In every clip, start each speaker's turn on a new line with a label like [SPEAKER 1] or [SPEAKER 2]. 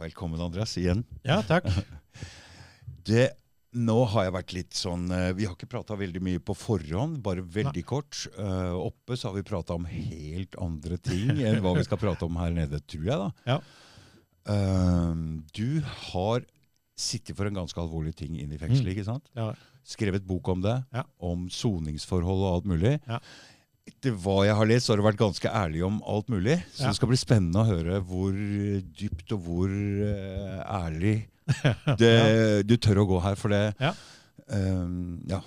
[SPEAKER 1] Velkommen, Andreas, igjen.
[SPEAKER 2] Ja, takk.
[SPEAKER 1] Det, nå har jeg vært litt sånn eh, Vi har ikke prata veldig mye på forhånd, bare veldig kort. Eh, oppe så har vi prata om helt andre ting enn hva vi skal prate om her nede, tror jeg, da.
[SPEAKER 2] Ja.
[SPEAKER 1] Eh, du har sittet for en ganske alvorlig ting inne i fengselet, ikke sant?
[SPEAKER 2] Ja.
[SPEAKER 1] Skrevet bok om det,
[SPEAKER 2] Ja.
[SPEAKER 1] om soningsforhold og alt mulig.
[SPEAKER 2] Ja.
[SPEAKER 1] Etter hva jeg har lest, så har du vært ganske ærlig om alt mulig. Så
[SPEAKER 2] Ja.
[SPEAKER 1] det skal bli spennende å høre hvor eh, dypt og hvor eh, ærlig det, du tør å gå her. For det
[SPEAKER 2] Ja.
[SPEAKER 1] ehm, ja,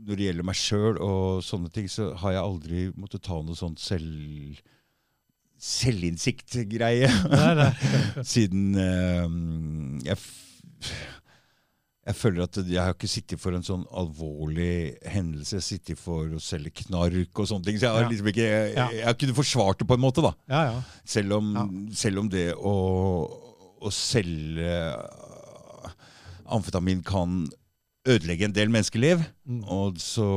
[SPEAKER 1] Når det gjelder meg sjøl og sånne ting, så har jeg aldri måttet ta noe sånt selv, selvinnsikt-greie
[SPEAKER 2] Nei, nei.
[SPEAKER 1] siden ehm, jeg, f jeg føler at jeg har ikke sittet for en sånn alvorlig hendelse. Jeg har sittet for å selge knark og sånne ting. Så jeg har
[SPEAKER 2] Ja.
[SPEAKER 1] liksom ikke jeg,
[SPEAKER 2] Ja.
[SPEAKER 1] jeg kunne forsvart det på en måte, da.
[SPEAKER 2] Ja, ja.
[SPEAKER 1] Selv om,
[SPEAKER 2] Ja.
[SPEAKER 1] selv om det å, å selge eh, amfetamin kan ødelegge en del menneskeliv.
[SPEAKER 2] Mm.
[SPEAKER 1] Og så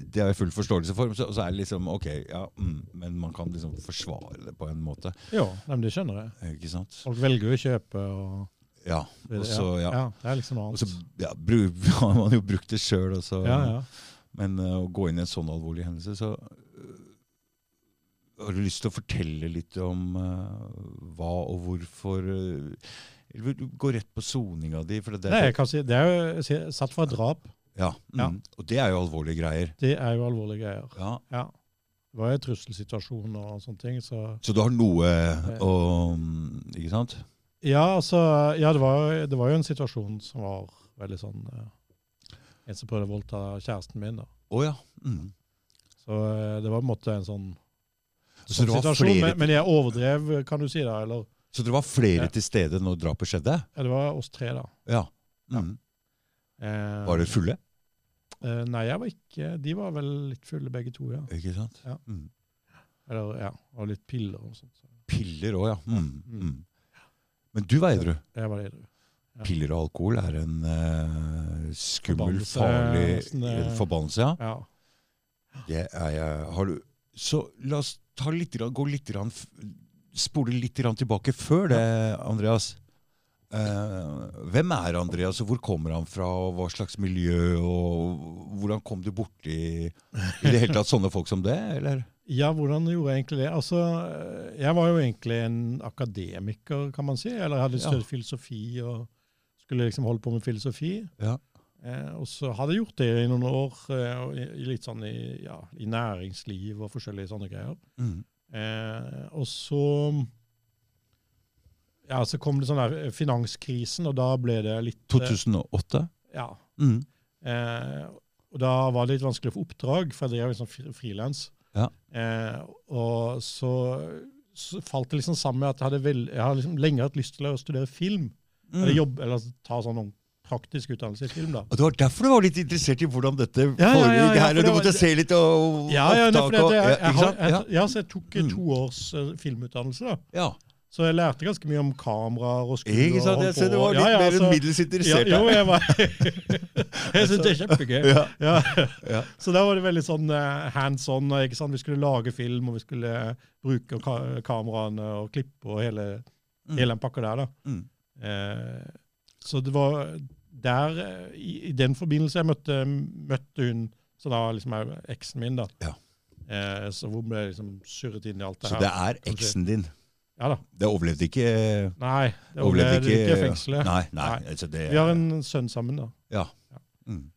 [SPEAKER 1] Det har jeg full forståelse for. Så, så er det liksom OK, ja, mm, men man kan liksom forsvare det på en måte.
[SPEAKER 2] Jo, nei, men du skjønner det.
[SPEAKER 1] Ikke sant?
[SPEAKER 2] Folk velger jo å kjøpe og
[SPEAKER 1] Ja. Og så, ja.
[SPEAKER 2] Det er liksom noe
[SPEAKER 1] Og så
[SPEAKER 2] annet.
[SPEAKER 1] ja, bru, har man jo brukt det sjøl,
[SPEAKER 2] Ja, ja.
[SPEAKER 1] men eh, å gå inn i en sånn alvorlig hendelse, så eh, har du lyst til å fortelle litt om eh, hva og hvorfor eh, Eller vil du gå rett på soninga di? For det,
[SPEAKER 2] Nei,
[SPEAKER 1] er, sånn-
[SPEAKER 2] jeg kan si, det er jo jeg sier, satt for et drap.
[SPEAKER 1] ja, mm,
[SPEAKER 2] ja.
[SPEAKER 1] Og det er jo alvorlige greier.
[SPEAKER 2] Det er jo alvorlige greier.
[SPEAKER 1] Ja.
[SPEAKER 2] Ja. Det var jo en trusselsituasjon og sånne ting, så
[SPEAKER 1] Så du har noe å mm, Ikke sant?
[SPEAKER 2] Ja, altså, ja det, var, det var jo en situasjon som var veldig sånn eh, En som prøvde å voldta kjæresten min, da.
[SPEAKER 1] Å ja. Mm.
[SPEAKER 2] Så eh, det var på en måte en sånn,
[SPEAKER 1] Så,
[SPEAKER 2] sånn
[SPEAKER 1] dere var
[SPEAKER 2] situasjon.
[SPEAKER 1] flere,
[SPEAKER 2] Men, men jeg overdrev, kan du si det? Eller
[SPEAKER 1] så dere var flere
[SPEAKER 2] Ja.
[SPEAKER 1] til stede når drapet skjedde?
[SPEAKER 2] ja, det var oss tre, da.
[SPEAKER 1] Ja. Mm.
[SPEAKER 2] Eh,
[SPEAKER 1] Var dere fulle?
[SPEAKER 2] Eh, nei, jeg var ikke De var vel litt fulle begge to, ja.
[SPEAKER 1] Ikke sant?
[SPEAKER 2] Ja.
[SPEAKER 1] Mm.
[SPEAKER 2] Eller ja, og litt piller og sånt. Så.
[SPEAKER 1] Piller òg, ja. Mm.
[SPEAKER 2] Mm.
[SPEAKER 1] Mm. Men du veide du.
[SPEAKER 2] Jeg var edru. Ja.
[SPEAKER 1] Piller og alkohol er en eh, skummel,
[SPEAKER 2] Forbannelse,
[SPEAKER 1] farlig
[SPEAKER 2] nesten, eh.
[SPEAKER 1] en forbannelse. ja.
[SPEAKER 2] Ja.
[SPEAKER 1] Det er jeg. Har du Så la oss ta litt, grann- gå litt grann, f- spole litt grann tilbake før det, Andreas. Eh, hvem er Andreas, og hvor kommer han fra, og hva slags miljø, og hvordan kom du borti i det hele tatt sånne folk som det, eller?
[SPEAKER 2] ja, hvordan gjorde jeg egentlig det? Altså, eh, jeg var jo egentlig en akademiker, kan man si. Eller jeg hadde
[SPEAKER 1] Ja.
[SPEAKER 2] studert filosofi og skulle liksom holde på med filosofi.
[SPEAKER 1] Ja.
[SPEAKER 2] Eh, og så hadde jeg gjort det i noen år, eh, og i, i litt sånn i, ja, i næringsliv og forskjellige sånne greier.
[SPEAKER 1] Mm.
[SPEAKER 2] Eh, og så ja, så kom det sånn der eh, finanskrisen, og da ble det litt eh,
[SPEAKER 1] 2008?
[SPEAKER 2] Ja.
[SPEAKER 1] Mm.
[SPEAKER 2] Eh, og da var det litt vanskelig å få oppdrag, for jeg drev liksom fri- frilans.
[SPEAKER 1] Ja.
[SPEAKER 2] Eh, og så, så falt det liksom sammen med at jeg hadde, vel, jeg hadde liksom lenge hatt lyst til å studere film. Eller
[SPEAKER 1] Mm.
[SPEAKER 2] jobb, eller ta sånn noen praktisk utdannelse i film, da.
[SPEAKER 1] Og Det var derfor du var litt interessert i hvordan dette
[SPEAKER 2] ja, ja,
[SPEAKER 1] foregikk
[SPEAKER 2] ja,
[SPEAKER 1] her,
[SPEAKER 2] for
[SPEAKER 1] og du
[SPEAKER 2] det var-
[SPEAKER 1] måtte se litt og
[SPEAKER 2] Ja, ja, nei, for det,
[SPEAKER 1] og
[SPEAKER 2] det, jeg,
[SPEAKER 1] ja,
[SPEAKER 2] jeg,
[SPEAKER 1] ikke
[SPEAKER 2] har-
[SPEAKER 1] sant?
[SPEAKER 2] jeg,
[SPEAKER 1] Ja.
[SPEAKER 2] ja, så jeg tok eh,
[SPEAKER 1] Mm.
[SPEAKER 2] to års eh, filmutdannelse, da.
[SPEAKER 1] Ja,
[SPEAKER 2] Så jeg lærte ganske mye om kameraer og skudd.
[SPEAKER 1] ikke sant? Jeg ser du var litt mer enn middels
[SPEAKER 2] ja,
[SPEAKER 1] interessert.
[SPEAKER 2] jo,
[SPEAKER 1] her.
[SPEAKER 2] jeg var Jeg syns det er kjempegøy.
[SPEAKER 1] Ja.
[SPEAKER 2] Ja.
[SPEAKER 1] Ja.
[SPEAKER 2] Så da var det veldig sånn eh, hands on. ikke sant? Vi skulle lage film, og vi skulle eh, bruke ka kameraene og klippe og hele,
[SPEAKER 1] Mm.
[SPEAKER 2] hele den pakka der. da.
[SPEAKER 1] Mm.
[SPEAKER 2] Eh, så det var der, eh, i, i den forbindelse, jeg møtte, møtte hun som da liksom er eksen min. da.
[SPEAKER 1] Ja.
[SPEAKER 2] Eh, så hvor ble jeg liksom surret inn i alt det
[SPEAKER 1] Så
[SPEAKER 2] her.
[SPEAKER 1] det er eksen din.
[SPEAKER 2] Ja da.
[SPEAKER 1] Det overlevde ikke
[SPEAKER 2] Nei, det ble
[SPEAKER 1] Overlevde
[SPEAKER 2] det
[SPEAKER 1] ikke-
[SPEAKER 2] ikke fengselet.
[SPEAKER 1] Nei, nei.
[SPEAKER 2] Nei.
[SPEAKER 1] Altså det,
[SPEAKER 2] Vi har en sønn sammen, da.
[SPEAKER 1] ja. Mm.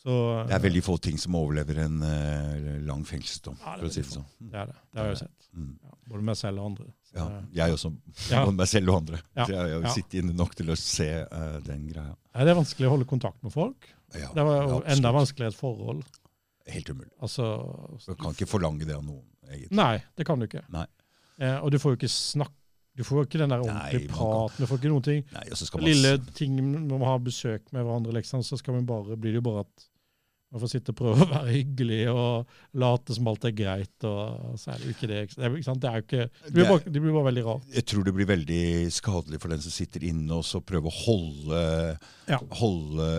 [SPEAKER 2] Så,
[SPEAKER 1] det er veldig få ting som overlever en eh, lang fengselsdom,
[SPEAKER 2] Ja, det
[SPEAKER 1] for
[SPEAKER 2] er
[SPEAKER 1] å si
[SPEAKER 2] veldig
[SPEAKER 1] det sånn.
[SPEAKER 2] Det er det. Det har jeg jo sett.
[SPEAKER 1] Mm.
[SPEAKER 2] Ja, både meg selv og andre. Så,
[SPEAKER 1] Ja, jeg også,
[SPEAKER 2] Ja.
[SPEAKER 1] både meg selv og andre.
[SPEAKER 2] Ja.
[SPEAKER 1] Så jeg, jeg
[SPEAKER 2] Ja.
[SPEAKER 1] sitter inne nok til å se eh, den greia.
[SPEAKER 2] Nei, det er vanskelig å holde kontakt med folk.
[SPEAKER 1] Ja,
[SPEAKER 2] Det var jo
[SPEAKER 1] ja,
[SPEAKER 2] enda
[SPEAKER 1] absolutt.
[SPEAKER 2] vanskeligere i et forhold.
[SPEAKER 1] Helt umulig.
[SPEAKER 2] Altså,
[SPEAKER 1] Du kan ikke forlange det av noen, egentlig.
[SPEAKER 2] Nei, det kan du ikke.
[SPEAKER 1] Nei.
[SPEAKER 2] Eh, og du får jo ikke snakk... Du får jo ikke den der
[SPEAKER 1] Nei, man
[SPEAKER 2] ordentlige
[SPEAKER 1] kan-
[SPEAKER 2] praten. Du får ikke noen ting.
[SPEAKER 1] Nei, og så skal man...
[SPEAKER 2] Mm. Lille ting når man har besøk med hverandre, liksom, så skal man bare, blir det jo bare at man får sitte og prøve å være hyggelig og late som alt er greit. og så er Det jo ikke det. ikke sant? Det er jo ikke sant? Det er jo ikke, det
[SPEAKER 1] Det
[SPEAKER 2] blir
[SPEAKER 1] er-
[SPEAKER 2] bare, det blir bare veldig rart.
[SPEAKER 1] jeg tror det blir veldig skadelig for den som sitter inne og så prøver å holde,
[SPEAKER 2] Ja.
[SPEAKER 1] holde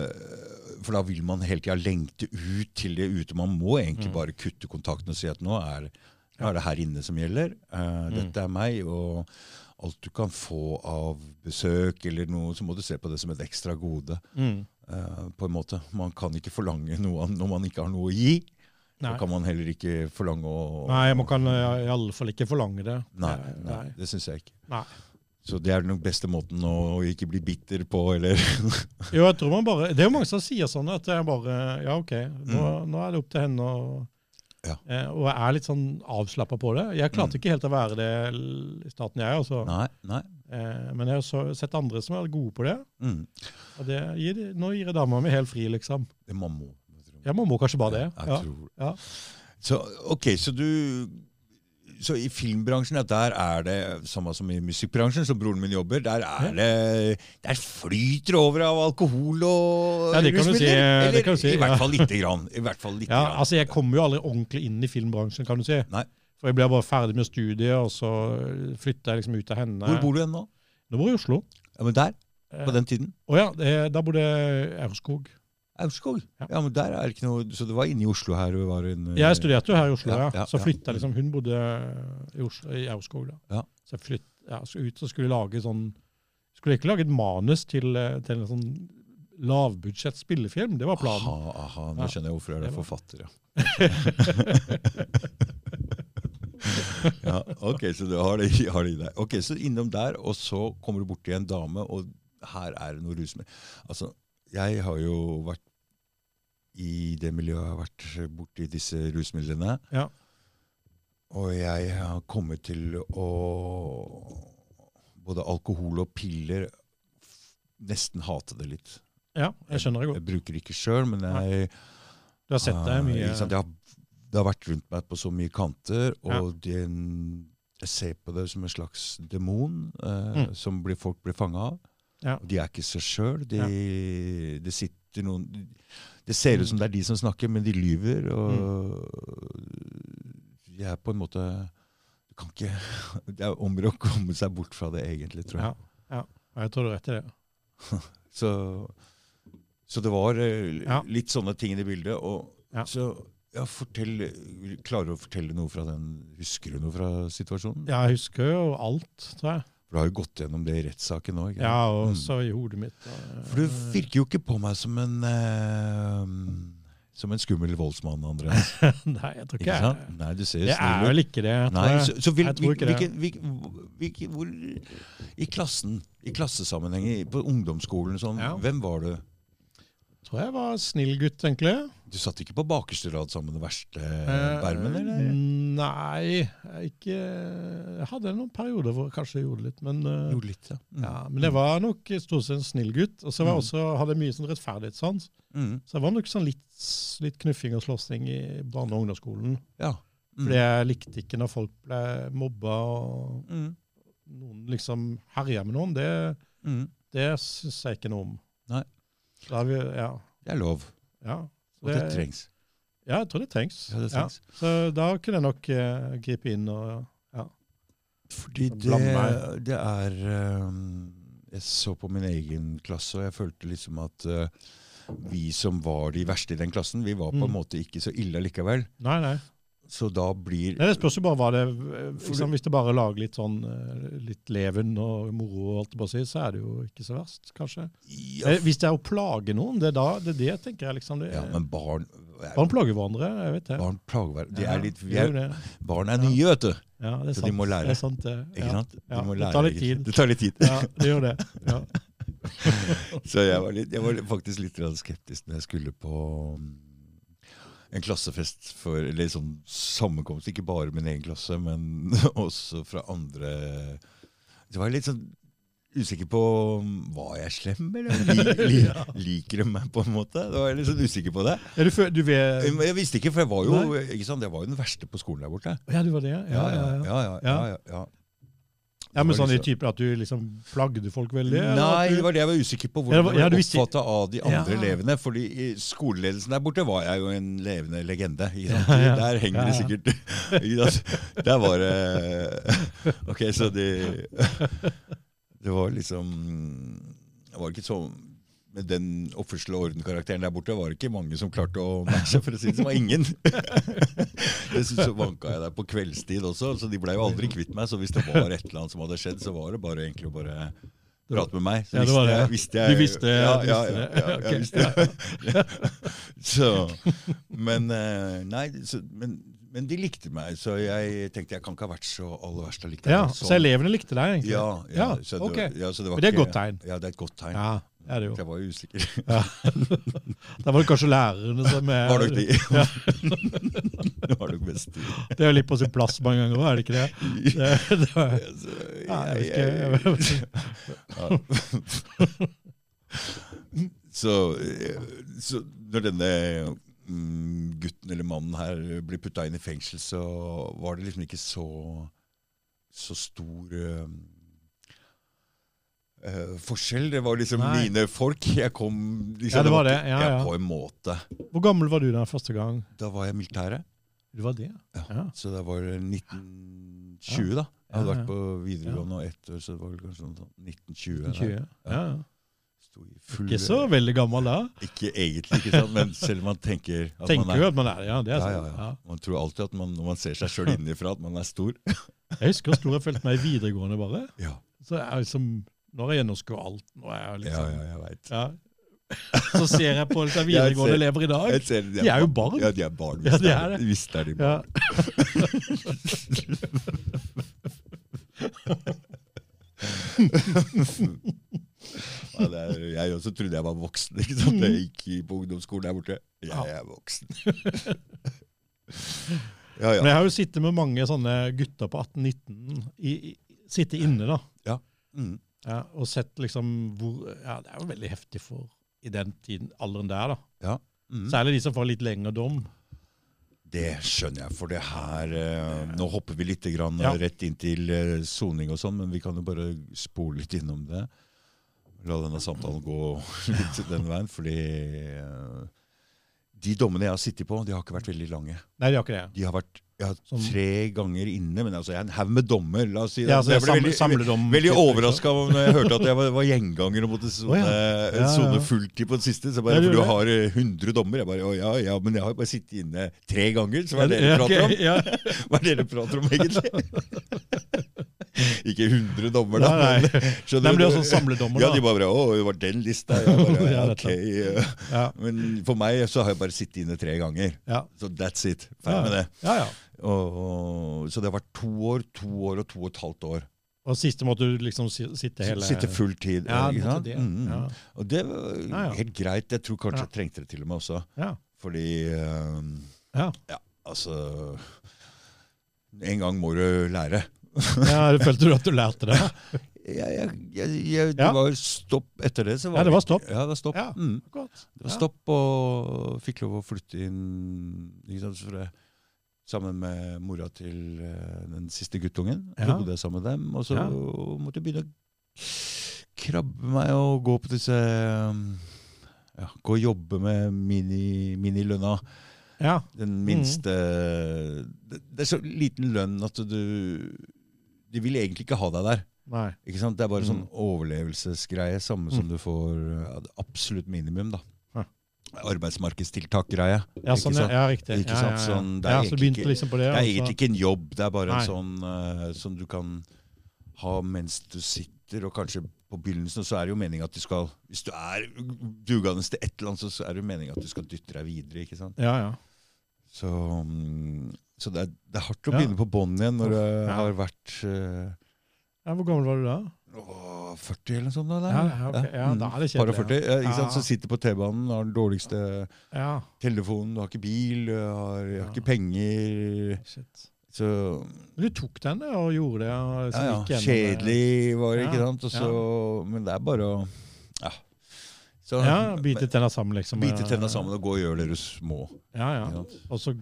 [SPEAKER 1] For da vil man hele tida lengte ut til det ute. Man må egentlig
[SPEAKER 2] Mm.
[SPEAKER 1] bare kutte kontakten og si at nå er, nå er det her inne som gjelder. Eh,
[SPEAKER 2] Mm.
[SPEAKER 1] dette er meg, og alt du kan få av besøk eller noe, så må du se på det som et ekstra gode.
[SPEAKER 2] Mm.
[SPEAKER 1] eh, på en måte. Man kan ikke forlange noe av- når man ikke har noe å gi. Da
[SPEAKER 2] Nei.
[SPEAKER 1] kan man heller ikke forlange å
[SPEAKER 2] Nei, man kan eh, i alle fall ikke forlange det.
[SPEAKER 1] Nei,
[SPEAKER 2] Eh,
[SPEAKER 1] nei, det syns jeg ikke.
[SPEAKER 2] Nei.
[SPEAKER 1] Så det er den beste måten å ikke bli bitter på, eller
[SPEAKER 2] Jo, jeg tror man bare, Det er jo mange som sier sånn at jeg bare Ja, OK, nå, nå er det opp til henne. Og,
[SPEAKER 1] Mm. Ja. Mm.
[SPEAKER 2] eh, og jeg er litt sånn avslappa på det. Jeg klarte ikke helt å være det l- i starten, jeg. Altså.
[SPEAKER 1] Nei. nei.
[SPEAKER 2] Eh, men jeg har så, sett andre som er gode på det.
[SPEAKER 1] Mm.
[SPEAKER 2] Og det gir, de- nå gir jeg dama mi helt fri, liksom.
[SPEAKER 1] Det man må. jeg tror.
[SPEAKER 2] Ja, man må kanskje bare det.
[SPEAKER 1] Jeg
[SPEAKER 2] Ja.
[SPEAKER 1] tror det.
[SPEAKER 2] Ja.
[SPEAKER 1] Så, ok, så du så i filmbransjen, ja, der er det samme som i musikkbransjen, som broren min jobber, der er
[SPEAKER 2] Ja.
[SPEAKER 1] det Der flyter det over av alkohol og
[SPEAKER 2] Ja, det kan du
[SPEAKER 1] rusmidler.
[SPEAKER 2] si, det
[SPEAKER 1] Eller
[SPEAKER 2] kan du si,
[SPEAKER 1] i hvert
[SPEAKER 2] ja.
[SPEAKER 1] fall lite grann. I hvert fall lite
[SPEAKER 2] ja,
[SPEAKER 1] grann.
[SPEAKER 2] altså Jeg kommer jo aldri ordentlig inn i filmbransjen, kan du si.
[SPEAKER 1] Nei.
[SPEAKER 2] For jeg ble bare ferdig med studiet, og så flytta jeg liksom ut av henne.
[SPEAKER 1] Hvor bor du hen nå?
[SPEAKER 2] Nå bor jeg i Oslo.
[SPEAKER 1] Ja, men der?
[SPEAKER 2] Eh,
[SPEAKER 1] På den tiden?
[SPEAKER 2] Å ja, eh, da bodde jeg i Aurskog.
[SPEAKER 1] Aurskog?
[SPEAKER 2] Ja.
[SPEAKER 1] Ja. men der er det ikke noe Så det var inne i Oslo her du var en eh,
[SPEAKER 2] Jeg studerte jo her i Oslo,
[SPEAKER 1] Ja,
[SPEAKER 2] ja.
[SPEAKER 1] ja,
[SPEAKER 2] så
[SPEAKER 1] ja.
[SPEAKER 2] flytta liksom Hun bodde i, Oslo, i Aurskog, da.
[SPEAKER 1] Ja.
[SPEAKER 2] Så jeg flytt, ja, så ut og skulle lage sånn Skulle ikke lage et manus til, eh, til en sånn lavbudsjett spillefilm. Det var planen.
[SPEAKER 1] Aha, aha,
[SPEAKER 2] Ja.
[SPEAKER 1] nå skjønner jeg hvorfor jeg
[SPEAKER 2] Det
[SPEAKER 1] er
[SPEAKER 2] var-
[SPEAKER 1] forfatter, ja. ja, ok, så du har det, i- har det i deg. Ok, Så innom der, og så kommer du borti en dame, og her er det noe rusmiddel. Altså, jeg har jo vært i det miljøet jeg har vært borti disse rusmidlene.
[SPEAKER 2] Ja.
[SPEAKER 1] Og jeg har kommet til å Både alkohol og piller f- nesten hate det litt.
[SPEAKER 2] Ja, jeg skjønner det godt.
[SPEAKER 1] Jeg bruker ikke sjøl, men jeg
[SPEAKER 2] Du har sett deg
[SPEAKER 1] Eh,
[SPEAKER 2] mye.
[SPEAKER 1] ikke sant? Jeg har, det har vært rundt meg på så mye kanter, og den- jeg ser på det som en slags demon eh,
[SPEAKER 2] Mm.
[SPEAKER 1] som blir, folk blir fanga av.
[SPEAKER 2] Ja.
[SPEAKER 1] Og De er ikke seg sjøl. De, Det sitter noen Det ser ut som det er de som snakker, men de lyver. Og
[SPEAKER 2] Mm.
[SPEAKER 1] de er på en måte Du kan ikke Det er om å gjøre å komme seg bort fra det, egentlig, tror jeg.
[SPEAKER 2] Ja, ja. Ja, Jeg tror du har rett i det.
[SPEAKER 1] Så, så det var eh,
[SPEAKER 2] Ja.
[SPEAKER 1] litt sånne ting i bildet. Og,
[SPEAKER 2] Ja.
[SPEAKER 1] Så ja, fortell, klarer du å fortelle noe fra den Husker du noe fra situasjonen?
[SPEAKER 2] Ja, jeg husker jo alt, tror jeg.
[SPEAKER 1] For du har jo gått gjennom det i rettssaken nå. ikke sant?
[SPEAKER 2] Ja, og
[SPEAKER 1] Mm.
[SPEAKER 2] så i hodet mitt. og- eh,
[SPEAKER 1] For du virker jo ikke på meg som en eh, som en skummel voldsmann, André.
[SPEAKER 2] Nei, jeg tror ikke
[SPEAKER 1] Ikke
[SPEAKER 2] jeg
[SPEAKER 1] sant? Nei, du ser
[SPEAKER 2] Jeg er
[SPEAKER 1] snill ut.
[SPEAKER 2] vel ikke det. tror
[SPEAKER 1] Nei,
[SPEAKER 2] jeg.
[SPEAKER 1] så, så hvil,
[SPEAKER 2] Jeg tror ikke det.
[SPEAKER 1] hvilken- hvilken- hvilken- hvor, I klassen, i klassesammenheng, i- på ungdomsskolen sånn,
[SPEAKER 2] Ja.
[SPEAKER 1] hvem var du?
[SPEAKER 2] tror jeg var snill gutt, egentlig.
[SPEAKER 1] Du satt ikke på bakerste rad sammen med den verste
[SPEAKER 2] Eh,
[SPEAKER 1] bermen, eller?
[SPEAKER 2] Nei, jeg ikke Jeg hadde noen perioder hvor jeg kanskje gjorde litt, men eh,
[SPEAKER 1] Gjorde litt, ja. Mm.
[SPEAKER 2] ja, Men jeg var nok stort sett en snill gutt. Og så var jeg også, hadde jeg mye sånn rettferdighetssans.
[SPEAKER 1] Mm.
[SPEAKER 2] Så jeg var nok sånn litt, s- litt knuffing og slåssing i barne- og ungdomsskolen.
[SPEAKER 1] Ja. Mm.
[SPEAKER 2] Fordi jeg likte ikke når folk ble mobba og
[SPEAKER 1] Mm.
[SPEAKER 2] noen liksom herja med noen. Det,
[SPEAKER 1] Mm.
[SPEAKER 2] det syns jeg ikke noe om.
[SPEAKER 1] Nei.
[SPEAKER 2] Da er vi, ja,
[SPEAKER 1] Det er lov.
[SPEAKER 2] ja.
[SPEAKER 1] Og det, trengs.
[SPEAKER 2] Ja, jeg tror det trengs.
[SPEAKER 1] Ja, det trengs.
[SPEAKER 2] Så da kunne jeg nok eh, gripe inn og
[SPEAKER 1] Fordi det,
[SPEAKER 2] Bland meg.
[SPEAKER 1] det er eh, Jeg så på min egen klasse, og jeg følte liksom at eh, vi som var de verste i den klassen, vi var på en
[SPEAKER 2] Mm.
[SPEAKER 1] måte ikke så ille likevel.
[SPEAKER 2] Nei, nei.
[SPEAKER 1] Så da blir
[SPEAKER 2] Nei, Det spørs jo bare hva det
[SPEAKER 1] For
[SPEAKER 2] liksom, Hvis det bare lager litt sånn eh, litt leven og moro, og alt det bare sier, så er det jo ikke så verst, kanskje.
[SPEAKER 1] Ja,
[SPEAKER 2] Eh, Hvis det er å plage noen, det er da, det, er det jeg tenker jeg liksom. Det,
[SPEAKER 1] ja men barn
[SPEAKER 2] Barn plager hverandre, jeg vet det.
[SPEAKER 1] Barn plager hverandre. De
[SPEAKER 2] Ja,
[SPEAKER 1] er litt, vi
[SPEAKER 2] det
[SPEAKER 1] er,
[SPEAKER 2] jo det.
[SPEAKER 1] barn er
[SPEAKER 2] Ja.
[SPEAKER 1] nye, vet du.
[SPEAKER 2] Ja, det er
[SPEAKER 1] Så
[SPEAKER 2] sant.
[SPEAKER 1] de må lære.
[SPEAKER 2] Det er sant, det.
[SPEAKER 1] Ikke
[SPEAKER 2] ja.
[SPEAKER 1] sant?
[SPEAKER 2] Ja,
[SPEAKER 1] De må
[SPEAKER 2] det
[SPEAKER 1] lære.
[SPEAKER 2] tar litt
[SPEAKER 1] ikke-
[SPEAKER 2] tid.
[SPEAKER 1] Det tar litt tid.
[SPEAKER 2] Ja, det gjør det. Ja.
[SPEAKER 1] Så jeg var, litt, jeg var faktisk litt grann skeptisk når jeg skulle på mm, en klassefest, for, eller sånn sammenkomst, ikke bare min egen klasse, men også fra andre. Så var jeg litt sånn usikker på mm, var jeg slem, eller li, li, liker de meg på en måte? Da var jeg litt sånn usikker på det.
[SPEAKER 2] Er du, fø- du ved,
[SPEAKER 1] Men jeg visste ikke, for jeg var jo, ikke sant, jeg var jo den verste på skolen der borte.
[SPEAKER 2] ja, du var det? Ja, ja, ja. ja,
[SPEAKER 1] ja, ja, ja, ja, ja.
[SPEAKER 2] ja
[SPEAKER 1] Det
[SPEAKER 2] men
[SPEAKER 1] var
[SPEAKER 2] sånn i
[SPEAKER 1] liksom-
[SPEAKER 2] typen at du liksom plagde folk veldig? eller at
[SPEAKER 1] Nei,
[SPEAKER 2] du-
[SPEAKER 1] det var det jeg var usikker på.
[SPEAKER 2] Ja, det
[SPEAKER 1] Hvordan
[SPEAKER 2] var-
[SPEAKER 1] jeg
[SPEAKER 2] ja, du
[SPEAKER 1] ble
[SPEAKER 2] visste-
[SPEAKER 1] oppfatta av de andre
[SPEAKER 2] Ja.
[SPEAKER 1] elevene. fordi i skoleledelsen der borte var jeg jo en levende legende. Ikke sant?
[SPEAKER 2] Ja, ja.
[SPEAKER 1] Der henger det
[SPEAKER 2] Ja, ja.
[SPEAKER 1] sikkert ikke sant? Der var det Ok, så de Det var liksom Det var ikke så med den oppførsel- og ordenkarakteren der borte var det ikke mange som klarte å matche. for å si Det som var ingen. Dessuten så vanka jeg der på kveldstid også, så de blei jo aldri kvitt meg. Så hvis det var et eller annet som hadde skjedd, så var det bare egentlig å bare prate med meg. Så
[SPEAKER 2] Ja, det var det.
[SPEAKER 1] jeg- visste jeg,
[SPEAKER 2] Du visste-
[SPEAKER 1] ja,
[SPEAKER 2] du
[SPEAKER 1] ja,
[SPEAKER 2] visste
[SPEAKER 1] ja,
[SPEAKER 2] det.
[SPEAKER 1] ja,
[SPEAKER 2] Ok,
[SPEAKER 1] jeg visste det. så, men eh, nei, så, men, men de likte meg, så jeg tenkte jeg kan ikke ha vært så aller verst allikevel.
[SPEAKER 2] Ja,
[SPEAKER 1] Sånn.
[SPEAKER 2] Så elevene likte deg, egentlig?
[SPEAKER 1] Ja, ja,
[SPEAKER 2] Ja,
[SPEAKER 1] så det,
[SPEAKER 2] ok.
[SPEAKER 1] ja, så det var
[SPEAKER 2] Men det er et
[SPEAKER 1] ikke-
[SPEAKER 2] godt tegn.
[SPEAKER 1] Ja, det er et godt tegn.
[SPEAKER 2] Ja, det er det jo.
[SPEAKER 1] Jeg var jo usikker.
[SPEAKER 2] Da var det kanskje lærerne som eh, er
[SPEAKER 1] Var nok de. det var nok best de.
[SPEAKER 2] Det er jo litt på sin plass mange ganger, er det ikke det? det, det var,
[SPEAKER 1] Altså,
[SPEAKER 2] ja, jeg
[SPEAKER 1] jeg-
[SPEAKER 2] vet ikke.
[SPEAKER 1] Ja. så, eh, så når denne mm, gutten eller mannen her blir putta inn i fengsel, så var det liksom ikke så, så stor eh, eh, forskjell. Det var liksom
[SPEAKER 2] Nei.
[SPEAKER 1] mine folk. Jeg kom liksom,
[SPEAKER 2] Ja, det var det.
[SPEAKER 1] ikke-
[SPEAKER 2] Ja, ja.
[SPEAKER 1] på en måte.
[SPEAKER 2] Hvor gammel var du da første gang?
[SPEAKER 1] Da var jeg i militæret,
[SPEAKER 2] Du var det?
[SPEAKER 1] Ja.
[SPEAKER 2] Ja.
[SPEAKER 1] så da var det 1920, da. Jeg hadde
[SPEAKER 2] Ja, ja.
[SPEAKER 1] vært på videregående og ett år, så det var vel kanskje sånn 1920. der.
[SPEAKER 2] 20. Ja. ja.
[SPEAKER 1] Sto i full-
[SPEAKER 2] Ikke så veldig gammel da.
[SPEAKER 1] Ikke egentlig, ikke sant? men selv om man tenker at man
[SPEAKER 2] Tenker
[SPEAKER 1] er
[SPEAKER 2] jo at man er det, ja. Det er
[SPEAKER 1] ja, ja,
[SPEAKER 2] sånn.
[SPEAKER 1] ja.
[SPEAKER 2] Ja.
[SPEAKER 1] Man tror alltid at man, når man ser seg sjøl innenfra, at man er stor.
[SPEAKER 2] Jeg husker hvor stor jeg følte meg i videregående, bare.
[SPEAKER 1] Ja,
[SPEAKER 2] Så jeg liksom, Nå har jeg gjennomskuet alt. Nå er jeg
[SPEAKER 1] ja,
[SPEAKER 2] liksom,
[SPEAKER 1] ja jeg veit.
[SPEAKER 2] ja. Så ser jeg på disse
[SPEAKER 1] Jeg
[SPEAKER 2] videregående
[SPEAKER 1] ser-
[SPEAKER 2] elever i dag.
[SPEAKER 1] Jeg ser-
[SPEAKER 2] De er jo barn.
[SPEAKER 1] Ja, de er barn.
[SPEAKER 2] Ja, de er
[SPEAKER 1] det.
[SPEAKER 2] det.
[SPEAKER 1] Visst er de barn.
[SPEAKER 2] Ja.
[SPEAKER 1] Ja, det er, jeg også trodde jeg var voksen ikke sant? da jeg gikk på ungdomsskolen der borte.
[SPEAKER 2] Mm. Ja.
[SPEAKER 1] Jeg er voksen. Ja, ja.
[SPEAKER 2] Men jeg har jo sittet med mange sånne gutter på 18-19, i- i- sittet inne da,
[SPEAKER 1] Mm.
[SPEAKER 2] ja, og sett liksom hvor Ja, det er jo veldig heftig for i den tiden, alderen der, da.
[SPEAKER 1] Mm.
[SPEAKER 2] Særlig de som får litt lengre dom.
[SPEAKER 1] Det skjønner jeg, for det her eh, Nå hopper vi litt grann, eh,
[SPEAKER 2] Ja.
[SPEAKER 1] rett inn til eh, soning og sånn, men vi kan jo bare spole litt innom det. La denne samtalen gå litt den veien, fordi eh, de dommene jeg har sittet på, de har ikke vært veldig lange.
[SPEAKER 2] Nei, de har ikke det.
[SPEAKER 1] De har vært jeg har
[SPEAKER 2] Som-
[SPEAKER 1] tre ganger inne, men altså, jeg er en haug med dommer. La oss si
[SPEAKER 2] Sånn. Ja, altså,
[SPEAKER 1] Jeg
[SPEAKER 2] det
[SPEAKER 1] ble
[SPEAKER 2] er samle-
[SPEAKER 1] veldig,
[SPEAKER 2] samledom.
[SPEAKER 1] veldig overraska når jeg hørte at jeg var, var gjenganger og måtte sone
[SPEAKER 2] Å, ja. Ja, ja, ja.
[SPEAKER 1] sone fulltid på den siste. Så bare,
[SPEAKER 2] Ja, du
[SPEAKER 1] for du
[SPEAKER 2] gjorde
[SPEAKER 1] har eh, 100 dommer. Jeg bare, å, ja, ja, men jeg har jo bare sittet inne tre ganger. Så hva er det
[SPEAKER 2] Ja,
[SPEAKER 1] dere
[SPEAKER 2] ok,
[SPEAKER 1] prater om?
[SPEAKER 2] Ja,
[SPEAKER 1] Hva er det dere prater om, egentlig? Ikke 100 dommer, da.
[SPEAKER 2] Nei, nei.
[SPEAKER 1] men- skjønner
[SPEAKER 2] Nei, men det er
[SPEAKER 1] du?
[SPEAKER 2] jo sånn samledommer,
[SPEAKER 1] Ja,
[SPEAKER 2] da.
[SPEAKER 1] de bare bare, Å, det var den lista. Jeg bare,
[SPEAKER 2] Ja,
[SPEAKER 1] ok. eh,
[SPEAKER 2] ja,
[SPEAKER 1] Men for meg så har jeg bare sittet inne tre ganger.
[SPEAKER 2] ja.
[SPEAKER 1] Så that's it. Ferdig med
[SPEAKER 2] Ja,
[SPEAKER 1] det.
[SPEAKER 2] ja, ja.
[SPEAKER 1] Og, og, så det har vært to år, to år og to og et halvt år.
[SPEAKER 2] Og siste måtte du liksom si- sitte hele
[SPEAKER 1] Sitte full tid. eh,
[SPEAKER 2] Ja,
[SPEAKER 1] ikke
[SPEAKER 2] du måtte
[SPEAKER 1] sant?
[SPEAKER 2] det.
[SPEAKER 1] Mm, mm.
[SPEAKER 2] Ja.
[SPEAKER 1] Og det var
[SPEAKER 2] Ja, ja.
[SPEAKER 1] helt greit. Jeg tror kanskje
[SPEAKER 2] Ja.
[SPEAKER 1] jeg trengte det til og med også.
[SPEAKER 2] Ja,
[SPEAKER 1] Fordi eh,
[SPEAKER 2] ja.
[SPEAKER 1] Altså En gang må du lære.
[SPEAKER 2] ja, følte du at du lærte det?
[SPEAKER 1] Jeg, jeg, jeg, jeg, det
[SPEAKER 2] Ja.
[SPEAKER 1] var stopp etter det. Så var
[SPEAKER 2] Ja, det var stopp.
[SPEAKER 1] Ja, det var stopp.
[SPEAKER 2] Ja.
[SPEAKER 1] Mm.
[SPEAKER 2] Godt.
[SPEAKER 1] Det var
[SPEAKER 2] Ja.
[SPEAKER 1] stopp, og fikk lov å flytte inn ikke sant, så det, sammen med mora til eh, den siste guttungen. Så
[SPEAKER 2] Ja.
[SPEAKER 1] bodde jeg sammen med dem, og så
[SPEAKER 2] Ja.
[SPEAKER 1] måtte jeg begynne å krabbe meg og gå på disse um, ja, Gå og jobbe med mini- minilønna.
[SPEAKER 2] Ja,
[SPEAKER 1] Den
[SPEAKER 2] Mm.
[SPEAKER 1] minste det, det er så liten lønn at du De vil egentlig ikke ha deg der.
[SPEAKER 2] nei.
[SPEAKER 1] Ikke sant? Det er bare sånn
[SPEAKER 2] Mm.
[SPEAKER 1] overlevelsesgreie, samme som du får ja, det absolutt minimum, da.
[SPEAKER 2] Ja.
[SPEAKER 1] Arbeidsmarkedstiltak-greie.
[SPEAKER 2] Ja, sånn,
[SPEAKER 1] Ikke sant?
[SPEAKER 2] ja, riktig.
[SPEAKER 1] Ikke
[SPEAKER 2] ja,
[SPEAKER 1] sant?
[SPEAKER 2] ja, ja.
[SPEAKER 1] Sånn, det er
[SPEAKER 2] ja, så
[SPEAKER 1] egentlig
[SPEAKER 2] begynte
[SPEAKER 1] ikke-
[SPEAKER 2] liksom på det.
[SPEAKER 1] Det er
[SPEAKER 2] og så-
[SPEAKER 1] egentlig ikke en jobb, det er bare
[SPEAKER 2] Nei.
[SPEAKER 1] en sånn eh, som du kan ha mens du sitter, og kanskje på begynnelsen så er det jo meningen at du skal Hvis du er dugende til et eller annet, så- så er det jo meningen at du skal dytte deg videre, ikke sant.
[SPEAKER 2] Ja, ja.
[SPEAKER 1] Så, mm, så det, er, det er hardt å
[SPEAKER 2] Ja.
[SPEAKER 1] begynne på bånn igjen når du
[SPEAKER 2] Ja.
[SPEAKER 1] har vært eh,
[SPEAKER 2] ja. Hvor gammel var du da?
[SPEAKER 1] Åh, 40 eller noe sånt? Da,
[SPEAKER 2] Ja, ja, ok. Ja,
[SPEAKER 1] mm.
[SPEAKER 2] da er det
[SPEAKER 1] Par og
[SPEAKER 2] kjedelig,
[SPEAKER 1] 40, ja, ikke sant?
[SPEAKER 2] Ja.
[SPEAKER 1] Så sitter på T-banen, har den dårligste
[SPEAKER 2] Ja,
[SPEAKER 1] telefonen, du har ikke bil, du har, jeg har
[SPEAKER 2] Ja.
[SPEAKER 1] ikke penger
[SPEAKER 2] shit.
[SPEAKER 1] Så
[SPEAKER 2] Men du tok den og gjorde det? Og liksom
[SPEAKER 1] ja, ja,
[SPEAKER 2] gikk gjennom det.
[SPEAKER 1] kjedelig var det,
[SPEAKER 2] Ja,
[SPEAKER 1] ikke sant? Og så, Men det er bare å Ja. Så,
[SPEAKER 2] Ja, Bite tenna sammen, liksom.
[SPEAKER 1] bite tenna sammen og gå og gjøre det du må.
[SPEAKER 2] Ja,
[SPEAKER 1] ikke
[SPEAKER 2] ja.
[SPEAKER 1] sant?
[SPEAKER 2] Og så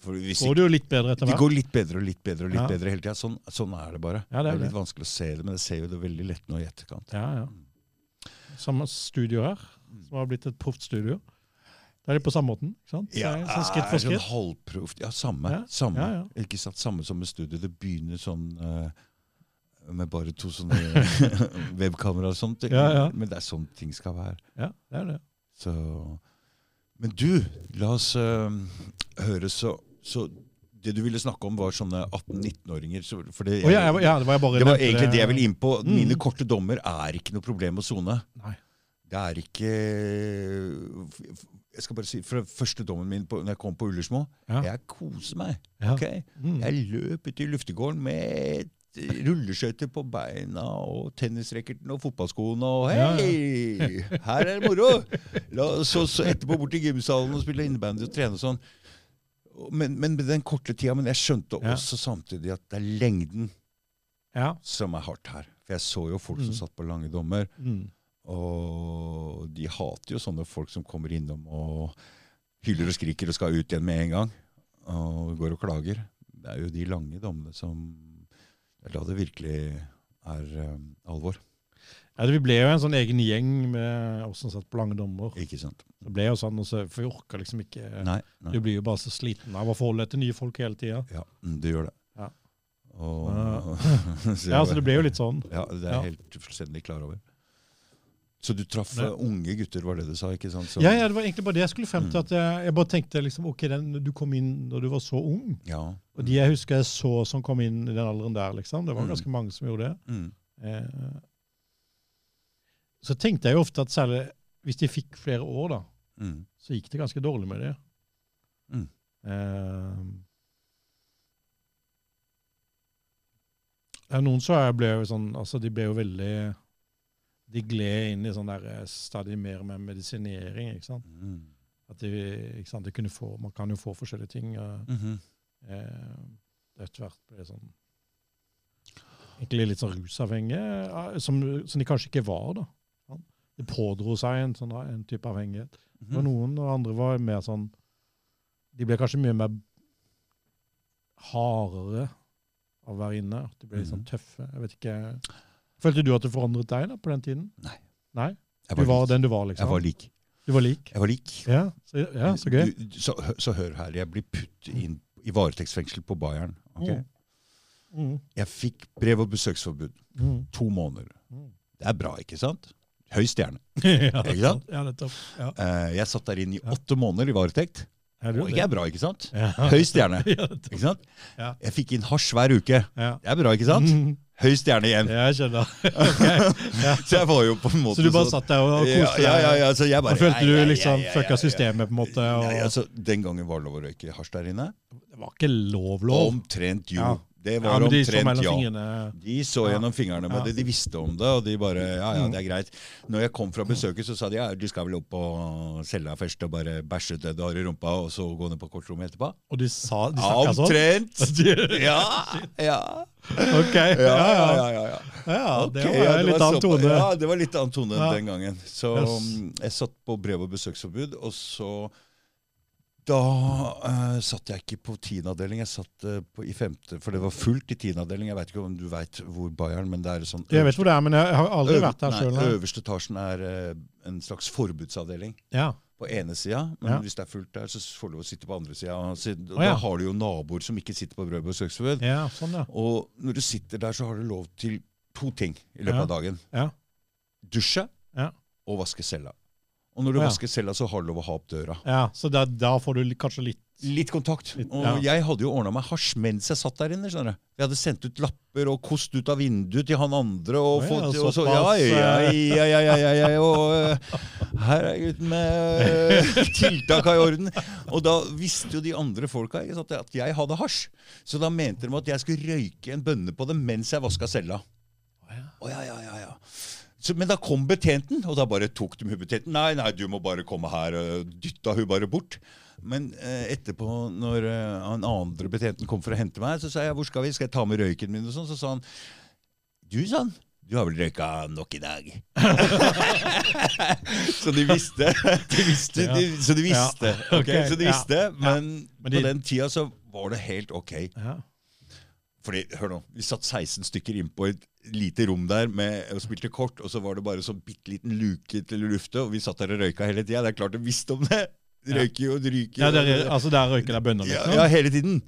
[SPEAKER 1] For hvis
[SPEAKER 2] går det jo litt bedre etter
[SPEAKER 1] De
[SPEAKER 2] hvert.
[SPEAKER 1] går litt bedre og litt bedre og litt
[SPEAKER 2] Ja.
[SPEAKER 1] bedre hele tida. Sånn, sånn er det bare.
[SPEAKER 2] Ja,
[SPEAKER 1] det,
[SPEAKER 2] det er
[SPEAKER 1] er
[SPEAKER 2] det.
[SPEAKER 1] litt vanskelig å se det, men jeg ser jo det veldig lett nå i etterkant.
[SPEAKER 2] Ja, ja. Samme studio her, som har blitt et proft studio. Da er de på samme måten. ikke sant? Så
[SPEAKER 1] Ja,
[SPEAKER 2] er det sånn skritt
[SPEAKER 1] er
[SPEAKER 2] for
[SPEAKER 1] sånn
[SPEAKER 2] skritt.
[SPEAKER 1] halvproft. Ja, samme.
[SPEAKER 2] Ja,
[SPEAKER 1] Samme,
[SPEAKER 2] ja,
[SPEAKER 1] Ikke sant? samme som med studiet. Det begynner sånn eh, med bare to sånne webkamera og sånt.
[SPEAKER 2] Ja, ja.
[SPEAKER 1] Men det er sånn ting skal være.
[SPEAKER 2] Ja, det er det.
[SPEAKER 1] Så. Men du, la oss eh, høre så, så Det du ville snakke om, var sånne 18-19-åringer. så- For det,
[SPEAKER 2] Å ja, jeg, ja, det var jeg bare
[SPEAKER 1] det var
[SPEAKER 2] nevnte
[SPEAKER 1] egentlig det jeg ville inn på.
[SPEAKER 2] Mm.
[SPEAKER 1] Mine korte dommer er ikke noe problem å sone.
[SPEAKER 2] Nei.
[SPEAKER 1] Det er ikke Jeg skal bare si, fra Første dommen min på, når jeg kom på Ullersmo
[SPEAKER 2] Ja.
[SPEAKER 1] Jeg koser meg.
[SPEAKER 2] Ja.
[SPEAKER 1] ok?
[SPEAKER 2] Mm.
[SPEAKER 1] Jeg løp ut i luftegården med et rulleskøyter på beina og tennisracketen og fotballskoene og
[SPEAKER 2] Ja, ja.
[SPEAKER 1] hei! Her er det moro! La, så, så etterpå bort i gymsalen og spille innebandy og trene og sånn. Og- Men, men med den korte tida. Men jeg skjønte
[SPEAKER 2] Ja.
[SPEAKER 1] også samtidig at det er lengden
[SPEAKER 2] Ja.
[SPEAKER 1] som er hardt her. For jeg så jo folk
[SPEAKER 2] Mm.
[SPEAKER 1] som satt på lange dommer,
[SPEAKER 2] Mm.
[SPEAKER 1] og de hater jo sånne folk som kommer innom og hyler og skriker og skal ut igjen med en gang. Og går og klager. Det er jo de lange dommene som Det er da det virkelig er eh, alvor.
[SPEAKER 2] ja, det- Vi ble jo en sånn egen gjeng med oss som satt på lange dommer.
[SPEAKER 1] Ikke sant?
[SPEAKER 2] Det ble jo sånn, og så- for vi orka liksom ikke
[SPEAKER 1] Nei.
[SPEAKER 2] Du
[SPEAKER 1] nei.
[SPEAKER 2] blir jo bare så sliten av å forholde deg til nye folk hele tida.
[SPEAKER 1] Ja, mm, det gjør det.
[SPEAKER 2] Ja.
[SPEAKER 1] Og, så
[SPEAKER 2] Ja, så det ble jo litt sånn.
[SPEAKER 1] Ja, det er
[SPEAKER 2] Ja.
[SPEAKER 1] jeg helt fullstendig klar over. Så du traff
[SPEAKER 2] Men-
[SPEAKER 1] eh, unge gutter, var det du sa? ikke sant? Som-
[SPEAKER 2] Ja, ja, det var egentlig bare det jeg skulle frem til.
[SPEAKER 1] Mm.
[SPEAKER 2] at Jeg, jeg bare tenkte liksom, ok, den, Du kom inn når du var så ung.
[SPEAKER 1] ja.
[SPEAKER 2] Og de jeg husker jeg så som kom inn i den alderen der, liksom. Det var
[SPEAKER 1] Mm.
[SPEAKER 2] ganske mange som gjorde det.
[SPEAKER 1] Mm.
[SPEAKER 2] Eh, så tenkte jeg jo ofte at særlig hvis de fikk flere år, da,
[SPEAKER 1] Mm.
[SPEAKER 2] så gikk det ganske dårlig med det.
[SPEAKER 1] Mm.
[SPEAKER 2] Eh, ja, noen så jeg ble jo sånn Altså, de ble jo veldig De gled inn i sånn der eh, stadig mer med medisinering, ikke sant.
[SPEAKER 1] Mm.
[SPEAKER 2] At de, ikke sant? de kunne få, man kan jo få forskjellige ting. Eh,
[SPEAKER 1] Mhm.
[SPEAKER 2] Eh, etter hvert ble det sånn Egentlig litt sånn rusavhengig, eh, som, som de kanskje ikke var. da. Ja. De pådro seg en, sånn, en type avhengighet.
[SPEAKER 1] Mhm.
[SPEAKER 2] Og noen og andre var mer sånn De ble kanskje mye mer hardere av å være inne. at De ble litt sånn
[SPEAKER 1] Mhm.
[SPEAKER 2] tøffe. Jeg vet ikke. Følte du at det forandret deg da, på den tiden?
[SPEAKER 1] Nei.
[SPEAKER 2] Nei?
[SPEAKER 1] Jeg
[SPEAKER 2] Du
[SPEAKER 1] var
[SPEAKER 2] var
[SPEAKER 1] lik.
[SPEAKER 2] den du var, liksom?
[SPEAKER 1] Jeg var lik.
[SPEAKER 2] Du var lik?
[SPEAKER 1] Jeg var lik.
[SPEAKER 2] Ja, så, ja, så gøy.
[SPEAKER 1] Du- du- så, hø- så hør her, jeg blir putt inn i varetektsfengsel på Bayern. ok?
[SPEAKER 2] Mm. Mm.
[SPEAKER 1] Jeg fikk brev- og besøksforbud.
[SPEAKER 2] Mm.
[SPEAKER 1] To måneder.
[SPEAKER 2] Mm.
[SPEAKER 1] Det er bra, ikke sant? Høy stjerne.
[SPEAKER 2] ja,
[SPEAKER 1] Ikke sant?
[SPEAKER 2] Ja, nettopp. Ja.
[SPEAKER 1] Eh, jeg satt der inne i
[SPEAKER 2] Ja.
[SPEAKER 1] åtte måneder i varetekt.
[SPEAKER 2] Er du
[SPEAKER 1] Og
[SPEAKER 2] det?
[SPEAKER 1] ikke er bra, ikke sant?
[SPEAKER 2] Ja.
[SPEAKER 1] Høy stjerne.
[SPEAKER 2] Ja, det tror
[SPEAKER 1] Ikke sant?
[SPEAKER 2] Ja.
[SPEAKER 1] Jeg fikk inn hasj hver uke.
[SPEAKER 2] jeg. Ja.
[SPEAKER 1] Det er bra, ikke sant?
[SPEAKER 2] Mm.
[SPEAKER 1] Høy stjerne igjen.
[SPEAKER 2] Ja, jeg skjønner. Ok. Ja.
[SPEAKER 1] Så jeg var jo på en måte
[SPEAKER 2] Så du bare
[SPEAKER 1] sånn-
[SPEAKER 2] satt der og koste
[SPEAKER 1] ja,
[SPEAKER 2] deg?
[SPEAKER 1] ja, ja, ja, så jeg bare,
[SPEAKER 2] Og følte du
[SPEAKER 1] nei, nei,
[SPEAKER 2] liksom
[SPEAKER 1] ja, ja, ja,
[SPEAKER 2] fucka
[SPEAKER 1] ja.
[SPEAKER 2] systemet, på en måte? Og...
[SPEAKER 1] Nei, altså, Den gangen var det lov å røyke hasj der inne.
[SPEAKER 2] Det var ikke lov, lov.
[SPEAKER 1] Omtrent jo.
[SPEAKER 2] Ja.
[SPEAKER 1] Det
[SPEAKER 2] Ja,
[SPEAKER 1] var
[SPEAKER 2] men de så
[SPEAKER 1] omtrent
[SPEAKER 2] mellom
[SPEAKER 1] ja.
[SPEAKER 2] fingrene.
[SPEAKER 1] De så
[SPEAKER 2] Ja.
[SPEAKER 1] gjennom fingrene med
[SPEAKER 2] Ja.
[SPEAKER 1] det, de visste om det, og de bare Ja, ja,
[SPEAKER 2] Mm.
[SPEAKER 1] det er greit. Når jeg kom fra besøket, så sa de ja, du skal vel opp og selge deg først og bare bæsje ut det du har i rumpa, og så gå ned på kortrommet etterpå?
[SPEAKER 2] Og de sa de
[SPEAKER 1] Ja,
[SPEAKER 2] snakka sånn?
[SPEAKER 1] omtrent! Ja, ja.
[SPEAKER 2] OK. Ja,
[SPEAKER 1] Ja, ja,
[SPEAKER 2] ja.
[SPEAKER 1] ja. ja, ja.
[SPEAKER 2] ja
[SPEAKER 1] Ok,
[SPEAKER 2] det var
[SPEAKER 1] ja,
[SPEAKER 2] en litt annen
[SPEAKER 1] såpa-
[SPEAKER 2] tone.
[SPEAKER 1] Ja, det var litt annen tone
[SPEAKER 2] Ja.
[SPEAKER 1] enn den gangen. Så
[SPEAKER 2] Yes.
[SPEAKER 1] mm, jeg satt på brev- og besøksforbud, og så Da eh, satt jeg ikke på tiendeavdeling, jeg satt eh, på, i femte, for det var fullt i tiendeavdeling. Jeg veit ikke om du veit hvor Bayern, men det er sånn
[SPEAKER 2] Jeg vet hvor det er, men jeg har aldri
[SPEAKER 1] Øver-
[SPEAKER 2] vært der
[SPEAKER 1] nei,
[SPEAKER 2] sjøl.
[SPEAKER 1] Øverste etasjen er eh, en slags forbudsavdeling
[SPEAKER 2] Ja.
[SPEAKER 1] på ene sida. Men
[SPEAKER 2] Ja.
[SPEAKER 1] hvis det er fullt der, så får du lov å sitte på andre sida. Og siden- og
[SPEAKER 2] Å, ja.
[SPEAKER 1] da har du jo naboer som ikke sitter på brød- og besøksforbud.
[SPEAKER 2] ja, sånn, ja.
[SPEAKER 1] Og når du sitter der, så har du lov til to ting i løpet av
[SPEAKER 2] Ja.
[SPEAKER 1] dagen.
[SPEAKER 2] Ja.
[SPEAKER 1] Dusje
[SPEAKER 2] Ja.
[SPEAKER 1] og vaske cella. Og når du
[SPEAKER 2] Å, ja.
[SPEAKER 1] vasker cella, så har du lov å ha opp døra.
[SPEAKER 2] ja så da, da får du li- kanskje litt
[SPEAKER 1] Litt kontakt.
[SPEAKER 2] Litt,
[SPEAKER 1] og
[SPEAKER 2] ja.
[SPEAKER 1] jeg hadde jo ordna meg hasj mens jeg satt der inne. skjønner du. Jeg hadde sendt ut lapper og kost ut av vinduet til han andre. og
[SPEAKER 2] Å ja,
[SPEAKER 1] fått... og så, ja, ja,
[SPEAKER 2] såpass, eh.
[SPEAKER 1] ja, ja, ja, ja, ja, ja, og eh, Her er gutten med eh, tiltaka i orden. Og da visste jo de andre folka ikke sant, at jeg hadde hasj. Så da mente de at jeg skulle røyke en bønne på det mens jeg vaska cella. Å ja, ja, ja, ja. Så, men da kom betjenten, og da bare tok de hun betjenten. Nei, nei, du må bare komme her. Og dytta hun bare bort. Men eh, etterpå, når eh, han andre betjenten kom for å hente meg, så sa jeg hvor skal vi, skal jeg ta med røyken min? og sånn, Så sa han du, sa han. Du har vel røyka nok i dag. så de visste. De visste de, så de
[SPEAKER 2] Ja.
[SPEAKER 1] visste.
[SPEAKER 2] Ja.
[SPEAKER 1] ok,
[SPEAKER 2] Ok,
[SPEAKER 1] så de
[SPEAKER 2] ja.
[SPEAKER 1] visste Men,
[SPEAKER 2] Men de-
[SPEAKER 1] på den tida så var det helt ok.
[SPEAKER 2] Ja.
[SPEAKER 1] Fordi, hør nå, Vi satt 16 stykker inn på et lite rom der med, og spilte kort, og så var det bare sånn bitte liten luke til å lufte, og vi satt der og røyka hele tida. Det er klart de visste om det! De Røyker jo, de ryker
[SPEAKER 2] Ja,
[SPEAKER 1] jo.
[SPEAKER 2] der, altså der røyker det bønner,
[SPEAKER 1] ja,
[SPEAKER 2] liksom?
[SPEAKER 1] ja, hele tiden.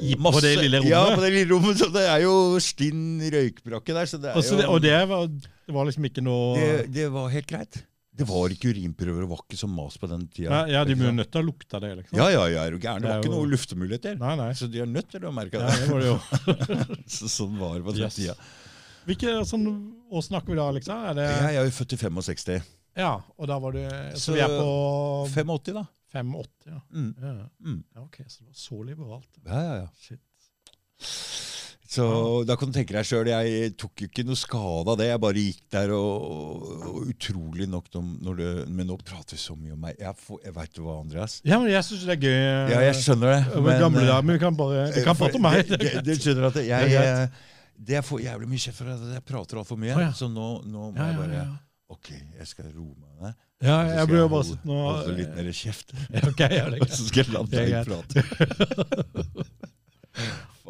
[SPEAKER 2] i, på
[SPEAKER 1] Masse-
[SPEAKER 2] det lille rommet.
[SPEAKER 1] Ja, på det lille rommet. Så det er jo stinn røykbrakke der. Så det er
[SPEAKER 2] Altså, det,
[SPEAKER 1] jo
[SPEAKER 2] og det var, det var liksom ikke noe
[SPEAKER 1] det, det var helt greit. Det var ikke urinprøver og var ikke så mas på den tida.
[SPEAKER 2] Nei, ja, de
[SPEAKER 1] Ikke
[SPEAKER 2] må jo
[SPEAKER 1] sant?
[SPEAKER 2] nødt til å lukte det, liksom.
[SPEAKER 1] Ja, ja, ja, er du gæren. Det var
[SPEAKER 2] Det er
[SPEAKER 1] ikke
[SPEAKER 2] jo-
[SPEAKER 1] noe luftemuligheter.
[SPEAKER 2] Nei, nei.
[SPEAKER 1] Så de er nødt til å merke
[SPEAKER 2] Ja,
[SPEAKER 1] det.
[SPEAKER 2] det var det jo.
[SPEAKER 1] Så sånn var det på den
[SPEAKER 2] Yes.
[SPEAKER 1] tida.
[SPEAKER 2] Hvilke, sånn, og snakker vi da, liksom? Er det,
[SPEAKER 1] Jeg er jo født i 65.
[SPEAKER 2] ja, og da var du
[SPEAKER 1] Så-
[SPEAKER 2] Så, vi er på
[SPEAKER 1] 85, da.
[SPEAKER 2] 5,80, ja.
[SPEAKER 1] Mm.
[SPEAKER 2] Ja.
[SPEAKER 1] Mm.
[SPEAKER 2] ja. Ok, så det var så liberalt.
[SPEAKER 1] Ja, ja, ja.
[SPEAKER 2] Shit.
[SPEAKER 1] Så da kan du tenke deg sjøl, jeg tok jo ikke noe skade av det. Jeg bare gikk der, og, og utrolig nok de, når det, Men nå prater vi så mye om meg. Jeg, får- jeg veit jo hva, Andreas.
[SPEAKER 2] Ja, men jeg syns det er gøy.
[SPEAKER 1] Ja, jeg skjønner det.
[SPEAKER 2] men, gamle
[SPEAKER 1] eh,
[SPEAKER 2] dager, men vi kan bare Vi kan
[SPEAKER 1] for-
[SPEAKER 2] prate om meg.
[SPEAKER 1] det- det- Du skjønner at jeg,
[SPEAKER 2] Det er
[SPEAKER 1] jeg, jeg får jævlig mye kjeft for at jeg prater altfor mye.
[SPEAKER 2] Å, ja.
[SPEAKER 1] Så nå, nå må
[SPEAKER 2] Ja,
[SPEAKER 1] jeg
[SPEAKER 2] ja,
[SPEAKER 1] bare
[SPEAKER 2] ja.
[SPEAKER 1] Ok, jeg skal roe meg ned.
[SPEAKER 2] ja
[SPEAKER 1] og så skal
[SPEAKER 2] jeg blir jo bare
[SPEAKER 1] holde-
[SPEAKER 2] sittende
[SPEAKER 1] holde litt
[SPEAKER 2] og
[SPEAKER 1] mer kjeft.
[SPEAKER 2] Ok, ja, det er
[SPEAKER 1] Og
[SPEAKER 2] greit.
[SPEAKER 1] så skal jeg la
[SPEAKER 2] Det er
[SPEAKER 1] deg prate.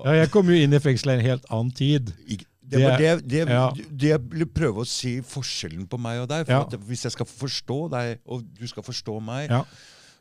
[SPEAKER 2] Ja, jeg kom jo inn i fengselet i en helt annen tid.
[SPEAKER 1] Ikke- Det var det, det,
[SPEAKER 2] Ja.
[SPEAKER 1] det jeg ville prøve å si forskjellen på meg og deg. For
[SPEAKER 2] Ja.
[SPEAKER 1] at hvis jeg skal forstå deg, og du skal forstå meg,
[SPEAKER 2] Ja.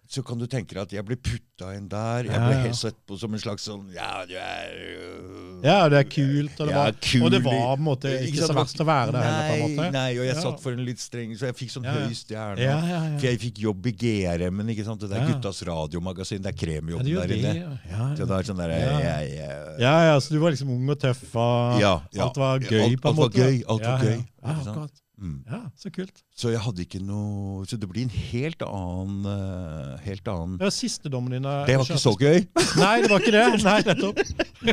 [SPEAKER 1] så kan du tenke deg at jeg ble putta inn der. Jeg
[SPEAKER 2] Ja,
[SPEAKER 1] ble
[SPEAKER 2] ja.
[SPEAKER 1] helt sett på som en slags sånn Ja, du er øh,
[SPEAKER 2] Ja, det er kult, og det
[SPEAKER 1] Ja,
[SPEAKER 2] var,
[SPEAKER 1] kul
[SPEAKER 2] og det
[SPEAKER 1] i-
[SPEAKER 2] var på en måte ikke,
[SPEAKER 1] sant,
[SPEAKER 2] så
[SPEAKER 1] det var
[SPEAKER 2] verst å være der heller, på en
[SPEAKER 1] Nei,
[SPEAKER 2] måte.
[SPEAKER 1] nei, og jeg
[SPEAKER 2] Ja.
[SPEAKER 1] satt for en litt streng, så jeg fikk sånn
[SPEAKER 2] Ja, ja.
[SPEAKER 1] høy stjerne.
[SPEAKER 2] Ja, ja,
[SPEAKER 1] For
[SPEAKER 2] ja.
[SPEAKER 1] jeg fikk jobb i GRM-en, ikke sant. Det er
[SPEAKER 2] Ja.
[SPEAKER 1] Guttas radiomagasin, det er
[SPEAKER 2] Ja,
[SPEAKER 1] kremjobben
[SPEAKER 2] det gjør
[SPEAKER 1] der
[SPEAKER 2] det,
[SPEAKER 1] inne.
[SPEAKER 2] ja. Ja,
[SPEAKER 1] Så det er sånn der,
[SPEAKER 2] Ja.
[SPEAKER 1] jeg, jeg,
[SPEAKER 2] ja, ja, så du var liksom ung og tøff, og
[SPEAKER 1] Ja, ja.
[SPEAKER 2] alt var gøy,
[SPEAKER 1] Alt-
[SPEAKER 2] på en
[SPEAKER 1] alt var
[SPEAKER 2] måte. da.
[SPEAKER 1] gøy, alt var gøy,
[SPEAKER 2] Ja, ja.
[SPEAKER 1] ikke
[SPEAKER 2] ja,
[SPEAKER 1] sant?
[SPEAKER 2] akkurat.
[SPEAKER 1] mm.
[SPEAKER 2] Ja, så kult.
[SPEAKER 1] Så jeg hadde ikke noe Så det blir en helt annen eh, Helt annen
[SPEAKER 2] Det var siste dommen din. da-
[SPEAKER 1] Det var ikke så gøy,
[SPEAKER 2] Nei, det var ikke det. Nei,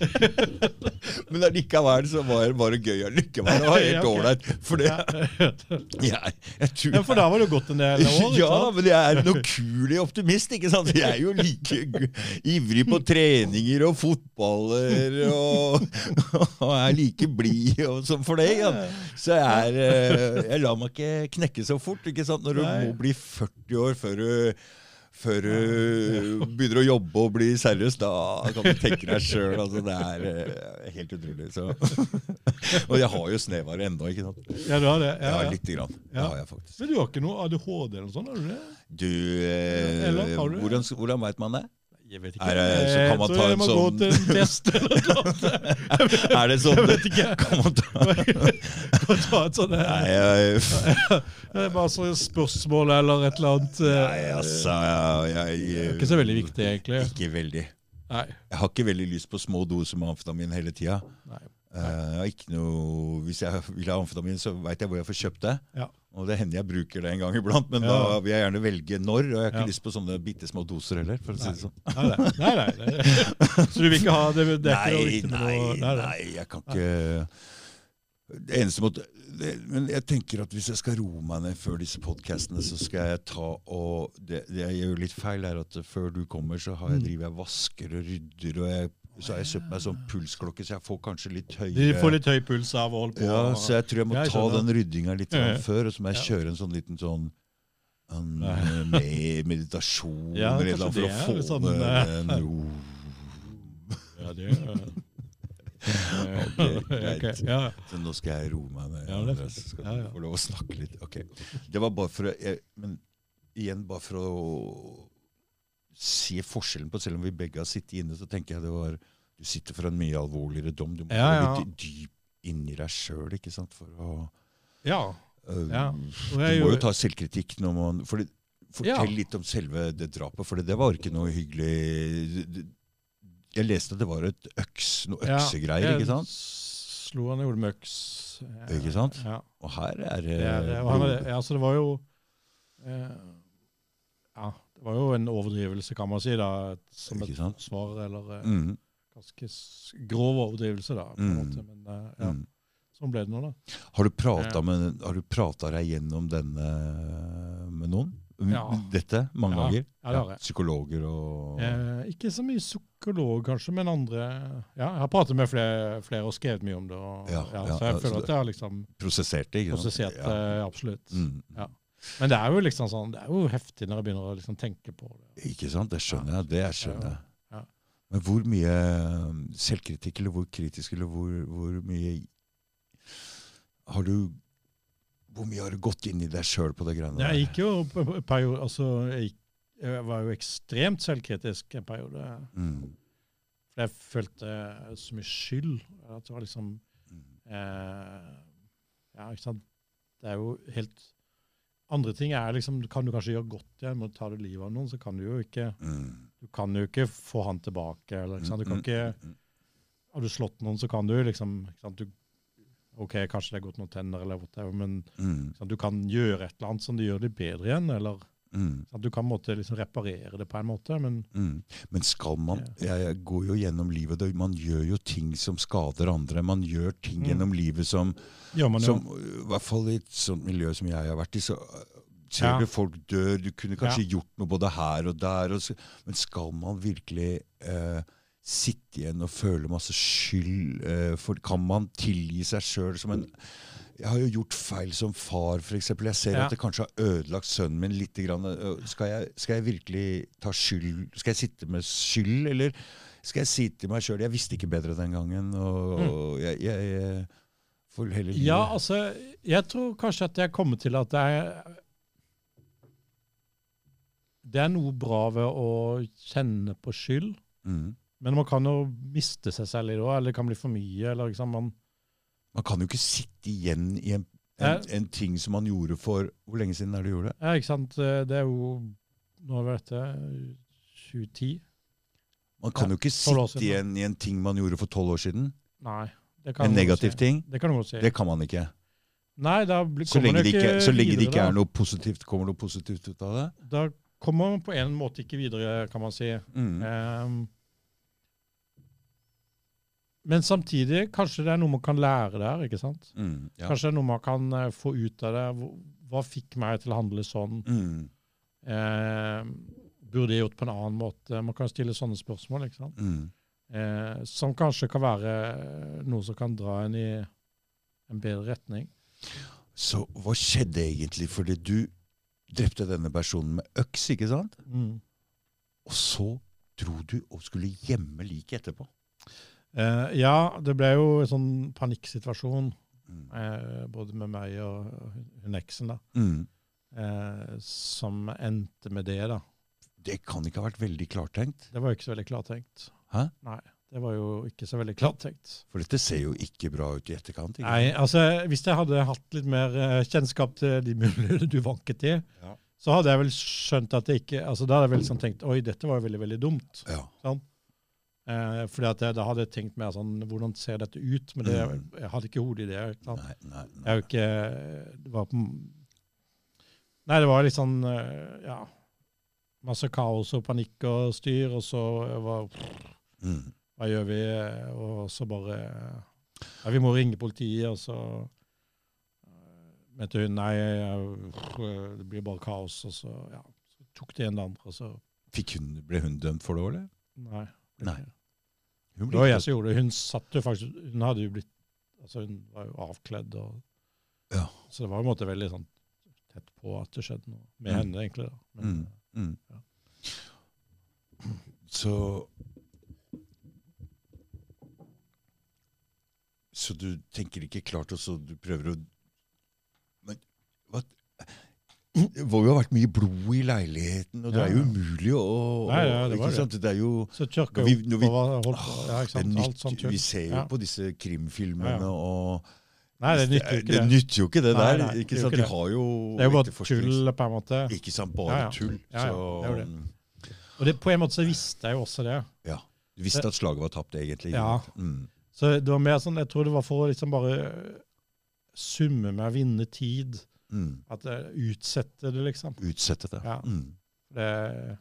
[SPEAKER 2] nettopp.
[SPEAKER 1] men allikevel så var, var det gøy allikevel. Det var
[SPEAKER 2] Ja,
[SPEAKER 1] helt
[SPEAKER 2] ok.
[SPEAKER 1] ålreit. For det
[SPEAKER 2] Ja.
[SPEAKER 1] jeg, jeg tror
[SPEAKER 2] Ja, for da var det jo gått en del år, ikke
[SPEAKER 1] Ja,
[SPEAKER 2] sant?
[SPEAKER 1] men jeg er noe kul optimist, ikke sant? Jeg er jo like gu- ivrig på treninger og fotballer og, og er like blid og sånn for det. Ikke sant? Så jeg, er, eh, jeg lar meg ikke knekke så fort, ikke sant? Når du
[SPEAKER 2] Nei.
[SPEAKER 1] må bli 40 år før du før du begynner å jobbe og bli seriøs, da kan du tenke deg sjøl. Altså, det er eh, helt utrolig. Så. Og jeg har jo snevere ennå, ikke sant?
[SPEAKER 2] Ja, du har det. Ja,
[SPEAKER 1] Ja,
[SPEAKER 2] ja.
[SPEAKER 1] lite grann. Det
[SPEAKER 2] Ja.
[SPEAKER 1] har jeg faktisk.
[SPEAKER 2] Men du har ikke noe ADHD eller noe sånt? har du det?
[SPEAKER 1] Du, eh,
[SPEAKER 2] Eller har du det?
[SPEAKER 1] hvordan, hvordan veit man det?
[SPEAKER 2] Jeg vet
[SPEAKER 1] Er det- Eh, så kan man ta en
[SPEAKER 2] Jeg tror
[SPEAKER 1] sånn-
[SPEAKER 2] jeg må gå til en test eller noe.
[SPEAKER 1] Er det sånn
[SPEAKER 2] Jeg vet ikke.
[SPEAKER 1] Kan man ta
[SPEAKER 2] Kan ta et sånt
[SPEAKER 1] Nei,
[SPEAKER 2] eh,
[SPEAKER 1] jeg,
[SPEAKER 2] eh, bare sånn spørsmål eller et eller annet. eh,
[SPEAKER 1] nei altså jeg, jeg,
[SPEAKER 2] Ikke så veldig viktig, egentlig.
[SPEAKER 1] Ikke veldig.
[SPEAKER 2] Nei.
[SPEAKER 1] Jeg har ikke veldig lyst på små doser med amfetamin hele tida.
[SPEAKER 2] Nei.
[SPEAKER 1] Eh, ikke noe, hvis jeg vil ha amfetamin, så veit jeg hvor jeg får kjøpt det.
[SPEAKER 2] Ja.
[SPEAKER 1] Og det hender jeg bruker det en gang iblant, men
[SPEAKER 2] Ja.
[SPEAKER 1] da vil jeg gjerne velge når. Og jeg har ikke
[SPEAKER 2] Ja.
[SPEAKER 1] lyst på sånne bitte små doser heller. for å si det sånn.
[SPEAKER 2] Nei, nei, nei, nei, nei. Så du vil ikke ha det? det er ikke noe
[SPEAKER 1] Nei,
[SPEAKER 2] viktig med
[SPEAKER 1] nei,
[SPEAKER 2] noe-
[SPEAKER 1] nei, jeg kan ikke Det eneste måte det, Men jeg tenker at hvis jeg skal roe meg ned før disse podkastene, så skal jeg ta og det, det jeg gjør litt feil, er at før du kommer, så
[SPEAKER 2] Mm.
[SPEAKER 1] har jeg, driver jeg vasker og rydder, og jeg, så har jeg kjøpt meg sånn pulsklokke, så jeg får kanskje litt
[SPEAKER 2] De
[SPEAKER 1] høyere
[SPEAKER 2] får litt høy puls av å holde på.
[SPEAKER 1] ja, så jeg tror jeg må
[SPEAKER 2] Jeg
[SPEAKER 1] ta
[SPEAKER 2] skjønner.
[SPEAKER 1] den ryddinga litt
[SPEAKER 2] Ja, ja.
[SPEAKER 1] grann før, og så må jeg
[SPEAKER 2] Ja.
[SPEAKER 1] kjøre en sånn liten sånn en,
[SPEAKER 2] Nei.
[SPEAKER 1] eh, med meditasjon
[SPEAKER 2] Ja,
[SPEAKER 1] eller noe
[SPEAKER 2] kanskje
[SPEAKER 1] for
[SPEAKER 2] det
[SPEAKER 1] å
[SPEAKER 2] er
[SPEAKER 1] få
[SPEAKER 2] litt sånn,
[SPEAKER 1] det
[SPEAKER 2] eh,
[SPEAKER 1] ned. ro.
[SPEAKER 2] Ja, det er
[SPEAKER 1] Ok, greit.
[SPEAKER 2] Ok, ja.
[SPEAKER 1] Så nå skal jeg roe meg ned.
[SPEAKER 2] Ja, det er
[SPEAKER 1] Andreas.
[SPEAKER 2] fint.
[SPEAKER 1] skal
[SPEAKER 2] Ja, ja.
[SPEAKER 1] du få lov å snakke litt. Ok. Det var bare for å jeg, Men igjen, bare for å se forskjellen på Selv om vi begge har sittet inne, så tenker jeg det var Du sitter for en mye alvorligere dom. Du må
[SPEAKER 2] Ja,
[SPEAKER 1] være
[SPEAKER 2] ja.
[SPEAKER 1] litt dyp inni deg sjøl, ikke sant, for å
[SPEAKER 2] ja.
[SPEAKER 1] øh,
[SPEAKER 2] Ja.
[SPEAKER 1] Du
[SPEAKER 2] jeg
[SPEAKER 1] må jo
[SPEAKER 2] gjorde-
[SPEAKER 1] ta selvkritikk når man for det,
[SPEAKER 2] Ja.
[SPEAKER 1] Fortell litt om selve det drapet, for det, det var ikke noe hyggelig det- Jeg leste at det var et øks, noe
[SPEAKER 2] Ja,
[SPEAKER 1] øksegreier,
[SPEAKER 2] jeg
[SPEAKER 1] ikke sant?
[SPEAKER 2] Slo han i gjorde med øks. Ja,
[SPEAKER 1] Ikke sant?
[SPEAKER 2] Ja.
[SPEAKER 1] Og her er øh, det,
[SPEAKER 2] Det, er det, og han, er- ja, så det var jo eh, Ja, det var jo en overdrivelse, kan man si, da. et- Som
[SPEAKER 1] Ikke
[SPEAKER 2] et
[SPEAKER 1] sant?
[SPEAKER 2] svar, eller eh,
[SPEAKER 1] Mm,
[SPEAKER 2] ganske s- grov overdrivelse, da. på en
[SPEAKER 1] Mm.
[SPEAKER 2] måte. Men eh, ja, Eh.
[SPEAKER 1] mm.
[SPEAKER 2] sånn ble det nå, da.
[SPEAKER 1] Har du prata
[SPEAKER 2] Ja.
[SPEAKER 1] med- har du prata deg gjennom denne med noen? M-
[SPEAKER 2] Ja.
[SPEAKER 1] Dette? Mange
[SPEAKER 2] Ja.
[SPEAKER 1] ganger?
[SPEAKER 2] Ja, det har jeg.
[SPEAKER 1] Psykologer og
[SPEAKER 2] Eh, ikke så mye psykolog, kanskje, men andre Ja, jeg har pratet med flere, flere og skrevet mye om det. Og, ja,
[SPEAKER 1] Ja, ja,
[SPEAKER 2] så jeg
[SPEAKER 1] ja, så
[SPEAKER 2] føler
[SPEAKER 1] det-
[SPEAKER 2] at jeg har liksom
[SPEAKER 1] prosesserte, ikke sant?
[SPEAKER 2] prosessert det, absolutt.
[SPEAKER 1] Mm.
[SPEAKER 2] Men det er jo liksom sånn, det er jo heftig når jeg begynner å liksom tenke på det.
[SPEAKER 1] Ikke sant? Det skjønner jeg. Det skjønner jeg.
[SPEAKER 2] Ja.
[SPEAKER 1] Men hvor mye eh, selvkritikk, eller hvor kritisk, eller hvor, hvor mye Har du Hvor mye har du gått inn i deg sjøl på det greiene
[SPEAKER 2] Jeg gikk jo på på- periode, altså, jeg, gikk, jeg var jo ekstremt selvkritisk en periode.
[SPEAKER 1] Mm.
[SPEAKER 2] For jeg følte så mye skyld. At det var liksom
[SPEAKER 1] Mm.
[SPEAKER 2] eh, Ja, ikke sant. Det er jo helt Andre ting er liksom Kan du kanskje gjøre godt igjen, men tar du livet av noen, så kan du jo ikke
[SPEAKER 1] Mm.
[SPEAKER 2] Du kan jo ikke få han tilbake. eller ikke sant? Du kan ikke
[SPEAKER 1] Mm.
[SPEAKER 2] Har du slått noen, så kan du liksom ikke sant? Du, OK, kanskje det er gått noen tenner, eller whatever, men
[SPEAKER 1] Mm.
[SPEAKER 2] ikke sant? du kan gjøre et eller annet som gjør det bedre igjen. eller
[SPEAKER 1] Mm.
[SPEAKER 2] At du kan måtte liksom reparere det på en måte, men
[SPEAKER 1] Mm. Men skal man jeg, jeg går jo gjennom livet. det- Man gjør jo ting som skader andre. Man gjør ting
[SPEAKER 2] Mm.
[SPEAKER 1] gjennom livet som,
[SPEAKER 2] gjør man jo.
[SPEAKER 1] som I hvert fall i et sånt miljø som jeg har vært i, så øh, ser
[SPEAKER 2] Ja.
[SPEAKER 1] du folk dør. Du kunne kanskje gjort noe både her og der. Og så, men skal man virkelig eh, sitte igjen og føle masse skyld? eh, for kan man tilgi seg sjøl som en jeg har jo gjort feil som far, f.eks. Jeg ser
[SPEAKER 2] Ja.
[SPEAKER 1] at det kanskje har ødelagt sønnen min litt. Grann. Øh, Skal, jeg, skal jeg virkelig ta skyld? Skal jeg sitte med skyld, eller skal jeg si til meg sjøl jeg visste ikke bedre den gangen? Og, og jeg, jeg, jeg får heller
[SPEAKER 2] Mm. Ja, altså, jeg tror kanskje at jeg kommer til at det er Det er noe bra ved å kjenne på skyld,
[SPEAKER 1] mm.
[SPEAKER 2] men man kan jo miste seg selv i det òg, eller det kan bli for mye, eller liksom man
[SPEAKER 1] Man kan jo ikke sitte igjen i en, en, en ting som man gjorde for Hvor lenge siden er det du gjorde det?
[SPEAKER 2] Ja, ikke sant, eh, det er jo Nå var dette 2010?
[SPEAKER 1] Man kan
[SPEAKER 2] Ja,
[SPEAKER 1] jo ikke
[SPEAKER 2] tolv år
[SPEAKER 1] sitte igjen
[SPEAKER 2] siden.
[SPEAKER 1] i en ting man gjorde for tolv år siden.
[SPEAKER 2] Nei. Det
[SPEAKER 1] En
[SPEAKER 2] du godt
[SPEAKER 1] negativ
[SPEAKER 2] si.
[SPEAKER 1] ting.
[SPEAKER 2] Det kan du godt si.
[SPEAKER 1] Det kan man ikke.
[SPEAKER 2] Nei, da blir-
[SPEAKER 1] Så
[SPEAKER 2] kommer
[SPEAKER 1] lenge
[SPEAKER 2] man
[SPEAKER 1] det
[SPEAKER 2] jo
[SPEAKER 1] ikke, så lenge det
[SPEAKER 2] videre
[SPEAKER 1] ikke
[SPEAKER 2] da.
[SPEAKER 1] er noe positivt, kommer noe positivt ut av det.
[SPEAKER 2] Da kommer man på en måte ikke videre, kan man si.
[SPEAKER 1] Mm.
[SPEAKER 2] Ehm, men samtidig, kanskje det er noe man kan lære der. ikke sant?
[SPEAKER 1] Mm. Ja.
[SPEAKER 2] Kanskje det er noe man kan eh, få ut av det. Hvo- Hva fikk meg til å handle sånn?
[SPEAKER 1] Mm.
[SPEAKER 2] Ehm, burde jeg gjort på en annen måte? Man kan stille sånne spørsmål. ikke sant?
[SPEAKER 1] Mm.
[SPEAKER 2] Eh, som kanskje kan være eh, noe som kan dra en i en bedre retning.
[SPEAKER 1] Så hva skjedde egentlig? Fordi du drepte denne personen med øks, ikke sant? Og så dro du og skulle gjemme liket etterpå.
[SPEAKER 2] Eh, ja, det ble jo en sånn panikksituasjon,
[SPEAKER 1] Mm.
[SPEAKER 2] eh, både med meg og og hun eksen, da.
[SPEAKER 1] Mm.
[SPEAKER 2] eh, som endte med det, da.
[SPEAKER 1] Det kan ikke ha vært veldig klartenkt.
[SPEAKER 2] Det var jo ikke så veldig klartenkt.
[SPEAKER 1] Hæ?
[SPEAKER 2] Nei, det var jo ikke så veldig klartenkt.
[SPEAKER 1] For dette ser jo ikke bra ut i etterkant. Ikke?
[SPEAKER 2] Nei,
[SPEAKER 1] sant?
[SPEAKER 2] altså, hvis jeg hadde hatt litt mer eh, kjennskap til de mulighetene du vanket i,
[SPEAKER 1] Ja.
[SPEAKER 2] så hadde jeg vel skjønt at det ikke altså Da hadde jeg vel sånn tenkt oi, dette var jo veldig, veldig dumt.
[SPEAKER 1] Ja.
[SPEAKER 2] Eh, fordi at jeg, da hadde jeg tenkt mer sånn hvordan ser dette ut? Men det,
[SPEAKER 1] Mm.
[SPEAKER 2] jeg hadde ikke hodet i det. Ikke sant?
[SPEAKER 1] Nei, nei,
[SPEAKER 2] Jeg er
[SPEAKER 1] nei.
[SPEAKER 2] jo ikke Det var på Nei, det var litt sånn eh, Ja. Masse kaos og panikk og styr, og så var
[SPEAKER 1] Mm.
[SPEAKER 2] hva gjør vi? Og så bare Ja, vi må ringe politiet, og så eh, mente hun nei, jeg- det blir bare kaos, og så ja, så tok det ene det andre, og så
[SPEAKER 1] Fikk hun, ble hun dømt for det, eller?
[SPEAKER 2] Nei.
[SPEAKER 1] Nei. Hun
[SPEAKER 2] Det var
[SPEAKER 1] ikke
[SPEAKER 2] jeg som gjorde det. Hun satt jo faktisk Hun hadde jo blitt Altså, hun var jo avkledd, og
[SPEAKER 1] Ja.
[SPEAKER 2] Så det var på en måte veldig sånn tett på at det skjedde noe med
[SPEAKER 1] Mm.
[SPEAKER 2] henne, egentlig. da. Men, eh,
[SPEAKER 1] Mm. Mm. Så Så du tenker ikke klart, og så du prøver å Men hva Det må jo ha vært mye blod i leiligheten, og det er jo
[SPEAKER 2] Ja, ja.
[SPEAKER 1] umulig å å-
[SPEAKER 2] Nei, ja, det
[SPEAKER 1] ikke
[SPEAKER 2] var det.
[SPEAKER 1] sant? det er jo
[SPEAKER 2] Så kjørka
[SPEAKER 1] Når
[SPEAKER 2] jo
[SPEAKER 1] vi- når vi-
[SPEAKER 2] på hva holdt på ja, ikke
[SPEAKER 1] det
[SPEAKER 2] sant? Alt
[SPEAKER 1] nytt,
[SPEAKER 2] sånt
[SPEAKER 1] Vi
[SPEAKER 2] kjør.
[SPEAKER 1] ser jo
[SPEAKER 2] Ja.
[SPEAKER 1] på disse krimfilmene
[SPEAKER 2] Ja, ja.
[SPEAKER 1] og
[SPEAKER 2] Nei, det nytter jo
[SPEAKER 1] det,
[SPEAKER 2] ikke det.
[SPEAKER 1] nytter jo ikke det
[SPEAKER 2] Nei,
[SPEAKER 1] der.
[SPEAKER 2] nei, det
[SPEAKER 1] ikke
[SPEAKER 2] gjør
[SPEAKER 1] sant?
[SPEAKER 2] ikke
[SPEAKER 1] De
[SPEAKER 2] det.
[SPEAKER 1] har jo
[SPEAKER 2] Det er jo bare
[SPEAKER 1] etterforsknings-
[SPEAKER 2] tull, på en måte.
[SPEAKER 1] Ikke sant? Bare
[SPEAKER 2] Ja, ja.
[SPEAKER 1] tull.
[SPEAKER 2] Ja, ja,
[SPEAKER 1] Så mm,
[SPEAKER 2] det er jo Og det, på en måte så visste jeg jo også det.
[SPEAKER 1] ja. Du visste at slaget var tapt, egentlig.
[SPEAKER 2] Ja.
[SPEAKER 1] Mm.
[SPEAKER 2] Så det var mer sånn, jeg tror det var for å liksom bare summe meg, vinne tid.
[SPEAKER 1] Mm.
[SPEAKER 2] At jeg utsetter det, liksom.
[SPEAKER 1] Utsette det.
[SPEAKER 2] Ja.
[SPEAKER 1] Mm.
[SPEAKER 2] Det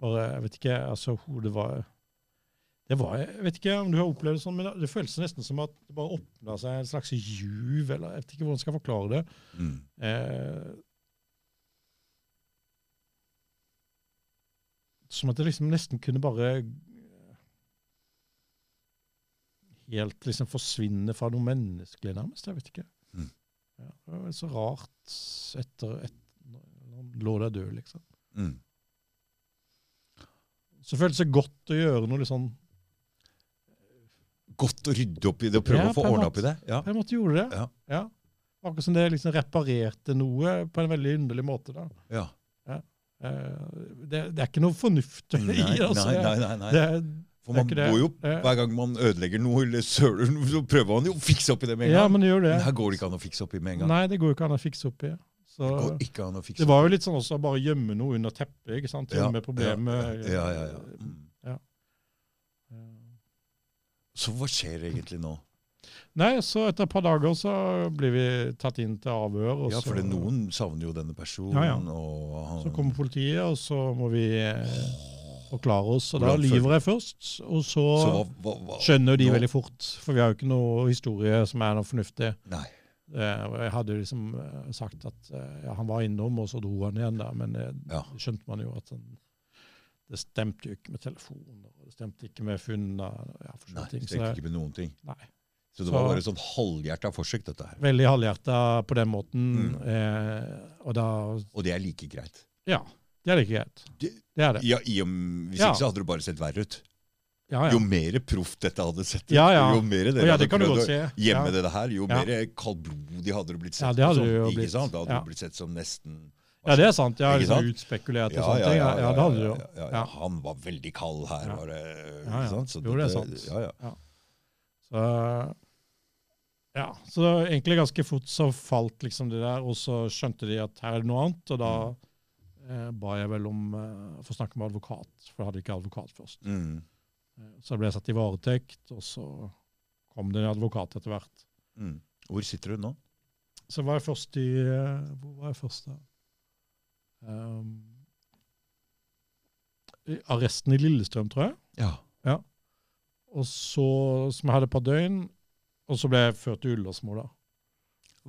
[SPEAKER 2] bare, jeg vet ikke, altså hodet var det var, Jeg vet ikke om du har opplevd det sånn, men det føltes nesten som at det bare åpna seg en slags juv, eller jeg vet ikke hvordan jeg skal forklare det.
[SPEAKER 1] Mm.
[SPEAKER 2] Eh, som at det liksom nesten kunne bare eh, helt liksom forsvinne fra noe menneskelig, nærmest. Jeg vet ikke.
[SPEAKER 1] Mm.
[SPEAKER 2] Ja, det var så rart etter, et- når han lå der død, liksom.
[SPEAKER 1] Mm.
[SPEAKER 2] Så føltes det godt å gjøre noe litt sånn
[SPEAKER 1] Godt å rydde opp i det og prøve
[SPEAKER 2] Ja,
[SPEAKER 1] å få
[SPEAKER 2] på en
[SPEAKER 1] ordna
[SPEAKER 2] måte.
[SPEAKER 1] opp i det. Ja.
[SPEAKER 2] På en måte gjorde det.
[SPEAKER 1] Ja.
[SPEAKER 2] Akkurat som det liksom reparerte noe på en veldig underlig måte. da.
[SPEAKER 1] Ja.
[SPEAKER 2] Eh, det, det er ikke noe fornuft i
[SPEAKER 1] Nei, nei,
[SPEAKER 2] det. altså.
[SPEAKER 1] nei, nei, nei.
[SPEAKER 2] Det,
[SPEAKER 1] For
[SPEAKER 2] Det er
[SPEAKER 1] man
[SPEAKER 2] ikke det.
[SPEAKER 1] går jo,
[SPEAKER 2] Det-
[SPEAKER 1] hver gang man ødelegger noe eller søler noe, så prøver man jo å fikse opp i det med en
[SPEAKER 2] Ja,
[SPEAKER 1] gang.
[SPEAKER 2] men det gjør det.
[SPEAKER 1] Men her går det ikke an å fikse opp i med en gang.
[SPEAKER 2] Nei, det går jo ikke an å fikse opp i. Så,
[SPEAKER 1] Det går ikke an å fikse
[SPEAKER 2] det var jo litt sånn også å bare gjemme noe under teppet. ikke sant?
[SPEAKER 1] Ja,
[SPEAKER 2] Gjemme problemet.
[SPEAKER 1] Ja, ja, ja. Mm.
[SPEAKER 2] Eh,
[SPEAKER 1] Så hva skjer egentlig nå?
[SPEAKER 2] Nei, så etter et par dager så blir vi tatt inn til avhør. Og
[SPEAKER 1] Ja,
[SPEAKER 2] så,
[SPEAKER 1] for det, noen savner jo denne personen,
[SPEAKER 2] Ja, ja.
[SPEAKER 1] og han
[SPEAKER 2] så kommer politiet, og så må vi eh, forklare oss. Og da
[SPEAKER 1] Hvordan føler-
[SPEAKER 2] lyver jeg først, og så,
[SPEAKER 1] Så hva, hva, hva?
[SPEAKER 2] skjønner jo de
[SPEAKER 1] nå-
[SPEAKER 2] veldig fort. For vi har jo ikke noe historie som er noe fornuftig.
[SPEAKER 1] Nei.
[SPEAKER 2] Eh, og jeg hadde jo liksom eh, sagt at eh, ja, han var innom, og så dro han igjen, da. Men eh,
[SPEAKER 1] Ja.
[SPEAKER 2] det skjønte man jo at han Det stemte jo ikke med telefoner, og det stemte ikke med funn av ja,
[SPEAKER 1] Nei,
[SPEAKER 2] forskjellige ting. Så
[SPEAKER 1] stekte
[SPEAKER 2] det
[SPEAKER 1] ikke med noen ting.
[SPEAKER 2] Nei.
[SPEAKER 1] Så det
[SPEAKER 2] Så-
[SPEAKER 1] var bare sånn halvhjerta forsøk, dette her.
[SPEAKER 2] er veldig halvhjerta på den måten.
[SPEAKER 1] Mm.
[SPEAKER 2] Eh, og da
[SPEAKER 1] Og det er like greit.
[SPEAKER 2] Ja. Det er det ikke greit.
[SPEAKER 1] Det,
[SPEAKER 2] Det er det.
[SPEAKER 1] ja, i og, m- hvis
[SPEAKER 2] Ja.
[SPEAKER 1] ikke så hadde det bare sett verre ut.
[SPEAKER 2] Ja,
[SPEAKER 1] Jo
[SPEAKER 2] ja.
[SPEAKER 1] mer proft dette hadde sett ut,
[SPEAKER 2] Ja, ja.
[SPEAKER 1] jo mer dere
[SPEAKER 2] Å, ja,
[SPEAKER 1] hadde
[SPEAKER 2] det kan du
[SPEAKER 1] prøvd
[SPEAKER 2] godt
[SPEAKER 1] å
[SPEAKER 2] se.
[SPEAKER 1] gjemme
[SPEAKER 2] ja.
[SPEAKER 1] det her, jo
[SPEAKER 2] Ja.
[SPEAKER 1] mer kaldblodig hadde det blitt sett
[SPEAKER 2] Ja,
[SPEAKER 1] ut.
[SPEAKER 2] det hadde
[SPEAKER 1] som,
[SPEAKER 2] det jo
[SPEAKER 1] ikke
[SPEAKER 2] blitt.
[SPEAKER 1] sant? Da hadde
[SPEAKER 2] Ja.
[SPEAKER 1] det blitt sett som nesten
[SPEAKER 2] ja, det er sant. Jeg har
[SPEAKER 1] Ikke sant?
[SPEAKER 2] liksom utspekulert og sånne ting. Ja, ja, det hadde du jo.
[SPEAKER 1] ja, ja, ja.
[SPEAKER 2] Ja.
[SPEAKER 1] Han var veldig kald her,
[SPEAKER 2] Ja.
[SPEAKER 1] var det
[SPEAKER 2] Ja, ja.
[SPEAKER 1] ikke sant? Så
[SPEAKER 2] Jo, det er
[SPEAKER 1] dette-
[SPEAKER 2] sant.
[SPEAKER 1] Ja, ja.
[SPEAKER 2] Så, ja, så egentlig ganske fort så falt liksom det der, og så skjønte de at her er det noe annet, og da
[SPEAKER 1] Mm.
[SPEAKER 2] eh, ba jeg vel om eh, å få snakke med advokat, for jeg hadde ikke advokat først.
[SPEAKER 1] Mm.
[SPEAKER 2] Eh, Så ble jeg satt i varetekt, og så kom det en advokat etter hvert.
[SPEAKER 1] Mm. Hvor sitter du nå?
[SPEAKER 2] Så var jeg først i eh, Hvor var jeg først da? Ehm, i arresten i Lillestrøm, tror jeg.
[SPEAKER 1] Ja.
[SPEAKER 2] Og så, som jeg hadde et par døgn, og så ble jeg ført til Ullersmo da.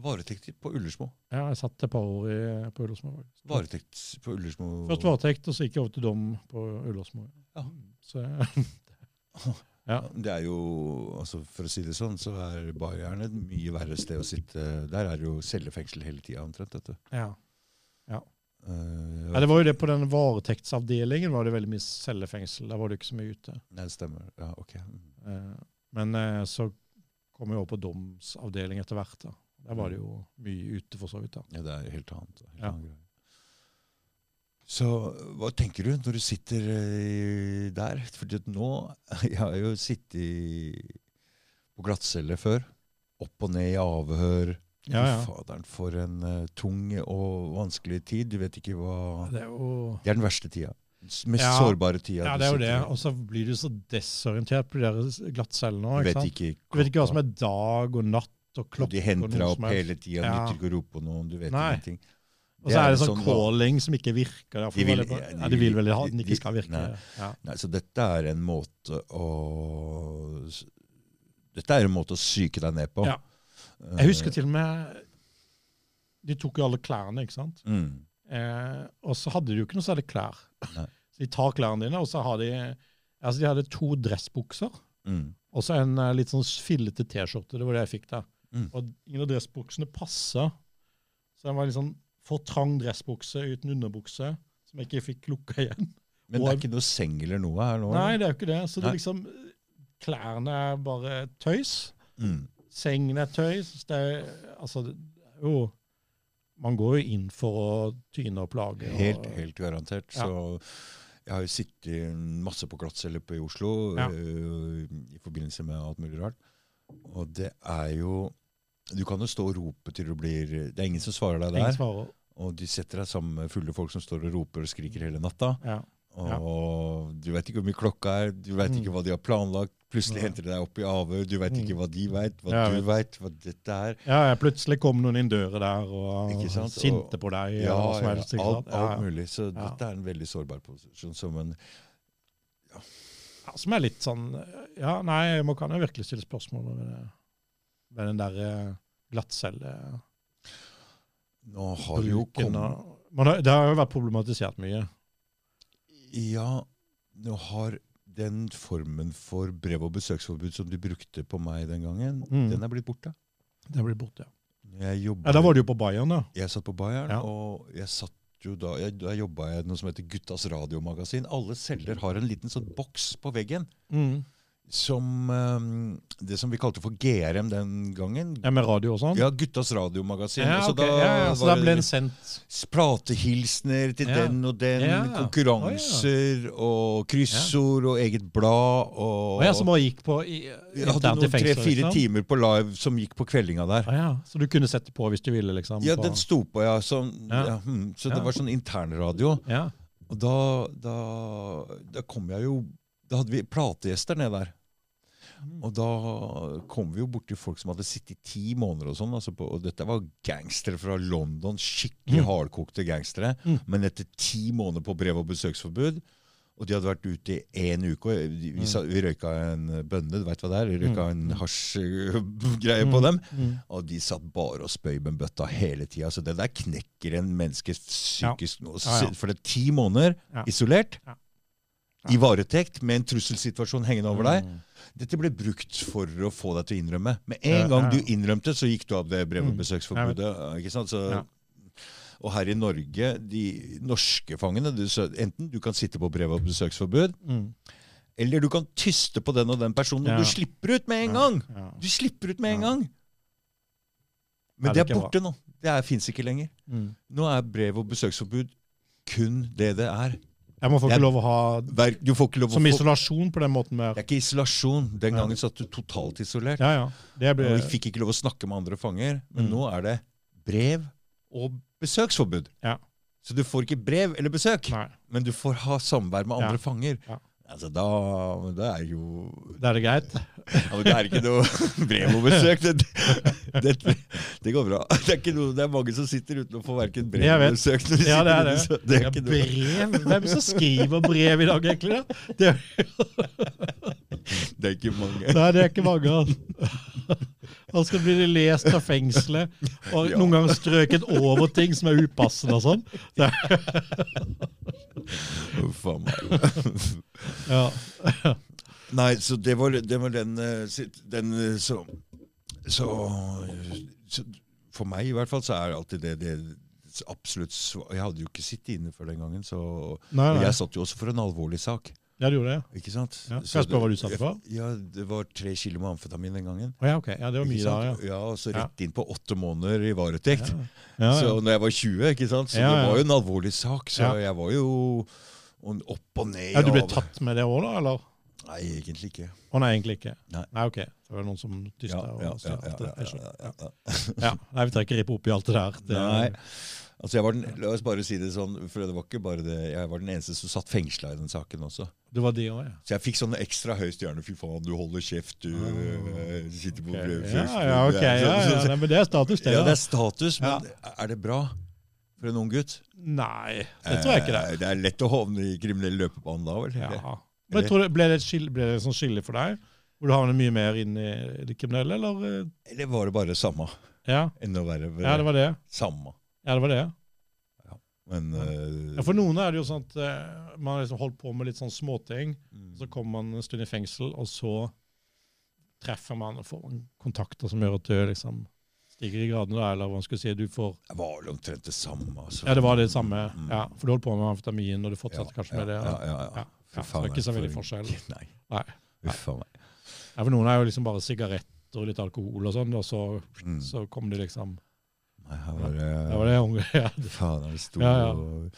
[SPEAKER 1] Varetekt på Ullersmo.
[SPEAKER 2] Ja, jeg satt et par år i, på Ullersmo. faktisk.
[SPEAKER 1] Varetekt på Ullersmo.
[SPEAKER 2] Først varetekt, og så gikk jeg over til dom på Ullersmo.
[SPEAKER 1] Ja.
[SPEAKER 2] Så jeg,
[SPEAKER 1] Ja, Det er jo, altså For å si det sånn, så er Bayern et mye verre sted å sitte. Der er det jo cellefengsel hele tida, omtrent. vet du.
[SPEAKER 2] ja.
[SPEAKER 1] Eh,
[SPEAKER 2] Nei, det var jo det på den varetektsavdelingen var det veldig mye cellefengsel. Der var det ikke så mye ute.
[SPEAKER 1] Nei, det stemmer. Ja, ok. Mm.
[SPEAKER 2] Eh, Men eh, så kom jeg over på domsavdeling etter hvert da. Der var det jo mye ute for så vidt da.
[SPEAKER 1] Ja, det er helt annet. Helt
[SPEAKER 2] Ja.
[SPEAKER 1] annen greie. Så hva tenker du når du sitter eh, der? Fordi at nå Jeg har jo sittet i- på glattcelle før. Opp og ned i avhør.
[SPEAKER 2] Ja, ja.
[SPEAKER 1] Fy Faderen, for en eh, tung og vanskelig tid. Du vet ikke hva
[SPEAKER 2] Det er jo...
[SPEAKER 1] Det er den verste tida. S- Mest
[SPEAKER 2] Ja.
[SPEAKER 1] sårbare tida.
[SPEAKER 2] Ja,
[SPEAKER 1] du
[SPEAKER 2] det er jo
[SPEAKER 1] sitter
[SPEAKER 2] det.
[SPEAKER 1] i.
[SPEAKER 2] Og så blir du så desorientert på de der glattcellene
[SPEAKER 1] Du
[SPEAKER 2] òg. Ikke
[SPEAKER 1] vet
[SPEAKER 2] sant?
[SPEAKER 1] ikke,
[SPEAKER 2] Du vet ikke hva som er dag og natt og
[SPEAKER 1] klokka.
[SPEAKER 2] klokke.
[SPEAKER 1] De henter
[SPEAKER 2] og
[SPEAKER 1] deg
[SPEAKER 2] noe
[SPEAKER 1] opp
[SPEAKER 2] som helst.
[SPEAKER 1] hele tida,
[SPEAKER 2] Ja.
[SPEAKER 1] nytter ikke å rope på noen, du vet
[SPEAKER 2] Nei.
[SPEAKER 1] ingenting.
[SPEAKER 2] Og så er det
[SPEAKER 1] en
[SPEAKER 2] sånn calling som ikke virker. da, for
[SPEAKER 1] De vil- ja,
[SPEAKER 2] veldig-
[SPEAKER 1] de
[SPEAKER 2] ja, de vil vel ha at den
[SPEAKER 1] de-
[SPEAKER 2] ikke skal virke.
[SPEAKER 1] nei.
[SPEAKER 2] Ja.
[SPEAKER 1] Nei, så dette er en måte å s- Dette er en måte å psyke deg ned på.
[SPEAKER 2] Ja. Jeg husker til og med De tok jo alle klærne, ikke sant?
[SPEAKER 1] Mm.
[SPEAKER 2] Eh, og så hadde de jo ikke noe særlig klær.
[SPEAKER 1] Nei.
[SPEAKER 2] Så de tar klærne dine, og så har de Altså, de hadde to dressbukser.
[SPEAKER 1] Mm.
[SPEAKER 2] Og så en eh, litt sånn fillete T-skjorte. Det var det jeg fikk da.
[SPEAKER 1] Mm.
[SPEAKER 2] Og ingen av dressbuksene passa. Så den var litt sånn for trang dressbukse uten underbukse, som jeg ikke fikk lukka igjen.
[SPEAKER 1] Men det er ikke noe seng eller noe her nå?
[SPEAKER 2] Nei,
[SPEAKER 1] eller?
[SPEAKER 2] det er jo ikke det. Så det
[SPEAKER 1] Nei.
[SPEAKER 2] liksom Klærne er bare tøys.
[SPEAKER 1] Mm.
[SPEAKER 2] Sengen er tøys. Det er, altså, det er jo Man går jo inn for å tyne og plage. og-
[SPEAKER 1] Helt, helt garantert.
[SPEAKER 2] Ja.
[SPEAKER 1] Så jeg har jo sittet masse på glattcelle oppe i Oslo
[SPEAKER 2] Ja.
[SPEAKER 1] øh, i forbindelse med alt mulig rart. Og det er jo Du kan jo stå og rope til du blir Det er ingen som svarer deg
[SPEAKER 2] Ingen
[SPEAKER 1] der.
[SPEAKER 2] svarer.
[SPEAKER 1] Og de setter deg sammen med fulle folk som står og roper og skriker hele natta.
[SPEAKER 2] Ja.
[SPEAKER 1] Og
[SPEAKER 2] Ja.
[SPEAKER 1] du veit ikke hvor mye klokka er, du veit ikke hva de har planlagt. Plutselig
[SPEAKER 2] Nei.
[SPEAKER 1] henter de deg opp i avhør, du veit
[SPEAKER 2] Mm.
[SPEAKER 1] ikke hva de veit, hva
[SPEAKER 2] Ja, jeg
[SPEAKER 1] du veit, hva dette er.
[SPEAKER 2] ja, ja, plutselig kom noen inn døra der og
[SPEAKER 1] Ikke sant?
[SPEAKER 2] sinte
[SPEAKER 1] Og-
[SPEAKER 2] på deg.
[SPEAKER 1] Ja,
[SPEAKER 2] eller hva som
[SPEAKER 1] ja,
[SPEAKER 2] helst, ikke
[SPEAKER 1] alt,
[SPEAKER 2] sant? Ja, ja.
[SPEAKER 1] alt mulig. Så
[SPEAKER 2] Ja.
[SPEAKER 1] dette er en veldig sårbar posisjon. Som en,
[SPEAKER 2] Ja, som er litt sånn Ja, nei, man kan jo virkelig stille spørsmål ved, det, ved den eh, derre glattcelle...
[SPEAKER 1] nå har det jo
[SPEAKER 2] bruken
[SPEAKER 1] kommet
[SPEAKER 2] av- man har, det har jo vært problematisert mye.
[SPEAKER 1] Ja, nå har den formen for brev- og besøksforbud som de brukte på meg den gangen,
[SPEAKER 2] Mm.
[SPEAKER 1] den er blitt borte.
[SPEAKER 2] Det blir borte, ja.
[SPEAKER 1] Når Jeg, jobbet,
[SPEAKER 2] Ja, Da var det jo på Bayern, da.
[SPEAKER 1] jeg satt på Bayern,
[SPEAKER 2] Ja.
[SPEAKER 1] og jeg satt jo da, jeg, da jobba
[SPEAKER 2] Mm.
[SPEAKER 1] jeg i noe som heter Guttas radiomagasin. Alle celler har en liten sånn boks på veggen. som eh, Det som vi kalte for GRM den gangen.
[SPEAKER 2] Ja, med radio og sånn?
[SPEAKER 1] Ja, Guttas Radiomagasin.
[SPEAKER 2] Ja,
[SPEAKER 1] så
[SPEAKER 2] ok.
[SPEAKER 1] da
[SPEAKER 2] ja, ja, så
[SPEAKER 1] var
[SPEAKER 2] da
[SPEAKER 1] det
[SPEAKER 2] ble den sendt
[SPEAKER 1] s- Platehilsener til
[SPEAKER 2] Ja.
[SPEAKER 1] den og den,
[SPEAKER 2] Ja.
[SPEAKER 1] konkurranser og kryssord og eget blad. Og,
[SPEAKER 2] Og jeg som bare gikk på i,
[SPEAKER 1] Vi hadde
[SPEAKER 2] internt i
[SPEAKER 1] noen
[SPEAKER 2] fengsel,
[SPEAKER 1] tre-fire
[SPEAKER 2] liksom.
[SPEAKER 1] timer på live som gikk på kveldinga der.
[SPEAKER 2] Å ja. Så du kunne sette på hvis du ville, liksom?
[SPEAKER 1] Ja,
[SPEAKER 2] på-
[SPEAKER 1] den sto på, ja. Sånn, ja.
[SPEAKER 2] Ja.
[SPEAKER 1] hmm, så
[SPEAKER 2] Ja.
[SPEAKER 1] det var sånn internradio.
[SPEAKER 2] ja.
[SPEAKER 1] Og da, da, da kom jeg jo Da hadde vi plategjester nede der.
[SPEAKER 2] Mm.
[SPEAKER 1] Og da kom vi jo borti folk som hadde sittet i ti måneder og sånn. Altså på, og dette var gangstere fra London, skikkelig
[SPEAKER 2] Mm.
[SPEAKER 1] hardkokte gangstere.
[SPEAKER 2] Mm.
[SPEAKER 1] Men etter ti måneder på brev- og besøksforbud Og de hadde vært ute i én uke. Og vi,
[SPEAKER 2] Mm.
[SPEAKER 1] vi, sa- vi røyka en bønne, du veit hva det er? Vi røyka en hasjgreie på dem.
[SPEAKER 2] Mm.
[SPEAKER 1] Og de satt bare og spøy med bøtta hele tida. Så det der knekker en menneske psykisk nå.
[SPEAKER 2] Ja, ja.
[SPEAKER 1] For det er ti måneder
[SPEAKER 2] Ja.
[SPEAKER 1] isolert.
[SPEAKER 2] Ja.
[SPEAKER 1] I varetekt med en trusselsituasjon hengende over deg.
[SPEAKER 2] Mm.
[SPEAKER 1] Dette ble brukt for å få deg til å innrømme. Med en
[SPEAKER 2] Ja,
[SPEAKER 1] gang
[SPEAKER 2] ja.
[SPEAKER 1] du innrømte, så gikk du av det brev- og
[SPEAKER 2] Mm.
[SPEAKER 1] besøksforbudet. eh, Ikke sant? Så,
[SPEAKER 2] Ja.
[SPEAKER 1] Og her i Norge, de norske fangene du, så, Enten du kan sitte på brev- og besøksforbud,
[SPEAKER 2] Mm.
[SPEAKER 1] eller du kan tyste på den og den personen.
[SPEAKER 2] Ja.
[SPEAKER 1] Og du slipper ut med en gang!
[SPEAKER 2] Ja.
[SPEAKER 1] Du slipper ut med en
[SPEAKER 2] Ja.
[SPEAKER 1] gang.
[SPEAKER 2] Er
[SPEAKER 1] Men
[SPEAKER 2] det
[SPEAKER 1] det er
[SPEAKER 2] ikke
[SPEAKER 1] borte nå. Det fins ikke lenger.
[SPEAKER 2] Mm.
[SPEAKER 1] Nå er brev- og besøksforbud kun det det er.
[SPEAKER 2] Jeg må få
[SPEAKER 1] Jeg-
[SPEAKER 2] ikke lov å ha
[SPEAKER 1] Hver- Du får ikke lov å
[SPEAKER 2] Som
[SPEAKER 1] få
[SPEAKER 2] isolasjon på den måten
[SPEAKER 1] Det
[SPEAKER 2] mer.
[SPEAKER 1] er ikke isolasjon. Den
[SPEAKER 2] Ja.
[SPEAKER 1] gangen satt du totalt isolert.
[SPEAKER 2] Ja, ja. Det
[SPEAKER 1] Og
[SPEAKER 2] blir
[SPEAKER 1] vi fikk ikke lov å snakke med andre fanger. Men
[SPEAKER 2] Mm.
[SPEAKER 1] nå er det brev og besøksforbud.
[SPEAKER 2] Ja.
[SPEAKER 1] Så du får ikke brev eller besøk,
[SPEAKER 2] Nei.
[SPEAKER 1] men du får ha samvær med andre
[SPEAKER 2] Ja.
[SPEAKER 1] fanger.
[SPEAKER 2] Ja.
[SPEAKER 1] Altså, da men Det er jo
[SPEAKER 2] Da er det greit.
[SPEAKER 1] ja, men Det er ikke noe brev og besøk. Det, det, det går bra. Det er, ikke noe, det er mange som sitter uten å få verken brev
[SPEAKER 2] Jeg vet.
[SPEAKER 1] eller besøk. når de
[SPEAKER 2] Ja, det
[SPEAKER 1] sitter
[SPEAKER 2] er det.
[SPEAKER 1] ute, så det er
[SPEAKER 2] Ja,
[SPEAKER 1] ikke noe.
[SPEAKER 2] brev? Hvem som skriver brev i dag, egentlig? da? Det,
[SPEAKER 1] Det er ikke mange.
[SPEAKER 2] nei, det er ikke mange. altså. Da skal bli lest av fengselet, og
[SPEAKER 1] Ja.
[SPEAKER 2] noen ganger strøket over ting som er upassende og sånn. Det,
[SPEAKER 1] Uff a meg.
[SPEAKER 2] ja.
[SPEAKER 1] Nei, så det var, det var den, eh, sit- den eh, så, så, så For meg i hvert fall så er alltid det, det absolutt sva- Jeg hadde jo ikke sittet inne før den gangen, så
[SPEAKER 2] Nei,
[SPEAKER 1] Men
[SPEAKER 2] nei.
[SPEAKER 1] jeg satt jo også for en alvorlig sak.
[SPEAKER 2] Ja, du gjorde det?
[SPEAKER 1] Ikke sant?
[SPEAKER 2] Ja. Skal
[SPEAKER 1] Så
[SPEAKER 2] jeg spørre hva
[SPEAKER 1] det-
[SPEAKER 2] du satt for?
[SPEAKER 1] Ja, Det var tre kilo med amfetamin den gangen.
[SPEAKER 2] Å ja, ok. Ja, det var mye
[SPEAKER 1] Ikke
[SPEAKER 2] da, ja.
[SPEAKER 1] sant? ja, og så rett inn på åtte måneder i varetekt.
[SPEAKER 2] Ja, ja.
[SPEAKER 1] Så når jeg var 20, ikke sant? Så
[SPEAKER 2] Ja,
[SPEAKER 1] det
[SPEAKER 2] ja.
[SPEAKER 1] var jo en alvorlig sak. Så
[SPEAKER 2] Ja.
[SPEAKER 1] jeg var jo on- opp og ned.
[SPEAKER 2] ja, du ble
[SPEAKER 1] av-
[SPEAKER 2] tatt med det òg, da? eller?
[SPEAKER 1] Nei, egentlig ikke.
[SPEAKER 2] Å nei, egentlig ikke.
[SPEAKER 1] Nei.
[SPEAKER 2] ok. Det var noen som tysta.
[SPEAKER 1] Ja, ja,
[SPEAKER 2] og
[SPEAKER 1] ja,
[SPEAKER 2] styrte.
[SPEAKER 1] ja,
[SPEAKER 2] Jeg
[SPEAKER 1] ja,
[SPEAKER 2] skjønner.
[SPEAKER 1] ja, ja.
[SPEAKER 2] Ja, nei, vi trenger ikke rippe opp i alt det der. Det,
[SPEAKER 1] Nei. Altså, jeg var den, la oss bare si det sånn, for det var ikke bare det. Jeg var den eneste som satt fengsla i den saken også.
[SPEAKER 2] Det var de òg, ja.
[SPEAKER 1] Så jeg fikk sånn ekstra høy stjerne. Fy faen, du holder kjeft, du eh, sitter på
[SPEAKER 2] Ah, Ok.
[SPEAKER 1] brevet
[SPEAKER 2] Ja, ja, ok. Ja, ja, nei, men det er status, det.
[SPEAKER 1] Ja, det
[SPEAKER 2] Ja.
[SPEAKER 1] er status,
[SPEAKER 2] Ja.
[SPEAKER 1] men er det bra for en ung gutt?
[SPEAKER 2] Nei, det tror jeg ikke det.
[SPEAKER 1] Eh, Det er lett å havne i kriminell løpebane da, vel?
[SPEAKER 2] er. Ja. Men jeg tror det, ble, det et skille, ble det et sånt skille for deg? Hvor du havner mye mer inn i det kriminelle, eller? eh,
[SPEAKER 1] Eller var det bare samme?
[SPEAKER 2] Ja,
[SPEAKER 1] Enda verre.
[SPEAKER 2] ja det var det.
[SPEAKER 1] Samme.
[SPEAKER 2] Ja, det var det.
[SPEAKER 1] Men eh,
[SPEAKER 2] Ja, for noen er det jo sånn at eh, man har liksom holdt på med litt sånn småting,
[SPEAKER 1] mm,
[SPEAKER 2] så kommer man en stund i fengsel, og så treffer man og får man kontakter som gjør at du liksom stiger i gradene, da, eller hva man skulle si. Du får
[SPEAKER 1] det var vel omtrent det samme. Altså.
[SPEAKER 2] Ja, det var det samme.
[SPEAKER 1] Mm.
[SPEAKER 2] Ja, for du holdt på med amfetamin, og du fortsatte
[SPEAKER 1] Ja,
[SPEAKER 2] kanskje med det.
[SPEAKER 1] Ja, ja, ja.
[SPEAKER 2] Ja,
[SPEAKER 1] Fy
[SPEAKER 2] ja, så det er
[SPEAKER 1] faen,
[SPEAKER 2] ikke så
[SPEAKER 1] for
[SPEAKER 2] veldig
[SPEAKER 1] en-
[SPEAKER 2] forskjell.
[SPEAKER 1] Nei.
[SPEAKER 2] Nei.
[SPEAKER 1] Uff a meg.
[SPEAKER 2] Ja, for noen er jo liksom bare sigaretter og litt alkohol og sånn, og så,
[SPEAKER 1] Mm.
[SPEAKER 2] så kom de liksom
[SPEAKER 1] Nei, her var det,
[SPEAKER 2] Ja, var det unge? Ja.
[SPEAKER 1] Faen, jeg sto
[SPEAKER 2] Ja, ja.
[SPEAKER 1] og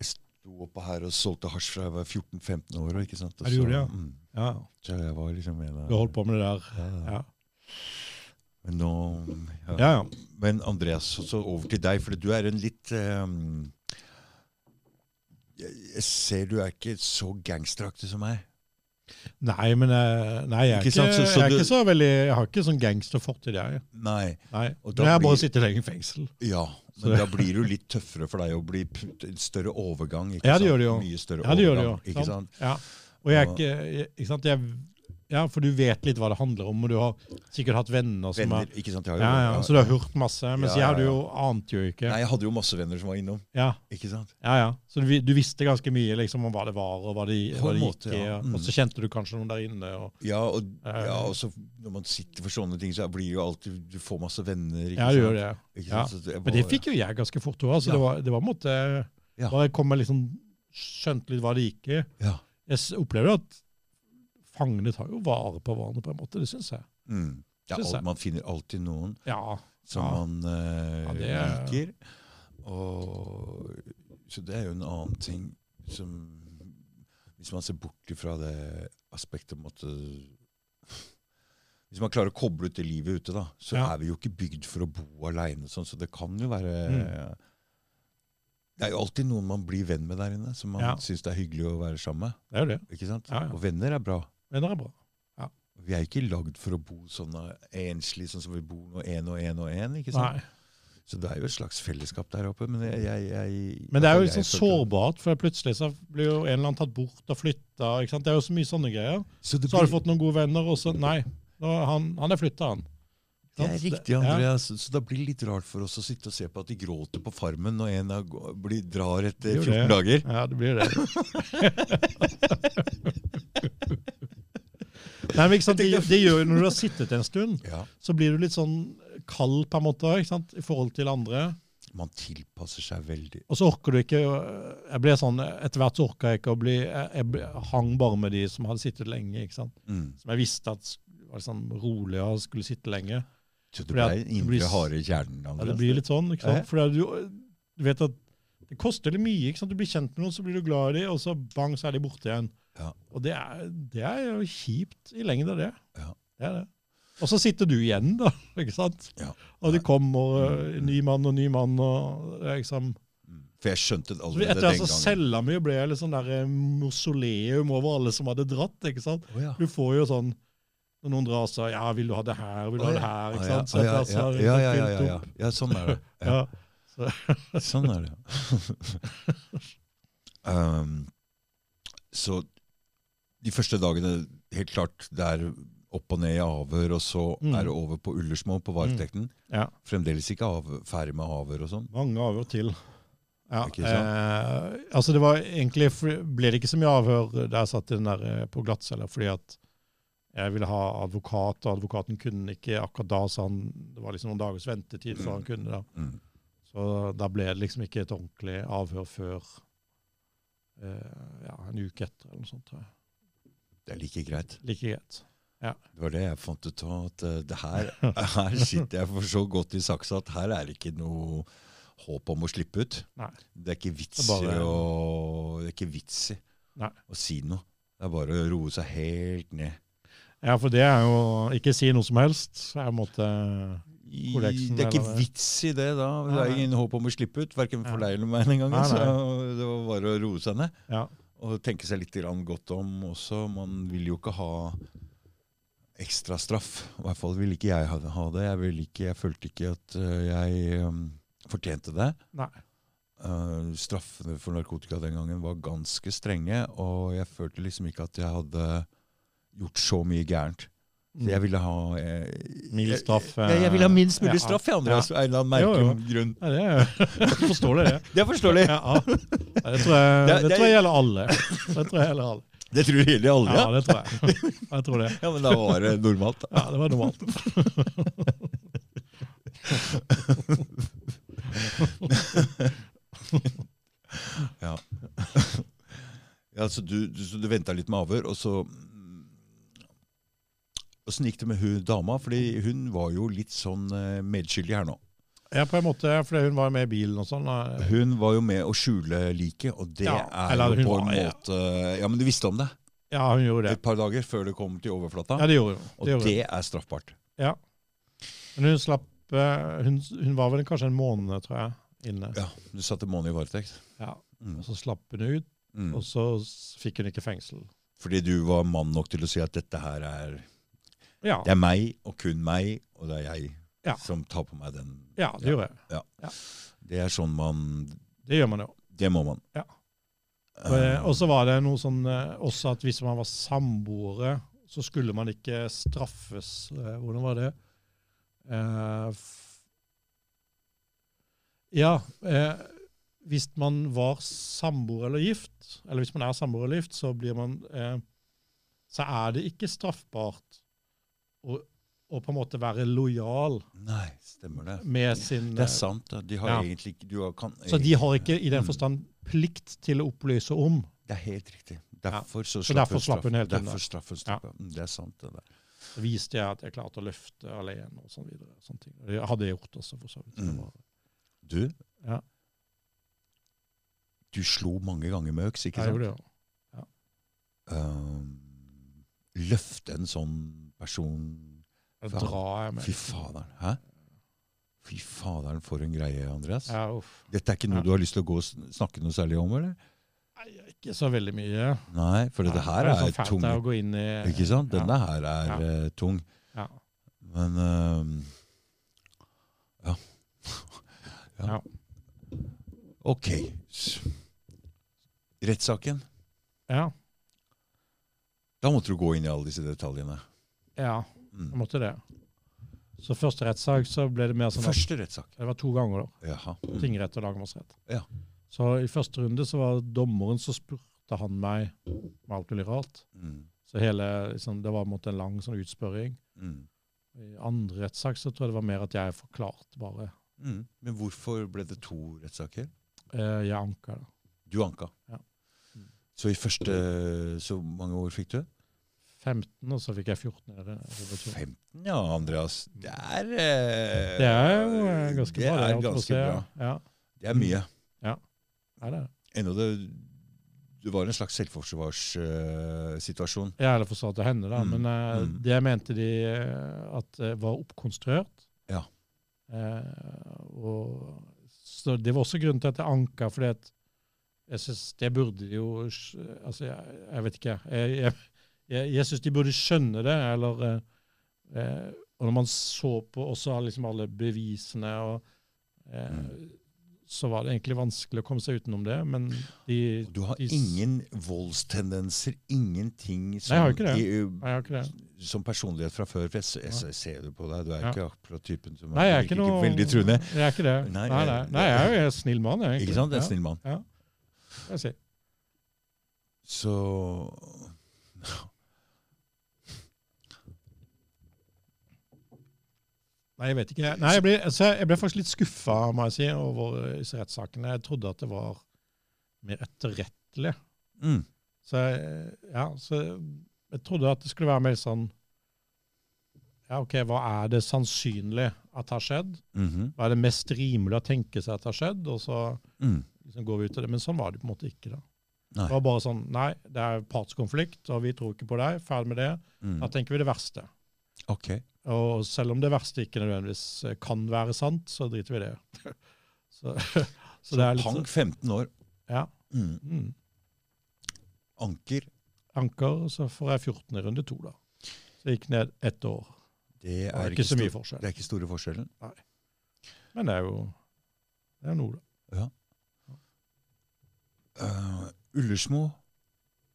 [SPEAKER 1] Jeg sto oppe her og solgte hasj fra jeg var 14-15 år. og Ikke sant? Og
[SPEAKER 2] Ja, du gjorde det, ja.
[SPEAKER 1] mm,
[SPEAKER 2] ja.
[SPEAKER 1] så jeg var liksom en av
[SPEAKER 2] Du holdt på med det der.
[SPEAKER 1] Ja, ja.
[SPEAKER 2] Ja,
[SPEAKER 1] Men nå
[SPEAKER 2] ja. ja.
[SPEAKER 1] Men Andreas, så, så over til deg, for du er en litt ehm, jeg, jeg ser du er ikke så gangsteraktig som meg.
[SPEAKER 2] Nei, men eh, nei, jeg er
[SPEAKER 1] Ikke
[SPEAKER 2] ikke,
[SPEAKER 1] sant, så- så
[SPEAKER 2] jeg, er
[SPEAKER 1] du-
[SPEAKER 2] ikke så veldig, jeg har ikke sånn gangsterfortid, jeg.
[SPEAKER 1] Nei.
[SPEAKER 2] Nei.
[SPEAKER 1] Og da
[SPEAKER 2] Men jeg har
[SPEAKER 1] blir-
[SPEAKER 2] bare sittet lenge i fengsel.
[SPEAKER 1] Ja,
[SPEAKER 2] Så-
[SPEAKER 1] men da blir det jo litt tøffere for deg å bli put- en større overgang. Ikke
[SPEAKER 2] Ja, det
[SPEAKER 1] sant?
[SPEAKER 2] gjør det jo.
[SPEAKER 1] Mye større
[SPEAKER 2] Ja, det gjør det
[SPEAKER 1] overgang,
[SPEAKER 2] jo, Sånn.
[SPEAKER 1] Ikke sant?
[SPEAKER 2] sant? Ja. Og jeg er
[SPEAKER 1] Og-
[SPEAKER 2] ikke jeg- Ikke sant? Jeg, ja, for du vet litt hva det handler om, og du har sikkert hatt venner som
[SPEAKER 1] Venner,
[SPEAKER 2] er
[SPEAKER 1] ikke sant? Jeg har jo-
[SPEAKER 2] ja, ja, Så du har hørt masse,
[SPEAKER 1] Ja,
[SPEAKER 2] mens jeg
[SPEAKER 1] ja,
[SPEAKER 2] hadde
[SPEAKER 1] ja.
[SPEAKER 2] jo ante jo ikke.
[SPEAKER 1] Nei, jeg hadde jo masse venner som var innom.
[SPEAKER 2] Ja,
[SPEAKER 1] Ikke sant?
[SPEAKER 2] ja, ja. Så du, vi- du visste ganske mye liksom, om hva det var, og hva det,
[SPEAKER 1] På
[SPEAKER 2] hva
[SPEAKER 1] en
[SPEAKER 2] det
[SPEAKER 1] måte,
[SPEAKER 2] gikk i.
[SPEAKER 1] ja.
[SPEAKER 2] og-
[SPEAKER 1] Mm.
[SPEAKER 2] Og så kjente du kanskje noen der inne. Og,
[SPEAKER 1] Ja, og,
[SPEAKER 2] Eh.
[SPEAKER 1] ja, og så når man sitter for sånne ting, så blir jo alltid Du får masse venner, ikke
[SPEAKER 2] ja,
[SPEAKER 1] sant?
[SPEAKER 2] du gjør det.
[SPEAKER 1] Ikke
[SPEAKER 2] Ja.
[SPEAKER 1] sant? Så jeg
[SPEAKER 2] Men
[SPEAKER 1] var-
[SPEAKER 2] det fikk jo jeg ganske fort òg.
[SPEAKER 1] sånn.
[SPEAKER 2] Altså,
[SPEAKER 1] Ja.
[SPEAKER 2] Det var- det var en måte
[SPEAKER 1] Ja.
[SPEAKER 2] Da jeg kom med liksom, skjønte litt hva det gikk i.
[SPEAKER 1] Ja.
[SPEAKER 2] Jeg s- opplevde at fangene tar jo vare på hverandre, på en måte. Det syns jeg.
[SPEAKER 1] Mm. Det er
[SPEAKER 2] Synes jeg.
[SPEAKER 1] alt, man finner alltid noen
[SPEAKER 2] Ja.
[SPEAKER 1] som
[SPEAKER 2] Ja.
[SPEAKER 1] man eh,
[SPEAKER 2] Ja, det er-
[SPEAKER 1] liker. Og, så det er jo en annen ting som Hvis man ser bort ifra det aspektet om at eh, Hvis man klarer å koble ut det livet ute, da, så
[SPEAKER 2] Ja.
[SPEAKER 1] er vi jo ikke bygd for å bo aleine. Sånn, så det kan jo være
[SPEAKER 2] Mm.
[SPEAKER 1] Det er jo alltid noen man blir venn med der inne, som man
[SPEAKER 2] Ja.
[SPEAKER 1] syns det er hyggelig å være sammen med.
[SPEAKER 2] Det er jo det.
[SPEAKER 1] Ikke sant?
[SPEAKER 2] Ja, ja.
[SPEAKER 1] Og venner er bra.
[SPEAKER 2] Venner er bra.
[SPEAKER 1] Vi er jo ikke lagd for å bo sånn enslig, sånn som vi bor nå, én og én og én. ikke sant?
[SPEAKER 2] Nei.
[SPEAKER 1] Så det er jo et slags fellesskap der oppe. Men jeg, jeg, jeg
[SPEAKER 2] Men det er jo
[SPEAKER 1] jeg
[SPEAKER 2] litt sånn
[SPEAKER 1] følte-
[SPEAKER 2] sårbart, for plutselig så blir jo en eller annen tatt bort og flytta. ikke sant? Det er jo så mye sånne greier.
[SPEAKER 1] Så det
[SPEAKER 2] Så har
[SPEAKER 1] blir,
[SPEAKER 2] du fått noen gode venner, og så Nei, nå, er han, han er flytta, han.
[SPEAKER 1] det er
[SPEAKER 2] Sant?
[SPEAKER 1] riktig,
[SPEAKER 2] Ja.
[SPEAKER 1] Andreas. Så det blir litt rart for oss å sitte og se på at de gråter på Farmen når en av gå- blir, drar etter
[SPEAKER 2] Det er jo
[SPEAKER 1] 14 dager.
[SPEAKER 2] Ja, det blir det. Nei, men ikke sant? Det, det gjør jo Når du har sittet en stund,
[SPEAKER 1] Ja,
[SPEAKER 2] så blir du litt sånn kald på en måte ikke sant? i forhold til andre.
[SPEAKER 1] Man tilpasser seg veldig.
[SPEAKER 2] Og så orker du ikke å- jeg ble sånn, Etter hvert så orka jeg ikke å bli jeg, jeg ble- hang bare med de som hadde sittet lenge. ikke sant?
[SPEAKER 1] Mm.
[SPEAKER 2] Som jeg visste at sk- var sånn rolig og skulle sitte lenge.
[SPEAKER 1] Så det
[SPEAKER 2] Fordi at
[SPEAKER 1] ble
[SPEAKER 2] det blir
[SPEAKER 1] indre
[SPEAKER 2] s-
[SPEAKER 1] harde i kjernen.
[SPEAKER 2] Ja, det
[SPEAKER 1] Andreas.
[SPEAKER 2] blir litt sånn, ikke
[SPEAKER 1] Ja.
[SPEAKER 2] sant? For du, du vet at det koster litt mye. ikke sant? Du blir kjent med noen, så blir du glad i dem, og så bang, så er de borte igjen.
[SPEAKER 1] Ja.
[SPEAKER 2] Og det er, det er jo kjipt i lengda, det.
[SPEAKER 1] Ja.
[SPEAKER 2] det, er det. Og så sitter du igjen, da. ikke sant?
[SPEAKER 1] Ja.
[SPEAKER 2] Og det kommer øh, ny mann og ny mann. og det er liksom...
[SPEAKER 1] Mm. For jeg skjønte det
[SPEAKER 2] Så vi-
[SPEAKER 1] allerede
[SPEAKER 2] Etter
[SPEAKER 1] den
[SPEAKER 2] altså,
[SPEAKER 1] gangen.
[SPEAKER 2] Selda mi ble jeg litt sånn der eh, mausoleum over alle som hadde dratt. ikke sant?
[SPEAKER 1] Å ja.
[SPEAKER 2] Du får jo sånn Når noen drar, så Ja, vil du ha det her? Vil du
[SPEAKER 1] Å
[SPEAKER 2] ha det
[SPEAKER 1] ja.
[SPEAKER 2] her?
[SPEAKER 1] Å
[SPEAKER 2] ikke
[SPEAKER 1] ja,
[SPEAKER 2] sant? Så
[SPEAKER 1] å ja,
[SPEAKER 2] etter hvert så
[SPEAKER 1] ja,
[SPEAKER 2] har det
[SPEAKER 1] ja,
[SPEAKER 2] liksom
[SPEAKER 1] ja, ja,
[SPEAKER 2] fylt
[SPEAKER 1] ja, ja.
[SPEAKER 2] opp.
[SPEAKER 1] ja, sånn er det. Ja.
[SPEAKER 2] Ja.
[SPEAKER 1] Sånn er det. um, så de første dagene, helt klart, det er opp og ned i avhør, og så
[SPEAKER 2] Mm.
[SPEAKER 1] er det over på Ullersmo, på varetekten.
[SPEAKER 2] Ja.
[SPEAKER 1] Fremdeles ikke av, ferdig med avhør og sånn.
[SPEAKER 2] Mange avhør til. Ja,
[SPEAKER 1] Ikke
[SPEAKER 2] eh, altså det var egentlig fl- ble det ikke så mye avhør da jeg satt i den der eh, på glattcella, fordi at jeg ville ha advokat, og advokaten kunne ikke akkurat da, så han, det var liksom noen dagers ventetid før han kunne da.
[SPEAKER 1] Mm.
[SPEAKER 2] Så da ble det liksom ikke et ordentlig avhør før eh, ja, en uke etter eller noe sånt, tror jeg.
[SPEAKER 1] Det er like greit.
[SPEAKER 2] Like greit.
[SPEAKER 1] Det var det jeg fant ut av. At eh, det her, her sitter jeg for så godt i saksa at her er det ikke noe håp om å slippe ut.
[SPEAKER 2] Nei.
[SPEAKER 1] Det er ikke vits
[SPEAKER 2] Det er bare-
[SPEAKER 1] i å- det er ikke vits i
[SPEAKER 2] Nei.
[SPEAKER 1] å si noe. Det er bare å roe seg helt ned.
[SPEAKER 2] Ja, for det er jo ikke si noe som helst. Jeg måtte...
[SPEAKER 1] I-
[SPEAKER 2] Kodeksen,
[SPEAKER 1] Det er ikke
[SPEAKER 2] eller?
[SPEAKER 1] vits i det, da. Det
[SPEAKER 2] Nei,
[SPEAKER 1] er
[SPEAKER 2] nei.
[SPEAKER 1] ingen håp om å slippe ut, verken for deg
[SPEAKER 2] Nei.
[SPEAKER 1] eller meg. den gangen,
[SPEAKER 2] Nei, nei.
[SPEAKER 1] så Det var bare å roe seg ned
[SPEAKER 2] Ja,
[SPEAKER 1] og tenke seg litt grann godt om også. Man vil jo ikke ha ekstra straff. I hvert fall ville ikke jeg ha ha det. Jeg, ville ikke, jeg følte ikke at øh, jeg øhm, fortjente det.
[SPEAKER 2] nei.
[SPEAKER 1] Eh, straffene for narkotika den gangen var ganske strenge, og jeg følte liksom ikke at jeg hadde gjort så mye gærent. Så
[SPEAKER 2] mm.
[SPEAKER 1] jeg ville ha eh,
[SPEAKER 2] Mild
[SPEAKER 1] jeg-
[SPEAKER 2] straff, eh,
[SPEAKER 1] Jeg, jeg, ville ha minst mulig
[SPEAKER 2] ja.
[SPEAKER 1] straff, jeg, Andreas. Av en eller annen merkelig
[SPEAKER 2] Jo,
[SPEAKER 1] grunn.
[SPEAKER 2] Ja, det er jo forståelig, det.
[SPEAKER 1] Det er forståelig.
[SPEAKER 2] Ja, ja. Det, tror jeg,
[SPEAKER 1] Det-
[SPEAKER 2] det,
[SPEAKER 1] det-
[SPEAKER 2] tror jeg gjelder alle. Det tror jeg gjelder alle.
[SPEAKER 1] Det tror hele alle,
[SPEAKER 2] Ja,
[SPEAKER 1] ja.
[SPEAKER 2] det tror jeg. Jeg tror det.
[SPEAKER 1] ja. Men da var det normalt. da.
[SPEAKER 2] Ja, det var normalt.
[SPEAKER 1] Ja, så du, du, så du venta litt med avhør, og så Åssen gikk det med hun dama? Fordi hun var jo litt sånn eh, medskyldig her nå.
[SPEAKER 2] Ja, på en måte, fordi hun var med i bilen og sånn. da.
[SPEAKER 1] Hun var jo med å skjule liket, og det
[SPEAKER 2] Ja,
[SPEAKER 1] er
[SPEAKER 2] eller
[SPEAKER 1] jo
[SPEAKER 2] hun
[SPEAKER 1] på en
[SPEAKER 2] var- ja.
[SPEAKER 1] måte Ja, men du visste om det
[SPEAKER 2] Ja, hun gjorde det.
[SPEAKER 1] et par dager før det kom til overflata,
[SPEAKER 2] Ja, det gjorde hun. Det
[SPEAKER 1] og
[SPEAKER 2] gjorde hun.
[SPEAKER 1] det er straffbart.
[SPEAKER 2] Men hun slapp eh, hun, hun var vel kanskje en måned, tror jeg, inne.
[SPEAKER 1] Ja, Du satt en måned i varetekt.
[SPEAKER 2] Ja.
[SPEAKER 1] Mm.
[SPEAKER 2] Og så slapp hun ut,
[SPEAKER 1] Mm.
[SPEAKER 2] og så s- fikk hun ikke fengsel.
[SPEAKER 1] Fordi du var mann nok til å si at dette her er
[SPEAKER 2] Ja,
[SPEAKER 1] Det er meg, og kun meg, og det er jeg
[SPEAKER 2] Ja.
[SPEAKER 1] som tar på meg den.
[SPEAKER 2] ja det gjorde jeg.
[SPEAKER 1] Det er sånn man
[SPEAKER 2] Det gjør man jo.
[SPEAKER 1] Det må man.
[SPEAKER 2] Ja.
[SPEAKER 1] Eh,
[SPEAKER 2] Og så var det noe sånn eh, også at hvis man var samboere, så skulle man ikke straffes. Eh, Hvordan var det? Eh, f- Ja, eh, hvis man var samboer eller gift, eller hvis man er samboer eller gift, så blir man eh, Så er det ikke straffbart å, å på en måte være lojal
[SPEAKER 1] Nei, stemmer det.
[SPEAKER 2] med sin
[SPEAKER 1] Det er sant. da. De har
[SPEAKER 2] eh, Ja.
[SPEAKER 1] egentlig ikke du har, kan,
[SPEAKER 2] Så de har ikke i den
[SPEAKER 1] Mm.
[SPEAKER 2] forstand plikt til å opplyse om.
[SPEAKER 1] Det er helt riktig. Derfor så
[SPEAKER 2] Så
[SPEAKER 1] slapp
[SPEAKER 2] derfor slapp hun helt unna.
[SPEAKER 1] Derfor slapp hun straffa. Mm, Det er sant, det der.
[SPEAKER 2] Så viste jeg at jeg klarte å løfte alene og sånn videre. og Sånne ting. Det hadde jeg gjort også, for så vidt. Det
[SPEAKER 1] Mm.
[SPEAKER 2] var-
[SPEAKER 1] Du,
[SPEAKER 2] Ja.
[SPEAKER 1] du slo mange ganger med øks, ikke
[SPEAKER 2] Jeg
[SPEAKER 1] sant?
[SPEAKER 2] gjorde det.
[SPEAKER 1] Um, løfte en sånn person
[SPEAKER 2] Jeg
[SPEAKER 1] Faen.
[SPEAKER 2] drar jeg med.
[SPEAKER 1] Fy faderen. Hæ? Fy faderen, for en greie, Andreas.
[SPEAKER 2] Ja, uff.
[SPEAKER 1] Dette er ikke noe
[SPEAKER 2] Ja.
[SPEAKER 1] du har lyst til å gå og sn- snakke noe særlig om, eller?
[SPEAKER 2] Nei, ikke så veldig mye.
[SPEAKER 1] Nei, for dette her
[SPEAKER 2] det
[SPEAKER 1] er,
[SPEAKER 2] så fælt
[SPEAKER 1] tung.
[SPEAKER 2] det er å gå inn i
[SPEAKER 1] Ikke sant?
[SPEAKER 2] Ja.
[SPEAKER 1] Denne her er eh, tung.
[SPEAKER 2] Ja.
[SPEAKER 1] Men ehm, ja.
[SPEAKER 2] Ja.
[SPEAKER 1] Ok. S- Rettssaken.
[SPEAKER 2] ja.
[SPEAKER 1] Da måtte du gå inn i alle disse detaljene.
[SPEAKER 2] Ja,
[SPEAKER 1] Mm.
[SPEAKER 2] jeg måtte det. Så første rettssak så ble det mer sånn at
[SPEAKER 1] Første rettssak.
[SPEAKER 2] det var to ganger, da.
[SPEAKER 1] Jaha. Mm.
[SPEAKER 2] Tingrett og lagmannsrett.
[SPEAKER 1] Ja.
[SPEAKER 2] Så i første runde så var det dommeren som spurte han meg om alt mulig rart.
[SPEAKER 1] Mm.
[SPEAKER 2] Så hele, liksom, det var på en måte en lang sånn utspørring.
[SPEAKER 1] Mm.
[SPEAKER 2] I andre rettssak så tror jeg det var mer at jeg forklarte bare.
[SPEAKER 1] Mm. Men hvorfor ble det to rettssaker?
[SPEAKER 2] Eh, jeg anka da.
[SPEAKER 1] Du anka.
[SPEAKER 2] Ja.
[SPEAKER 1] Så i første Så mange år fikk du?
[SPEAKER 2] 15, og så fikk jeg 14 øre.
[SPEAKER 1] 15, ja, Andreas. Det er eh,
[SPEAKER 2] Det er jo eh, ganske
[SPEAKER 1] det
[SPEAKER 2] bra.
[SPEAKER 1] Er
[SPEAKER 2] holdt på å si,
[SPEAKER 1] ganske bra.
[SPEAKER 2] Ja,
[SPEAKER 1] Det er mye.
[SPEAKER 2] Ja, det er det.
[SPEAKER 1] Enda det, det var en slags selvforsvarssituasjon.
[SPEAKER 2] Jeg hadde forsvart henne, da,
[SPEAKER 1] Mm,
[SPEAKER 2] men eh,
[SPEAKER 1] mm.
[SPEAKER 2] det jeg mente de eh, at eh, var oppkonstruert.
[SPEAKER 1] Ja.
[SPEAKER 2] Eh, og, så det var også grunnen til at jeg anka, fordi at jeg syns det burde de jo skj- Altså, jeg, jeg vet ikke. Jeg, jeg, jeg, jeg syns de burde skjønne det, eller eh, eh, Og når man så på også liksom alle bevisene og eh,
[SPEAKER 1] Mm.
[SPEAKER 2] Så var det egentlig vanskelig å komme seg utenom det, men de
[SPEAKER 1] Og Du har
[SPEAKER 2] Is-
[SPEAKER 1] ingen voldstendenser, ingenting som,
[SPEAKER 2] Nei, jeg har ikke det.
[SPEAKER 1] i- eh,
[SPEAKER 2] Nei, jeg har ikke det.
[SPEAKER 1] som personlighet fra før. For jeg, s- jeg s- ser det på deg. Du er
[SPEAKER 2] Ja.
[SPEAKER 1] ikke akkurat typen som
[SPEAKER 2] Nei, jeg er
[SPEAKER 1] virker
[SPEAKER 2] ikke noe
[SPEAKER 1] veldig truende.
[SPEAKER 2] Jeg er ikke det. Nei,
[SPEAKER 1] Nei,
[SPEAKER 2] nei, nei.
[SPEAKER 1] jeg-
[SPEAKER 2] jeg er jo en snill mann, jeg, egentlig.
[SPEAKER 1] Ikke sant? En snill mann.
[SPEAKER 2] Ja, jeg sier.
[SPEAKER 1] Så
[SPEAKER 2] Nei, jeg vet ikke. Nei, jeg, ble, altså, jeg ble faktisk litt skuffa, må jeg si, over disse rettssakene. Jeg trodde at det var mer etterrettelig.
[SPEAKER 1] mm.
[SPEAKER 2] Så jeg, ja, så jeg trodde at det skulle være mer sånn Ja, OK, hva er det sannsynlig at har skjedd?
[SPEAKER 1] Mhm.
[SPEAKER 2] Hva er det mest rimelig å tenke seg at har skjedd? Og så
[SPEAKER 1] mm.
[SPEAKER 2] liksom går vi ut av det. Men sånn var det på en måte ikke. da.
[SPEAKER 1] Nei.
[SPEAKER 2] Det var bare sånn Nei, det er partskonflikt, og vi tror ikke på deg. Ferdig med det.
[SPEAKER 1] Mm.
[SPEAKER 2] Da tenker vi det verste.
[SPEAKER 1] Ok.
[SPEAKER 2] Og selv om det verste ikke nødvendigvis eh, kan være sant, så driter vi i det. Så, så, det er litt
[SPEAKER 1] Pang 15 år.
[SPEAKER 2] Ja.
[SPEAKER 1] Mm.
[SPEAKER 2] Mm,
[SPEAKER 1] Anker.
[SPEAKER 2] anker, og så får jeg 14 i runde to, da. Så jeg gikk ned ett år.
[SPEAKER 1] Det
[SPEAKER 2] Det
[SPEAKER 1] er,
[SPEAKER 2] er ikke så mye
[SPEAKER 1] stor-
[SPEAKER 2] forskjell.
[SPEAKER 1] Det er ikke store forskjellen.
[SPEAKER 2] Men det er jo det er noe, da.
[SPEAKER 1] Eh, Ullersmo.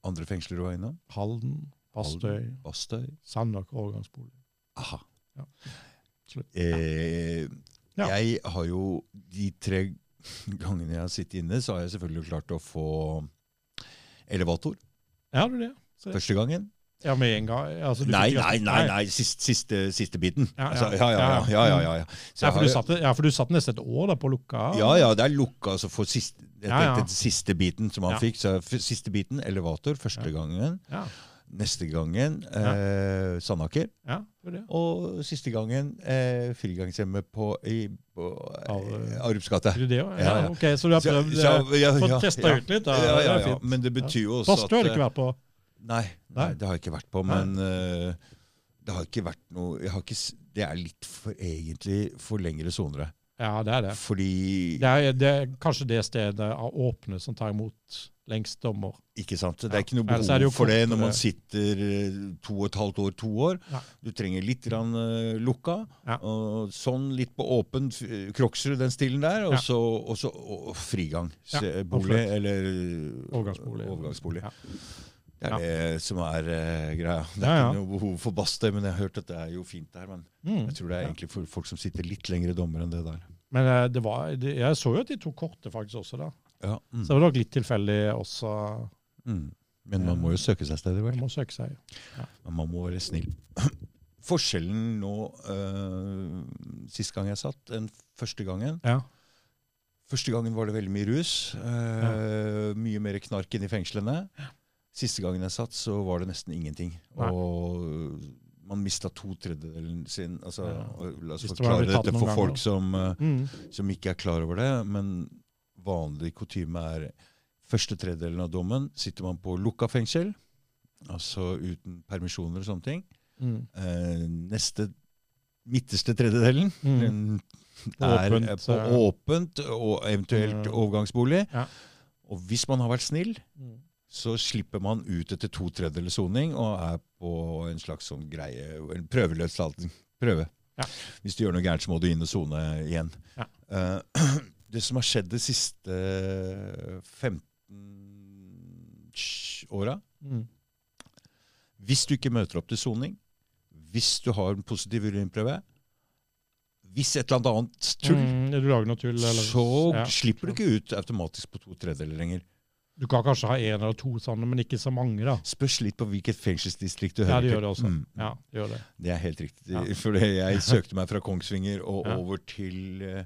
[SPEAKER 1] Andre fengsler du var innom?
[SPEAKER 2] Halden, Bastøy,
[SPEAKER 1] Halden, Bastøy.
[SPEAKER 2] Sandaker overgangsbolig.
[SPEAKER 1] Aha.
[SPEAKER 2] Ja. Slutt.
[SPEAKER 1] Eh,
[SPEAKER 2] Ja.
[SPEAKER 1] Jeg har jo de tre gangene jeg har sittet inne, så har jeg selvfølgelig klart å få elevator.
[SPEAKER 2] Ja, du det? Ja.
[SPEAKER 1] Første gangen.
[SPEAKER 2] Ja, med en gang? Altså, du
[SPEAKER 1] Nei,
[SPEAKER 2] fikk-
[SPEAKER 1] nei, nei, nei siste, siste, siste biten.
[SPEAKER 2] Ja, ja.
[SPEAKER 1] Altså, ja, ja, ja. ja, ja, ja, ja. Så
[SPEAKER 2] Ja,
[SPEAKER 1] jeg
[SPEAKER 2] for
[SPEAKER 1] har,
[SPEAKER 2] du
[SPEAKER 1] jo-
[SPEAKER 2] satt, ja, for du satt nesten et år da på lukka?
[SPEAKER 1] ja, ja, det er lukka altså, for siste, jeg
[SPEAKER 2] Ah. Ja, ja.
[SPEAKER 1] tenkte siste biten som han
[SPEAKER 2] Ja.
[SPEAKER 1] fikk. Så f- siste biten, elevator, første gangen.
[SPEAKER 2] Ja,
[SPEAKER 1] Neste gangen, eh, Sandaker.
[SPEAKER 2] ja det var det.
[SPEAKER 1] Og siste gangen, eh, frigangshjemmet på, i- på eh, Arups gate.
[SPEAKER 2] Fikk du det òg? Ja,
[SPEAKER 1] Ja, ja.
[SPEAKER 2] OK, så du har
[SPEAKER 1] Så-
[SPEAKER 2] prøvd
[SPEAKER 1] så-
[SPEAKER 2] eh,
[SPEAKER 1] ja,
[SPEAKER 2] Fått
[SPEAKER 1] ja,
[SPEAKER 2] testa
[SPEAKER 1] ja.
[SPEAKER 2] ut litt, da.
[SPEAKER 1] Ja, ja,
[SPEAKER 2] Det er
[SPEAKER 1] ja.
[SPEAKER 2] fint.
[SPEAKER 1] Men det betyr jo også
[SPEAKER 2] Bastøy har du
[SPEAKER 1] at eh,
[SPEAKER 2] ikke vært på?
[SPEAKER 1] Nei, nei,
[SPEAKER 2] Nei.
[SPEAKER 1] det har jeg ikke vært på.
[SPEAKER 2] Nei.
[SPEAKER 1] Men eh, det har ikke vært noe jeg har ikke, s- Det er litt for egentlig for lengre sonere.
[SPEAKER 2] eh, Ja, det er det.
[SPEAKER 1] Fordi
[SPEAKER 2] Det er, det er kanskje det stedet av åpne som tar imot lengst dommer.
[SPEAKER 1] Ikke sant? Det
[SPEAKER 2] Ja.
[SPEAKER 1] er ikke noe
[SPEAKER 2] Ellers er det jo
[SPEAKER 1] behov for det når
[SPEAKER 2] kortere.
[SPEAKER 1] man sitter eh, to og et halvt år, to år.
[SPEAKER 2] Nei.
[SPEAKER 1] Du trenger litt grann, eh, lukka,
[SPEAKER 2] Ja.
[SPEAKER 1] og sånn litt på åpen eh, Kroksrud, den stilen der, og
[SPEAKER 2] Ja.
[SPEAKER 1] så og så- og frigang.
[SPEAKER 2] Ja,
[SPEAKER 1] Se- Bolig,
[SPEAKER 2] absolutt.
[SPEAKER 1] eller
[SPEAKER 2] Overgangsbolig.
[SPEAKER 1] overgangsbolig.
[SPEAKER 2] Ja.
[SPEAKER 1] Det er det som er eh, greia. Det er
[SPEAKER 2] Ja, ja.
[SPEAKER 1] ikke noe behov for Bastøy, men jeg har hørt at det er jo fint der. Men
[SPEAKER 2] Mm.
[SPEAKER 1] jeg tror det er
[SPEAKER 2] Ja.
[SPEAKER 1] egentlig for folk som sitter litt lengre dommer enn det der.
[SPEAKER 2] Men eh, det var, det, jeg så jo at de tok korte faktisk også, da.
[SPEAKER 1] Ja, mm,
[SPEAKER 2] Så det var nok litt tilfeldig også.
[SPEAKER 1] mm. Men man må jo søke seg steder, vel?
[SPEAKER 2] Man må søke seg.
[SPEAKER 1] Men man må være snill. Forskjellen nå eh, Sist gang jeg satt, den første gangen
[SPEAKER 2] Ja.
[SPEAKER 1] Første gangen var det veldig mye rus. eh, Mye mer knark inn i fengslene. Siste gangen jeg satt, så var det nesten ingenting.
[SPEAKER 2] Nei.
[SPEAKER 1] Og øh, man mista to tredjedelen sin. Altså,
[SPEAKER 2] Ja.
[SPEAKER 1] og La oss
[SPEAKER 2] Hvis det var
[SPEAKER 1] forklare
[SPEAKER 2] blitt tatt
[SPEAKER 1] dette
[SPEAKER 2] noen
[SPEAKER 1] for
[SPEAKER 2] ganger.
[SPEAKER 1] folk som, øh,
[SPEAKER 2] Mm.
[SPEAKER 1] som ikke er klar over det, men vanlig kutyme er første tredjedelen av dommen sitter man på lukka fengsel, altså uten permisjoner og sånne ting.
[SPEAKER 2] Mm.
[SPEAKER 1] Eh, neste midterste tredjedelen
[SPEAKER 2] Mm.
[SPEAKER 1] den er
[SPEAKER 2] Åpent,
[SPEAKER 1] eh, på
[SPEAKER 2] eh,
[SPEAKER 1] åpent og eventuelt
[SPEAKER 2] Mm.
[SPEAKER 1] overgangsbolig.
[SPEAKER 2] Ja.
[SPEAKER 1] Og hvis man har vært snill,
[SPEAKER 2] Mm.
[SPEAKER 1] så slipper man ut etter to tredjedels soning og er på en slags sånn greie, en prøveløslatelse. Prøve.
[SPEAKER 2] Ja.
[SPEAKER 1] Hvis du gjør noe gærent, så må du inn og sone igjen.
[SPEAKER 2] Ja.
[SPEAKER 1] Eh, det som har skjedd de siste 15 åra,
[SPEAKER 2] Mm.
[SPEAKER 1] hvis du ikke møter opp til soning, hvis du har en positiv urinprøve, hvis et eller annet tull,
[SPEAKER 2] Mm, du lager noe tull. Eller,
[SPEAKER 1] så
[SPEAKER 2] ja.
[SPEAKER 1] slipper du ikke ut automatisk på to tredjedeler lenger.
[SPEAKER 2] Du kan kanskje ha én eller to sånne, men ikke så mange, da.
[SPEAKER 1] Spørs litt på hvilket fengselsdistrikt du
[SPEAKER 2] Ja,
[SPEAKER 1] hører
[SPEAKER 2] det
[SPEAKER 1] til.
[SPEAKER 2] gjør det også.
[SPEAKER 1] Mm.
[SPEAKER 2] Ja, det gjør det.
[SPEAKER 1] Det er helt riktig.
[SPEAKER 2] Ja.
[SPEAKER 1] For jeg søkte meg fra Kongsvinger og
[SPEAKER 2] Ja.
[SPEAKER 1] over til eh,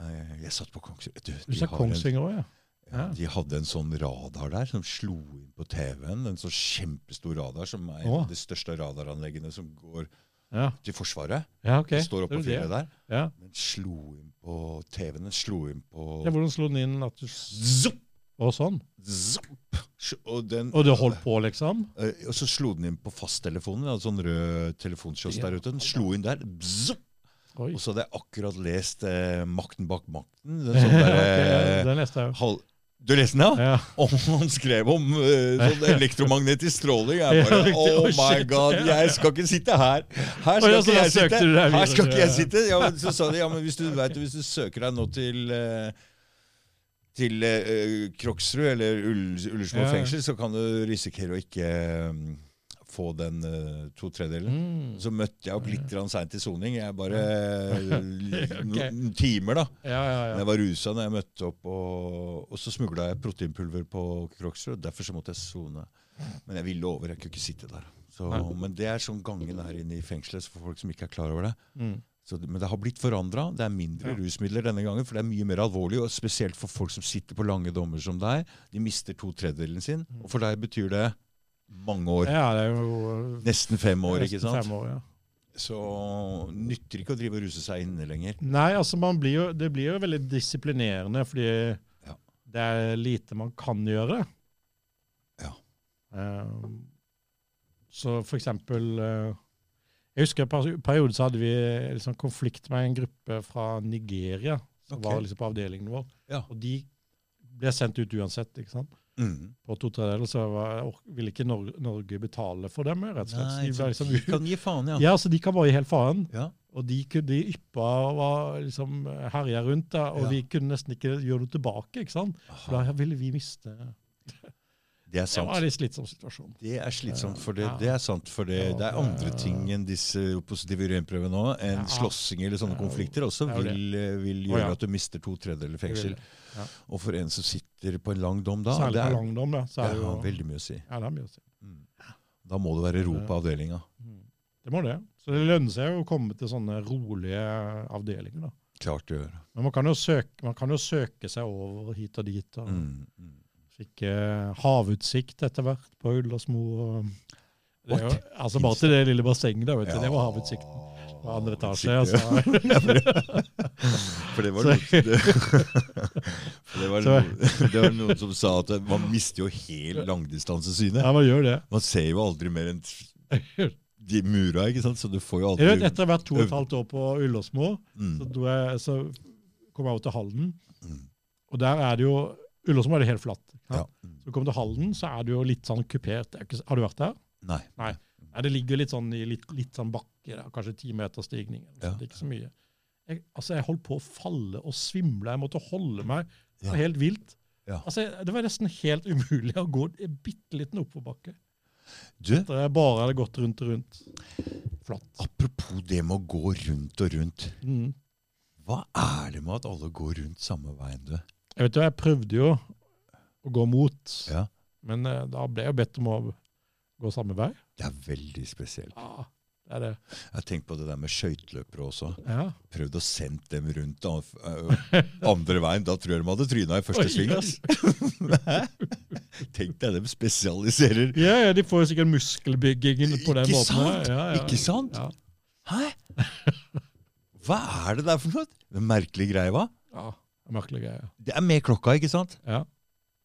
[SPEAKER 1] eh, Jeg satt på Kongsvinger. Du,
[SPEAKER 2] Du sa
[SPEAKER 1] har
[SPEAKER 2] Kongsvinger òg, ja.
[SPEAKER 1] En, ja,
[SPEAKER 2] ja.
[SPEAKER 1] de hadde en sånn radar der som slo inn på TV-en. En sånn kjempestor radar som er en
[SPEAKER 2] Å.
[SPEAKER 1] av de største radaranleggene som går
[SPEAKER 2] Ja,
[SPEAKER 1] til Forsvaret.
[SPEAKER 2] ja ok.
[SPEAKER 1] Det står oppå
[SPEAKER 2] Det er jo det.
[SPEAKER 1] fjellet der.
[SPEAKER 2] Ja.
[SPEAKER 1] Den slo inn på TV-en. Den slo inn på
[SPEAKER 2] ja, Hvordan slo den inn? At du...
[SPEAKER 1] Zopp!
[SPEAKER 2] Og sånn?
[SPEAKER 1] Zopp! Og, den,
[SPEAKER 2] Og det holdt på, liksom?
[SPEAKER 1] eh, og så slo den inn på fasttelefonen. En sånn rød telefonkiosk
[SPEAKER 2] Ja.
[SPEAKER 1] der ute. Den slo inn der. Zopp!
[SPEAKER 2] Oi.
[SPEAKER 1] Og så hadde jeg akkurat lest eh, 'Makten bak makten'. Den sånn der,
[SPEAKER 2] Ok,
[SPEAKER 1] eh,
[SPEAKER 2] den leste jeg jo.
[SPEAKER 1] halv... Du leste den, ja?
[SPEAKER 2] Ja.
[SPEAKER 1] Og han skrev om eh, sånn elektromagnetisk stråling. Jeg
[SPEAKER 2] Ja,
[SPEAKER 1] bare
[SPEAKER 2] riktig.
[SPEAKER 1] Oh
[SPEAKER 2] Å,
[SPEAKER 1] my
[SPEAKER 2] shit.
[SPEAKER 1] god, jeg skal ikke sitte her! Her
[SPEAKER 2] Å,
[SPEAKER 1] skal
[SPEAKER 2] ja, så
[SPEAKER 1] ikke
[SPEAKER 2] da
[SPEAKER 1] jeg
[SPEAKER 2] søkte
[SPEAKER 1] sitte!
[SPEAKER 2] du deg
[SPEAKER 1] Her skal
[SPEAKER 2] videre,
[SPEAKER 1] ikke jeg
[SPEAKER 2] ja.
[SPEAKER 1] sitte! Ja, men så sa de ja, men hvis du, vet, du, hvis du søker deg nå til eh, til eh, Kroksrud eller Ull- Ullersmo
[SPEAKER 2] Ja, ja.
[SPEAKER 1] fengsel, så kan du risikere å ikke eh, få den eh, to tredjedelen.
[SPEAKER 2] Mm.
[SPEAKER 1] Så møtte jeg opp litt grann seint i soning. Jeg bare
[SPEAKER 2] Ok.
[SPEAKER 1] noen timer, da.
[SPEAKER 2] Ja, ja,
[SPEAKER 1] Men
[SPEAKER 2] ja.
[SPEAKER 1] Jeg var rusa når jeg møtte opp, og, og så smugla jeg proteinpulver på Kroksrud. Derfor så måtte jeg sone. Men jeg ville over, jeg kunne ikke sitte der. Så,
[SPEAKER 2] Nei.
[SPEAKER 1] men det er sånn gangen her inne i fengselet for folk som ikke er klar over det.
[SPEAKER 2] Mm.
[SPEAKER 1] Så, det- men det har blitt forandra. Det er mindre
[SPEAKER 2] Ja.
[SPEAKER 1] rusmidler denne gangen, for det er mye mer alvorlig. og Spesielt for folk som sitter på lange dommer som deg. De mister to tredjedelen sin.
[SPEAKER 2] Mm.
[SPEAKER 1] Og for deg betyr det mange år.
[SPEAKER 2] ja, det er jo
[SPEAKER 1] Nesten fem år,
[SPEAKER 2] nesten
[SPEAKER 1] ikke sant?
[SPEAKER 2] Fem år, ja.
[SPEAKER 1] Så nytter ikke å drive og ruse seg inne lenger.
[SPEAKER 2] Nei, altså man blir jo, det blir jo veldig disiplinerende, fordi
[SPEAKER 1] Ja.
[SPEAKER 2] det er lite man kan gjøre.
[SPEAKER 1] Ja.
[SPEAKER 2] Ehm, så for eksempel eh, Jeg husker en peri- periode så hadde vi liksom konflikt med en gruppe fra Nigeria, som
[SPEAKER 1] Ok.
[SPEAKER 2] var liksom på avdelingen vår.
[SPEAKER 1] Ja.
[SPEAKER 2] Og de ble sendt ut uansett, ikke sant?
[SPEAKER 1] Mm.
[SPEAKER 2] På to tredjedeler så var, ork- ville ikke Nor Norge betale for dem, rett og slett.
[SPEAKER 1] Nei,
[SPEAKER 2] så de, ble
[SPEAKER 1] så
[SPEAKER 2] liksom,
[SPEAKER 1] de kan gi faen, ja.
[SPEAKER 2] ja, så de kan være i helt faren.
[SPEAKER 1] Ja.
[SPEAKER 2] Og de, kunne- de yppa og var liksom herja rundt, da, og
[SPEAKER 1] Ja.
[SPEAKER 2] vi kunne nesten ikke gjøre det tilbake. ikke sant? For
[SPEAKER 1] Aha,
[SPEAKER 2] da ville vi miste
[SPEAKER 1] Det er
[SPEAKER 2] Det var en
[SPEAKER 1] sant.
[SPEAKER 2] litt slitsom situasjon.
[SPEAKER 1] Det er slitsomt, for det,
[SPEAKER 2] Ja.
[SPEAKER 1] det er sant, for det,
[SPEAKER 2] Ja,
[SPEAKER 1] det er andre ting enn disse positive urinprøvene nå, enn
[SPEAKER 2] Ja.
[SPEAKER 1] slåssing eller sånne
[SPEAKER 2] Ja.
[SPEAKER 1] konflikter også
[SPEAKER 2] Det er jo det.
[SPEAKER 1] vil, eh, vil
[SPEAKER 2] Å, ja.
[SPEAKER 1] gjøre at du mister to tredjedeler fengsel. Og for en som sitter på en lang dom da,
[SPEAKER 2] Særlig
[SPEAKER 1] det
[SPEAKER 2] på
[SPEAKER 1] er,
[SPEAKER 2] langdom. da, Så
[SPEAKER 1] det
[SPEAKER 2] er det
[SPEAKER 1] har
[SPEAKER 2] jo,
[SPEAKER 1] veldig mye å si.
[SPEAKER 2] ja, det er mye å si.
[SPEAKER 1] Mm. Da må det være ro på avdelinga.
[SPEAKER 2] Mm. Det må det. Så det lønner seg jo å komme til sånne rolige avdelinger. da.
[SPEAKER 1] Klart det gjør.
[SPEAKER 2] Men man kan jo søke, man kan jo søke seg over hit og dit. og
[SPEAKER 1] Mm. Mm.
[SPEAKER 2] Fikk eh, havutsikt etter hvert på Ullersmo. og- Det er jo,
[SPEAKER 1] What?
[SPEAKER 2] altså Bare til det lille bassenget, da, vet du.
[SPEAKER 1] Ja.
[SPEAKER 2] Det var havutsikten. På andre etasje.
[SPEAKER 1] Utsikt, ja.
[SPEAKER 2] altså.
[SPEAKER 1] For det var,
[SPEAKER 2] Så-
[SPEAKER 1] noe- det, for det, var noen, det var noen som sa at man mister jo helt langdistansesynet.
[SPEAKER 2] Ja, man gjør det.
[SPEAKER 1] Man ser jo aldri mer enn de mura, ikke sant? Så du får jo
[SPEAKER 2] Jeg vet,
[SPEAKER 1] aldri
[SPEAKER 2] etter å ha vært to og et halvt år på Ullersmo, så,
[SPEAKER 1] mm,
[SPEAKER 2] dro jeg, så kom jeg over til Halden.
[SPEAKER 1] Mm.
[SPEAKER 2] Og der er det jo Ullersmo er det helt flatt. ikke
[SPEAKER 1] ja. Mm.
[SPEAKER 2] sant? Så kom du til Halden, så er det jo litt sånn kupert. Det er ikke- Har du vært der?
[SPEAKER 1] Nei.
[SPEAKER 2] Nei, det ligger litt sånn i litt, litt sånn bakke der, kanskje ti meter stigning. eller noe
[SPEAKER 1] Ja.
[SPEAKER 2] sånt, Ikke så mye. Jeg, altså, jeg holdt på å falle og svimle. Jeg måtte holde meg. Det var
[SPEAKER 1] Ja.
[SPEAKER 2] helt vilt.
[SPEAKER 1] Ja.
[SPEAKER 2] Altså, jeg- det var nesten helt umulig å gå en bitte liten oppoverbakke.
[SPEAKER 1] Du,
[SPEAKER 2] Da jeg bare hadde gått rundt og rundt. Flatt.
[SPEAKER 1] apropos det med å gå rundt og rundt.
[SPEAKER 2] Mm.
[SPEAKER 1] Hva er det med at alle går rundt samme veien, du?
[SPEAKER 2] Jeg vet jo, jeg prøvde jo å gå mot,
[SPEAKER 1] Ja.
[SPEAKER 2] men eh, da ble jeg jo bedt om å gå samme vei.
[SPEAKER 1] Det er veldig spesielt.
[SPEAKER 2] Ja, det er det.
[SPEAKER 1] Jeg har tenkt på det der med skøyteløpere også.
[SPEAKER 2] Ja.
[SPEAKER 1] Prøvd å sende dem rundt eh, av- øh, andre veien. Da tror jeg de hadde tryna i første
[SPEAKER 2] Oi,
[SPEAKER 1] sving.
[SPEAKER 2] ja.
[SPEAKER 1] ass. Tenk deg, de spesialiserer.
[SPEAKER 2] Ja, ja, de får jo sikkert muskelbyggingen på den
[SPEAKER 1] Ikke
[SPEAKER 2] måten. her.
[SPEAKER 1] sant?
[SPEAKER 2] Ja, ja.
[SPEAKER 1] Ikke sant?
[SPEAKER 2] Ja.
[SPEAKER 1] Hæ? Hva er det der for noe? Det er merkelig greie, hva?
[SPEAKER 2] ja. Merkelig greie.
[SPEAKER 1] Det er med klokka, ikke sant?
[SPEAKER 2] Ja.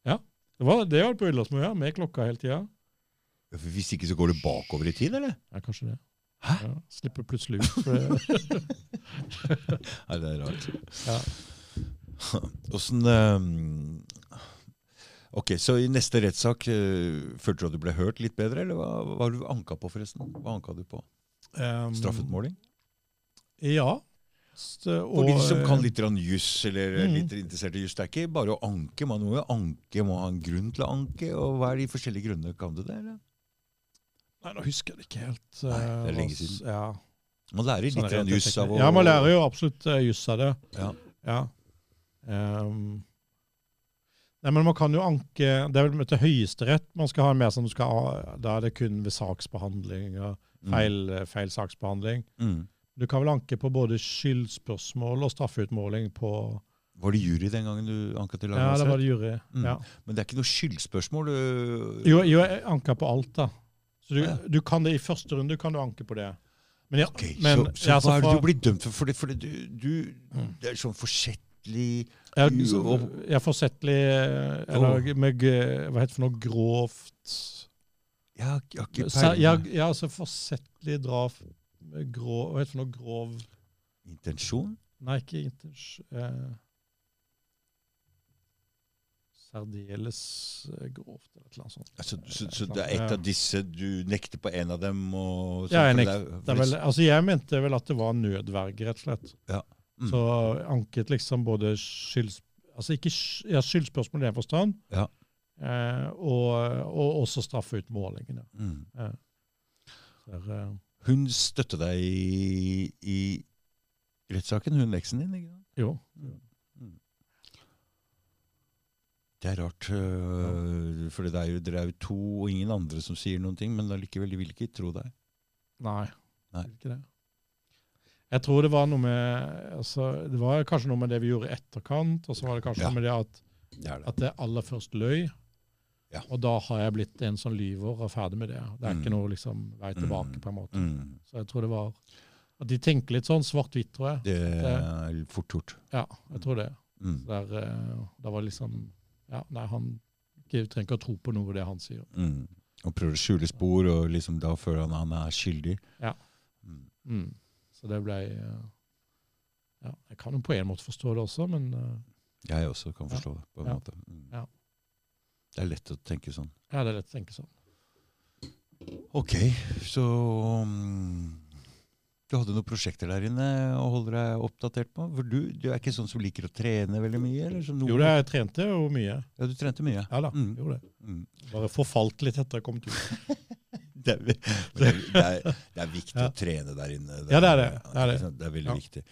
[SPEAKER 2] ja. Det var det jeg var på Ullåsmøya, med klokka hele tida.
[SPEAKER 1] Hvis ikke så går det bakover i tid, eller?
[SPEAKER 2] Ja, kanskje det.
[SPEAKER 1] Hæ?
[SPEAKER 2] Ja. Slipper plutselig ut. For det.
[SPEAKER 1] Nei, det er rart.
[SPEAKER 2] Ja.
[SPEAKER 1] Åssen ehm, Ok, så i neste rettssak eh, følte du at du ble hørt litt bedre, eller hva, hva var du anka på, forresten? Hva anka du på?
[SPEAKER 2] Ehm,
[SPEAKER 1] Straffutmåling?
[SPEAKER 2] Ja. S-
[SPEAKER 1] For
[SPEAKER 2] og,
[SPEAKER 1] de som kan
[SPEAKER 2] eh,
[SPEAKER 1] litt grann juss, eller er
[SPEAKER 2] Mhm.
[SPEAKER 1] litt interessert i juss, det er ikke bare å anke. Man må jo anke, må ha en grunn til å anke. Og hva er de forskjellige grunnene? Kan du det, eller?
[SPEAKER 2] Nei, nå husker jeg det ikke helt.
[SPEAKER 1] Nei, det er
[SPEAKER 2] eh,
[SPEAKER 1] lenge
[SPEAKER 2] hva s-
[SPEAKER 1] siden.
[SPEAKER 2] Ja.
[SPEAKER 1] Man lærer litt
[SPEAKER 2] Sånn
[SPEAKER 1] grann
[SPEAKER 2] rent
[SPEAKER 1] juss av
[SPEAKER 2] teknisk.
[SPEAKER 1] å
[SPEAKER 2] Ja, man lærer jo absolutt eh, juss av det.
[SPEAKER 1] Ja.
[SPEAKER 2] Ehm, nei, men man kan jo anke Det er vel til Høyesterett man skal ha en mer som du skal ha Da er det kun ved saksbehandling og
[SPEAKER 1] Mm.
[SPEAKER 2] feil, eh, feil saksbehandling.
[SPEAKER 1] Mm.
[SPEAKER 2] Du kan vel anke på både skyldspørsmål og straffeutmåling på
[SPEAKER 1] Var det jury den gangen du anka til
[SPEAKER 2] Ja, det
[SPEAKER 1] lagmannsrett?
[SPEAKER 2] var det jury.
[SPEAKER 1] Mm.
[SPEAKER 2] Ja.
[SPEAKER 1] Men det er ikke noe skyldspørsmål? øh. Du...
[SPEAKER 2] Jo, jo, jeg anka på alt, da. Så du,
[SPEAKER 1] Ja.
[SPEAKER 2] du kan det i første runde kan du anke på det. Men, ja,
[SPEAKER 1] Ok,
[SPEAKER 2] men
[SPEAKER 1] så, så
[SPEAKER 2] ja, altså,
[SPEAKER 1] hva er det
[SPEAKER 2] fra-
[SPEAKER 1] du blir dømt for? Fordi, fordi du, du,
[SPEAKER 2] Mm.
[SPEAKER 1] det er sånn forsettlig
[SPEAKER 2] Ja,
[SPEAKER 1] Du-
[SPEAKER 2] så-
[SPEAKER 1] og-
[SPEAKER 2] ja, forsettlig eh, Eller med, g- hva heter det for noe? Grovt
[SPEAKER 1] Jeg har jeg har ikke
[SPEAKER 2] Sa- Ja,
[SPEAKER 1] peiling.
[SPEAKER 2] ja altså forsettlig drap med grov, Hva heter det for noe? Grov
[SPEAKER 1] Intensjon?
[SPEAKER 2] Nei, ikke intens... Eh, særdeles eh, grovt, eller et eller annet sånt.
[SPEAKER 1] Altså, så, så det er et av disse du nekter på en av dem? Og,
[SPEAKER 2] Ja, jeg
[SPEAKER 1] for
[SPEAKER 2] nekter.
[SPEAKER 1] er-
[SPEAKER 2] Det er vel, altså jeg mente vel at det var nødverge, rett og slett.
[SPEAKER 1] Ja. Mm.
[SPEAKER 2] Så anket liksom både skylds... Altså ikke sky- ja, skyldspørsmål i den forstand,
[SPEAKER 1] Ja.
[SPEAKER 2] eh, og, og også straffeutmålingene.
[SPEAKER 1] Mm.
[SPEAKER 2] Der, eh,
[SPEAKER 1] Hun støtter deg i, i rettssaken, hun leksen din? ikke sant?
[SPEAKER 2] jo.
[SPEAKER 1] Det er rart, øh, for det er jo, dere er jo to og ingen andre som sier noen ting, men allikevel, de vil ikke tro deg.
[SPEAKER 2] Nei.
[SPEAKER 1] Nei.
[SPEAKER 2] Ikke det. Jeg tror det var noe med altså, Det var kanskje noe med det vi gjorde i etterkant, og så var det kanskje
[SPEAKER 1] Ja.
[SPEAKER 2] noe med det at,
[SPEAKER 1] Det er det.
[SPEAKER 2] at jeg aller først løy.
[SPEAKER 1] Ja.
[SPEAKER 2] Og da har jeg blitt en som lyver og ferdig med det. Det er
[SPEAKER 1] Mm.
[SPEAKER 2] ikke noe liksom, vei tilbake,
[SPEAKER 1] Mm.
[SPEAKER 2] på en måte.
[SPEAKER 1] Mm.
[SPEAKER 2] Så jeg tror det var At de tenker litt sånn svart-hvitt, tror jeg.
[SPEAKER 1] Det er fort gjort.
[SPEAKER 2] Ja, jeg tror det.
[SPEAKER 1] Mm.
[SPEAKER 2] Så Der, eh, da var det liksom Ja, nei, han ikke- trenger ikke å tro på noe av det han sier.
[SPEAKER 1] Mm. Og prøver å skjule spor, og liksom da føler han han er skyldig.
[SPEAKER 2] Ja.
[SPEAKER 1] Mm.
[SPEAKER 2] Mm. Så det ble eh, Ja, jeg kan jo på en måte forstå det også, men eh,
[SPEAKER 1] Jeg også kan
[SPEAKER 2] Ja.
[SPEAKER 1] forstå det, på en
[SPEAKER 2] Ja.
[SPEAKER 1] måte. Mm.
[SPEAKER 2] Ja.
[SPEAKER 1] Det er lett å tenke sånn.
[SPEAKER 2] ja, det er lett å tenke sånn.
[SPEAKER 1] Ok, så mm, Du hadde noen prosjekter der inne å holde deg oppdatert på? For du, du er ikke sånn som liker å trene veldig mye? Eller som noen,
[SPEAKER 2] Jo, det, jeg trente jo mye.
[SPEAKER 1] Ja, du trente mye.
[SPEAKER 2] Ja da,
[SPEAKER 1] Mm.
[SPEAKER 2] gjorde det.
[SPEAKER 1] Mm.
[SPEAKER 2] Bare forfalt litt etter jeg kom ut.
[SPEAKER 1] Det, er, vi- det, er, det, er, det er viktig
[SPEAKER 2] Ja.
[SPEAKER 1] å trene der inne.
[SPEAKER 2] Ja, det er det. Det er det.
[SPEAKER 1] Det er veldig
[SPEAKER 2] Ja.
[SPEAKER 1] viktig.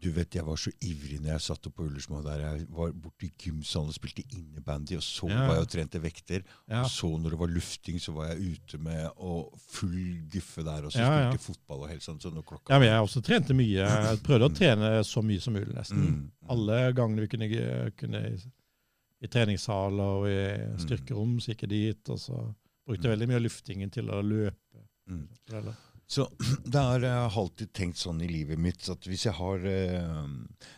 [SPEAKER 1] Du vet, Jeg var så ivrig når jeg satt oppe på Ullersmo. der Jeg var borte i gymsalen og spilte innebandy, og så
[SPEAKER 2] Ja.
[SPEAKER 1] var jeg og trente vekter.
[SPEAKER 2] Ja.
[SPEAKER 1] Og så når det var lufting, så var jeg ute med og full guffe der. Og så
[SPEAKER 2] Ja, ja.
[SPEAKER 1] spilte jeg fotball og helt sånn. Så når klokka
[SPEAKER 2] ja, men jeg også trente mye. Jeg prøvde å trene så mye som mulig, nesten.
[SPEAKER 1] Mm.
[SPEAKER 2] Alle gangene vi kunne, kunne i, i treningssal og i styrkerom, så gikk jeg dit. Og så brukte jeg veldig mye av luftingen til å løpe.
[SPEAKER 1] Mm.
[SPEAKER 2] for det.
[SPEAKER 1] Så det er, jeg har alltid tenkt sånn i livet mitt at hvis jeg har eh,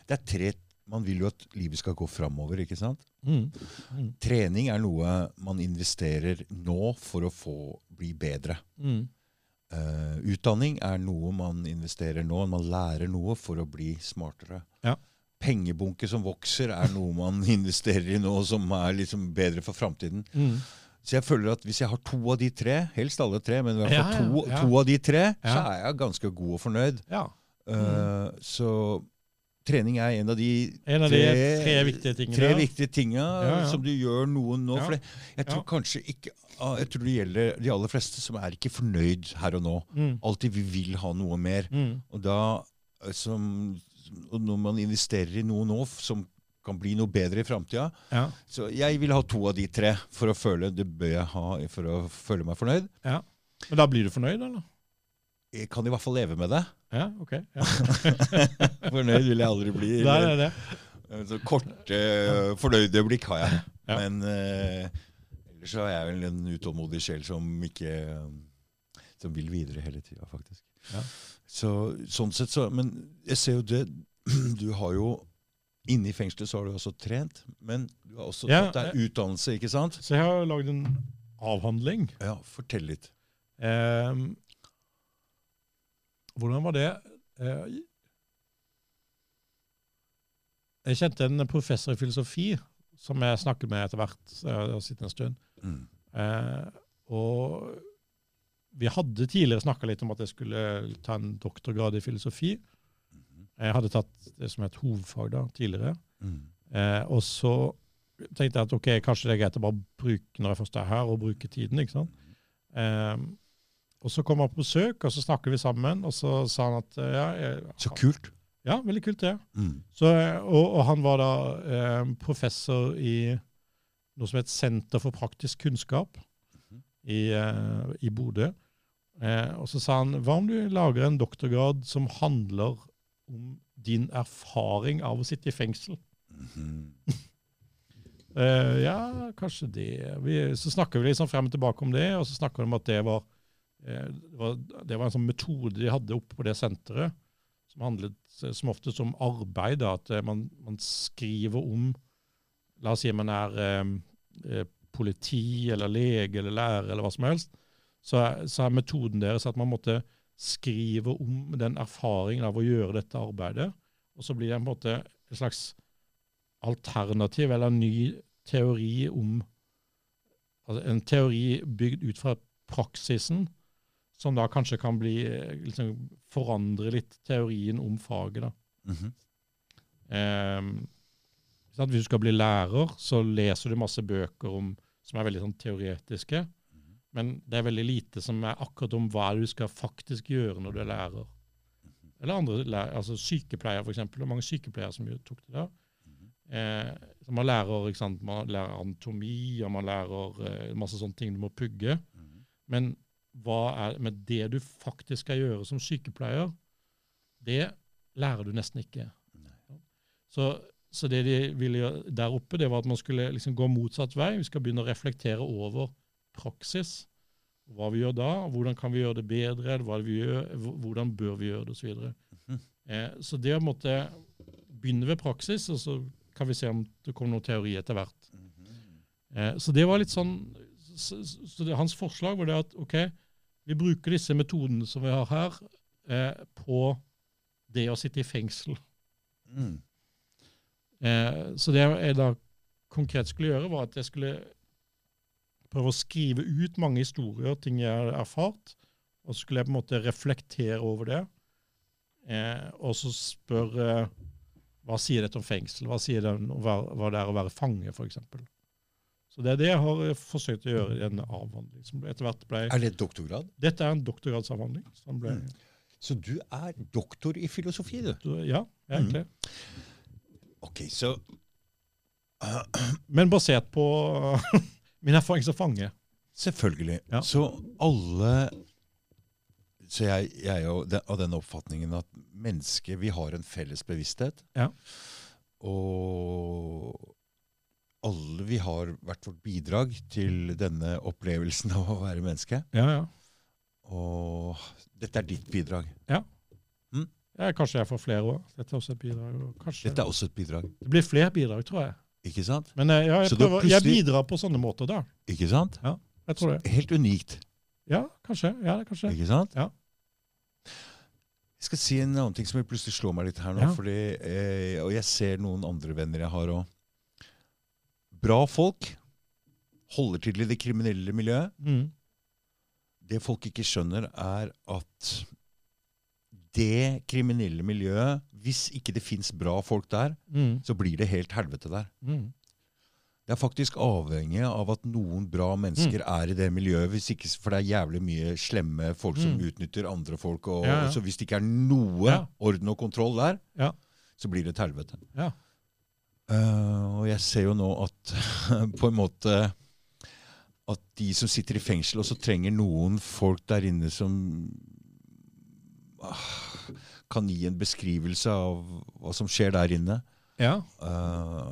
[SPEAKER 1] Det er tre Man vil jo at livet skal gå framover, ikke sant?
[SPEAKER 2] Mm. Mm.
[SPEAKER 1] Trening er noe man investerer nå for å få bli bedre.
[SPEAKER 2] Mm.
[SPEAKER 1] Eh, utdanning er noe man investerer nå. Man lærer noe for å bli smartere.
[SPEAKER 2] Ja.
[SPEAKER 1] Pengebunke som vokser, er noe man investerer i nå som er liksom bedre for framtiden.
[SPEAKER 2] Mm.
[SPEAKER 1] Så jeg føler at hvis jeg har to av de tre, helst alle tre, men i hvert fall
[SPEAKER 2] Ja, ja,
[SPEAKER 1] to,
[SPEAKER 2] ja.
[SPEAKER 1] to av de tre, så
[SPEAKER 2] Ja.
[SPEAKER 1] er jeg ganske god og fornøyd.
[SPEAKER 2] Ja.
[SPEAKER 1] Eh, Så trening er en av de
[SPEAKER 2] En av de tre viktige tingene.
[SPEAKER 1] Tre viktige tinga
[SPEAKER 2] Ja, ja.
[SPEAKER 1] som du gjør noen nå.
[SPEAKER 2] Ja.
[SPEAKER 1] For det, jeg tror
[SPEAKER 2] Ja.
[SPEAKER 1] kanskje ikke ah, Jeg tror det gjelder de aller fleste som er ikke fornøyd her og nå.
[SPEAKER 2] Mm.
[SPEAKER 1] Alltid vi vil ha noe mer.
[SPEAKER 2] Mm.
[SPEAKER 1] Og da eh, som, og når man investerer i noe nå f- som kan bli noe bedre i framtida
[SPEAKER 2] Ja.
[SPEAKER 1] Så jeg vil ha to av de tre for å føle det bør jeg ha for å føle meg fornøyd.
[SPEAKER 2] Men da blir du fornøyd, eller?
[SPEAKER 1] Jeg kan i hvert fall leve med det.
[SPEAKER 2] Ja, OK. Ja.
[SPEAKER 1] Fornøyd vil jeg aldri bli.
[SPEAKER 2] Det
[SPEAKER 1] eller-
[SPEAKER 2] er det.
[SPEAKER 1] Eh, Så korte, fornøyde blikk har jeg.
[SPEAKER 2] Ja.
[SPEAKER 1] Men eh, Ellers så er jeg vel en utålmodig sjel som ikke eh, Som vil videre hele tida, faktisk.
[SPEAKER 2] Ja.
[SPEAKER 1] Så, sånn sett så Men jeg ser jo det Du har jo Inne i fengselet så har du også trent, men du har også
[SPEAKER 2] Ja,
[SPEAKER 1] tatt deg utdannelse, ikke sant?
[SPEAKER 2] Så jeg har lagd en avhandling.
[SPEAKER 1] Ja, fortell litt.
[SPEAKER 2] Ehm, hvordan var det? Eh, jeg kjente en professor i filosofi som jeg snakket med etter hvert. så Jeg har sittet en stund.
[SPEAKER 1] Mm.
[SPEAKER 2] Eh, og vi hadde tidligere snakka litt om at jeg skulle ta en doktorgrad i filosofi. Jeg hadde tatt det som et hovedfag da, tidligere.
[SPEAKER 1] Mm.
[SPEAKER 2] Eh, og så tenkte jeg at ok, kanskje det er greit å bare bruke når jeg først er her, og bruke tiden. ikke sant? Eh, og så kom han på besøk, og så snakket vi sammen, og så sa han at eh, ja, jeg,
[SPEAKER 1] Så kult.
[SPEAKER 2] ja, veldig kult det.
[SPEAKER 1] Mm.
[SPEAKER 2] Så, eh, og, og han var da eh, professor i noe som het Senter for praktisk kunnskap
[SPEAKER 1] Mhm.
[SPEAKER 2] i, eh, i Bodø. Eh, og så sa han hva om du lager en doktorgrad som handler om din erfaring av å sitte i fengsel?
[SPEAKER 1] Mhm.
[SPEAKER 2] Eh, ja, kanskje det. Vi, så snakker vi liksom frem og tilbake om det, og så snakker vi om at det var, eh, det var, det var en sånn metode de hadde oppe på det senteret, som handlet eh, som oftest om arbeid. Da, at eh, man, man skriver om La oss si man er eh, eh, politi eller lege eller lærer eller hva som helst. Så er, så er metoden deres at man måtte skrive om den erfaringen av å gjøre dette arbeidet. Og så blir det på en måte en slags alternativ eller en ny teori om altså En teori bygd ut fra praksisen, som da kanskje kan bli eh, liksom, forandre litt teorien om faget. da.
[SPEAKER 1] Mhm.
[SPEAKER 2] Ehm, ikke sant? Hvis du skal bli lærer, så leser du masse bøker om, som er veldig sånn, teoretiske, men det er veldig lite som er akkurat om hva du skal faktisk gjøre når du er lærer. Eller andre lærer, altså sykepleier, for eksempel. Det er mange sykepleiere som jo tok det der. Eh, så man lærer ikke sant? Man lærer anatomi, og man lærer eh, masse sånne ting du må pugge.
[SPEAKER 1] Mhm.
[SPEAKER 2] Men hva er, men det du faktisk skal gjøre som sykepleier, det lærer du nesten ikke. Så, så det de ville gjøre der oppe, det var at man skulle liksom gå motsatt vei. Vi skal begynne å reflektere over praksis. Hva vi gjør da, hvordan kan vi gjøre det bedre, hva vi gjør, hv- hvordan bør vi gjøre det, osv. Så, videre.
[SPEAKER 1] Mhm.
[SPEAKER 2] eh, så det å måtte begynne ved praksis, og så kan vi se om det kommer noen teori etter hvert.
[SPEAKER 1] Mm-hmm.
[SPEAKER 2] Eh, så det var litt sånn Så, så- så det, hans forslag var det at OK, vi bruker disse metodene som vi har her, eh, på det å sitte i fengsel.
[SPEAKER 1] Mm.
[SPEAKER 2] Eh, så det jeg da konkret skulle gjøre, var at jeg skulle prøve å skrive ut mange historier, ting jeg har erfart, og så skulle jeg på en måte reflektere over det. Eh, og så spørre hva sier dette om fengsel, hva sier det om å være- hva det er å være fange, f.eks. Så det er det jeg har eh, forsøkt å gjøre i en avhandling. som etter hvert ble...
[SPEAKER 1] Er det doktorgrad?
[SPEAKER 2] Dette er en doktorgradsavhandling. Som ble,
[SPEAKER 1] Så du er doktor i filosofi, du?
[SPEAKER 2] ja, egentlig.
[SPEAKER 1] Ok, så
[SPEAKER 2] Men basert på min erfaring som fange.
[SPEAKER 1] Selvfølgelig.
[SPEAKER 2] Ja.
[SPEAKER 1] Så alle Så jeg, jeg er jo de- av den oppfatningen at mennesket Vi har en felles bevissthet.
[SPEAKER 2] Ja.
[SPEAKER 1] Og alle vi har hvert vårt bidrag til denne opplevelsen av å være menneske.
[SPEAKER 2] Ja, ja.
[SPEAKER 1] Og dette er ditt bidrag.
[SPEAKER 2] Ja, kanskje jeg får flere òg. Dette er også et bidrag. og Kanskje.
[SPEAKER 1] Dette er også et bidrag.
[SPEAKER 2] Det blir flere bidrag, tror jeg.
[SPEAKER 1] Ikke sant?
[SPEAKER 2] Men eh, ja, jeg,
[SPEAKER 1] Så da
[SPEAKER 2] prøver, jeg
[SPEAKER 1] plutselig-
[SPEAKER 2] bidrar på sånne måter, da.
[SPEAKER 1] Ikke sant?
[SPEAKER 2] Jeg tror det.
[SPEAKER 1] Helt unikt.
[SPEAKER 2] Ja, kanskje. Ja, det er kanskje. det.
[SPEAKER 1] Ikke sant?
[SPEAKER 2] Ja.
[SPEAKER 1] Jeg skal si en annen ting som plutselig slår meg litt her nå.
[SPEAKER 2] Ja.
[SPEAKER 1] Fordi, eh, og jeg ser noen andre venner jeg har òg. Bra folk holder til i det kriminelle miljøet.
[SPEAKER 2] Mm.
[SPEAKER 1] Det folk ikke skjønner, er at det kriminelle miljøet Hvis ikke det fins bra folk der,
[SPEAKER 2] Mm.
[SPEAKER 1] så blir det helt helvete der.
[SPEAKER 2] Mm.
[SPEAKER 1] Det er faktisk avhengig av at noen bra mennesker
[SPEAKER 2] Mm.
[SPEAKER 1] er i det miljøet. Hvis ikke, for det er jævlig mye slemme folk som
[SPEAKER 2] Mm.
[SPEAKER 1] utnytter andre folk. Og,
[SPEAKER 2] Ja, ja.
[SPEAKER 1] Så hvis det ikke er noe
[SPEAKER 2] Ja.
[SPEAKER 1] orden og kontroll der,
[SPEAKER 2] Ja.
[SPEAKER 1] så blir det et helvete.
[SPEAKER 2] Ja.
[SPEAKER 1] Eh, og jeg ser jo nå at på en måte at de som sitter i fengsel, også trenger noen folk der inne som ah, kan gi en beskrivelse av hva som skjer der inne.
[SPEAKER 2] ja.
[SPEAKER 1] Eh,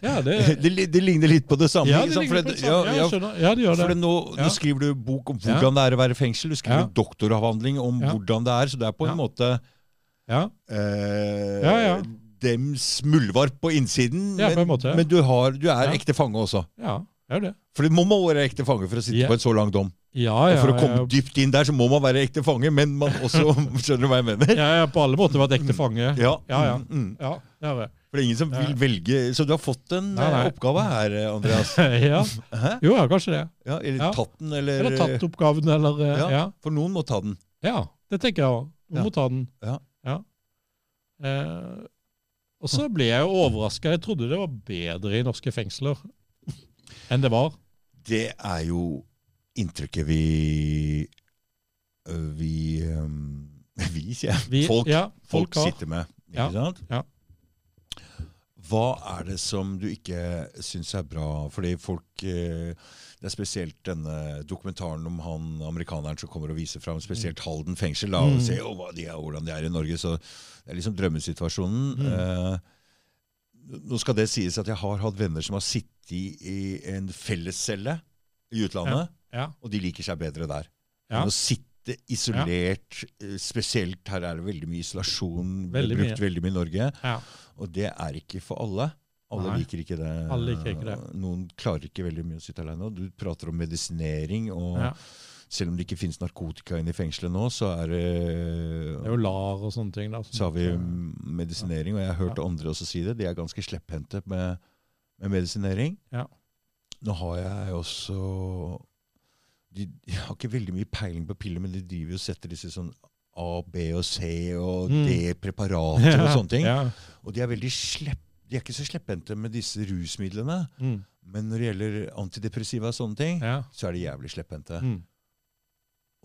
[SPEAKER 2] Ja, det,
[SPEAKER 1] Det, li- det ligner litt på det samme.
[SPEAKER 2] ja,
[SPEAKER 1] ikke
[SPEAKER 2] det
[SPEAKER 1] sant? For
[SPEAKER 2] ligner
[SPEAKER 1] det-
[SPEAKER 2] på det samme. Ja,
[SPEAKER 1] ja,
[SPEAKER 2] jeg skjønner. Ja, det gjør
[SPEAKER 1] For
[SPEAKER 2] det.
[SPEAKER 1] det nå,
[SPEAKER 2] Ja.
[SPEAKER 1] nå skriver du bok om
[SPEAKER 2] Ja.
[SPEAKER 1] hvordan det er å være i fengsel. Du skriver
[SPEAKER 2] Ja.
[SPEAKER 1] doktoravhandling om
[SPEAKER 2] Ja.
[SPEAKER 1] hvordan det er. Så det er på en
[SPEAKER 2] Ja.
[SPEAKER 1] måte
[SPEAKER 2] Ja.
[SPEAKER 1] eh,
[SPEAKER 2] Ja, ja.
[SPEAKER 1] dems muldvarp på innsiden.
[SPEAKER 2] Ja, på
[SPEAKER 1] men
[SPEAKER 2] en måte, ja.
[SPEAKER 1] men du, har, du er
[SPEAKER 2] Ja.
[SPEAKER 1] ekte fange også.
[SPEAKER 2] Ja, det er det.
[SPEAKER 1] For man må være ekte fange for å sitte
[SPEAKER 2] Ja.
[SPEAKER 1] på en så lang dom.
[SPEAKER 2] Ja,
[SPEAKER 1] Og
[SPEAKER 2] ja,
[SPEAKER 1] for å komme
[SPEAKER 2] jeg-
[SPEAKER 1] dypt inn der så må man være ekte fange, men man også Skjønner du hva jeg mener?
[SPEAKER 2] Jeg har på alle måter vært ekte fange.
[SPEAKER 1] Mm. Ja.
[SPEAKER 2] Ja, ja.
[SPEAKER 1] Mm, mm.
[SPEAKER 2] Ja, det er det.
[SPEAKER 1] For det er ingen som vil velge Så du har fått en
[SPEAKER 2] Nei, nei.
[SPEAKER 1] eh, oppgave her, eh, Andreas.
[SPEAKER 2] Ja.
[SPEAKER 1] Hæ?
[SPEAKER 2] Jo, ja, kanskje det.
[SPEAKER 1] Ja, eller
[SPEAKER 2] Ja.
[SPEAKER 1] tatt den, eller,
[SPEAKER 2] Eller tatt oppgaven, eller eh,
[SPEAKER 1] Ja.
[SPEAKER 2] Ja,
[SPEAKER 1] For noen må ta den.
[SPEAKER 2] ja det tenker jeg òg. Du
[SPEAKER 1] Ja.
[SPEAKER 2] må ta den.
[SPEAKER 1] Ja.
[SPEAKER 2] Eh, og så ble jeg jo overraska. Jeg trodde det var bedre i norske fengsler enn det var.
[SPEAKER 1] Det er jo inntrykket vi øh, Vi øhm, Vi, sier jeg.
[SPEAKER 2] Vi-
[SPEAKER 1] folk
[SPEAKER 2] ja,
[SPEAKER 1] folk,
[SPEAKER 2] har-
[SPEAKER 1] sitter med. Ikke
[SPEAKER 2] Ja,
[SPEAKER 1] sant?
[SPEAKER 2] ja.
[SPEAKER 1] Hva er det som du ikke syns er bra? Fordi folk eh, Det er spesielt denne dokumentaren om han amerikaneren som kommer og viser fram spesielt Halden fengsel. Da, og
[SPEAKER 2] Mm.
[SPEAKER 1] ser jo hva de er, hvordan de er i Norge. Så det er liksom drømmesituasjonen.
[SPEAKER 2] Mm.
[SPEAKER 1] Eh, nå skal det sies at jeg har hatt venner som har sittet i en fellescelle i utlandet,
[SPEAKER 2] Ja.
[SPEAKER 1] og de liker seg bedre der.
[SPEAKER 2] Ja.
[SPEAKER 1] Enn å sitte isolert, eh, spesielt her er det veldig mye isolasjon, blir
[SPEAKER 2] Veldig
[SPEAKER 1] brukt veldig mye i Norge,
[SPEAKER 2] Ja.
[SPEAKER 1] og det er ikke for alle. Alle
[SPEAKER 2] Nei.
[SPEAKER 1] liker ikke det.
[SPEAKER 2] Alle liker ikke det.
[SPEAKER 1] Noen klarer ikke veldig mye å sitte alene. Og du prater om medisinering, og
[SPEAKER 2] Ja.
[SPEAKER 1] selv om det ikke finnes narkotika inne i fengselet nå, så er det
[SPEAKER 2] Det er jo LAR og sånne ting. Da, som-
[SPEAKER 1] så har vi medisinering, og jeg har hørt andre også si det. De er ganske slepphendte med, med medisinering.
[SPEAKER 2] Ja.
[SPEAKER 1] Nå har jeg også de, Jeg har ikke veldig mye peiling på piller, men de driver jo og setter disse sånn A, B og C og
[SPEAKER 2] Mm.
[SPEAKER 1] D-preparater og sånne ting.
[SPEAKER 2] Ja.
[SPEAKER 1] Og de er veldig slepp, de er ikke så slepphendte med disse rusmidlene.
[SPEAKER 2] Mm.
[SPEAKER 1] Men når det gjelder antidepressiva og sånne ting,
[SPEAKER 2] Ja.
[SPEAKER 1] så er de jævlig slepphendte.
[SPEAKER 2] Mm.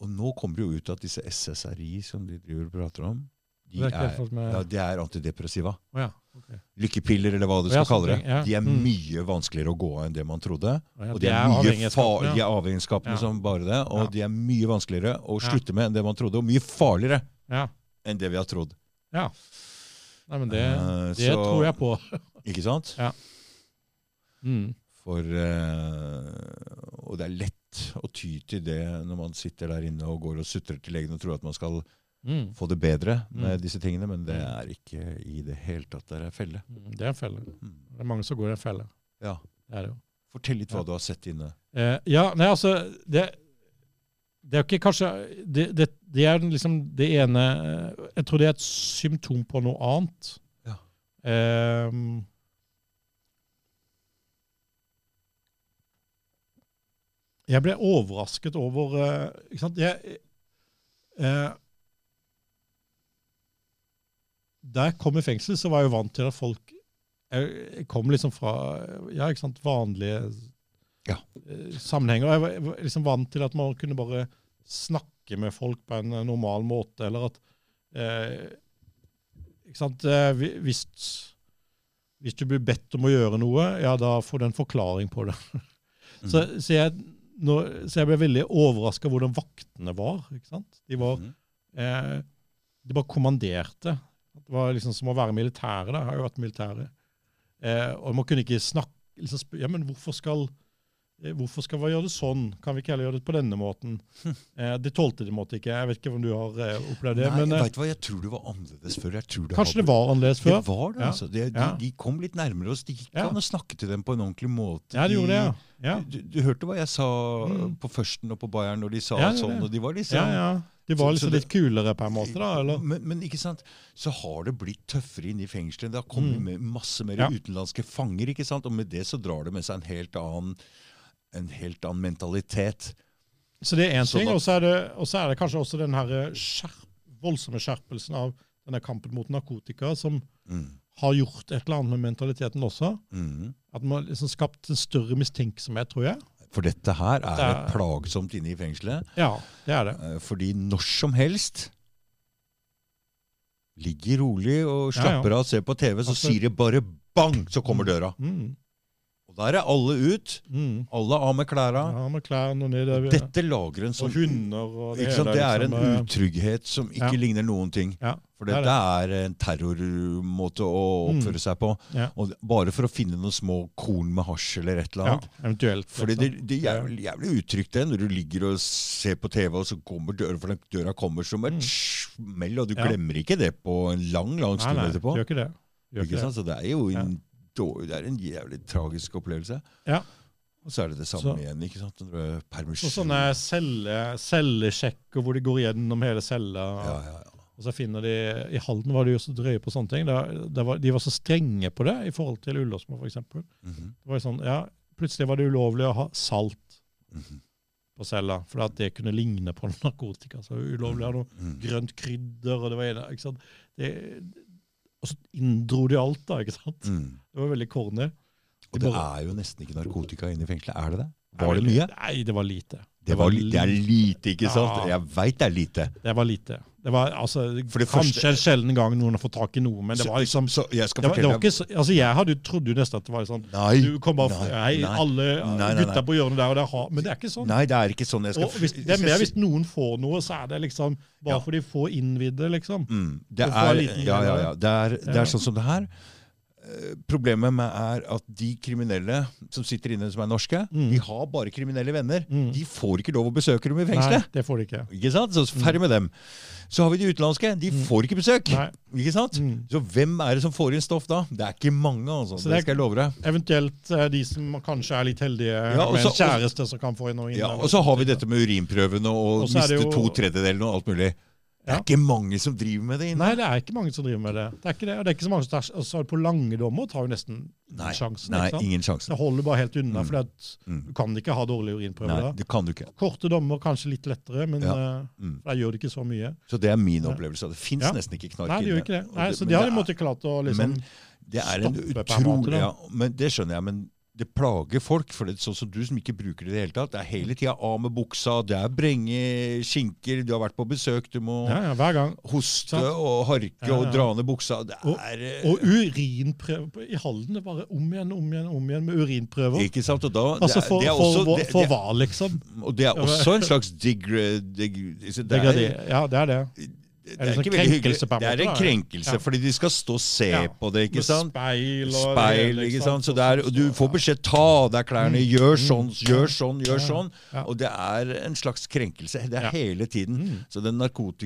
[SPEAKER 1] Og nå kommer det jo ut at disse SSRI som de driver og prater om, de
[SPEAKER 2] Det er ikke
[SPEAKER 1] er,
[SPEAKER 2] helt folk med
[SPEAKER 1] ja, de er antidepressiva
[SPEAKER 2] Å ja. ok.
[SPEAKER 1] lykkepiller, eller hva du
[SPEAKER 2] Ja,
[SPEAKER 1] skal kalle det.
[SPEAKER 2] sånne ting, ja.
[SPEAKER 1] De er
[SPEAKER 2] Mm.
[SPEAKER 1] mye vanskeligere å gå av enn det man trodde.
[SPEAKER 2] Å ja,
[SPEAKER 1] Og
[SPEAKER 2] det
[SPEAKER 1] de
[SPEAKER 2] er
[SPEAKER 1] er mye
[SPEAKER 2] avhengighetsskapende,
[SPEAKER 1] far- de
[SPEAKER 2] ja.
[SPEAKER 1] er avhengigskapende
[SPEAKER 2] Ja.
[SPEAKER 1] som bare det,
[SPEAKER 2] Ja.
[SPEAKER 1] og de er mye vanskeligere å
[SPEAKER 2] Ja.
[SPEAKER 1] slutte med enn det man trodde, og mye farligere
[SPEAKER 2] Ja.
[SPEAKER 1] enn det vi har trodd.
[SPEAKER 2] Nei, men det,
[SPEAKER 1] Eh,
[SPEAKER 2] det
[SPEAKER 1] så-
[SPEAKER 2] tror jeg på.
[SPEAKER 1] Ikke sant?
[SPEAKER 2] Ja. Mm.
[SPEAKER 1] For, eh, og det er lett å ty til det når man sitter der inne og går og sutrer til legen og tror at man skal
[SPEAKER 2] Mm.
[SPEAKER 1] få det bedre med
[SPEAKER 2] Mm.
[SPEAKER 1] disse tingene, men det
[SPEAKER 2] Mm.
[SPEAKER 1] er ikke i det hele tatt det er en felle.
[SPEAKER 2] Mm, Det er en felle.
[SPEAKER 1] Mm.
[SPEAKER 2] Det er mange som går i en felle.
[SPEAKER 1] Ja.
[SPEAKER 2] Det er det jo.
[SPEAKER 1] Fortell litt
[SPEAKER 2] Ja.
[SPEAKER 1] hva du har sett inne.
[SPEAKER 2] Eh, ja, nei, altså Det, det er jo ikke kanskje det, det, det er liksom det ene eh, Jeg tror det er et symptom på noe annet.
[SPEAKER 1] Ja.
[SPEAKER 2] Ehm, jeg ble overrasket over eh, Ikke sant jeg, eh, Da jeg kom i fengsel, så var jeg jo vant til at folk Jeg, jeg kom liksom fra ja, ikke sant, vanlige
[SPEAKER 1] Ja.
[SPEAKER 2] eh, sammenhenger. Jeg var, jeg var liksom vant til at man kunne bare snakke med folk på en eh, normal måte, eller at eh, Ikke sant eh, hvi- Hvis hvis du blir bedt om å gjøre noe, ja, da får du en forklaring på det.
[SPEAKER 1] Mm.
[SPEAKER 2] Så, så, jeg, nå, så jeg ble veldig overraska hvordan vaktene var. ikke sant? De var
[SPEAKER 1] Mhm.
[SPEAKER 2] Eh, de bare kommanderte. Det var liksom som å være militære. Da. Jeg har jo vært militære. Eh, og man kunne ikke snakke liksom sp ja, men hvorfor skal, eh, hvorfor skal vi gjøre det sånn? Kan vi ikke heller gjøre det på denne måten? Eh, det tålte de måte ikke. Jeg vet ikke om du har eh, opplevd det.
[SPEAKER 1] Nei,
[SPEAKER 2] men
[SPEAKER 1] jeg
[SPEAKER 2] eh,
[SPEAKER 1] vet hva, jeg tror det var annerledes før. Jeg tror det
[SPEAKER 2] Kanskje
[SPEAKER 1] hadde-
[SPEAKER 2] det var annerledes før?
[SPEAKER 1] Det var det,
[SPEAKER 2] Ja.
[SPEAKER 1] altså. De, de,
[SPEAKER 2] Ja.
[SPEAKER 1] de kom litt nærmere oss. Det gikk
[SPEAKER 2] Ja.
[SPEAKER 1] an å snakke til dem på en ordentlig måte.
[SPEAKER 2] Ja, det gjorde det. Ja.
[SPEAKER 1] Du, du hørte hva jeg sa
[SPEAKER 2] Mm.
[SPEAKER 1] på Førsten og på Bayern når de sa
[SPEAKER 2] Ja, det gjorde
[SPEAKER 1] sånn,
[SPEAKER 2] det.
[SPEAKER 1] og de var
[SPEAKER 2] Ja,
[SPEAKER 1] liksom
[SPEAKER 2] ja. De
[SPEAKER 1] Så-
[SPEAKER 2] var
[SPEAKER 1] så
[SPEAKER 2] liksom
[SPEAKER 1] det-
[SPEAKER 2] litt kulere på en måte, da? eller?
[SPEAKER 1] Men, men ikke sant, så har det blitt tøffere inn i fengselet. Det har kommet
[SPEAKER 2] Mm.
[SPEAKER 1] med masse mer
[SPEAKER 2] Ja.
[SPEAKER 1] utenlandske fanger, ikke sant? og med det så drar det med seg en helt annen, en helt annen mentalitet.
[SPEAKER 2] Så det er én
[SPEAKER 1] Sånn
[SPEAKER 2] ting,
[SPEAKER 1] at-
[SPEAKER 2] og så er, det- og så er det kanskje også den her eh, skjerp, voldsomme skjerpelsen av denne kampen mot narkotika, som
[SPEAKER 1] Mm.
[SPEAKER 2] har gjort et eller annet med mentaliteten også.
[SPEAKER 1] Mm.
[SPEAKER 2] At man har liksom skapt en større mistenksomhet, tror jeg.
[SPEAKER 1] For dette her er
[SPEAKER 2] Det er-
[SPEAKER 1] et plagsomt inne i fengselet.
[SPEAKER 2] Ja, det er det.
[SPEAKER 1] Eh, Fordi når som helst ligger rolig og slapper av og ser på TV, så
[SPEAKER 2] Absolutt.
[SPEAKER 1] sier det bare bang, så kommer døra.
[SPEAKER 2] Mm.
[SPEAKER 1] Og der er alle ut.
[SPEAKER 2] Mm.
[SPEAKER 1] Alle av med klærne.
[SPEAKER 2] Ja, med klærne og ned over.
[SPEAKER 1] Dette lager en sånn
[SPEAKER 2] og hunder og det
[SPEAKER 1] ikke sant?
[SPEAKER 2] hele.
[SPEAKER 1] Det er en
[SPEAKER 2] liksom, eh,
[SPEAKER 1] utrygghet som ikke
[SPEAKER 2] Ja.
[SPEAKER 1] ligner noen ting.
[SPEAKER 2] Ja,
[SPEAKER 1] For
[SPEAKER 2] det er
[SPEAKER 1] dette er en terrormåte å oppføre seg på.
[SPEAKER 2] Ja.
[SPEAKER 1] Og bare for å finne noen små korn med hasj eller et eller
[SPEAKER 2] ja,
[SPEAKER 1] annet.
[SPEAKER 2] eventuelt.
[SPEAKER 1] Fordi det,
[SPEAKER 2] liksom.
[SPEAKER 1] det er jævlig, jævlig utrygt det, når du ligger og ser på TV, og så kommer døra, for den døra kommer som et
[SPEAKER 2] Mm.
[SPEAKER 1] smell, og du
[SPEAKER 2] Ja.
[SPEAKER 1] glemmer ikke det på en lang, lang
[SPEAKER 2] Nei,
[SPEAKER 1] stund
[SPEAKER 2] nei,
[SPEAKER 1] etterpå.
[SPEAKER 2] Gjør ikke det.
[SPEAKER 1] Ikke
[SPEAKER 2] Gjør ikke det.
[SPEAKER 1] sant? Så det er jo
[SPEAKER 2] Ja.
[SPEAKER 1] en, dårlig, det er en jævlig tragisk opplevelse.
[SPEAKER 2] Ja.
[SPEAKER 1] Og så er det det samme
[SPEAKER 2] Så-
[SPEAKER 1] igjen, ikke sant? Når du er
[SPEAKER 2] Og
[SPEAKER 1] permisjon.
[SPEAKER 2] sånne celle- cellesjekker hvor de går gjennom hele cella.
[SPEAKER 1] ja, ja, ja.
[SPEAKER 2] Og så finner de, I Halden var de jo så drøye på sånne ting. Da, da var, de var så strenge på det i forhold til Ullåsmo f.eks.
[SPEAKER 1] Mhm,
[SPEAKER 2] Sånn, ja, plutselig var det ulovlig å ha salt
[SPEAKER 1] mhm,
[SPEAKER 2] på cella, for at det kunne ligne på narkotika. Så ulovlig å ha noe
[SPEAKER 1] mhm.
[SPEAKER 2] grønt krydder, og det var ene, ikke sant? Det, og så inndro de alt, da. ikke sant?
[SPEAKER 1] Mm.
[SPEAKER 2] Det var veldig corny.
[SPEAKER 1] Og
[SPEAKER 2] De
[SPEAKER 1] det
[SPEAKER 2] bare-
[SPEAKER 1] er jo nesten ikke narkotika inne i fengselet. Er det det? Var det mye?
[SPEAKER 2] Nei, det var lite.
[SPEAKER 1] Det, var, li- det er lite, ikke sant?
[SPEAKER 2] Ja.
[SPEAKER 1] Jeg veit det er lite.
[SPEAKER 2] Det var lite. Det var altså,
[SPEAKER 1] For det
[SPEAKER 2] Kanskje
[SPEAKER 1] første-
[SPEAKER 2] en sjelden gang noen har fått tak i noe, men det
[SPEAKER 1] Så-
[SPEAKER 2] var liksom
[SPEAKER 1] Så jeg skal
[SPEAKER 2] det var, det
[SPEAKER 1] fortelle
[SPEAKER 2] var ikke, så- altså jeg hadde, jo- trodde jo nesten at det var sånn
[SPEAKER 1] Nei,
[SPEAKER 2] Du kom bare
[SPEAKER 1] nei,
[SPEAKER 2] Hei,
[SPEAKER 1] nei.
[SPEAKER 2] alle
[SPEAKER 1] Nei, nei, nei.
[SPEAKER 2] gutta på hjørnet der og der har Men det er ikke sånn.
[SPEAKER 1] Nei, det er ikke sånn jeg skal
[SPEAKER 2] og hvis, det
[SPEAKER 1] jeg
[SPEAKER 2] er
[SPEAKER 1] skal
[SPEAKER 2] mer
[SPEAKER 1] si-
[SPEAKER 2] hvis noen får noe, så er det liksom bare
[SPEAKER 1] Ja.
[SPEAKER 2] for de få innvidde, liksom.
[SPEAKER 1] mm, det,
[SPEAKER 2] Og få en
[SPEAKER 1] er,
[SPEAKER 2] liten
[SPEAKER 1] ja, ja,
[SPEAKER 2] greie.
[SPEAKER 1] ja, det, er, det
[SPEAKER 2] Ja.
[SPEAKER 1] er sånn som det her. Eh, Problemet med er at de kriminelle som sitter inne, som er norske,
[SPEAKER 2] Mm.
[SPEAKER 1] de har bare kriminelle venner.
[SPEAKER 2] Mm.
[SPEAKER 1] De får ikke lov å besøke dem i
[SPEAKER 2] Nei, Mm.
[SPEAKER 1] fengselet.
[SPEAKER 2] det får de ikke.
[SPEAKER 1] Ikke sant? Så ferdig med dem. Så har vi de utenlandske. De får ikke besøk.
[SPEAKER 2] Nei.
[SPEAKER 1] Ikke sant?
[SPEAKER 2] Mm.
[SPEAKER 1] Så hvem er det som får inn stoff da? Det er ikke mange, altså. Det,
[SPEAKER 2] Så det er-
[SPEAKER 1] skal jeg love deg.
[SPEAKER 2] Eventuelt eh, de som kanskje er litt heldige
[SPEAKER 1] Ja, og
[SPEAKER 2] med
[SPEAKER 1] så-
[SPEAKER 2] en
[SPEAKER 1] og-
[SPEAKER 2] kjæreste som kan få inn noe inn.
[SPEAKER 1] Ja,
[SPEAKER 2] eller
[SPEAKER 1] og så har vi
[SPEAKER 2] sånt.
[SPEAKER 1] dette med urinprøvene og,
[SPEAKER 2] Og så er
[SPEAKER 1] miste
[SPEAKER 2] det jo-
[SPEAKER 1] to tredjedeler og alt mulig. Det er
[SPEAKER 2] Ja.
[SPEAKER 1] ikke mange som driver med det inne.
[SPEAKER 2] Nei, det er ikke mange som driver med det. Det er ikke det, og det er ikke så mange som tar, og så er det på lange dommer tar jo nesten
[SPEAKER 1] Nei,
[SPEAKER 2] sjansen.
[SPEAKER 1] Nei,
[SPEAKER 2] ikke sant?
[SPEAKER 1] ingen sjanse.
[SPEAKER 2] Det holder bare helt unna,
[SPEAKER 1] Mm.
[SPEAKER 2] for
[SPEAKER 1] Mm.
[SPEAKER 2] du kan ikke ha dårlige urinprøver.
[SPEAKER 1] Nei,
[SPEAKER 2] da.
[SPEAKER 1] det kan du ikke.
[SPEAKER 2] Korte dommer kanskje litt lettere, men
[SPEAKER 1] Ja.
[SPEAKER 2] eh,
[SPEAKER 1] Mm.
[SPEAKER 2] der gjør det ikke så mye.
[SPEAKER 1] Så det er min
[SPEAKER 2] Ja.
[SPEAKER 1] opplevelse. Det fins
[SPEAKER 2] Ja.
[SPEAKER 1] nesten ikke knark
[SPEAKER 2] Nei, det gjør ikke det. Nei,
[SPEAKER 1] Og
[SPEAKER 2] så
[SPEAKER 1] men
[SPEAKER 2] de har
[SPEAKER 1] det
[SPEAKER 2] de
[SPEAKER 1] er-
[SPEAKER 2] måttet klart å liksom
[SPEAKER 1] Men det er en
[SPEAKER 2] stoppe på en måte,
[SPEAKER 1] utrolig
[SPEAKER 2] da.
[SPEAKER 1] ja, men Det skjønner jeg, men det plager folk. For det er sånn som du som ikke bruker det i det hele tatt. Det er hele tida av med buksa, det er brenge skinker, du har vært på besøk, du må
[SPEAKER 2] ja, ja, Hver gang.
[SPEAKER 1] hoste
[SPEAKER 2] Sant.
[SPEAKER 1] og harke
[SPEAKER 2] Ja,
[SPEAKER 1] og
[SPEAKER 2] ja.
[SPEAKER 1] dra ned buksa. Det
[SPEAKER 2] Og-
[SPEAKER 1] er eh,
[SPEAKER 2] Og urinprøver i Halden det er bare om igjen, om igjen, om igjen med urinprøver.
[SPEAKER 1] Ikke sant? Og da det
[SPEAKER 2] Altså
[SPEAKER 1] er-
[SPEAKER 2] for,
[SPEAKER 1] det er
[SPEAKER 2] for,
[SPEAKER 1] også-
[SPEAKER 2] for,
[SPEAKER 1] det- det-
[SPEAKER 2] for hva, liksom?
[SPEAKER 1] Og det er også en slags digre... Dig, altså, det, er,
[SPEAKER 2] Det, ja, det er det.
[SPEAKER 1] det
[SPEAKER 2] en
[SPEAKER 1] er
[SPEAKER 2] sånn
[SPEAKER 1] ikke veldig hyggelig.
[SPEAKER 2] krenkelse på en
[SPEAKER 1] Det er
[SPEAKER 2] måte,
[SPEAKER 1] en
[SPEAKER 2] da, ja.
[SPEAKER 1] krenkelse,
[SPEAKER 2] Ja.
[SPEAKER 1] fordi de skal stå og se
[SPEAKER 2] Ja.
[SPEAKER 1] på det. ikke sant?
[SPEAKER 2] Speil og sånn Mm.
[SPEAKER 1] Speil, ikke sant? Så det er, og du får beskjed ta av deg klærne, gjør sånn, gjør sånn, gjør sånn.
[SPEAKER 2] Ja.
[SPEAKER 1] Og det er en slags krenkelse. Det er
[SPEAKER 2] Ja.
[SPEAKER 1] hele tiden.
[SPEAKER 2] Mm.
[SPEAKER 1] Så den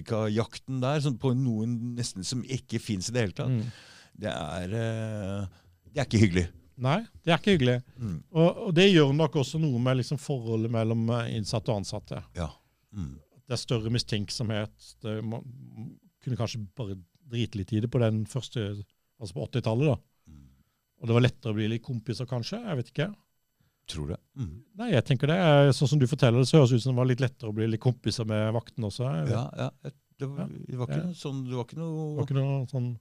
[SPEAKER 1] narkotikajakten der, som på noen nesten som ikke fins i det hele tatt,
[SPEAKER 2] Mm.
[SPEAKER 1] det er eh, Det er ikke hyggelig.
[SPEAKER 2] Nei, det er ikke hyggelig.
[SPEAKER 1] Mm.
[SPEAKER 2] Og, og det gjør nok også noe med liksom forholdet mellom eh, innsatte og ansatte.
[SPEAKER 1] Ja. Mm.
[SPEAKER 2] Det er større mistenksomhet. Det må, kunne kanskje bare drite litt i det på den første, altså på 80-tallet. da.
[SPEAKER 1] Mm.
[SPEAKER 2] Og det var lettere å bli litt kompiser, kanskje? Jeg vet ikke.
[SPEAKER 1] Tror det. Mm.
[SPEAKER 2] Nei, jeg tenker det. eh, Sånn som du forteller det, så høres det ut som det var litt lettere å bli litt kompiser med vakten også. Jeg vet.
[SPEAKER 1] Ja, ja. jeg- Det var, det var ikke
[SPEAKER 2] Ja.
[SPEAKER 1] noe sånn, det var ikke
[SPEAKER 2] Det
[SPEAKER 1] noe
[SPEAKER 2] var ikke noe sånn...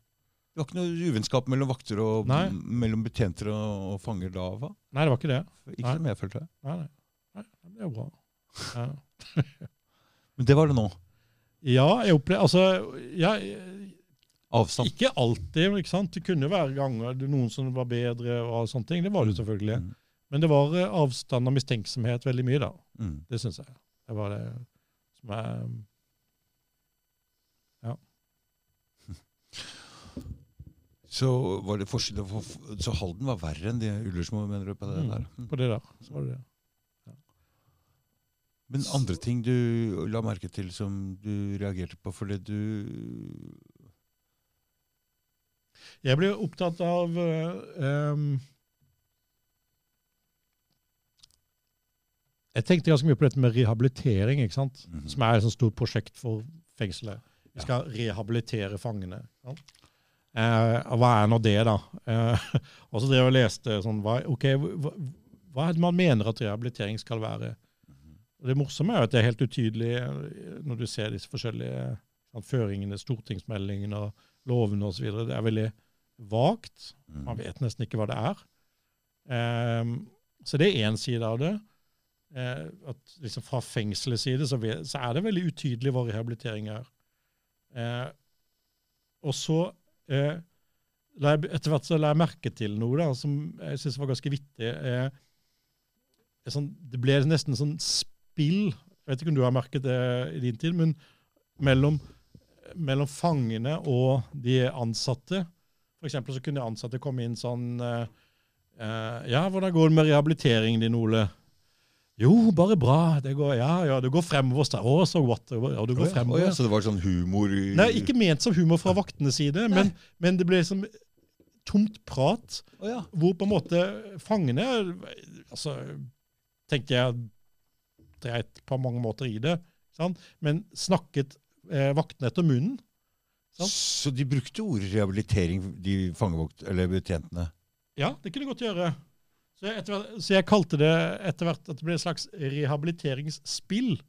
[SPEAKER 1] Det var ikke noe uvennskap mellom vakter og
[SPEAKER 2] Nei.
[SPEAKER 1] m- mellom betjenter og, og fanger da? hva?
[SPEAKER 2] Nei, det var ikke det.
[SPEAKER 1] Ikke
[SPEAKER 2] Nei.
[SPEAKER 1] som jeg følte.
[SPEAKER 2] Nei, nei. nei det er jo bra. Ja.
[SPEAKER 1] Men det var det nå.
[SPEAKER 2] Ja, jeg opplever Altså, jeg,
[SPEAKER 1] Avstand.
[SPEAKER 2] ikke alltid, men ikke sant? Det kunne være ganger det- noen som var bedre og sånne ting. Det var det jo selvfølgelig.
[SPEAKER 1] Mm.
[SPEAKER 2] Men det var eh, avstand og mistenksomhet veldig mye, da.
[SPEAKER 1] Mm.
[SPEAKER 2] Det syns jeg. Det var det som er eh,
[SPEAKER 1] Så var det forskjell for, Så Halden var verre enn det Ullersmo, mener du? på det
[SPEAKER 2] Mm.
[SPEAKER 1] der? Mm.
[SPEAKER 2] På det der. Så var det det.
[SPEAKER 1] Men andre ting du la merke til som du reagerte på fordi du
[SPEAKER 2] Jeg ble opptatt av eh, em, Jeg tenkte ganske mye på dette med rehabilitering, ikke sant?
[SPEAKER 1] Mhm.
[SPEAKER 2] som er et sånt stort prosjekt for fengselet. Vi skal rehabilitere fangene. ikke sant? Eh, og hva er nå det, da? Eh, og så drev jeg og leste sånn hva, ok, hva, hva er det man mener at rehabilitering skal være? Og det morsomme er jo at det er helt utydelig eh, når du ser disse forskjellige eh, sånn, føringene, stortingsmeldingene og lovene osv. Det er veldig vagt.
[SPEAKER 1] Mm.
[SPEAKER 2] Man vet nesten ikke hva det er. Ehm, så det er én side av det. Eh, at liksom Fra fengselets side så, ve- så er det veldig utydelig hva rehabilitering er. Eh, og så eh, la jeg, etter hvert så la jeg merke til noe da, som jeg syns var ganske vittig. Eh, eh, sånn, det ble nesten sånn spill, jeg vet ikke om du har merket det i din tid, men mellom, mellom fangene og de ansatte. For eksempel så kunne ansatte komme inn sånn eh, eh, Ja, hvordan går det med rehabiliteringen din, Ole? Jo, bare bra. Det går, ja, ja, det går fremover. stra- Å, så what? Ja, det går fremover.
[SPEAKER 1] så det var sånn humor i-
[SPEAKER 2] Nei, ikke ment som humor fra vaktenes side, men, men det ble liksom tomt prat,
[SPEAKER 1] Å ja.
[SPEAKER 2] hvor på en måte fangene altså, tenkte jeg dreit på mange måter i det, sant? men snakket eh, vaktene etter munnen. Sant?
[SPEAKER 1] Så de brukte ordet rehabilitering, de fangevakt, eller betjentene?
[SPEAKER 2] Ja, det kunne de godt gjøre. Så jeg, etter, hvert- så jeg kalte det etter hvert at det ble et slags rehabiliteringsspill.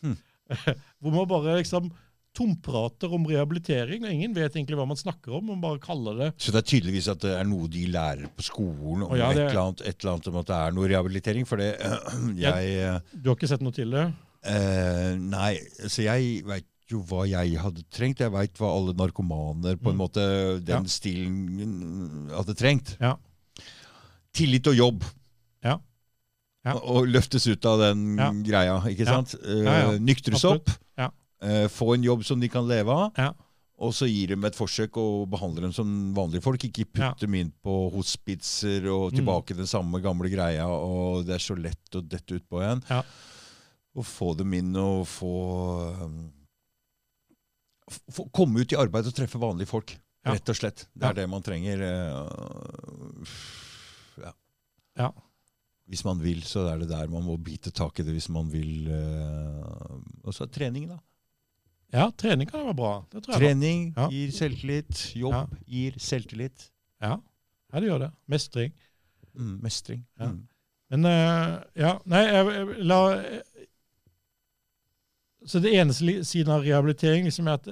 [SPEAKER 1] Hmm.
[SPEAKER 2] Hvor man bare liksom tomprater om rehabilitering, og ingen vet egentlig hva man snakker om, man bare kaller det
[SPEAKER 1] Så det er tydeligvis at det er noe de lærer på skolen, om
[SPEAKER 2] Å, ja,
[SPEAKER 1] et,
[SPEAKER 2] det-
[SPEAKER 1] eller annet, et eller annet om at det er noe rehabilitering? For det jeg
[SPEAKER 2] Du har ikke sett noe til det?
[SPEAKER 1] eh, Nei, så jeg veit jo hva jeg hadde trengt. Jeg veit hva alle narkomaner på
[SPEAKER 2] Mm.
[SPEAKER 1] en måte
[SPEAKER 2] Ja.
[SPEAKER 1] den stilen mm, hadde trengt.
[SPEAKER 2] Ja.
[SPEAKER 1] Tillit og jobb.
[SPEAKER 2] Ja. Ja.
[SPEAKER 1] Og, og løftes ut av den
[SPEAKER 2] Ja.
[SPEAKER 1] greia, ikke
[SPEAKER 2] Ja.
[SPEAKER 1] sant? Eh,
[SPEAKER 2] Ja, ja.
[SPEAKER 1] Nyktres
[SPEAKER 2] Absolutt.
[SPEAKER 1] opp.
[SPEAKER 2] Ja.
[SPEAKER 1] Eh, få en jobb som de kan leve av.
[SPEAKER 2] Ja.
[SPEAKER 1] Og så gir dem et forsøk og behandler dem som vanlige folk. Ikke putt
[SPEAKER 2] Ja.
[SPEAKER 1] dem inn på hospitser og
[SPEAKER 2] Mm.
[SPEAKER 1] tilbake den samme gamle greia, og det er så lett å dette utpå igjen.
[SPEAKER 2] Ja.
[SPEAKER 1] Og få dem inn og få, um, f- få Komme ut i arbeid og treffe vanlige folk,
[SPEAKER 2] Ja.
[SPEAKER 1] rett og slett. Det
[SPEAKER 2] Ja.
[SPEAKER 1] er det man trenger. eh, ja.
[SPEAKER 2] Ja.
[SPEAKER 1] Hvis man vil, så er det der man må bite tak i det hvis man vil. eh, og så er trening, da.
[SPEAKER 2] Ja, trening kan være bra. Det tror jeg.
[SPEAKER 1] Trening
[SPEAKER 2] Ja.
[SPEAKER 1] gir selvtillit. Jobb
[SPEAKER 2] Ja.
[SPEAKER 1] gir selvtillit.
[SPEAKER 2] da. Ja. ja, det gjør det. Mestring.
[SPEAKER 1] Mm, mestring.
[SPEAKER 2] Ja.
[SPEAKER 1] Mm.
[SPEAKER 2] Men eh, ja, nei, jeg, jeg la Så det eneste li- siden av rehabilitering liksom er at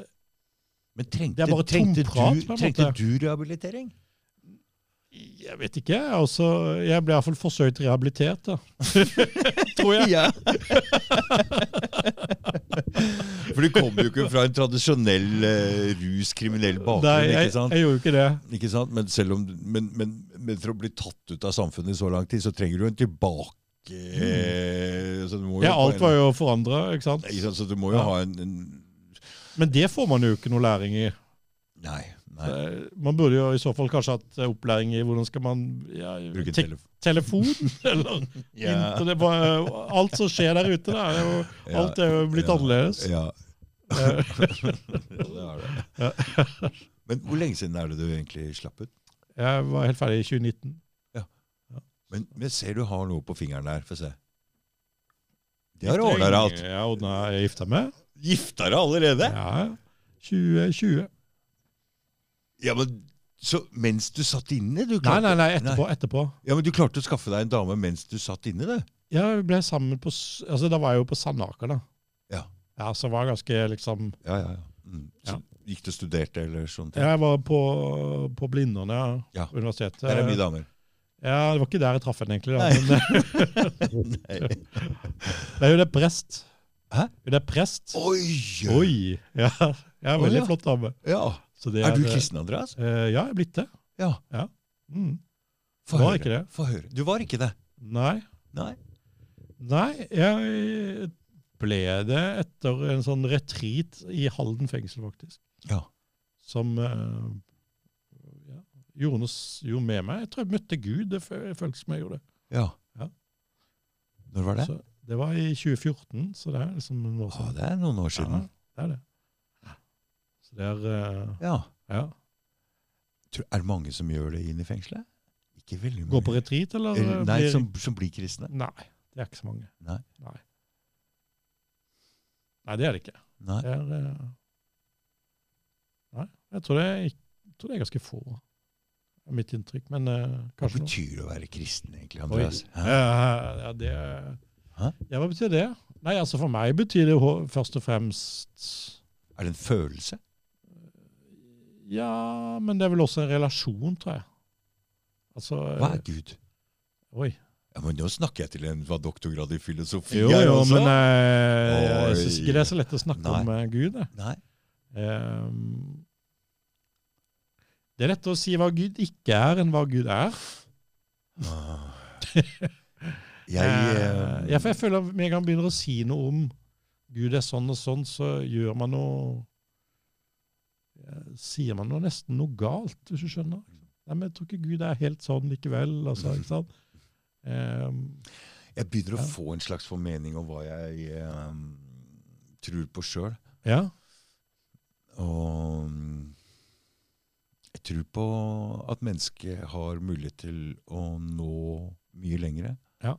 [SPEAKER 1] Men trengte,
[SPEAKER 2] Det er bare
[SPEAKER 1] trengte,
[SPEAKER 2] tomprat, på
[SPEAKER 1] du,
[SPEAKER 2] en
[SPEAKER 1] trengte
[SPEAKER 2] måte.
[SPEAKER 1] du rehabilitering?
[SPEAKER 2] Jeg vet ikke. Jeg, er også, jeg ble iallfall forsøkt rehabilitert, da. tror jeg.
[SPEAKER 1] Ja. For du kommer jo ikke fra en tradisjonell eh, ruskriminell
[SPEAKER 2] Nei,
[SPEAKER 1] bakgrunn.
[SPEAKER 2] jeg,
[SPEAKER 1] ikke sant?
[SPEAKER 2] jeg gjorde ikke det.
[SPEAKER 1] Ikke sant? Men, selv om, men, men, men for å bli tatt ut av samfunnet i så lang tid, så trenger du en tilbake. Så du må jo
[SPEAKER 2] Mm. Ja,
[SPEAKER 1] på
[SPEAKER 2] alt
[SPEAKER 1] en-
[SPEAKER 2] var jo forandra, ikke sant.
[SPEAKER 1] ikke sant? Så du må jo
[SPEAKER 2] Ja.
[SPEAKER 1] ha en, en
[SPEAKER 2] Men det får man jo ikke noe læring i.
[SPEAKER 1] Nei. nei.
[SPEAKER 2] Eh, Man burde jo i så fall kanskje hatt eh, opplæring i hvordan skal man ja,
[SPEAKER 1] Bruke
[SPEAKER 2] tek-
[SPEAKER 1] telefon.
[SPEAKER 2] telefon, eller Internett, hva- eh, alt som skjer der ute, da, er jo,
[SPEAKER 1] Ja,
[SPEAKER 2] alt er jo blitt
[SPEAKER 1] ja,
[SPEAKER 2] annerledes.
[SPEAKER 1] Ja.
[SPEAKER 2] Eh,
[SPEAKER 1] Ja, det er det. Men hvor lenge siden er det du egentlig slapp ut?
[SPEAKER 2] Jeg var helt ferdig i 2019.
[SPEAKER 1] Men jeg ser du har noe på fingeren der. Få se. Det har du ordna deg alt.
[SPEAKER 2] Jeg ordna jeg gifta meg.
[SPEAKER 1] Gifta deg allerede?
[SPEAKER 2] Ja, 2020.
[SPEAKER 1] Ja, men så mens du satt inne? Du
[SPEAKER 2] Nei,
[SPEAKER 1] klarte,
[SPEAKER 2] nei, nei, etterpå. etterpå.
[SPEAKER 1] Ja, men du klarte å skaffe deg en dame mens du satt inne, du?
[SPEAKER 2] Jeg ble sammen på, s- altså Da var jeg jo på Sandaker, da.
[SPEAKER 1] Ja.
[SPEAKER 2] Ja, Så var jeg ganske liksom
[SPEAKER 1] Ja, ja, ja. Mm. Så
[SPEAKER 2] Ja.
[SPEAKER 1] Gikk du og studerte eller sånne ting?
[SPEAKER 2] Jeg var på, på Blindern, ja.
[SPEAKER 1] Ja.
[SPEAKER 2] Universitetet.
[SPEAKER 1] Der er mye damer.
[SPEAKER 2] Ja, Det var ikke der jeg traff henne, egentlig. da.
[SPEAKER 1] Nei.
[SPEAKER 2] Men,
[SPEAKER 1] Nei.
[SPEAKER 2] Nei, hun er prest.
[SPEAKER 1] Hæ?
[SPEAKER 2] Hun er prest.
[SPEAKER 1] Oi!
[SPEAKER 2] Oi! Ja, jeg er
[SPEAKER 1] Å,
[SPEAKER 2] veldig
[SPEAKER 1] ja.
[SPEAKER 2] flott dame.
[SPEAKER 1] Ja.
[SPEAKER 2] Så det
[SPEAKER 1] Er du
[SPEAKER 2] eh,
[SPEAKER 1] kristen, Andreas?
[SPEAKER 2] eh, ja, jeg er blitt det.
[SPEAKER 1] Ja.
[SPEAKER 2] Mm.
[SPEAKER 1] Få
[SPEAKER 2] Var
[SPEAKER 1] høre.
[SPEAKER 2] ikke det.
[SPEAKER 1] Få høre. Du var ikke det?
[SPEAKER 2] Nei.
[SPEAKER 1] Nei.
[SPEAKER 2] Nei, jeg ble det etter en sånn retreat i Halden fengsel, faktisk.
[SPEAKER 1] Ja.
[SPEAKER 2] Som eh, ja, gjorde noe s- gjorde med meg. Jeg tror jeg møtte Gud. Det fø- føltes som jeg gjorde det.
[SPEAKER 1] Ja.
[SPEAKER 2] Ja.
[SPEAKER 1] Når var det?
[SPEAKER 2] Så, det var i 2014, så det er liksom noen år
[SPEAKER 1] Å,
[SPEAKER 2] siden.
[SPEAKER 1] Ah, det er noen år
[SPEAKER 2] Ja,
[SPEAKER 1] siden.
[SPEAKER 2] det er det. Så det er eh,
[SPEAKER 1] Ja.
[SPEAKER 2] Ja.
[SPEAKER 1] Tror, er det mange som gjør det inn i fengselet? Ikke veldig mange.
[SPEAKER 2] Gå på retreat, eller?
[SPEAKER 1] Eller-
[SPEAKER 2] eh,
[SPEAKER 1] Nei,
[SPEAKER 2] blir-
[SPEAKER 1] som, som blir kristne.
[SPEAKER 2] Nei, det er ikke så mange.
[SPEAKER 1] Nei.
[SPEAKER 2] Nei, Nei, det er det ikke.
[SPEAKER 1] Nei.
[SPEAKER 2] Det er, eh, nei, jeg tror det, er ikk- jeg tror det er ganske få, er mitt inntrykk. Men eh,
[SPEAKER 1] Hva
[SPEAKER 2] kanskje noe.
[SPEAKER 1] betyr det å være kristen, egentlig, Andreas? Hæ?
[SPEAKER 2] Eh, ja, det,
[SPEAKER 1] Hæ?
[SPEAKER 2] ja, hva betyr det? Nei, altså For meg betyr det jo først og fremst
[SPEAKER 1] Er det en følelse?
[SPEAKER 2] Ja, men det er vel også en relasjon, tror jeg. Altså eh,
[SPEAKER 1] Hva er Gud?
[SPEAKER 2] Oi.
[SPEAKER 1] Ja, men Nå snakker jeg til en som har doktorgrad i filosofi.
[SPEAKER 2] Jo,
[SPEAKER 1] her,
[SPEAKER 2] jo,
[SPEAKER 1] altså.
[SPEAKER 2] men eh, jeg
[SPEAKER 1] Oi.
[SPEAKER 2] syns ikke det er så eh, lett å snakke
[SPEAKER 1] Nei.
[SPEAKER 2] om eh, Gud. Jeg.
[SPEAKER 1] Nei.
[SPEAKER 2] Ehm, Det er lettere å si hva Gud ikke er, enn hva Gud er.
[SPEAKER 1] Jeg,
[SPEAKER 2] Eh,
[SPEAKER 1] eh,
[SPEAKER 2] ja, for jeg føler at med en gang man begynner å si noe om Gud er sånn og sånn, så gjør man noe eh, Sier man noe, nesten noe galt, hvis du skjønner. Nei, men jeg tror ikke Gud er helt sånn likevel. altså, ikke sant? Eh,
[SPEAKER 1] jeg begynner
[SPEAKER 2] ja.
[SPEAKER 1] å få en slags formening om hva jeg eh, tror på sjøl.
[SPEAKER 2] ja.
[SPEAKER 1] Og mm, jeg tror på at mennesket har mulighet til å nå mye lengre.
[SPEAKER 2] Ja.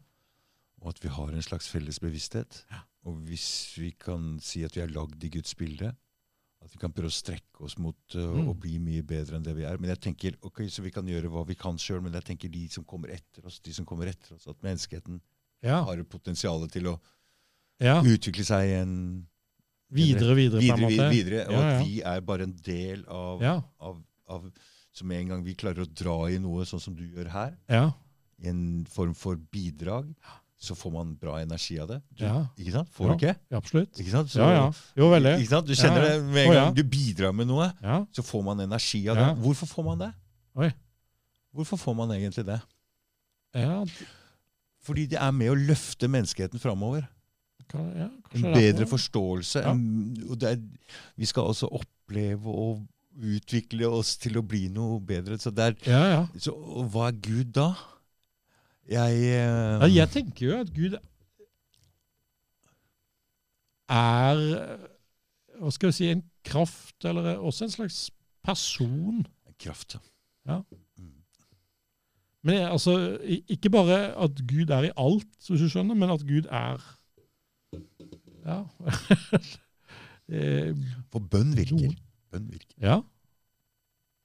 [SPEAKER 1] Og at vi har en slags felles bevissthet. Og hvis vi kan si at vi er lagd i Guds bilde, at vi kan prøve å strekke oss mot uh, å
[SPEAKER 2] Mm.
[SPEAKER 1] bli mye bedre enn det vi er. Men jeg tenker, ok, Så vi kan gjøre hva vi kan sjøl, men jeg tenker de som kommer etter oss, de som kommer etter oss, at menneskeheten
[SPEAKER 2] ja,
[SPEAKER 1] har potensial til å
[SPEAKER 2] ja.
[SPEAKER 1] utvikle seg i en
[SPEAKER 2] Videre, videre, på en
[SPEAKER 1] videre, videre,
[SPEAKER 2] måte.
[SPEAKER 1] videre og
[SPEAKER 2] Ja, ja.
[SPEAKER 1] at vi er bare en del av,
[SPEAKER 2] Ja,
[SPEAKER 1] av, av Som en gang vi klarer å dra i noe sånn som du gjør her,
[SPEAKER 2] ja,
[SPEAKER 1] i en form for bidrag, så får man bra energi av det. Du,
[SPEAKER 2] ja,
[SPEAKER 1] Ikke sant? Får du ikke?
[SPEAKER 2] absolutt.
[SPEAKER 1] Ikke sant? Så-
[SPEAKER 2] Ja, ja. Jo, veldig.
[SPEAKER 1] Ikke sant? Du kjenner
[SPEAKER 2] Ja, ja.
[SPEAKER 1] det med en
[SPEAKER 2] Å,
[SPEAKER 1] gang
[SPEAKER 2] ja.
[SPEAKER 1] du bidrar med noe,
[SPEAKER 2] Ja,
[SPEAKER 1] så får man energi av
[SPEAKER 2] Ja.
[SPEAKER 1] det. Hvorfor får man det?
[SPEAKER 2] Oi.
[SPEAKER 1] Hvorfor får man egentlig det?
[SPEAKER 2] ja,
[SPEAKER 1] Fordi det er med å løfte menneskeheten framover.
[SPEAKER 2] kan, ja
[SPEAKER 1] En
[SPEAKER 2] kanskje det er sånn.
[SPEAKER 1] bedre
[SPEAKER 2] derfor.
[SPEAKER 1] forståelse.
[SPEAKER 2] Ja.
[SPEAKER 1] en- og det er, vi skal også oppleve og utvikle oss til å bli noe bedre. Så, det er,
[SPEAKER 2] Ja, ja.
[SPEAKER 1] så og hva er Gud da? Jeg, eh,
[SPEAKER 2] Ja, jeg tenker jo at Gud er Hva skal vi si En kraft, eller også en slags person.
[SPEAKER 1] eh, Kraft.
[SPEAKER 2] Ja.
[SPEAKER 1] Mm.
[SPEAKER 2] Men jeg, altså, i- Ikke bare at Gud er i alt, hvis du skjønner, men at Gud er Ja. Eh,
[SPEAKER 1] For bønn virker.
[SPEAKER 2] Noen.
[SPEAKER 1] Bønn virker.
[SPEAKER 2] ja.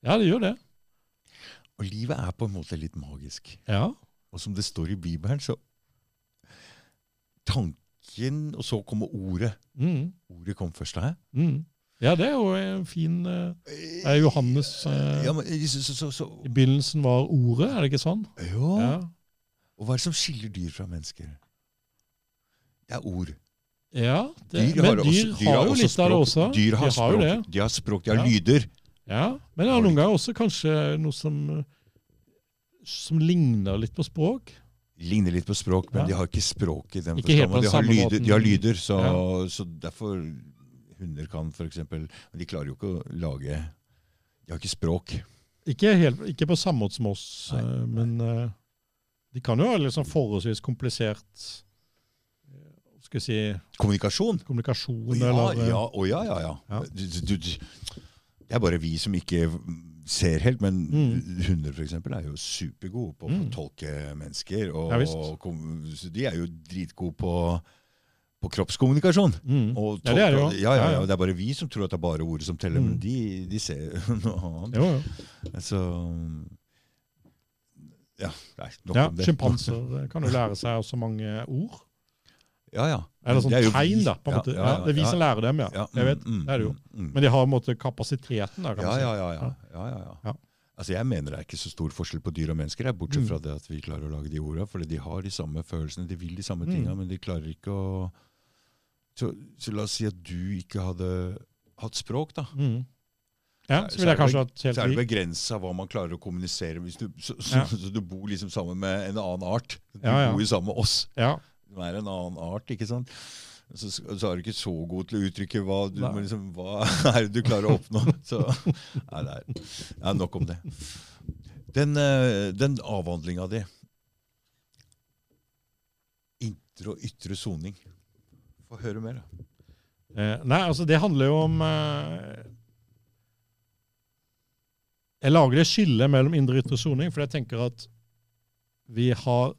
[SPEAKER 2] ja, det gjør det.
[SPEAKER 1] Og livet er på en måte litt magisk.
[SPEAKER 2] Ja.
[SPEAKER 1] Og som det står i Bibelen, så Tanken, og så kommer ordet.
[SPEAKER 2] Mm,
[SPEAKER 1] Ordet kom først av
[SPEAKER 2] mm. Ja, det er jo en fin eh, Det
[SPEAKER 1] her.
[SPEAKER 2] er Johannes eh,
[SPEAKER 1] Ja, men, så, så, så, så.
[SPEAKER 2] I begynnelsen var ordet, er det ikke sånn?
[SPEAKER 1] Jo.
[SPEAKER 2] Ja.
[SPEAKER 1] Og hva er det som skiller dyr fra mennesker? Det er ord.
[SPEAKER 2] Ja, det,
[SPEAKER 1] Dyr
[SPEAKER 2] men
[SPEAKER 1] har
[SPEAKER 2] dyr,
[SPEAKER 1] også- dyr har
[SPEAKER 2] har jo
[SPEAKER 1] også
[SPEAKER 2] litt av det
[SPEAKER 1] språk.
[SPEAKER 2] også.
[SPEAKER 1] Dyr har
[SPEAKER 2] de har jo
[SPEAKER 1] språk,
[SPEAKER 2] det.
[SPEAKER 1] de har, språk, de har
[SPEAKER 2] Ja.
[SPEAKER 1] lyder.
[SPEAKER 2] Ja, men det
[SPEAKER 1] Har
[SPEAKER 2] er
[SPEAKER 1] de
[SPEAKER 2] noen ganger også kanskje noe som, som ligner litt på språk.
[SPEAKER 1] Ligner litt på språk, men
[SPEAKER 2] Ja.
[SPEAKER 1] de har ikke språk i den
[SPEAKER 2] Ikke helt
[SPEAKER 1] forstand.
[SPEAKER 2] på
[SPEAKER 1] men De, har
[SPEAKER 2] den samme
[SPEAKER 1] lyder- de har
[SPEAKER 2] måten.
[SPEAKER 1] lyder, så, så derfor Hunder kan f.eks. Men de klarer jo ikke å lage De har ikke språk.
[SPEAKER 2] Ikke, helt, ikke på samme måte som oss,
[SPEAKER 1] Nei,
[SPEAKER 2] eh, men eh, de kan jo ha liksom forholdsvis komplisert eh, skal vi si,
[SPEAKER 1] Kommunikasjon!
[SPEAKER 2] kommunikasjon
[SPEAKER 1] Å ja,
[SPEAKER 2] eller eh,
[SPEAKER 1] ja, å ja, ja. ja.
[SPEAKER 2] Ja.
[SPEAKER 1] Du, du, du, det er bare vi som ikke ser helt, men
[SPEAKER 2] Mm.
[SPEAKER 1] hunder for eksempel er jo supergode på å
[SPEAKER 2] Mm.
[SPEAKER 1] tolke mennesker. Og,
[SPEAKER 2] Ja, visst.
[SPEAKER 1] og kom- så de er jo dritgode på, på kroppskommunikasjon.
[SPEAKER 2] Mm.
[SPEAKER 1] Og
[SPEAKER 2] Ja, det er det jo.
[SPEAKER 1] tolke- Ja, ja,
[SPEAKER 2] Ja,
[SPEAKER 1] ja,
[SPEAKER 2] ja.
[SPEAKER 1] det er bare vi som tror at det er bare ordet som teller, men
[SPEAKER 2] Mm.
[SPEAKER 1] de, de ser noe annet.
[SPEAKER 2] Jo, jo.
[SPEAKER 1] Så ja, nei, nok
[SPEAKER 2] Ja,
[SPEAKER 1] om det.
[SPEAKER 2] Sjimpanser eh, kan jo lære seg også mange ord.
[SPEAKER 1] Ja, ja.
[SPEAKER 2] Eller
[SPEAKER 1] Men
[SPEAKER 2] sånn
[SPEAKER 1] det er jo
[SPEAKER 2] tegn,
[SPEAKER 1] vi-
[SPEAKER 2] da. på en
[SPEAKER 1] ja,
[SPEAKER 2] måte.
[SPEAKER 1] ja,
[SPEAKER 2] Ja,
[SPEAKER 1] ja,
[SPEAKER 2] det er vi
[SPEAKER 1] ja.
[SPEAKER 2] som lærer dem, ja.
[SPEAKER 1] Ja,
[SPEAKER 2] Jeg vet,
[SPEAKER 1] mm, mm,
[SPEAKER 2] det er det jo.
[SPEAKER 1] mm, mm.
[SPEAKER 2] Men de har på en måte kapasiteten, da, kan
[SPEAKER 1] Ja,
[SPEAKER 2] man si.
[SPEAKER 1] ja, ja. ja. ja, ja,
[SPEAKER 2] Ja.
[SPEAKER 1] ja. Altså, jeg mener det er ikke så stor forskjell på dyr og mennesker, jeg, bortsett
[SPEAKER 2] Mm.
[SPEAKER 1] fra det at vi klarer å lage de orda. For de har de samme følelsene, de vil de samme
[SPEAKER 2] Mm.
[SPEAKER 1] tinga, men de klarer ikke å så, så la oss si at du ikke hadde hatt språk, da.
[SPEAKER 2] Mm. Ja,
[SPEAKER 1] Så er-
[SPEAKER 2] så ville jeg
[SPEAKER 1] så er det
[SPEAKER 2] kanskje hatt helt
[SPEAKER 1] Så er det
[SPEAKER 2] lik.
[SPEAKER 1] begrensa hva man klarer å kommunisere. Hvis du, så, så,
[SPEAKER 2] Ja.
[SPEAKER 1] så du bor liksom sammen med en annen art. Du
[SPEAKER 2] Ja, ja.
[SPEAKER 1] bor jo sammen med oss.
[SPEAKER 2] Ja.
[SPEAKER 1] Du er en annen art, ikke sant? Så, så er du ikke så god til å uttrykke hva du,
[SPEAKER 2] Nei.
[SPEAKER 1] men liksom, hva er det du klarer å oppnå. Så, nei, det er, ja, nok om det. Den, eh, den avhandlinga di Indre og ytre soning. Få høre mer. da.
[SPEAKER 2] Eh, nei, altså, det handler jo om eh, Jeg lager det skillet mellom indre og ytre soning, for jeg tenker at vi har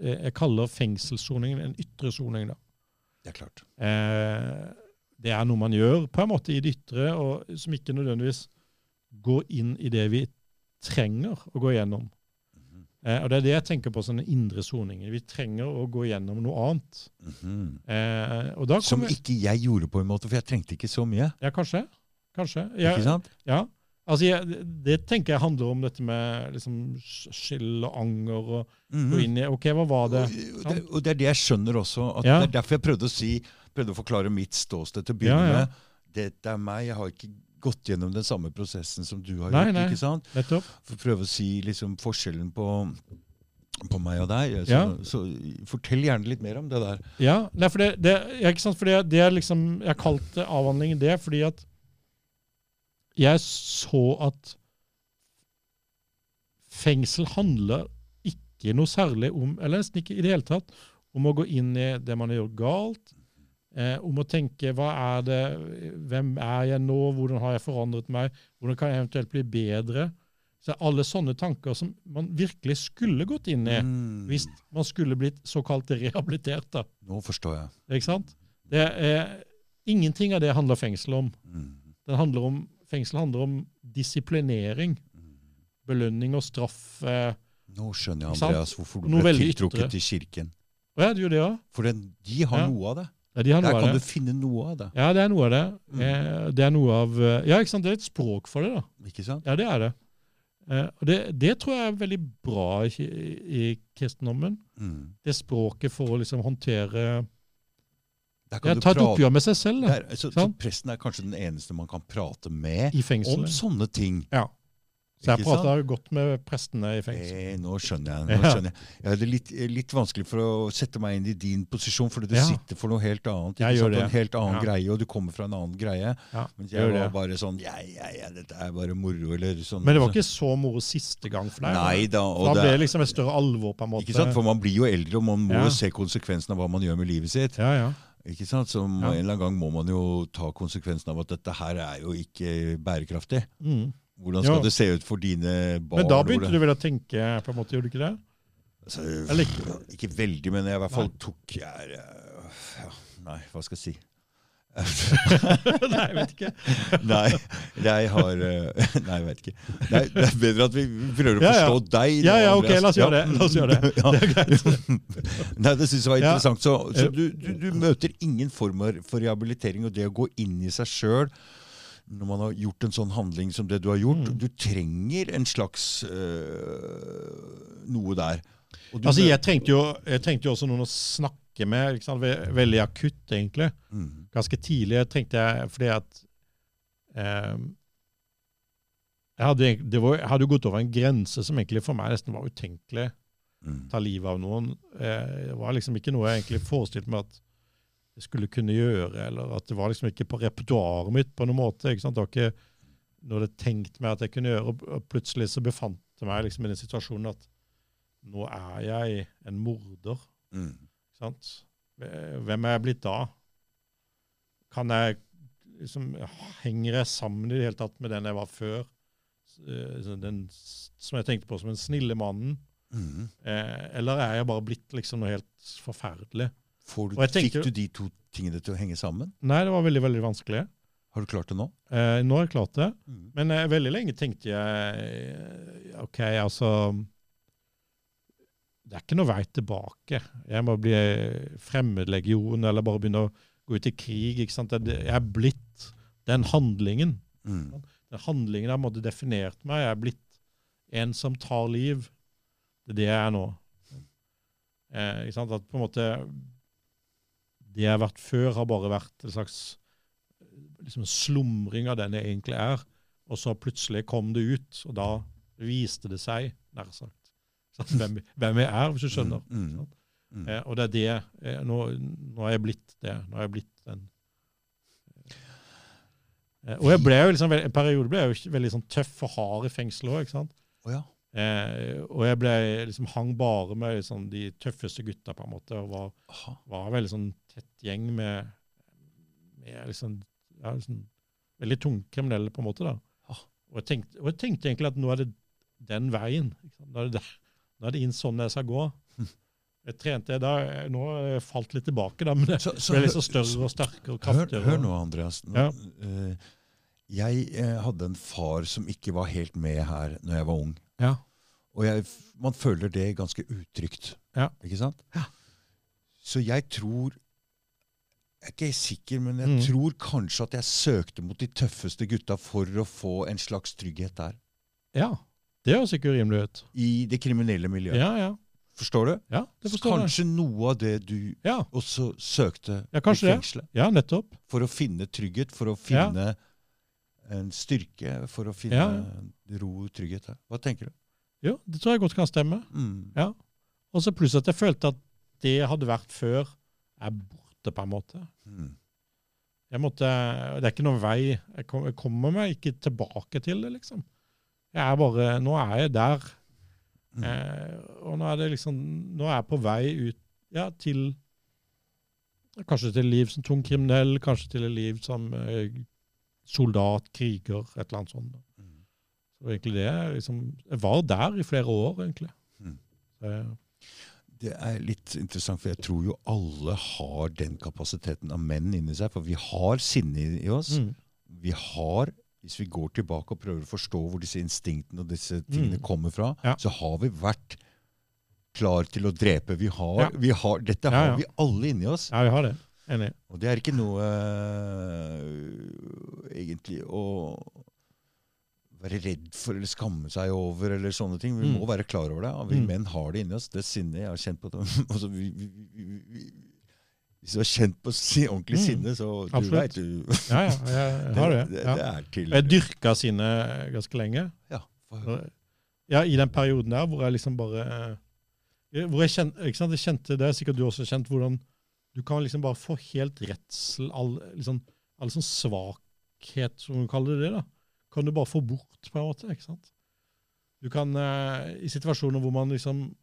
[SPEAKER 2] eh, Jeg kaller fengselssoningen en ytre soning, da.
[SPEAKER 1] Det er klart.
[SPEAKER 2] Eh, det er noe man gjør på en måte i det ytre, og som ikke nødvendigvis går inn i det vi trenger å gå gjennom.
[SPEAKER 1] Mhm.
[SPEAKER 2] Eh, og det er det jeg tenker på som den indre soningen. Vi trenger å gå gjennom noe annet.
[SPEAKER 1] Mhm.
[SPEAKER 2] Eh, og da
[SPEAKER 1] Som
[SPEAKER 2] kommer
[SPEAKER 1] ikke jeg gjorde, på en måte, for jeg trengte ikke så mye.
[SPEAKER 2] Ja, kanskje. Kanskje.
[SPEAKER 1] ikke
[SPEAKER 2] Ja,
[SPEAKER 1] sant?
[SPEAKER 2] ja. Altså, jeg, det- det tenker jeg handler om dette med liksom, skyld og anger og
[SPEAKER 1] Mhm.
[SPEAKER 2] gå inn i OK, hva var det?
[SPEAKER 1] Og, og, det, og det er det jeg skjønner også. At
[SPEAKER 2] Ja.
[SPEAKER 1] Det er derfor jeg prøvde å si, prøvde å forklare mitt ståsted til å begynne
[SPEAKER 2] Ja, ja.
[SPEAKER 1] med. Dette er meg, jeg har ikke gått gjennom den samme prosessen som du har
[SPEAKER 2] Nei,
[SPEAKER 1] gjort.
[SPEAKER 2] nei.
[SPEAKER 1] ikke sant?
[SPEAKER 2] Nettopp.
[SPEAKER 1] For å prøve å si liksom forskjellen på, på meg og deg. Så,
[SPEAKER 2] Ja.
[SPEAKER 1] så fortell gjerne litt mer om det der.
[SPEAKER 2] Ja, nei, for det, det, ja, ikke sant? For det, det er liksom, jeg har kalt det avhandling det fordi at jeg så at fengsel handler ikke noe særlig om, eller nesten ikke i det hele tatt, om å gå inn i det man har gjort galt, eh, om å tenke hva er det, hvem er jeg nå, hvordan har jeg forandret meg, hvordan kan jeg eventuelt bli bedre. Så alle sånne tanker som man virkelig skulle gått inn i
[SPEAKER 1] Mm.
[SPEAKER 2] hvis man skulle blitt såkalt rehabilitert. da.
[SPEAKER 1] Nå forstår jeg.
[SPEAKER 2] Ikke sant? Det er, ingenting av det handler fengsel om.
[SPEAKER 1] Mm.
[SPEAKER 2] Det handler om. Fengsel handler om disiplinering, belønning og straff. eh.
[SPEAKER 1] Nå skjønner jeg,
[SPEAKER 2] Ikke sant?
[SPEAKER 1] Andreas, hvorfor du
[SPEAKER 2] Noe
[SPEAKER 1] ble
[SPEAKER 2] veldig
[SPEAKER 1] tiltrukket
[SPEAKER 2] ytre.
[SPEAKER 1] til kirken.
[SPEAKER 2] Og jeg hadde jo det òg.
[SPEAKER 1] For den, de har
[SPEAKER 2] Ja.
[SPEAKER 1] noe av det.
[SPEAKER 2] Ja, de har noe
[SPEAKER 1] Der
[SPEAKER 2] av
[SPEAKER 1] kan
[SPEAKER 2] det.
[SPEAKER 1] du finne noe av det.
[SPEAKER 2] Ja, det er noe av det.
[SPEAKER 1] Mm.
[SPEAKER 2] Eh, Det er noe av eh, Ja, ikke sant? Det er et språk for det, da.
[SPEAKER 1] Ikke sant?
[SPEAKER 2] Ja, det er det. Eh, Og det, det tror jeg er veldig bra i, ki- i kristendommen.
[SPEAKER 1] Mm.
[SPEAKER 2] Det språket for å liksom håndtere
[SPEAKER 1] Der
[SPEAKER 2] Ja,
[SPEAKER 1] kan du
[SPEAKER 2] ta et
[SPEAKER 1] prate-
[SPEAKER 2] oppgjør med seg selv, da.
[SPEAKER 1] Der, så, så
[SPEAKER 2] Sant?
[SPEAKER 1] presten er kanskje den eneste man kan prate med
[SPEAKER 2] sånn. I
[SPEAKER 1] om
[SPEAKER 2] fengselet.
[SPEAKER 1] sånne ting.
[SPEAKER 2] Ja. Så jeg
[SPEAKER 1] Ikke sant?
[SPEAKER 2] prata godt med prestene i fengsel.
[SPEAKER 1] Eh, nå skjønner jeg. Nå
[SPEAKER 2] Ja.
[SPEAKER 1] skjønner jeg. jeg hadde litt, eh, litt vanskelig for å sette meg inn i din posisjon, fordi du
[SPEAKER 2] Ja.
[SPEAKER 1] sitter for noe helt annet.
[SPEAKER 2] Jeg
[SPEAKER 1] ikke
[SPEAKER 2] gjør
[SPEAKER 1] sant? Og En helt annen
[SPEAKER 2] Ja.
[SPEAKER 1] greie, og du kommer fra en annen greie.
[SPEAKER 2] Ja,
[SPEAKER 1] Mens
[SPEAKER 2] gjør
[SPEAKER 1] jeg var
[SPEAKER 2] det.
[SPEAKER 1] bare sånn Ja, ja, ja, dette er bare moro, eller sånn.
[SPEAKER 2] Men det var ikke så moro siste gang for deg? da.
[SPEAKER 1] Nei da.
[SPEAKER 2] For
[SPEAKER 1] Og det,
[SPEAKER 2] da ble det liksom et større alvor, på en måte.
[SPEAKER 1] ikke sant? For man blir jo eldre, og man må
[SPEAKER 2] Ja.
[SPEAKER 1] jo se konsekvensen av hva man gjør med livet sitt.
[SPEAKER 2] Ja, ja.
[SPEAKER 1] Ikke sant? Så en
[SPEAKER 2] Ja.
[SPEAKER 1] eller annen gang må man jo ta konsekvensen av at dette her er jo ikke bærekraftig.
[SPEAKER 2] Mm.
[SPEAKER 1] Hvordan skal
[SPEAKER 2] Ja.
[SPEAKER 1] det se ut for dine barn?
[SPEAKER 2] Men da begynte du vel å tenke, på en måte, gjorde du ikke det?
[SPEAKER 1] altså,
[SPEAKER 2] Eller ikke?
[SPEAKER 1] Ikke veldig, men jeg i hvert fall tok jeg, er, øh, ja, Nei, hva skal jeg si?
[SPEAKER 2] Nei, jeg vet ikke.
[SPEAKER 1] nei, jeg har øh, Nei, jeg vet ikke. Nei, det er bedre at vi prøver å
[SPEAKER 2] Ja, ja.
[SPEAKER 1] forstå deg. nå,
[SPEAKER 2] Ja, ja, ok,
[SPEAKER 1] Andreas.
[SPEAKER 2] la oss gjøre det. La oss gjøre det.
[SPEAKER 1] Ja.
[SPEAKER 2] Det er greit.
[SPEAKER 1] Nei, det syns jeg var
[SPEAKER 2] Ja.
[SPEAKER 1] interessant. Så, så du, du, du møter ingen former for rehabilitering, og det å gå inn i seg sjøl når man har gjort en sånn handling som det du har gjort,
[SPEAKER 2] Mm.
[SPEAKER 1] du trenger en slags øh, noe der. Og du
[SPEAKER 2] Altså,
[SPEAKER 1] møter-
[SPEAKER 2] jeg trengte jo, jeg trengte jo også noen å snakke med, ikke sant? Ve- veldig akutt, egentlig.
[SPEAKER 1] Mm.
[SPEAKER 2] Ganske tidlig trengte jeg fordi at eh, jeg hadde, egentlig- det var, jeg hadde jo gått over en grense som egentlig for meg nesten var utenkelig.
[SPEAKER 1] Mm.
[SPEAKER 2] ta livet av noen. Eh, det var liksom ikke noe jeg egentlig forestilte meg at jeg skulle kunne gjøre, eller at det var liksom ikke på repertoaret mitt på noen måte. ikke sant? Det var ikke noe jeg hadde tenkt meg at jeg kunne gjøre, og- og plutselig så befant jeg meg liksom i den situasjonen at nå er jeg en morder.
[SPEAKER 1] Mm.
[SPEAKER 2] ikke sant? Hvem er jeg blitt da? Kan jeg liksom, Henger jeg sammen i det hele tatt med den jeg var før? Eh, så Den s- som jeg tenkte på som den snille mannen?
[SPEAKER 1] Mm.
[SPEAKER 2] Eh, eller er jeg bare blitt liksom noe helt forferdelig?
[SPEAKER 1] Får du,
[SPEAKER 2] Og jeg tenkte-
[SPEAKER 1] fikk du de to tingene til å henge sammen?
[SPEAKER 2] Nei, det var veldig veldig vanskelig.
[SPEAKER 1] Har du klart det nå?
[SPEAKER 2] Eh, nå har jeg klart det. Men eh, veldig lenge tenkte jeg eh, OK, altså Det er ikke noe vei tilbake. Jeg må bli eh, fremmedlegion eller bare begynne å gå ut i krig. ikke sant? Det- det- Jeg er blitt den handlingen.
[SPEAKER 1] Mm.
[SPEAKER 2] Den handlingen har på en måte definert meg. Jeg er blitt en som tar liv. Det er det jeg er nå. Eh, ikke sant? At på en måte Det jeg har vært før, har bare vært en slags eh, liksom slumring av den jeg egentlig er. Og så plutselig kom det ut, og da viste det seg, nær sagt, sant? hvem, hvem jeg er, hvis du skjønner.
[SPEAKER 1] Mm. Mm.
[SPEAKER 2] Eh, og det er det eh, nå, nå har jeg blitt det. Nå har jeg blitt den. Eh, og jeg ble jo liksom, veld- en periode ble jeg jo ikke- veldig sånn tøff og hard i fengselet òg, ikke sant.
[SPEAKER 1] Å ja.
[SPEAKER 2] Eh, og jeg ble liksom hang bare med liksom, de tøffeste gutta, på en måte. Og var,
[SPEAKER 1] Aha.
[SPEAKER 2] var en veldig sånn tett gjeng med, med liksom, ja, liksom veldig tungkriminelle, på en måte. da.
[SPEAKER 1] Ah.
[SPEAKER 2] Og jeg, tenkte, og jeg tenkte egentlig at nå er det den veien. Ikke sant? Nå er det, der, nå er det inn sånn jeg skal gå. Jeg trente da, jeg- Nå har jeg falt litt tilbake, da, men jeg
[SPEAKER 1] Så- så
[SPEAKER 2] ble
[SPEAKER 1] hø-
[SPEAKER 2] liksom større og sterkere
[SPEAKER 1] Hør,
[SPEAKER 2] og kraftigere.
[SPEAKER 1] hør nå, Andreas. Nå,
[SPEAKER 2] Ja.
[SPEAKER 1] eh, jeg eh, hadde en far som ikke var helt med her når jeg var ung.
[SPEAKER 2] Ja.
[SPEAKER 1] Og jeg, f- man føler det ganske utrygt.
[SPEAKER 2] Ja.
[SPEAKER 1] Ikke sant? Så jeg tror Jeg er ikke sikker, men jeg
[SPEAKER 2] Mm.
[SPEAKER 1] tror kanskje at jeg søkte mot de tøffeste gutta for å få en slags trygghet der.
[SPEAKER 2] ja. Det høres ikke urimelig ut.
[SPEAKER 1] I det kriminelle
[SPEAKER 2] Ja,
[SPEAKER 1] miljøet.
[SPEAKER 2] ja. ja.
[SPEAKER 1] Forstår du?
[SPEAKER 2] det
[SPEAKER 1] Så
[SPEAKER 2] forstår jeg.
[SPEAKER 1] kanskje noe av det du
[SPEAKER 2] Ja,
[SPEAKER 1] også søkte
[SPEAKER 2] Ja, kanskje
[SPEAKER 1] i
[SPEAKER 2] det.
[SPEAKER 1] fengselet.
[SPEAKER 2] ja, nettopp.
[SPEAKER 1] For å finne trygghet, for å
[SPEAKER 2] Ja.
[SPEAKER 1] finne en styrke for å finne ro og trygghet der. Hva tenker du?
[SPEAKER 2] Jo, det tror jeg godt kan stemme.
[SPEAKER 1] Mm.
[SPEAKER 2] Ja. Og så pluss at jeg følte at det jeg hadde vært før, er borte, på en måte.
[SPEAKER 1] Mm.
[SPEAKER 2] Jeg måtte, det er ikke noen vei. Jeg, kom, jeg kommer meg ikke tilbake til det, liksom. Jeg er bare, Nå er jeg der.
[SPEAKER 1] Mm.
[SPEAKER 2] Eh, og nå er det liksom Nå er jeg på vei ut ja, til Kanskje til liv som tung kriminell, kanskje til et liv som eh, soldat, kriger, et eller annet sånt.
[SPEAKER 1] Mm.
[SPEAKER 2] Så det var egentlig det, jeg liksom, Jeg var der i flere år, egentlig.
[SPEAKER 1] Mm.
[SPEAKER 2] Eh,
[SPEAKER 1] Det er litt interessant, for jeg tror jo alle har den kapasiteten av menn inni seg. For vi har sinne i- i oss.
[SPEAKER 2] mm.
[SPEAKER 1] Vi har, hvis vi går tilbake og prøver å forstå hvor disse instinktene og disse tingene
[SPEAKER 2] Mm.
[SPEAKER 1] kommer fra,
[SPEAKER 2] Ja.
[SPEAKER 1] så har vi vært klar til å drepe. Vi har,
[SPEAKER 2] Ja.
[SPEAKER 1] vi har, dette
[SPEAKER 2] Ja,
[SPEAKER 1] har
[SPEAKER 2] ja.
[SPEAKER 1] vi alle inni oss.
[SPEAKER 2] Ja, vi har det. Enig.
[SPEAKER 1] Og det er ikke noe øh, egentlig å være redd for eller skamme seg over eller sånne ting. Vi
[SPEAKER 2] Mm.
[SPEAKER 1] må være klar over det. og Vi
[SPEAKER 2] Mm.
[SPEAKER 1] menn har det inni oss. Det sinnet jeg har kjent på det. Altså, vi, vi, vi, vi, vi, hvis du har kjent på si, ordentlig
[SPEAKER 2] Mm.
[SPEAKER 1] sinne, så du
[SPEAKER 2] Absolutt.
[SPEAKER 1] vet du
[SPEAKER 2] Ja, ja, jeg, jeg har det.
[SPEAKER 1] det,
[SPEAKER 2] Ja.
[SPEAKER 1] det er til
[SPEAKER 2] Jeg dyrka sinnet ganske lenge.
[SPEAKER 1] ja, for,
[SPEAKER 2] Ja, i den perioden der hvor jeg liksom bare eh, hvor jeg kjente, ikke sant, jeg kjente Det er sikkert du også kjent hvordan du kan liksom bare få helt redsel, all, liksom, all sånn svakhet, som du kaller det, da, kan du bare få bort, på en måte. ikke sant? Du kan, eh, I situasjoner hvor man liksom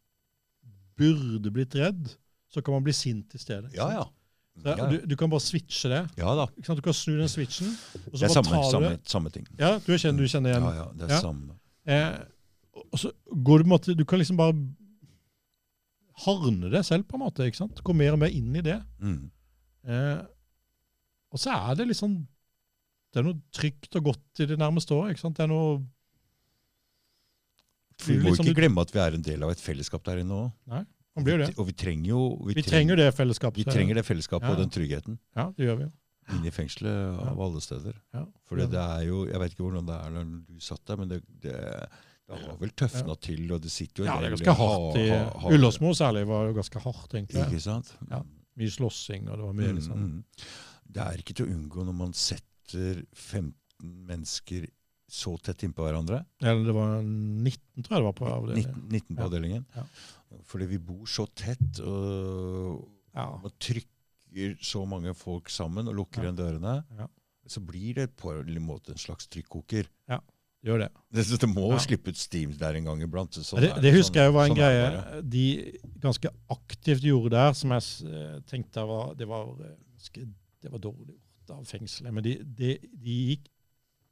[SPEAKER 2] burde blitt redd, så kan man bli sint i stedet. ikke
[SPEAKER 1] ja, ja.
[SPEAKER 2] sant? Så,
[SPEAKER 1] ja,
[SPEAKER 2] Du, du kan bare switche det.
[SPEAKER 1] ja da.
[SPEAKER 2] ikke sant? Du kan snu den switchen, og så
[SPEAKER 1] Det er
[SPEAKER 2] bare
[SPEAKER 1] samme,
[SPEAKER 2] tar du
[SPEAKER 1] samme,
[SPEAKER 2] det.
[SPEAKER 1] samme ting.
[SPEAKER 2] Ja, du kjenner, du kjenner igjen
[SPEAKER 1] Ja, ja, det er
[SPEAKER 2] Ja.
[SPEAKER 1] samme.
[SPEAKER 2] Eh, og så går det på en måte Du kan liksom bare harne deg selv, på en måte. ikke sant? Gå mer og mer inn i det.
[SPEAKER 1] Mm.
[SPEAKER 2] Eh, og så er det liksom Det er noe trygt og godt i det nærmeste òg, ikke sant? Det er noe
[SPEAKER 1] Vi
[SPEAKER 2] Blir
[SPEAKER 1] må
[SPEAKER 2] liksom-
[SPEAKER 1] ikke glemme at vi er en del av et fellesskap der inne òg.
[SPEAKER 2] Man blir jo det.
[SPEAKER 1] Og vi trenger jo
[SPEAKER 2] Vi trenger det
[SPEAKER 1] Vi
[SPEAKER 2] fellesskapet.
[SPEAKER 1] trenger det fellesskapet
[SPEAKER 2] Ja.
[SPEAKER 1] og den tryggheten
[SPEAKER 2] Ja, det gjør vi jo.
[SPEAKER 1] inne i fengselet av alle steder.
[SPEAKER 2] Ja.
[SPEAKER 1] For det er jo, Jeg vet ikke hvordan det er når du satt der, men det, det, det har vel tøfna til. og det sitter jo en
[SPEAKER 2] Ja, det er
[SPEAKER 1] del
[SPEAKER 2] ganske hardt i
[SPEAKER 1] ha- ha-
[SPEAKER 2] Ullåsmo særlig var jo ganske hardt, egentlig.
[SPEAKER 1] Ikke sant?
[SPEAKER 2] Ja, Mye slåssing, og det var mye
[SPEAKER 1] Mm,
[SPEAKER 2] liksom
[SPEAKER 1] mm. Det er ikke til å unngå når man setter 15 mennesker så tett innpå hverandre.
[SPEAKER 2] Eller det var 19, tror jeg det var på
[SPEAKER 1] 19,
[SPEAKER 2] avdelingen.
[SPEAKER 1] 19 på
[SPEAKER 2] Ja.
[SPEAKER 1] avdelingen.
[SPEAKER 2] Ja.
[SPEAKER 1] Fordi vi bor så tett, og
[SPEAKER 2] Ja.
[SPEAKER 1] man trykker så mange folk sammen og lukker
[SPEAKER 2] Ja.
[SPEAKER 1] igjen dørene,
[SPEAKER 2] Ja.
[SPEAKER 1] så blir det på en måte en slags trykkoker.
[SPEAKER 2] Gjør det.
[SPEAKER 1] Det, så det må
[SPEAKER 2] Ja.
[SPEAKER 1] slippe ut steam der en gang iblant. så Sånn
[SPEAKER 2] det,
[SPEAKER 1] er
[SPEAKER 2] det husker jeg jo var en
[SPEAKER 1] sånn er det bare.
[SPEAKER 2] greie de ganske aktivt gjorde der, som jeg s- eh, tenkte var, det, var, eh, ganske- det var dårlig gjort av fengselet. Men de, de, de gikk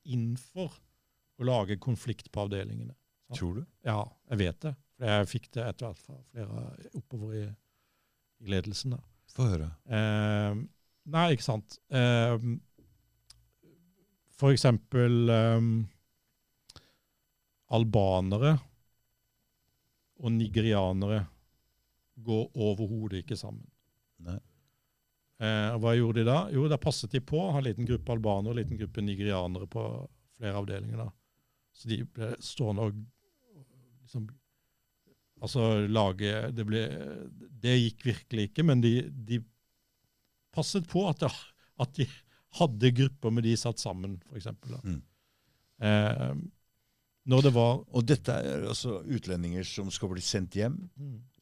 [SPEAKER 2] inn for å lage konflikt på avdelingene.
[SPEAKER 1] Tror du?
[SPEAKER 2] Ja, jeg vet det. For jeg fikk det etter hvert fra flere oppover i, i ledelsen. da.
[SPEAKER 1] Få høre.
[SPEAKER 2] Eh, nei, ikke sant. Eh, for eksempel eh, albanere og nigerianere går overhodet ikke sammen.
[SPEAKER 1] Nei.
[SPEAKER 2] Eh, og hva gjorde de da? Jo, da passet de på å ha en liten gruppe albanere og en liten gruppe nigerianere på flere avdelinger. da. Så de ble stående og liksom Altså lage Det ble Det gikk virkelig ikke, men de, de passet på at, det, at de hadde grupper med de satt sammen, f.eks.
[SPEAKER 1] Mm.
[SPEAKER 2] Eh, når det var
[SPEAKER 1] Og dette er altså utlendinger som skal bli sendt hjem,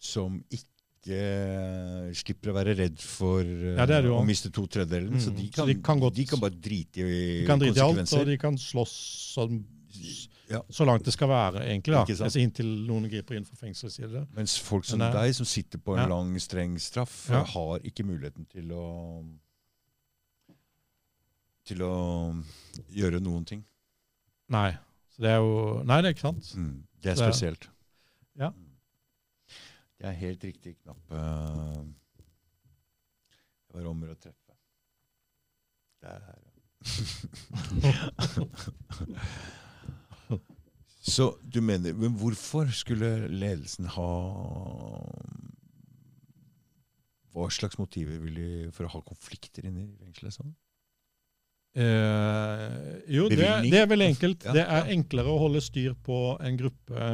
[SPEAKER 1] som ikke eh, slipper å være redd for eh,
[SPEAKER 2] Ja, det er det jo.
[SPEAKER 1] å miste to tredjedeler.
[SPEAKER 2] Mm,
[SPEAKER 1] Så, de
[SPEAKER 2] så
[SPEAKER 1] kan,
[SPEAKER 2] de kan godt-
[SPEAKER 1] bare drite i
[SPEAKER 2] De kan drite i alt, og
[SPEAKER 1] konsekvenser.
[SPEAKER 2] de kan slåss sånn,
[SPEAKER 1] Ja.
[SPEAKER 2] så langt det skal være, egentlig. da.
[SPEAKER 1] Ikke sant?
[SPEAKER 2] Altså, inntil noen griper inn fra fengselets side.
[SPEAKER 1] Mens folk som
[SPEAKER 2] Men, eh,
[SPEAKER 1] deg, som sitter på en
[SPEAKER 2] ja.
[SPEAKER 1] lang, streng straff,
[SPEAKER 2] Ja.
[SPEAKER 1] har ikke muligheten til å til å gjøre noen ting.
[SPEAKER 2] Nei. Så det er jo Nei, det er ikke sant.
[SPEAKER 1] Mm, det er
[SPEAKER 2] Så-
[SPEAKER 1] spesielt.
[SPEAKER 2] Ja.
[SPEAKER 1] Mm. Det er helt riktig knapp. eh, Det var om å treffe. Der. Så du mener Men hvorfor skulle ledelsen ha Hva slags motiver vil de for å ha konflikter inne i fengselet? Sånn?
[SPEAKER 2] Eh, jo, det,
[SPEAKER 1] Bevilgning.
[SPEAKER 2] det er vel enkelt.
[SPEAKER 1] Ja,
[SPEAKER 2] Det er enklere å holde styr på en gruppe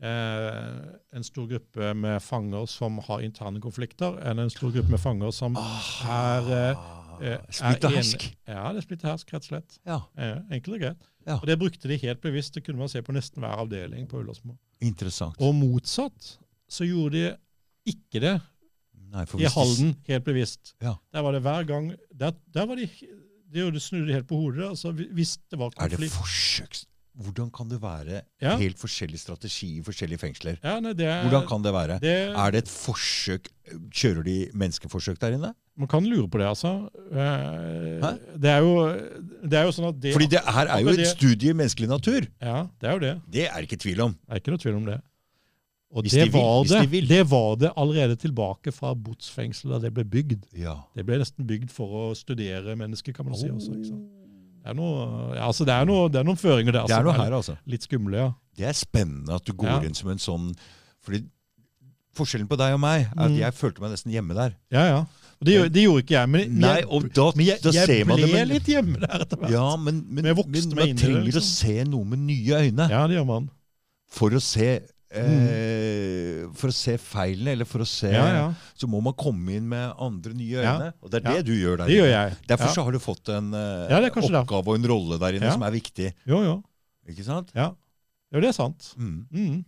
[SPEAKER 2] eh, En stor gruppe
[SPEAKER 1] Ah.
[SPEAKER 2] med fanger som har interne konflikter, enn en stor gruppe med fanger som er Ah, eh, Eh, er
[SPEAKER 1] Splitt og
[SPEAKER 2] enig-
[SPEAKER 1] hersk.
[SPEAKER 2] Ja, det er splitter hersk, rett og slett.
[SPEAKER 1] Ja.
[SPEAKER 2] Eh, enkelt og greit.
[SPEAKER 1] Ja.
[SPEAKER 2] Og det brukte de helt bevisst. Det kunne man se på nesten hver avdeling på Ullersmo.
[SPEAKER 1] Interessant.
[SPEAKER 2] Og motsatt så gjorde de ikke det
[SPEAKER 1] Nei, for
[SPEAKER 2] i
[SPEAKER 1] hvis de-
[SPEAKER 2] Halden helt bevisst.
[SPEAKER 1] Ja.
[SPEAKER 2] Der var det hver gang Der, der var de de gjorde- snudde helt på hodet. altså hvi- Hvis det var
[SPEAKER 1] Er det
[SPEAKER 2] konflikt
[SPEAKER 1] forsøks... Hvordan kan det være
[SPEAKER 2] Ja.
[SPEAKER 1] helt forskjellig strategi i forskjellige fengsler?
[SPEAKER 2] ja, nei, det, er-
[SPEAKER 1] Hvordan kan det være?
[SPEAKER 2] det,
[SPEAKER 1] Er det et forsøk Kjører de menneskeforsøk der inne?
[SPEAKER 2] Man kan lure på det, altså. Eh,
[SPEAKER 1] Hæ?
[SPEAKER 2] Det er jo, det er jo sånn at det
[SPEAKER 1] Fordi det her er jo
[SPEAKER 2] akkurat
[SPEAKER 1] et
[SPEAKER 2] det-
[SPEAKER 1] studie i menneskelig natur.
[SPEAKER 2] Ja, det er jo det.
[SPEAKER 1] Det er det ikke tvil om.
[SPEAKER 2] Det er ikke noe tvil om det. Og
[SPEAKER 1] Hvis
[SPEAKER 2] det,
[SPEAKER 1] de vil,
[SPEAKER 2] var
[SPEAKER 1] hvis
[SPEAKER 2] det,
[SPEAKER 1] de vil.
[SPEAKER 2] det var det allerede tilbake fra botsfengselet da det ble bygd.
[SPEAKER 1] Ja.
[SPEAKER 2] Det ble nesten bygd for å studere mennesker, kan man si. også. Ikke sant? Det, er noe, ja, altså det, er noe, det er noen føringer der
[SPEAKER 1] Det er
[SPEAKER 2] som
[SPEAKER 1] noe her, altså.
[SPEAKER 2] litt skumle, ja.
[SPEAKER 1] Det er spennende at du går
[SPEAKER 2] Ja.
[SPEAKER 1] inn som en sånn Fordi forskjellen på deg og meg er at
[SPEAKER 2] Mm.
[SPEAKER 1] jeg følte meg nesten hjemme der.
[SPEAKER 2] Ja, ja. Og det, gjør- det gjorde ikke jeg, men, men
[SPEAKER 1] Nei,
[SPEAKER 2] jeg,
[SPEAKER 1] og da,
[SPEAKER 2] men jeg,
[SPEAKER 1] da
[SPEAKER 2] jeg
[SPEAKER 1] ser man
[SPEAKER 2] ble
[SPEAKER 1] det. Men,
[SPEAKER 2] litt hjemme der etter hvert.
[SPEAKER 1] ja, men, men,
[SPEAKER 2] Men jeg
[SPEAKER 1] men,
[SPEAKER 2] vokste meg
[SPEAKER 1] man
[SPEAKER 2] inn i det,
[SPEAKER 1] trenger
[SPEAKER 2] liksom.
[SPEAKER 1] å se noe med nye øyne
[SPEAKER 2] Ja, det gjør man.
[SPEAKER 1] for å se eh, For å se feilene, eller for å se
[SPEAKER 2] Mm. Ja, ja.
[SPEAKER 1] Så må man komme inn med andre nye
[SPEAKER 2] Ja.
[SPEAKER 1] øyne. Og det er
[SPEAKER 2] Ja.
[SPEAKER 1] det du gjør der
[SPEAKER 2] Det gjør
[SPEAKER 1] inne.
[SPEAKER 2] jeg.
[SPEAKER 1] Derfor
[SPEAKER 2] Ja.
[SPEAKER 1] så har du fått en eh,
[SPEAKER 2] Ja, det er kanskje det.
[SPEAKER 1] oppgave og en rolle der inne
[SPEAKER 2] Ja.
[SPEAKER 1] som er viktig.
[SPEAKER 2] Jo, jo.
[SPEAKER 1] Ikke sant?
[SPEAKER 2] Ja. Jo, det er sant.
[SPEAKER 1] Mm.
[SPEAKER 2] Mm.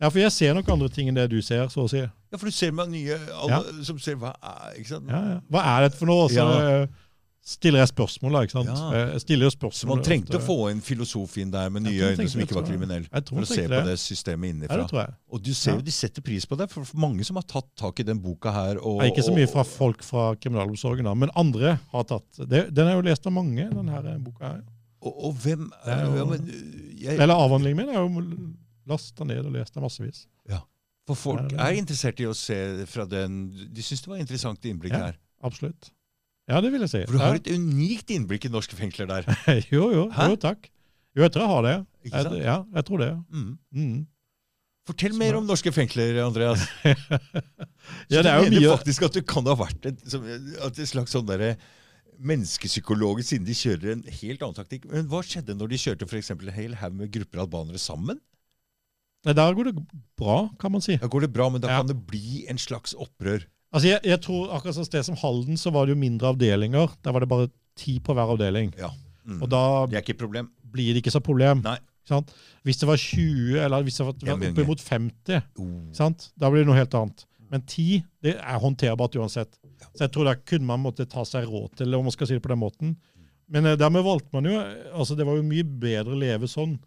[SPEAKER 2] Ja, for jeg ser nok andre ting enn det du ser, så å si.
[SPEAKER 1] Ja, for du ser med nye alle som ser hva er Ikke sant?
[SPEAKER 2] Ja, ja. Hva er dette for noe? Og Så
[SPEAKER 1] Ja.
[SPEAKER 2] eh, stiller jeg spørsmål, da. ikke sant?
[SPEAKER 1] Ja.
[SPEAKER 2] Eh, Jeg stiller jo
[SPEAKER 1] Så
[SPEAKER 2] spørsmål.
[SPEAKER 1] man trengte å få en filosof inn der med
[SPEAKER 2] Jeg
[SPEAKER 1] nye
[SPEAKER 2] tror hun
[SPEAKER 1] øyne
[SPEAKER 2] tenkte
[SPEAKER 1] som
[SPEAKER 2] det,
[SPEAKER 1] ikke var
[SPEAKER 2] tror jeg.
[SPEAKER 1] kriminell.
[SPEAKER 2] Jeg tror
[SPEAKER 1] For
[SPEAKER 2] hun
[SPEAKER 1] å se
[SPEAKER 2] tenkte
[SPEAKER 1] på
[SPEAKER 2] det.
[SPEAKER 1] det systemet
[SPEAKER 2] Ja, det
[SPEAKER 1] innenfra.
[SPEAKER 2] tror jeg.
[SPEAKER 1] Og du ser
[SPEAKER 2] Ja.
[SPEAKER 1] jo de setter pris på det. For mange som har tatt tak i den boka her og,
[SPEAKER 2] Nei, ikke så
[SPEAKER 1] og-
[SPEAKER 2] mye fra folk fra kriminalomsorgen, da, men andre har tatt. Det, den er jo lest av mange, den her eh, boka her.
[SPEAKER 1] Og, og hvem
[SPEAKER 2] Det er jo-
[SPEAKER 1] ja, men, eh, jeg,
[SPEAKER 2] Eller avhandlingen min er jo lasta ned og lest av massevis.
[SPEAKER 1] For folk
[SPEAKER 2] Det er-
[SPEAKER 1] er interessert i å se fra den De syns det var interessant innblikk
[SPEAKER 2] Ja.
[SPEAKER 1] her.
[SPEAKER 2] Absolutt. Ja, det vil jeg si.
[SPEAKER 1] For du har et unikt innblikk i norske fengsler der.
[SPEAKER 2] Ja. jo, jo,
[SPEAKER 1] Hæ?
[SPEAKER 2] jo, takk. Jo, jeg tror jeg har det.
[SPEAKER 1] Ikke
[SPEAKER 2] Jeg,
[SPEAKER 1] sant?
[SPEAKER 2] ja, jeg tror det.
[SPEAKER 1] Mm.
[SPEAKER 2] Mm.
[SPEAKER 1] Fortell mer om norske fengsler, Andreas.
[SPEAKER 2] Ja,
[SPEAKER 1] Så
[SPEAKER 2] det er jo
[SPEAKER 1] du mener
[SPEAKER 2] mye
[SPEAKER 1] faktisk at det kan ha vært et, som, at et slags sånn derre menneskepsykologer, siden de kjører en helt annen taktikk. Men hva skjedde når de kjørte for eksempel en hel haug med grupper albanere sammen?
[SPEAKER 2] Nei, Der går det bra, kan man si.
[SPEAKER 1] Da går det bra, men da
[SPEAKER 2] Ja.
[SPEAKER 1] kan det bli en slags opprør.
[SPEAKER 2] Altså, jeg, jeg tror akkurat sånn sted som Halden, så var det jo mindre avdelinger. Der var det bare ti på hver avdeling.
[SPEAKER 1] Mm.
[SPEAKER 2] Og da
[SPEAKER 1] det er ikke et problem.
[SPEAKER 2] blir det ikke så problem.
[SPEAKER 1] Nei.
[SPEAKER 2] Ikke sant? Hvis det var 20, eller hvis det var
[SPEAKER 1] Jeg
[SPEAKER 2] var
[SPEAKER 1] mener.
[SPEAKER 2] oppimot 50,
[SPEAKER 1] Oh.
[SPEAKER 2] ikke sant? da blir det noe helt annet. Men 10 det er håndterbart uansett. Så jeg tror der kunne man måtte ta seg råd til, om man skal si det på den måten. Men eh, dermed valgte man jo eh, altså Det var jo mye bedre å leve sånn.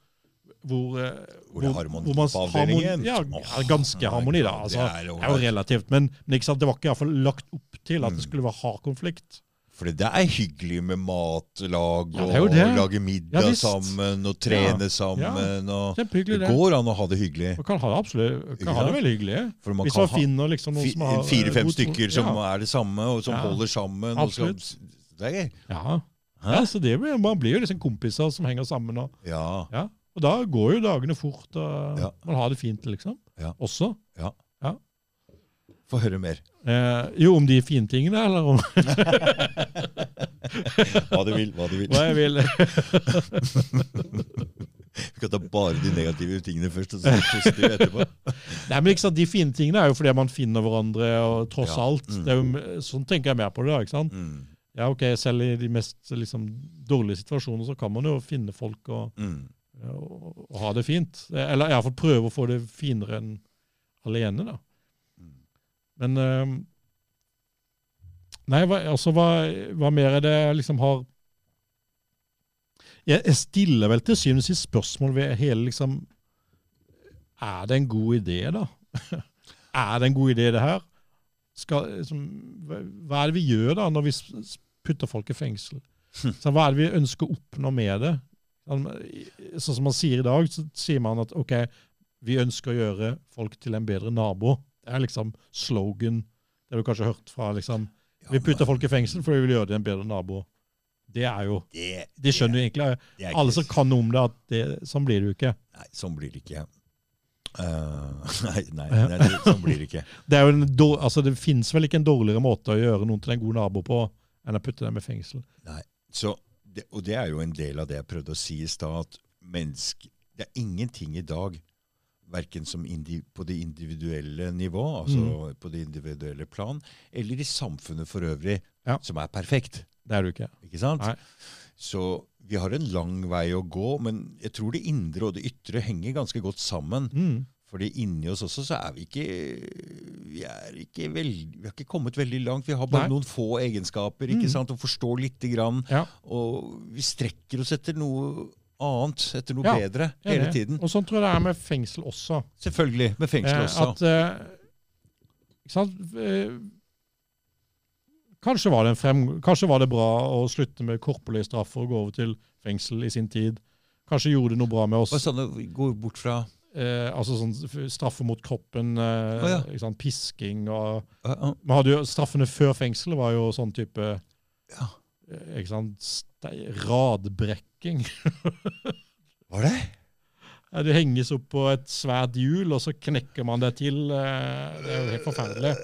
[SPEAKER 2] Hvor, eh,
[SPEAKER 1] Hvor det er harmoni
[SPEAKER 2] man
[SPEAKER 1] på avdelingen.
[SPEAKER 2] harmoni- Ja,
[SPEAKER 1] Åh,
[SPEAKER 2] ja, ganske harmoni, da.
[SPEAKER 1] ja, det
[SPEAKER 2] Altså,
[SPEAKER 1] er jo-
[SPEAKER 2] det er jo relativt, men, men ikke sant? det var ikke i hvert fall lagt opp til
[SPEAKER 1] Mm.
[SPEAKER 2] at det skulle være hard konflikt.
[SPEAKER 1] For det er hyggelig med matlag,
[SPEAKER 2] Ja,
[SPEAKER 1] og
[SPEAKER 2] det er jo det.
[SPEAKER 1] lage middag
[SPEAKER 2] Ja, visst.
[SPEAKER 1] sammen, og trene sammen. Og det
[SPEAKER 2] Kjempehyggelig, det.
[SPEAKER 1] går an å ha det hyggelig.
[SPEAKER 2] Man kan ha det absolutt kan ha det veldig hyggelig.
[SPEAKER 1] For man
[SPEAKER 2] Hvis
[SPEAKER 1] kan
[SPEAKER 2] man
[SPEAKER 1] ha
[SPEAKER 2] finner liksom noen
[SPEAKER 1] fi-
[SPEAKER 2] som har eh,
[SPEAKER 1] fire-fem
[SPEAKER 2] god tro-
[SPEAKER 1] stykker som
[SPEAKER 2] ja.
[SPEAKER 1] er det samme, og som
[SPEAKER 2] Ja.
[SPEAKER 1] holder sammen. Og skal, det er gøy.
[SPEAKER 2] Ja.
[SPEAKER 1] Hæ?
[SPEAKER 2] ja, så det, blir- Man blir jo liksom kompiser som henger sammen. Og,
[SPEAKER 1] Ja.
[SPEAKER 2] ja. og da går jo dagene fort, og
[SPEAKER 1] Ja.
[SPEAKER 2] man har det fint, liksom.
[SPEAKER 1] Ja.
[SPEAKER 2] Også.
[SPEAKER 1] Få høre mer.
[SPEAKER 2] Eh, jo, om de fine tingene, eller om
[SPEAKER 1] Hva du vil. hva du vil.
[SPEAKER 2] hva jeg vil.
[SPEAKER 1] Vi kan ta bare de negative tingene først, og så det positive etterpå.
[SPEAKER 2] Nei, men ikke sant, De fine tingene er jo fordi man finner hverandre, og tross
[SPEAKER 1] Ja.
[SPEAKER 2] alt.
[SPEAKER 1] Mm.
[SPEAKER 2] Det er jo, sånn tenker jeg mer på det. da, ikke sant?
[SPEAKER 1] Mm.
[SPEAKER 2] Ja, ok, Selv i de mest liksom, dårlige situasjoner så kan man jo finne folk og
[SPEAKER 1] Mm.
[SPEAKER 2] og, og ha det fint. Eh, Eller i hvert fall prøve å få det finere enn alene, da.
[SPEAKER 1] mm.
[SPEAKER 2] Men eh, Nei, hva, altså, hva, hva mer er det jeg liksom har Jeg, jeg stiller vel til syvende og sist spørsmål ved hele liksom Er det en god idé, da? er det en god idé, det her? Skal, liksom, hva, hva er det vi gjør da, når vi s- s- putter folk i fengsel? Så, hva er det vi ønsker å oppnå med det? Sånn sånn som man sier i dag, så sier man at ok, vi ønsker å gjøre folk til en bedre nabo. Det er liksom slogan. Det har du kanskje hørt fra liksom Vi putter folk i fengsel fordi vi vil gjøre dem en bedre nabo. Det er jo
[SPEAKER 1] Det,
[SPEAKER 2] De skjønner jo egentlig,
[SPEAKER 1] det er ikke-
[SPEAKER 2] alle som kan noe om det, at det, sånn blir det jo ikke.
[SPEAKER 1] Nei, sånn blir det ikke. Eh, nei, nei, nei, det- sånn blir det ikke.
[SPEAKER 2] Det, er jo en dår, altså det fins vel ikke en dårligere måte å gjøre noen til en god nabo på enn å putte dem i fengsel.
[SPEAKER 1] Så, det, og det er jo en del av det jeg prøvde å si i stad, at menneske, det er ingenting i dag verken som indi på det individuelle nivå, altså
[SPEAKER 2] Mm.
[SPEAKER 1] på det individuelle plan, eller i samfunnet for øvrig,
[SPEAKER 2] Ja.
[SPEAKER 1] som er perfekt.
[SPEAKER 2] Det er du ikke.
[SPEAKER 1] Ikke sant?
[SPEAKER 2] Nei.
[SPEAKER 1] Så vi har en lang vei å gå, men jeg tror det indre og det ytre henger ganske godt sammen.
[SPEAKER 2] Mm.
[SPEAKER 1] Fordi inni oss også så er vi ikke Vi, er ikke veld, vi har ikke kommet veldig langt. Vi har bare
[SPEAKER 2] Nei.
[SPEAKER 1] noen få egenskaper ikke
[SPEAKER 2] Mm.
[SPEAKER 1] sant? og forstår lite grann.
[SPEAKER 2] Ja.
[SPEAKER 1] Og vi strekker oss etter noe annet, etter noe
[SPEAKER 2] Ja,
[SPEAKER 1] bedre,
[SPEAKER 2] jeg er
[SPEAKER 1] hele
[SPEAKER 2] enig.
[SPEAKER 1] tiden.
[SPEAKER 2] Og sånn tror jeg det er med fengsel også.
[SPEAKER 1] Selvfølgelig. Med fengsel også.
[SPEAKER 2] Eh, at, eh, ikke sant? Eh, kanskje, var det en frem, kanskje var det bra å slutte med korporlige straffer og gå over til fengsel i sin tid. Kanskje gjorde det noe bra med
[SPEAKER 1] Hva
[SPEAKER 2] oss.
[SPEAKER 1] sa du? Gå bort fra
[SPEAKER 2] Eh, altså sånn f- straffer mot kroppen, eh,
[SPEAKER 1] Å ja.
[SPEAKER 2] ikke sant? pisking og
[SPEAKER 1] Ja, ja.
[SPEAKER 2] man hadde jo, Straffene før fengsel var jo sånn type
[SPEAKER 1] Ja.
[SPEAKER 2] eh, ikke sant? Ste radbrekking.
[SPEAKER 1] Var det?
[SPEAKER 2] Ja, Du henges opp på et svært hjul, og så knekker man det til. eh, Det er jo helt forferdelig.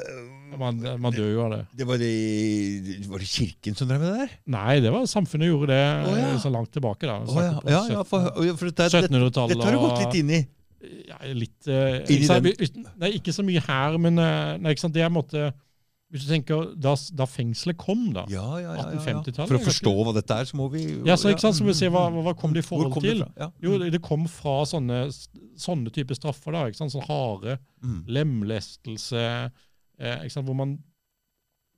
[SPEAKER 2] Man, man dør jo av det.
[SPEAKER 1] Eh, Det var, det, var det kirken som drev med det der?
[SPEAKER 2] Nei, det var samfunnet gjorde det
[SPEAKER 1] Å, ja.
[SPEAKER 2] eh, så langt tilbake. da.
[SPEAKER 1] Å ja, ja, ja, for, for dette, dette,
[SPEAKER 2] 1700-tallet.
[SPEAKER 1] dette har du gått litt inn i.
[SPEAKER 2] Ja, litt eh,
[SPEAKER 1] i
[SPEAKER 2] ikke sant,
[SPEAKER 1] den-
[SPEAKER 2] vi- Nei, ikke så mye her, men eh, nei, ikke sant, det er en måte Hvis du tenker da, da fengselet kom, da.
[SPEAKER 1] Ja, ja, ja, ja, ja.
[SPEAKER 2] 1850-tallet,
[SPEAKER 1] For å
[SPEAKER 2] kanskje?
[SPEAKER 1] forstå hva dette er, så må vi
[SPEAKER 2] Ja, så ikke sant, så må vi se hva, hva hva kom det i
[SPEAKER 1] Hvor
[SPEAKER 2] forhold
[SPEAKER 1] kom det
[SPEAKER 2] til?
[SPEAKER 1] fra? Ja.
[SPEAKER 2] Jo, det kom fra sånne, sånne typer straffer, da. ikke sant, Sånn harde
[SPEAKER 1] Mm.
[SPEAKER 2] lemlestelse eh, ikke sant? Hvor man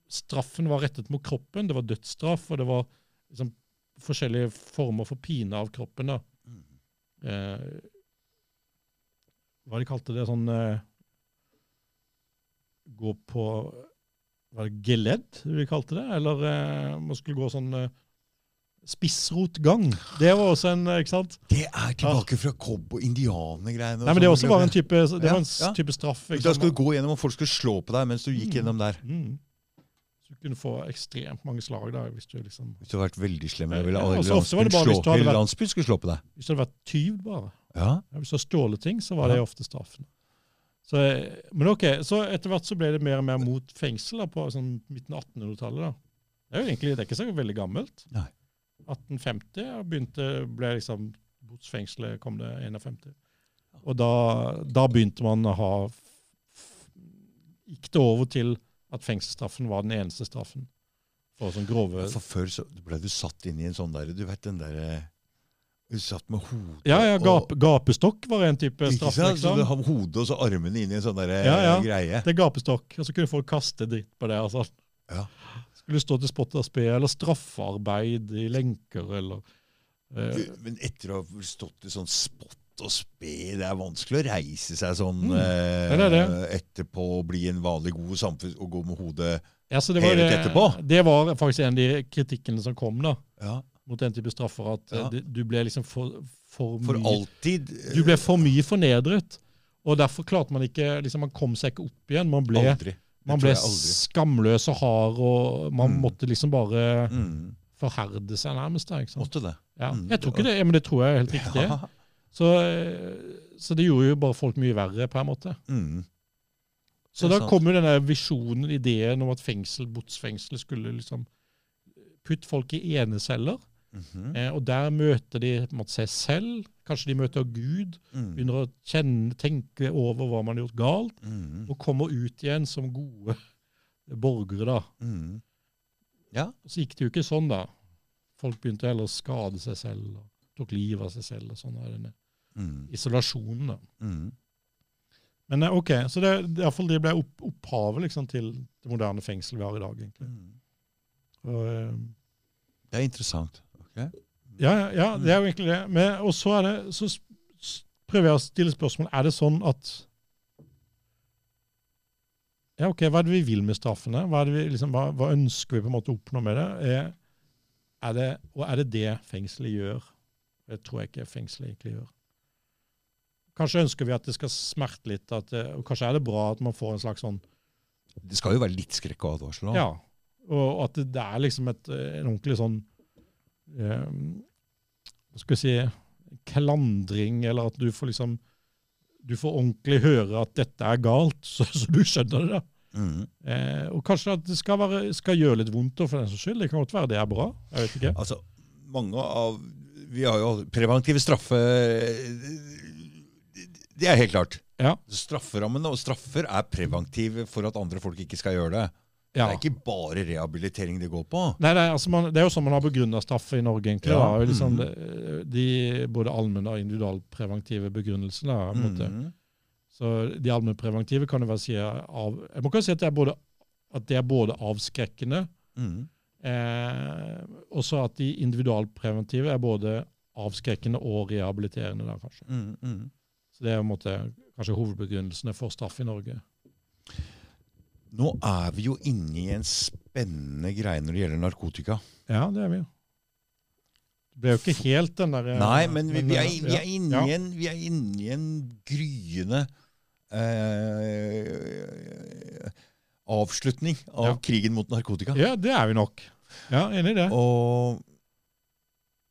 [SPEAKER 2] Straffen var rettet mot kroppen. Det var dødsstraff, og det var liksom, forskjellige former for pine av kroppen. da.
[SPEAKER 1] Mm.
[SPEAKER 2] Eh, hva de kalte det? Sånn eh, Gå på Var det geledd de kalte det? Eller eh, man skulle gå sånn eh, Spissrotgang. Det var også en eh, ikke sant?
[SPEAKER 1] Det er tilbake fra cobb- og indianergreiene. og
[SPEAKER 2] Nei, men Det
[SPEAKER 1] sånn.
[SPEAKER 2] også var en type, det var en s-
[SPEAKER 1] Ja, ja.
[SPEAKER 2] type straff. ikke
[SPEAKER 1] Da
[SPEAKER 2] sant?
[SPEAKER 1] skal du gå gjennom, og folk skulle slå på deg mens du gikk
[SPEAKER 2] Mm.
[SPEAKER 1] gjennom der.
[SPEAKER 2] Mm. Så du kunne få ekstremt mange slag da, hvis du liksom
[SPEAKER 1] Hvis du har vært veldig slem, jeg ville
[SPEAKER 2] Ja,
[SPEAKER 1] alle
[SPEAKER 2] altså, ofte var
[SPEAKER 1] landsbyen
[SPEAKER 2] det bare
[SPEAKER 1] slå,
[SPEAKER 2] hvis du hadde
[SPEAKER 1] hele
[SPEAKER 2] vært-
[SPEAKER 1] landsbyen skulle slå på deg.
[SPEAKER 2] Hvis du hadde vært tyv, bare.
[SPEAKER 1] Ja,
[SPEAKER 2] Ja, Hvis du hadde stjålet ting, så var det
[SPEAKER 1] Ja.
[SPEAKER 2] ofte straffen. Så, eh, men ok, så etter hvert så ble det mer og mer mot fengsel da, på sånn midten av 1800-tallet. da. Det er jo egentlig det er ikke så veldig gammelt.
[SPEAKER 1] Nei.
[SPEAKER 2] 1850 ja, begynte, ble liksom Botsfengselet kom det 51. Og da, da begynte man å ha f- Gikk det over til at fengselsstraffen var den eneste straffen for sånn grove
[SPEAKER 1] For før så ble du satt inn i en sånn der, du vet den der eh, Du satt med hodet
[SPEAKER 2] Ja, ja,
[SPEAKER 1] og-
[SPEAKER 2] gap, gapestokk var en type
[SPEAKER 1] Ikke
[SPEAKER 2] straff.
[SPEAKER 1] sant? Så
[SPEAKER 2] liksom.
[SPEAKER 1] du har hodet og så armene inn i en sånn der eh,
[SPEAKER 2] Ja, ja.
[SPEAKER 1] greie.
[SPEAKER 2] Det er gapestokk, og så kunne folk kaste dritt på det. Altså.
[SPEAKER 1] Ja.
[SPEAKER 2] Skulle stå til spott og spe, eller straffarbeid i lenker, eller eh,
[SPEAKER 1] Du, men etter å ha stått i sånn spott og spe, det er vanskelig å reise seg sånn
[SPEAKER 2] Mm,
[SPEAKER 1] eh,
[SPEAKER 2] det er
[SPEAKER 1] etterpå og bli en vanlig god samfunn og gå med hodet
[SPEAKER 2] ja, så det, var,
[SPEAKER 1] Hevet
[SPEAKER 2] det,
[SPEAKER 1] etterpå.
[SPEAKER 2] det var faktisk en av de kritikkene som kom da,
[SPEAKER 1] ja,
[SPEAKER 2] mot den type straffer, at eh,
[SPEAKER 1] Ja.
[SPEAKER 2] det- du ble liksom for, for,
[SPEAKER 1] for
[SPEAKER 2] mye,
[SPEAKER 1] alltid. eh,
[SPEAKER 2] Du ble for mye fornedret. Og derfor klarte man ikke liksom, Man kom seg ikke opp igjen. Man ble,
[SPEAKER 1] aldri. Det
[SPEAKER 2] man
[SPEAKER 1] tror
[SPEAKER 2] ble
[SPEAKER 1] jeg aldri.
[SPEAKER 2] skamløs og hard, og man
[SPEAKER 1] Mm.
[SPEAKER 2] måtte liksom bare
[SPEAKER 1] Mm,
[SPEAKER 2] forherde seg nærmest. Da, ikke sant?
[SPEAKER 1] måtte det.
[SPEAKER 2] Ja.
[SPEAKER 1] Mm,
[SPEAKER 2] Jeg tror
[SPEAKER 1] det
[SPEAKER 2] ikke det, men det tror jeg er helt riktig.
[SPEAKER 1] Ja.
[SPEAKER 2] Så, eh, så det gjorde jo bare folk mye verre, på en måte.
[SPEAKER 1] Mm. Sånn.
[SPEAKER 2] Så
[SPEAKER 1] Det er
[SPEAKER 2] da
[SPEAKER 1] sant.
[SPEAKER 2] kom jo denne visjonen, ideen om at fengsel, botsfengselet skulle liksom putte folk i eneceller.
[SPEAKER 1] Mhm.
[SPEAKER 2] Eh, og der møter de på en måte, seg selv. Kanskje de møter Gud.
[SPEAKER 1] Mm.
[SPEAKER 2] Begynner å kjenne, tenke over hva man har gjort galt.
[SPEAKER 1] Mm.
[SPEAKER 2] Og kommer ut igjen som gode borgere, da.
[SPEAKER 1] Mm.
[SPEAKER 2] Og så gikk det jo ikke sånn, da. Folk begynte heller å skade seg selv. og Tok livet av seg selv og sånn. og Denne
[SPEAKER 1] Mm.
[SPEAKER 2] isolasjonen, da.
[SPEAKER 1] Mm.
[SPEAKER 2] Men eh, ok, så det, det, er i hvert fall det ble opp, opphavet liksom, til det moderne fengsel vi har i dag. egentlig.
[SPEAKER 1] Mm.
[SPEAKER 2] Og, eh,
[SPEAKER 1] Det er interessant.
[SPEAKER 2] ja, ja, ja, det er jo egentlig det. Men, og så, er det, så s- s- prøver jeg å stille spørsmål. Er det sånn at ja, ok, Hva er det vi vil med straffene? Hva, er det vi, liksom, hva, hva ønsker vi på en måte å oppnå med det? Er, er det? Og er det det fengselet gjør? Det tror jeg ikke fengselet egentlig gjør. Kanskje ønsker vi at det skal smerte litt, at, det- og kanskje er det bra at man får en slags sånn
[SPEAKER 1] Det skal jo være litt skrekk og advarsel. da.
[SPEAKER 2] Ja, og at det, det er liksom et, eh, en ordentlig sånn eh, Hva skal vi si Klandring, eller at du får liksom Du får ordentlig høre at dette er galt, så, så du skjønner det. da.
[SPEAKER 1] Mm.
[SPEAKER 2] Eh, og kanskje at det skal, være, skal gjøre litt vondt, og for den saks skyld. Det kan godt være det er bra. Jeg vet ikke.
[SPEAKER 1] Altså, mange av Vi har jo preventive straffe Det er helt klart.
[SPEAKER 2] Ja.
[SPEAKER 1] Strafferammen og straffer er preventiv for at andre folk ikke skal gjøre det. Det
[SPEAKER 2] Ja.
[SPEAKER 1] er ikke bare rehabilitering det går på.
[SPEAKER 2] Nei, nei, altså man, Det er jo sånn man har begrunna straffer i Norge. egentlig.
[SPEAKER 1] Ja.
[SPEAKER 2] Da. Det er jo Liksom, de, de, både allmenne og individualpreventive begrunnelser. Da, på en måte.
[SPEAKER 1] Mhm.
[SPEAKER 2] Så De allmennpreventive kan jo være si av, Jeg må ikke si at det er både, at det er både avskrekkende,
[SPEAKER 1] Mhm.
[SPEAKER 2] eh, og så at de individualpreventive er både avskrekkende og rehabiliterende. Da, kanskje.
[SPEAKER 1] Mhm. Mhm.
[SPEAKER 2] Så Det er på en måte kanskje hovedbegrunnelsene for straff i Norge.
[SPEAKER 1] Nå er vi jo inne i en spennende greie når det gjelder narkotika.
[SPEAKER 2] Ja, det er vi jo. Det ble jo ikke helt den der eh,
[SPEAKER 1] Nei, men vi, vi, er,
[SPEAKER 2] eh,
[SPEAKER 1] vi, er inne
[SPEAKER 2] ja.
[SPEAKER 1] i en, vi er inne i en gryende eh, avslutning av
[SPEAKER 2] Ja.
[SPEAKER 1] krigen mot narkotika.
[SPEAKER 2] Ja, det er vi nok. Ja, Enig i det.
[SPEAKER 1] Og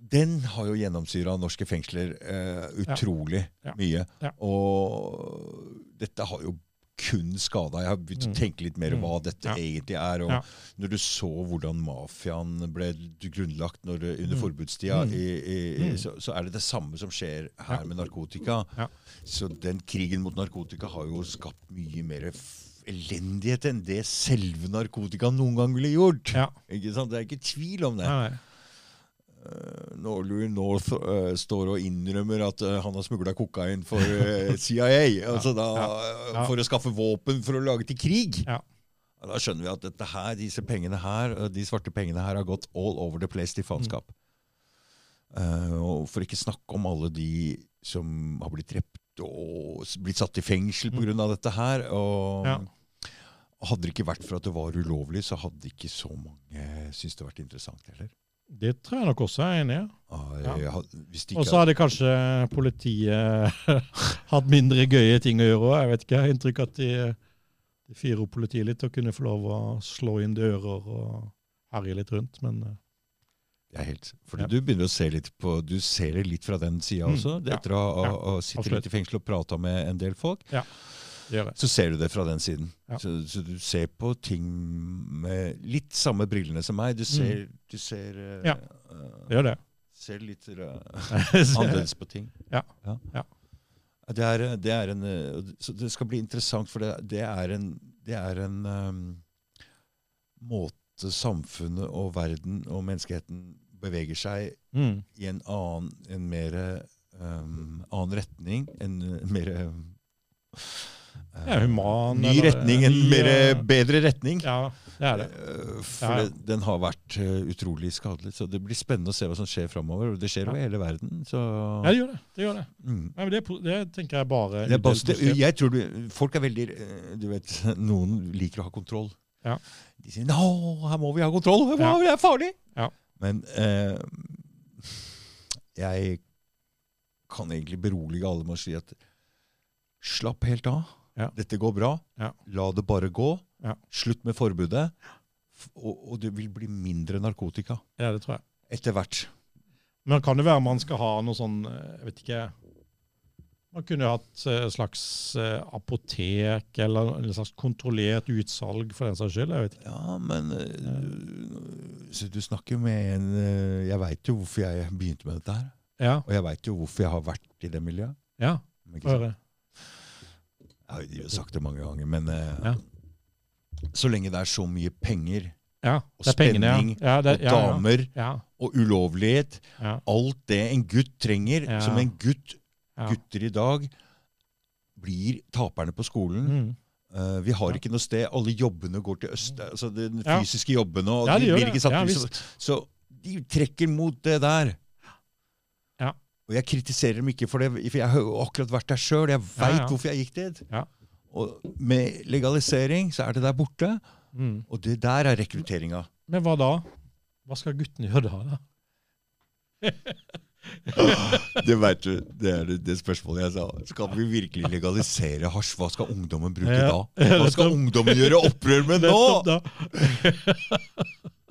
[SPEAKER 1] den har jo gjennomsyra norske fengsler eh, utrolig
[SPEAKER 2] Ja.
[SPEAKER 1] mye.
[SPEAKER 2] Ja.
[SPEAKER 1] Og dette har jo kun skada. Jeg har begynt
[SPEAKER 2] Mm.
[SPEAKER 1] å tenke litt mer
[SPEAKER 2] Mm.
[SPEAKER 1] hva dette
[SPEAKER 2] Ja.
[SPEAKER 1] egentlig er. Og
[SPEAKER 2] Ja.
[SPEAKER 1] når du så hvordan mafiaen ble grunnlagt når, eh, under
[SPEAKER 2] Mm.
[SPEAKER 1] forbudstida, i,
[SPEAKER 2] Mm.
[SPEAKER 1] i, i,
[SPEAKER 2] Mm.
[SPEAKER 1] så, så er det det samme som skjer her
[SPEAKER 2] Ja.
[SPEAKER 1] med narkotika.
[SPEAKER 2] Ja.
[SPEAKER 1] Så den krigen mot narkotika har jo skapt mye mer f- elendighet enn det selve narkotikaen noen gang ville gjort.
[SPEAKER 2] Ja.
[SPEAKER 1] Ikke sant? Det er ikke tvil om det.
[SPEAKER 2] Nei, nei.
[SPEAKER 1] Eh, Når Louis North eh, står og innrømmer at eh, han har smugla kokain for eh, CIA altså da,
[SPEAKER 2] ja.
[SPEAKER 1] for å skaffe våpen for å lage til krig,
[SPEAKER 2] Ja.
[SPEAKER 1] Ja, da skjønner vi at dette her, disse pengene her, eh, de svarte pengene her har gått all over the place til faenskap.
[SPEAKER 2] Mm.
[SPEAKER 1] Eh, og for ikke snakke om alle de som har blitt drept og s- blitt satt i fengsel
[SPEAKER 2] Mm.
[SPEAKER 1] pga. av dette her. Og
[SPEAKER 2] Ja.
[SPEAKER 1] hadde det ikke vært for at det var ulovlig, så hadde ikke så mange syntes det vært interessant heller.
[SPEAKER 2] Det tror jeg nok også jeg er enig i.
[SPEAKER 1] Ah,
[SPEAKER 2] Ja.
[SPEAKER 1] jeg had- hvis de
[SPEAKER 2] Og
[SPEAKER 1] ikke
[SPEAKER 2] så hadde kanskje politiet hatt mindre gøye ting å gjøre òg. Jeg vet ikke. Jeg har inntrykk av at de, de fyrer opp politiet litt og kunne få lov å slå inn dører og herje litt rundt. Men eh,
[SPEAKER 1] Jeg er helt, fordi
[SPEAKER 2] Ja.
[SPEAKER 1] Du begynner å se litt på, du ser det litt fra den sida
[SPEAKER 2] Mm,
[SPEAKER 1] også.
[SPEAKER 2] ja,
[SPEAKER 1] Etter å ha
[SPEAKER 2] ja,
[SPEAKER 1] ha- ha sittet
[SPEAKER 2] absolutt.
[SPEAKER 1] litt i fengsel og prata med en del folk,
[SPEAKER 2] det gjør jeg.
[SPEAKER 1] så ser du det fra den siden.
[SPEAKER 2] Ja.
[SPEAKER 1] Så, så du ser på ting med litt samme brillene som meg. Du ser, du ser, eh,
[SPEAKER 2] Mm. Ja.
[SPEAKER 1] eh,
[SPEAKER 2] Det gjør det.
[SPEAKER 1] ser litt eh,
[SPEAKER 2] Så-
[SPEAKER 1] annerledes på ting.
[SPEAKER 2] Ja. Ja.
[SPEAKER 1] Det, er, det, er en, eh, så det skal bli interessant, for det, det er en, det er en eh, måte samfunnet og verden og menneskeheten beveger seg
[SPEAKER 2] mm.
[SPEAKER 1] i en annen, en mer ehm, annen retning. En mer ehm, eh,
[SPEAKER 2] Ja, human,
[SPEAKER 1] Ny
[SPEAKER 2] eller-
[SPEAKER 1] retning, en
[SPEAKER 2] ny,
[SPEAKER 1] mer
[SPEAKER 2] eh,
[SPEAKER 1] bedre retning.
[SPEAKER 2] Ja, det er det.
[SPEAKER 1] Eh, For
[SPEAKER 2] Ja, ja.
[SPEAKER 1] det, den har vært eh, utrolig skadelig. Så det blir spennende å se hva som skjer framover. Det skjer
[SPEAKER 2] Ja.
[SPEAKER 1] over hele verden. Så,
[SPEAKER 2] Ja, det gjør det. Det, gjør det.
[SPEAKER 1] mm.
[SPEAKER 2] Nei, men det, er po- det tenker jeg bare
[SPEAKER 1] Det er bare, det,
[SPEAKER 2] positivt.
[SPEAKER 1] jeg tror du, folk er veldig eh, Du vet, noen liker å ha kontroll.
[SPEAKER 2] Ja.
[SPEAKER 1] De sier 'Nå, her må vi ha kontroll! Her må,
[SPEAKER 2] Ja.
[SPEAKER 1] Det er farlig!'
[SPEAKER 2] Ja.
[SPEAKER 1] Men eh, jeg kan egentlig berolige alle med å si at slapp helt av.
[SPEAKER 2] Ja.
[SPEAKER 1] Dette går bra.
[SPEAKER 2] Ja.
[SPEAKER 1] La det bare gå.
[SPEAKER 2] Ja.
[SPEAKER 1] Slutt med forbudet. F- Og, og det vil bli mindre narkotika
[SPEAKER 2] Ja, det tror jeg.
[SPEAKER 1] etter hvert.
[SPEAKER 2] Men kan det være man skal ha noe sånn eh, Jeg vet ikke. Man kunne jo hatt eh, et slags eh, apotek eller en slags kontrollert utsalg for den saks skyld. jeg vet ikke.
[SPEAKER 1] Ja, men eh, så Du snakker med en eh, Jeg veit jo hvorfor jeg begynte med dette her.
[SPEAKER 2] Ja,
[SPEAKER 1] Og jeg veit jo hvorfor jeg har vært i det miljøet.
[SPEAKER 2] ja,
[SPEAKER 1] Ikke
[SPEAKER 2] få
[SPEAKER 1] sant?
[SPEAKER 2] høre.
[SPEAKER 1] Jeg har jo sagt det mange ganger, men eh,
[SPEAKER 2] Ja.
[SPEAKER 1] så lenge det er så mye penger
[SPEAKER 2] Ja,
[SPEAKER 1] Og
[SPEAKER 2] det er pengene,
[SPEAKER 1] spenning
[SPEAKER 2] ja. ja det,
[SPEAKER 1] og
[SPEAKER 2] ja, ja.
[SPEAKER 1] damer
[SPEAKER 2] Ja,
[SPEAKER 1] og ulovlighet,
[SPEAKER 2] ja,
[SPEAKER 1] alt det en gutt trenger,
[SPEAKER 2] Ja.
[SPEAKER 1] som en gutt,
[SPEAKER 2] ja.
[SPEAKER 1] gutter i dag, blir taperne på skolen.
[SPEAKER 2] Mm.
[SPEAKER 1] Eh, vi har
[SPEAKER 2] Ja. Mm.
[SPEAKER 1] ikke noe sted. Alle jobbene går til øst. Altså den
[SPEAKER 2] Ja.
[SPEAKER 1] fysiske jobbene. Og
[SPEAKER 2] Ja,
[SPEAKER 1] de
[SPEAKER 2] det gjør
[SPEAKER 1] blir
[SPEAKER 2] det.
[SPEAKER 1] ikke satt
[SPEAKER 2] Ja,
[SPEAKER 1] ut, så-
[SPEAKER 2] visst.
[SPEAKER 1] Så de trekker mot det der.
[SPEAKER 2] Ja.
[SPEAKER 1] Og jeg kritiserer dem ikke for det, for jeg har jo akkurat vært der sjøl. Jeg
[SPEAKER 2] Ja,
[SPEAKER 1] veit
[SPEAKER 2] ja.
[SPEAKER 1] hvorfor jeg gikk dit.
[SPEAKER 2] Ja.
[SPEAKER 1] Og med legalisering så er det der borte,
[SPEAKER 2] Mm.
[SPEAKER 1] og det der er rekrutteringa.
[SPEAKER 2] Men hva da? Hva skal guttene gjøre da? da?
[SPEAKER 1] Det vet du, det er det, det spørsmålet jeg sa. Skal vi virkelig legalisere hasj? Hva skal ungdommen bruke
[SPEAKER 2] Ja.
[SPEAKER 1] da? Hva skal ungdommen gjøre opprør med nå?
[SPEAKER 2] Nettopp da.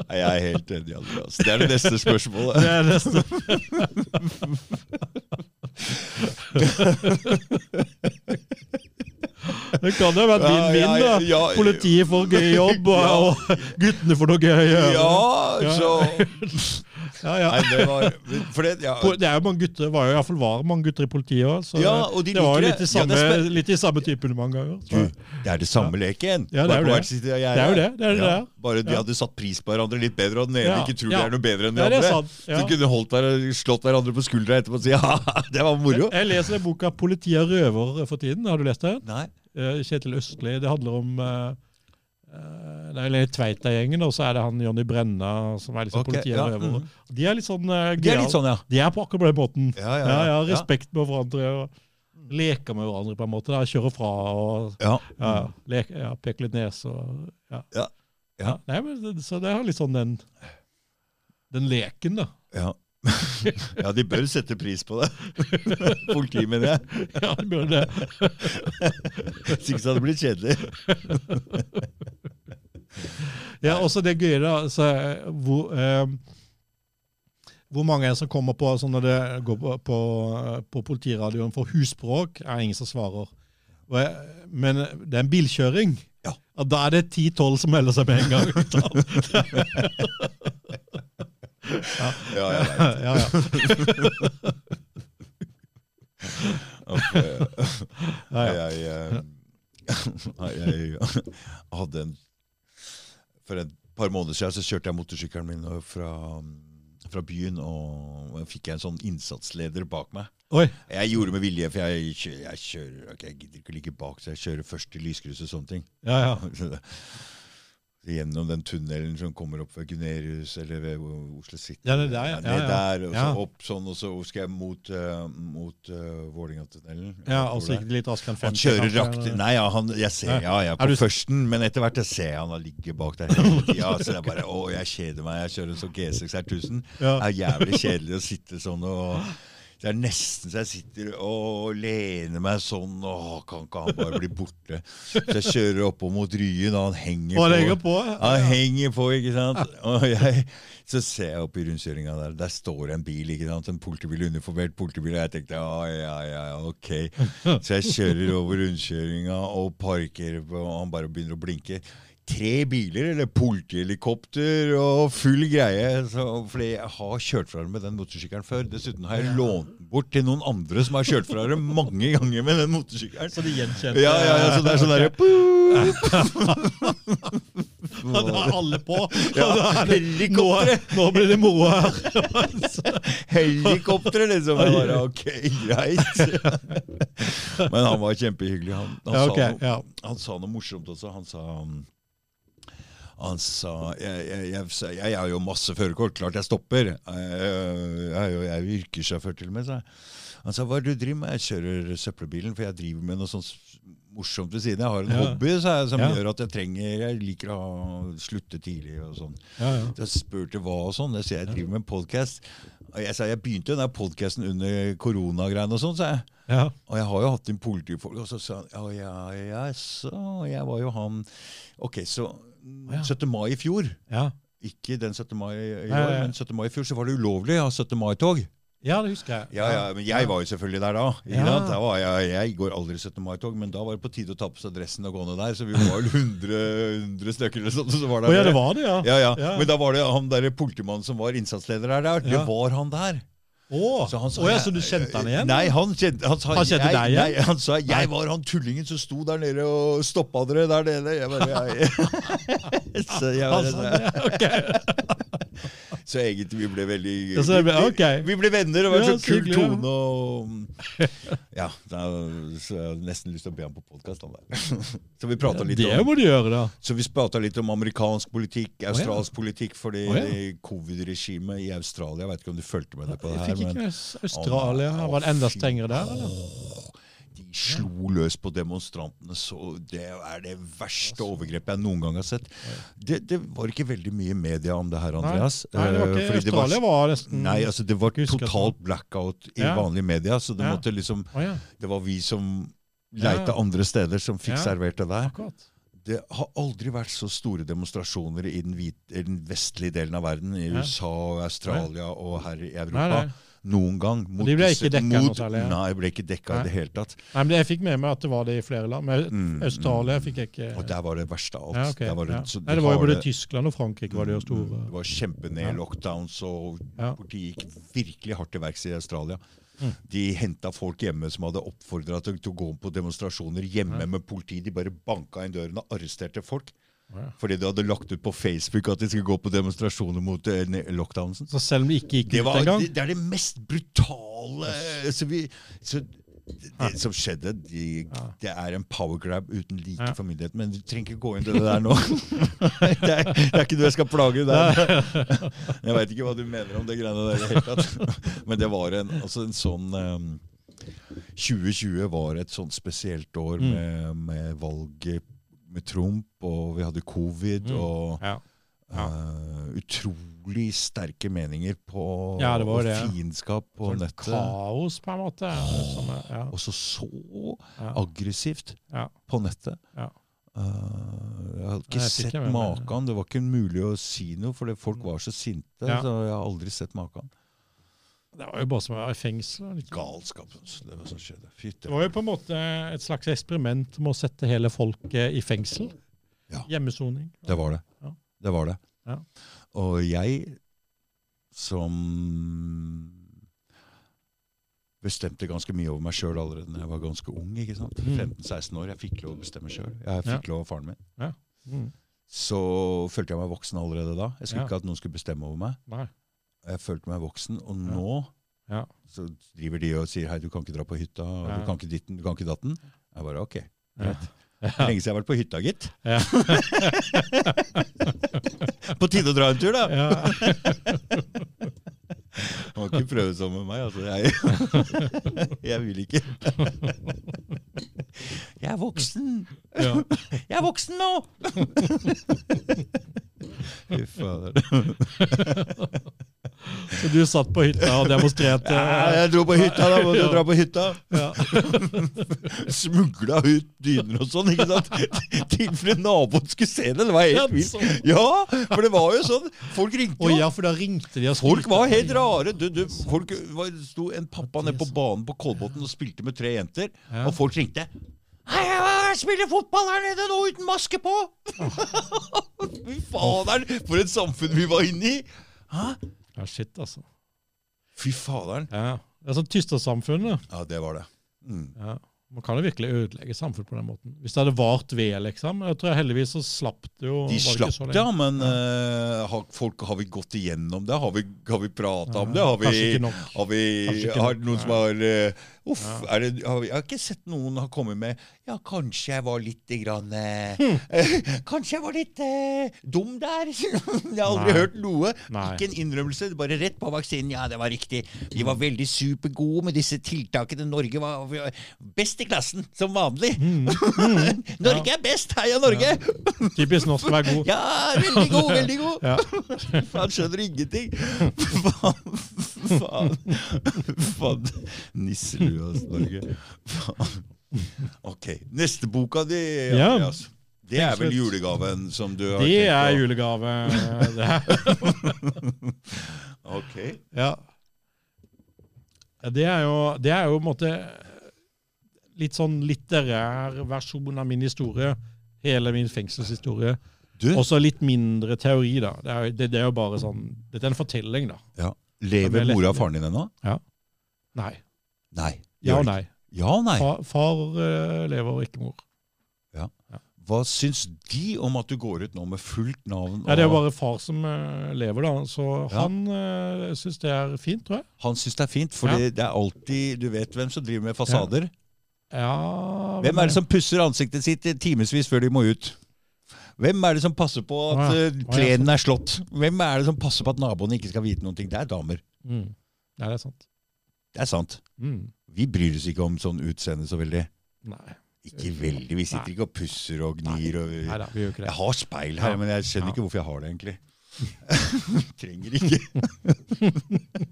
[SPEAKER 1] Nei, Jeg er helt enig, Andreas. Det er det neste spørsmålet.
[SPEAKER 2] Det er neste. Det kan jo være vinn-vinn, da.
[SPEAKER 1] ja,
[SPEAKER 2] Politiet får gøy jobb,
[SPEAKER 1] Ja.
[SPEAKER 2] og, og guttene får noe gøy. å gjøre.
[SPEAKER 1] Ja,
[SPEAKER 2] Ja.
[SPEAKER 1] så
[SPEAKER 2] Ja, ja.
[SPEAKER 1] Nei, det var For det ja,
[SPEAKER 2] Po- Det er jo mange gutter, det var jo i hvert fall var mange gutter i politiet òg, så
[SPEAKER 1] ja, og de
[SPEAKER 2] det var
[SPEAKER 1] liker
[SPEAKER 2] jo litt i
[SPEAKER 1] Ja,
[SPEAKER 2] samme,
[SPEAKER 1] det er spe-
[SPEAKER 2] litt i samme typen mange ganger. Så.
[SPEAKER 1] Du, det er det samme leken.
[SPEAKER 2] Ja, det er
[SPEAKER 1] Bare
[SPEAKER 2] jo
[SPEAKER 1] på
[SPEAKER 2] det.
[SPEAKER 1] hver sitt av gjerdet.
[SPEAKER 2] Det er jo det. det, er det
[SPEAKER 1] Ja,
[SPEAKER 2] der.
[SPEAKER 1] Bare de
[SPEAKER 2] Ja.
[SPEAKER 1] hadde satt pris på hverandre litt bedre, og den ene
[SPEAKER 2] Ja,
[SPEAKER 1] ikke tror
[SPEAKER 2] ja.
[SPEAKER 1] det er noe bedre enn den
[SPEAKER 2] Ja, det er
[SPEAKER 1] andre.
[SPEAKER 2] sant.
[SPEAKER 1] Så
[SPEAKER 2] Ja.
[SPEAKER 1] de kunne holdt der og slått hverandre på skuldra etterpå og si ja, det var moro.
[SPEAKER 2] Jeg leser den boka 'Politi er røver' for tiden. Har du lest den?
[SPEAKER 1] Nei.
[SPEAKER 2] Eh, Kjetil Østli. Det handler om eh, eh, det er hele Tveita-gjengen, og så er det han Jonny Brenna som er liksom
[SPEAKER 1] Ok,
[SPEAKER 2] politiet
[SPEAKER 1] ja,
[SPEAKER 2] og røver.
[SPEAKER 1] mhm.
[SPEAKER 2] De er litt sånn uh,
[SPEAKER 1] Det er litt sånn, ja.
[SPEAKER 2] De er på akkurat den måten.
[SPEAKER 1] Ja, ja,
[SPEAKER 2] Ja, ja,
[SPEAKER 1] ja.
[SPEAKER 2] Respekt med hverandre og leker med hverandre på en måte. Da. Kjører fra og
[SPEAKER 1] Ja.
[SPEAKER 2] ja, leke, ja, peker litt nese og ja.
[SPEAKER 1] Ja, ja.
[SPEAKER 2] Nei, men, det- så det er litt sånn den den leken, da.
[SPEAKER 1] Ja. ja, de bør sette pris på det. Politiet, mener jeg.
[SPEAKER 2] Ja, det bør det.
[SPEAKER 1] Hvis ikke så hadde det blitt kjedelig.
[SPEAKER 2] Ja, også det gøye, da. Så, eh, hvor, eh, hvor mange er det som kommer på sånn når det går på, på, på politiradioen for husbråk? Er ingen som svarer. Og jeg, men det er en bilkjøring.
[SPEAKER 1] Ja.
[SPEAKER 2] Og da er det 10-12 som melder seg med en gang.
[SPEAKER 1] Ja, ja, ja.
[SPEAKER 2] ja, ja.
[SPEAKER 1] Ok.
[SPEAKER 2] Ja, ja.
[SPEAKER 1] Jeg, eh, jeg hadde en For et par måneder siden så kjørte jeg motorsykkelen min og fra, mm, fra byen, og fikk jeg en sånn innsatsleder bak meg.
[SPEAKER 2] Oi.
[SPEAKER 1] Jeg gjorde med vilje, for jeg kjører, jeg kjører ok, Jeg gidder ikke ligge bak, så jeg kjører først i lyskrysset og sånne ting.
[SPEAKER 2] Ja, ja.
[SPEAKER 1] Gjennom den tunnelen som kommer opp ved Gunerius eller ved Oslo City.
[SPEAKER 2] Ja, det er der, ja.
[SPEAKER 1] Ned
[SPEAKER 2] Ja, ja.
[SPEAKER 1] der, og så
[SPEAKER 2] Ja.
[SPEAKER 1] opp sånn, og så skal jeg mot, uh, mot eh, Vålingatunnelen.
[SPEAKER 2] ja
[SPEAKER 1] Hvor
[SPEAKER 2] altså
[SPEAKER 1] det er.
[SPEAKER 2] ikke litt raskere enn 50.
[SPEAKER 1] Han kjører
[SPEAKER 2] kanskje,
[SPEAKER 1] rakt
[SPEAKER 2] eller-
[SPEAKER 1] Nei, ja, han, jeg ser ja, jeg er på
[SPEAKER 2] Er du-
[SPEAKER 1] førsten, men etter hvert jeg ser han han ligger bak der hele tida. Så det er bare Å, jeg kjeder meg. Jeg kjører en sånn G6 R1000. Det
[SPEAKER 2] Ja.
[SPEAKER 1] er jævlig kjedelig å sitte sånn og det er nesten så jeg sitter og lener meg sånn. Å, kan ikke han bare bli borte? Så jeg kjører oppover mot Ryen, og han henger
[SPEAKER 2] Og han henger
[SPEAKER 1] på.
[SPEAKER 2] på.
[SPEAKER 1] Han henger på, ikke sant? Og jeg, så ser jeg opp i rundkjøringa der. Der står en bil, ikke sant? En politibil, uniformert politibil. Og jeg tenkte ja, ja, ja, ok. Så jeg kjører over rundkjøringa og parker, og han bare begynner å blinke. Tre biler, eller politihelikopter og full greie. Så, fordi jeg har kjørt fra dem med den motorsykkelen før. Dessuten har jeg lånt den bort til noen andre som har kjørt fra dem mange ganger med den motorsykkelen.
[SPEAKER 2] Så de gjenkjente
[SPEAKER 1] Ja, ja, ja, så det er sånn derre
[SPEAKER 2] Ja, Da er alle på.
[SPEAKER 1] Ja,
[SPEAKER 2] Og da er det- nå, nå blir det moro her.
[SPEAKER 1] Helikopteret, liksom. Jeg bare, ok, greit. Men han var kjempehyggelig. Han, han,
[SPEAKER 2] Ja, ok,
[SPEAKER 1] sa, noe,
[SPEAKER 2] ja.
[SPEAKER 1] han sa noe morsomt også. Han sa um, han sa jeg, jeg, jeg, sa, jeg har jo masse førerkort, klart jeg stopper. Eh, Jeg, jeg, er jo- jeg er jo yrkessjåfør til og med, sa jeg. Han sa hva er det du driver med? Jeg kjører søppelbilen, for jeg driver med noe sånt s- morsomt ved siden. Jeg har en
[SPEAKER 2] Ja.
[SPEAKER 1] hobby sa jeg, som
[SPEAKER 2] Ja.
[SPEAKER 1] gjør at jeg trenger Jeg liker å ha- slutte tidlig og sånn.
[SPEAKER 2] Ja, ja.
[SPEAKER 1] Jeg spurte hva og sånn. Jeg sier jeg driver med en podkast. Jeg sa jeg begynte den der podkasten under koronagreiene og sånn, sa jeg.
[SPEAKER 2] ja.
[SPEAKER 1] Og jeg har jo hatt inn politifolk. Og så sa han å ja, ja, så jeg var jo han Ok, så
[SPEAKER 2] Å, ja.
[SPEAKER 1] 17. mai i fjor,
[SPEAKER 2] ja.
[SPEAKER 1] ikke den 17. mai i år,
[SPEAKER 2] ja, ja.
[SPEAKER 1] men 17. mai i fjor, så var det ulovlig å ha 17. mai-tog.
[SPEAKER 2] Ja, det husker jeg.
[SPEAKER 1] Ja, ja, men jeg var jo selvfølgelig der da. Ikke
[SPEAKER 2] Ja.
[SPEAKER 1] sant? Da var jeg, jeg går aldri 17. mai-tog, men da var det på tide å ta på seg dressen og gå ned der, så vi var vel 100, 100 stykker eller sånt. Så var
[SPEAKER 2] Å
[SPEAKER 1] der
[SPEAKER 2] ja, det var det, ja.
[SPEAKER 1] ja, ja.
[SPEAKER 2] Ja.
[SPEAKER 1] Men da var det han der politimannen som var innsatsleder der, der. det
[SPEAKER 2] Ja.
[SPEAKER 1] var han der.
[SPEAKER 2] Å,
[SPEAKER 1] Så han sa,
[SPEAKER 2] Å, ja,
[SPEAKER 1] jeg-
[SPEAKER 2] så du kjente han
[SPEAKER 1] Eh,
[SPEAKER 2] igjen?
[SPEAKER 1] Nei, han kjente, han sa,
[SPEAKER 2] Han kjente
[SPEAKER 1] jeg,
[SPEAKER 2] deg igjen?
[SPEAKER 1] Nei, han sa jeg var han tullingen som sto der nede og stoppa dere der nede. Jeg bare, jeg, så, jeg
[SPEAKER 2] Han
[SPEAKER 1] bare,
[SPEAKER 2] sa Altså, det, ok.
[SPEAKER 1] så egentlig vi ble veldig
[SPEAKER 2] Ja, så det ble- ok.
[SPEAKER 1] vi ble venner, og det var
[SPEAKER 2] Ja,
[SPEAKER 1] en sånn kul
[SPEAKER 2] så hyggelig, ja.
[SPEAKER 1] tone. Og, ja, da, så jeg hadde nesten lyst til å be ham på podkast. Så vi prata litt
[SPEAKER 2] Det
[SPEAKER 1] om
[SPEAKER 2] må du gjøre, da.
[SPEAKER 1] Så vi prata litt om amerikansk politikk, australsk politikk, fordi
[SPEAKER 2] Å, ja.
[SPEAKER 1] covid-regimet i Australia Jeg vet ikke om du fulgte med det på det
[SPEAKER 2] Jeg
[SPEAKER 1] her,
[SPEAKER 2] fikk ikke
[SPEAKER 1] men
[SPEAKER 2] med Australia. Var det enda strengere der? eller?
[SPEAKER 1] de slo løs på demonstrantene. Så det er det verste overgrepet jeg noen gang har sett. Det, det var ikke veldig mye media om det her, Andreas.
[SPEAKER 2] Nei, det
[SPEAKER 1] eh,
[SPEAKER 2] var ikke
[SPEAKER 1] fordi det var-
[SPEAKER 2] Australia var nesten
[SPEAKER 1] Nei, altså det var
[SPEAKER 2] Ikke husker at-
[SPEAKER 1] totalt blackout i
[SPEAKER 2] Ja.
[SPEAKER 1] vanlige media, så det
[SPEAKER 2] Ja.
[SPEAKER 1] måtte liksom
[SPEAKER 2] Å, ja.
[SPEAKER 1] Det var vi som
[SPEAKER 2] Ja.
[SPEAKER 1] leita andre steder, som fikk
[SPEAKER 2] Ja.
[SPEAKER 1] servert det der.
[SPEAKER 2] Akkurat.
[SPEAKER 1] Det har aldri vært så store demonstrasjoner i den, hvit, i den vestlige delen av verden, i
[SPEAKER 2] Ja.
[SPEAKER 1] USA og Australia og her i Europa,
[SPEAKER 2] Nei, nei.
[SPEAKER 1] noen gang. Mot
[SPEAKER 2] de ble
[SPEAKER 1] disse-
[SPEAKER 2] ikke dekka noe
[SPEAKER 1] mot-
[SPEAKER 2] særlig, ja.
[SPEAKER 1] Nei, ble ikke dekka
[SPEAKER 2] Nei.
[SPEAKER 1] i det hele tatt.
[SPEAKER 2] Nei, men Jeg fikk med meg at det var det i flere land. Men
[SPEAKER 1] Mm,
[SPEAKER 2] Australia
[SPEAKER 1] mm.
[SPEAKER 2] fikk jeg ikke
[SPEAKER 1] Og der var det verste av alt.
[SPEAKER 2] Ja, ok,
[SPEAKER 1] Der var det,
[SPEAKER 2] ja.
[SPEAKER 1] så de
[SPEAKER 2] Nei, det var jo
[SPEAKER 1] har
[SPEAKER 2] både
[SPEAKER 1] det- Mm,
[SPEAKER 2] Tyskland og Frankrike var det jo store.
[SPEAKER 1] Det var kjempened lockdowns, og
[SPEAKER 2] Ja.
[SPEAKER 1] partiet gikk virkelig hardt til verks i Australia.
[SPEAKER 2] Mm.
[SPEAKER 1] De henta folk hjemme som hadde oppfordra til til å gå på demonstrasjoner hjemme
[SPEAKER 2] Ja.
[SPEAKER 1] med politi. De bare banka inn døren og arresterte folk.
[SPEAKER 2] Ja.
[SPEAKER 1] Fordi de hadde lagt ut på Facebook at de skulle gå på demonstrasjoner mot eh, ne- lockdownsen.
[SPEAKER 2] Så selv om de ikke gikk
[SPEAKER 1] Det,
[SPEAKER 2] ut
[SPEAKER 1] var,
[SPEAKER 2] engang
[SPEAKER 1] det, det er det mest brutale så vi, så det, det som skjedde, de,
[SPEAKER 2] Ja.
[SPEAKER 1] det er en power grab uten like
[SPEAKER 2] Ja.
[SPEAKER 1] for myndigheten. Men du trenger ikke gå inn til det der nå. det, er, det er ikke noe jeg skal plage deg med. Jeg veit ikke hva du mener om det greiene der i det hele tatt. Men det var en, altså en sånn ehm, 2020 var et sånt spesielt år
[SPEAKER 2] Mm.
[SPEAKER 1] med, med valget med Trump, og vi hadde covid,
[SPEAKER 2] Mm.
[SPEAKER 1] og
[SPEAKER 2] ja. Ja.
[SPEAKER 1] eh, utrolig sterke meninger på
[SPEAKER 2] Ja, det var
[SPEAKER 1] og
[SPEAKER 2] det.
[SPEAKER 1] fiendskap på
[SPEAKER 2] Sånn
[SPEAKER 1] nettet.
[SPEAKER 2] Kaos, på en måte. er det som er- Ja.
[SPEAKER 1] Og så så
[SPEAKER 2] Ja.
[SPEAKER 1] aggressivt
[SPEAKER 2] Ja.
[SPEAKER 1] på nettet.
[SPEAKER 2] Ja.
[SPEAKER 1] Eh, jeg hadde ikke
[SPEAKER 2] Nei, jeg fikk
[SPEAKER 1] sett
[SPEAKER 2] jeg med meg.
[SPEAKER 1] maken. Det var ikke mulig å si noe, fordi folk var så sinte.
[SPEAKER 2] Ja.
[SPEAKER 1] Så jeg har aldri sett maken.
[SPEAKER 2] Det var jo bare som å være i fengsel. liksom.
[SPEAKER 1] Galskap. altså. Det var sånn skjedde. Fytti
[SPEAKER 2] Det var jo på en måte et slags eksperiment med å sette hele folket i fengsel.
[SPEAKER 1] Ja.
[SPEAKER 2] Hjemmesoning.
[SPEAKER 1] Det var det.
[SPEAKER 2] Ja.
[SPEAKER 1] Det var det.
[SPEAKER 2] Ja.
[SPEAKER 1] Og jeg som bestemte ganske mye over meg sjøl allerede da jeg var ganske ung. ikke sant?
[SPEAKER 2] Mm.
[SPEAKER 1] 15-16 år. Jeg fikk lov å bestemme sjøl. Jeg
[SPEAKER 2] Ja.
[SPEAKER 1] fikk lov av faren min.
[SPEAKER 2] Mm.
[SPEAKER 1] Så følte jeg meg voksen allerede da. Jeg skulle
[SPEAKER 2] Ja.
[SPEAKER 1] ikke at noen skulle bestemme over meg.
[SPEAKER 2] Nei.
[SPEAKER 1] Jeg følte meg voksen, og
[SPEAKER 2] Ja.
[SPEAKER 1] nå
[SPEAKER 2] Ja.
[SPEAKER 1] så driver de og sier 'hei, du kan ikke dra på hytta', og
[SPEAKER 2] Ja.
[SPEAKER 1] 'du kan ikke ditten', 'du kan ikke datten'. Jeg bare 'ok'.
[SPEAKER 2] Ja.
[SPEAKER 1] Det er Lenge siden jeg har vært på hytta, gitt.
[SPEAKER 2] Ja.
[SPEAKER 1] på tide å dra en tur, da!
[SPEAKER 2] Ja.
[SPEAKER 1] Han kan ikke prøve sånn med meg. Altså. Jeg, jeg vil ikke. Jeg er voksen!
[SPEAKER 2] Ja.
[SPEAKER 1] Jeg er voksen nå! Fy fader.
[SPEAKER 2] Så du satt på hytta og demonstrerte?
[SPEAKER 1] Jeg dro på hytta, da. Må du dra på hytta?
[SPEAKER 2] Ja.
[SPEAKER 1] Smugla ut dyner og sånn, ikke sant? Tilfelle naboen skulle se det. Det var helt vilt. Ja, for det var jo sånn. Folk ringte
[SPEAKER 2] sånn. Å
[SPEAKER 1] jo.
[SPEAKER 2] ja, for da ringte de og
[SPEAKER 1] Folk
[SPEAKER 2] skrytte.
[SPEAKER 1] var helt rare. Du, du, folk var, sto en pappa nede på banen på Kolbotn og spilte med tre jenter,
[SPEAKER 2] Ja.
[SPEAKER 1] og folk ringte. Hei, jeg jeg spiller fotball her nede nå uten maske på! Fy faderen, for et samfunn vi var inne i! Hæ?
[SPEAKER 2] Ja, shit, altså.
[SPEAKER 1] Fy faderen.
[SPEAKER 2] Ja. Det er sånn tystersamfunnet.
[SPEAKER 1] Ja, det var det. Mm.
[SPEAKER 2] Ja. Man kan jo virkelig ødelegge samfunn på den måten. Hvis det hadde vart ved, liksom. Jeg tror heldigvis så slapp det jo.
[SPEAKER 1] De
[SPEAKER 2] var det ikke
[SPEAKER 1] slapp det,
[SPEAKER 2] så lenge.
[SPEAKER 1] ja, men eh, har, folk, har vi gått igjennom det? Har vi, har vi prata om det? Har
[SPEAKER 2] Kanskje
[SPEAKER 1] vi,
[SPEAKER 2] ikke nok.
[SPEAKER 1] Har vi
[SPEAKER 2] Kanskje ikke
[SPEAKER 1] har
[SPEAKER 2] nok,
[SPEAKER 1] det noen som
[SPEAKER 2] nei.
[SPEAKER 1] har eh, Uff,
[SPEAKER 2] Ja.
[SPEAKER 1] er det, har vi, jeg har ikke sett noen har kommet med Ja, kanskje jeg var litt grann, eh,
[SPEAKER 2] Hmm.
[SPEAKER 1] Kanskje jeg var litt eh, dum der. jeg har aldri
[SPEAKER 2] Nei.
[SPEAKER 1] hørt noe.
[SPEAKER 2] Nei.
[SPEAKER 1] Ikke en innrømmelse. det er Bare rett på vaksinen. Ja, det var riktig. Vi var veldig supergode med disse tiltakene. Norge var vi var best i klassen, som vanlig. Norge er best! Heia Norge!
[SPEAKER 2] Mm. Typisk norsk å være god.
[SPEAKER 1] Ja, veldig god, veldig god!
[SPEAKER 2] Ja.
[SPEAKER 1] Han skjønner ingenting! Faen, faen, faen. Nisselua, altså, Norge. Faen. Ok, neste boka di,
[SPEAKER 2] Ja.
[SPEAKER 1] Andreas. Det er vel
[SPEAKER 2] Tenk slutt.
[SPEAKER 1] julegaven som du har
[SPEAKER 2] Det er
[SPEAKER 1] tenkt
[SPEAKER 2] julegave. Det er.
[SPEAKER 1] på? Ok.
[SPEAKER 2] Ja. Det er jo, det er jo på en måte litt sånn litterær versjon av min historie. Hele min fengselshistorie.
[SPEAKER 1] Du,
[SPEAKER 2] Og så litt mindre teori, da. Det er, jo- det, det er jo bare sånn Dette er en fortelling, da.
[SPEAKER 1] ja. lever
[SPEAKER 2] Det er
[SPEAKER 1] mora
[SPEAKER 2] lett-
[SPEAKER 1] og faren din ennå?
[SPEAKER 2] Nei.
[SPEAKER 1] Nei.
[SPEAKER 2] Ja
[SPEAKER 1] gjør
[SPEAKER 2] og
[SPEAKER 1] det ikke.
[SPEAKER 2] nei.
[SPEAKER 1] Ja og nei.
[SPEAKER 2] Far, far eh, lever, og ikke mor.
[SPEAKER 1] Hva syns de om at du går ut nå med fullt navn?
[SPEAKER 2] Nei, det er jo
[SPEAKER 1] og-
[SPEAKER 2] bare far som eh, lever, da. Så
[SPEAKER 1] Ja.
[SPEAKER 2] han uh, syns det er fint, tror jeg.
[SPEAKER 1] Han syns det er fint, for
[SPEAKER 2] Ja.
[SPEAKER 1] det er alltid Du vet hvem som driver med fasader?
[SPEAKER 2] Ja,
[SPEAKER 1] Hvem er det som pusser ansiktet sitt i timevis før de må ut? Hvem er det som passer på at
[SPEAKER 2] Å ja.
[SPEAKER 1] eh,
[SPEAKER 2] Å ja,
[SPEAKER 1] plenen er slått? Hvem er det som passer på at naboene ikke skal vite noen ting? Det er damer.
[SPEAKER 2] mm. Nei, det er sant.
[SPEAKER 1] Det er sant.
[SPEAKER 2] Mm.
[SPEAKER 1] Vi bryr oss ikke om sånn utseende så veldig.
[SPEAKER 2] Nei.
[SPEAKER 1] Ikke veldig. Vi sitter
[SPEAKER 2] Nei.
[SPEAKER 1] ikke og pusser og gnir. Og...
[SPEAKER 2] Nei da, vi gjør ikke
[SPEAKER 1] Jeg
[SPEAKER 2] det.
[SPEAKER 1] har speil her,
[SPEAKER 2] Ja.
[SPEAKER 1] men jeg skjønner
[SPEAKER 2] Ja.
[SPEAKER 1] ikke hvorfor jeg har det, egentlig. Trenger ikke.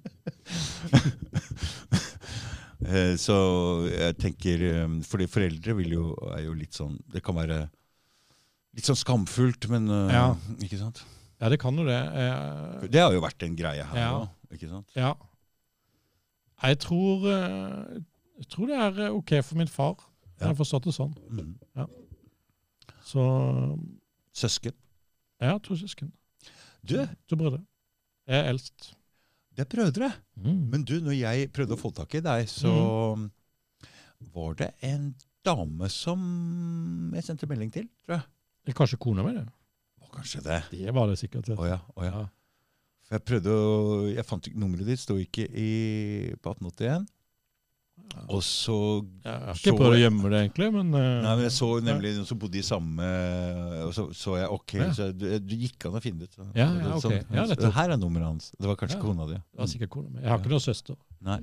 [SPEAKER 1] Eh, Så jeg tenker eh, Fordi foreldre vil jo, er jo litt sånn Det kan være litt sånn skamfullt, men eh,
[SPEAKER 2] Ja.
[SPEAKER 1] Ikke sant?
[SPEAKER 2] Ja, det kan jo det. Eh,
[SPEAKER 1] Det har jo vært en greie her
[SPEAKER 2] Ja.
[SPEAKER 1] òg. Ikke sant?
[SPEAKER 2] ja. Jeg tror, eh, jeg tror det er eh, OK for min far.
[SPEAKER 1] Ja.
[SPEAKER 2] Jeg har forstått det sånn.
[SPEAKER 1] Mm.
[SPEAKER 2] Så
[SPEAKER 1] Søsken.
[SPEAKER 2] jeg har to søsken.
[SPEAKER 1] Du,
[SPEAKER 2] To brødre. Jeg er eldst.
[SPEAKER 1] det er brødre.
[SPEAKER 2] Mm.
[SPEAKER 1] Men du, når jeg prøvde å få tak i deg, så var det en dame som jeg sendte melding til, tror jeg.
[SPEAKER 2] Det er kanskje kona mi, det.
[SPEAKER 1] Å, kanskje det.
[SPEAKER 2] Det var det sikkert.
[SPEAKER 1] Å ja, å ja.
[SPEAKER 2] Ja.
[SPEAKER 1] For jeg prøvde å Jeg fant ikke nummeret ditt, sto ikke i, på 1881. Og så
[SPEAKER 2] Jeg har
[SPEAKER 1] Så-
[SPEAKER 2] ikke prøvd å gjemme det, egentlig, men, eh,
[SPEAKER 1] Nei, men jeg så nemlig noen som bodde i samme Og så så jeg OK,
[SPEAKER 2] Ja.
[SPEAKER 1] så jeg- det gikk an å finne det ut. Så,
[SPEAKER 2] Ja, ja, ok. Ja,
[SPEAKER 1] så,
[SPEAKER 2] nettopp.
[SPEAKER 1] her er nummeret hans. Det var kanskje
[SPEAKER 2] Ja.
[SPEAKER 1] kona di.
[SPEAKER 2] det var sikkert kona mi. Jeg har ikke noen søster.
[SPEAKER 1] Nei.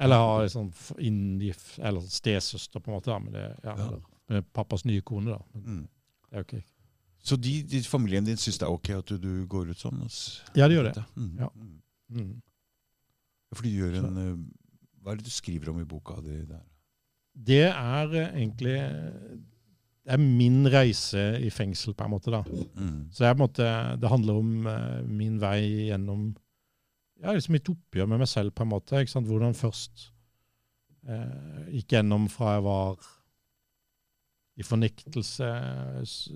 [SPEAKER 2] Eller har en sånn f- inngift, eller sånn stesøster, på en måte. Da, men det, ja,
[SPEAKER 1] Ja.
[SPEAKER 2] eller, eh, pappas nye kone, da. Men
[SPEAKER 1] Mm.
[SPEAKER 2] det er ok.
[SPEAKER 1] Så de, de, familien din syns det er OK at du, du går ut sånn? ass?
[SPEAKER 2] Ja, det gjør det.
[SPEAKER 1] Mm.
[SPEAKER 2] Ja.
[SPEAKER 1] Mm.
[SPEAKER 2] Mm.
[SPEAKER 1] Fordi du gjør en eh, Hva er det du skriver om i boka di der?
[SPEAKER 2] Det er eh, egentlig det er min reise i fengsel, på en måte. da.
[SPEAKER 1] Mm.
[SPEAKER 2] Så jeg, på en måte, det handler om eh, min vei gjennom ja, liksom mitt oppgjør med meg selv, på en måte. ikke sant? Hvordan først eh, gikk gjennom fra jeg var i fornektelse s-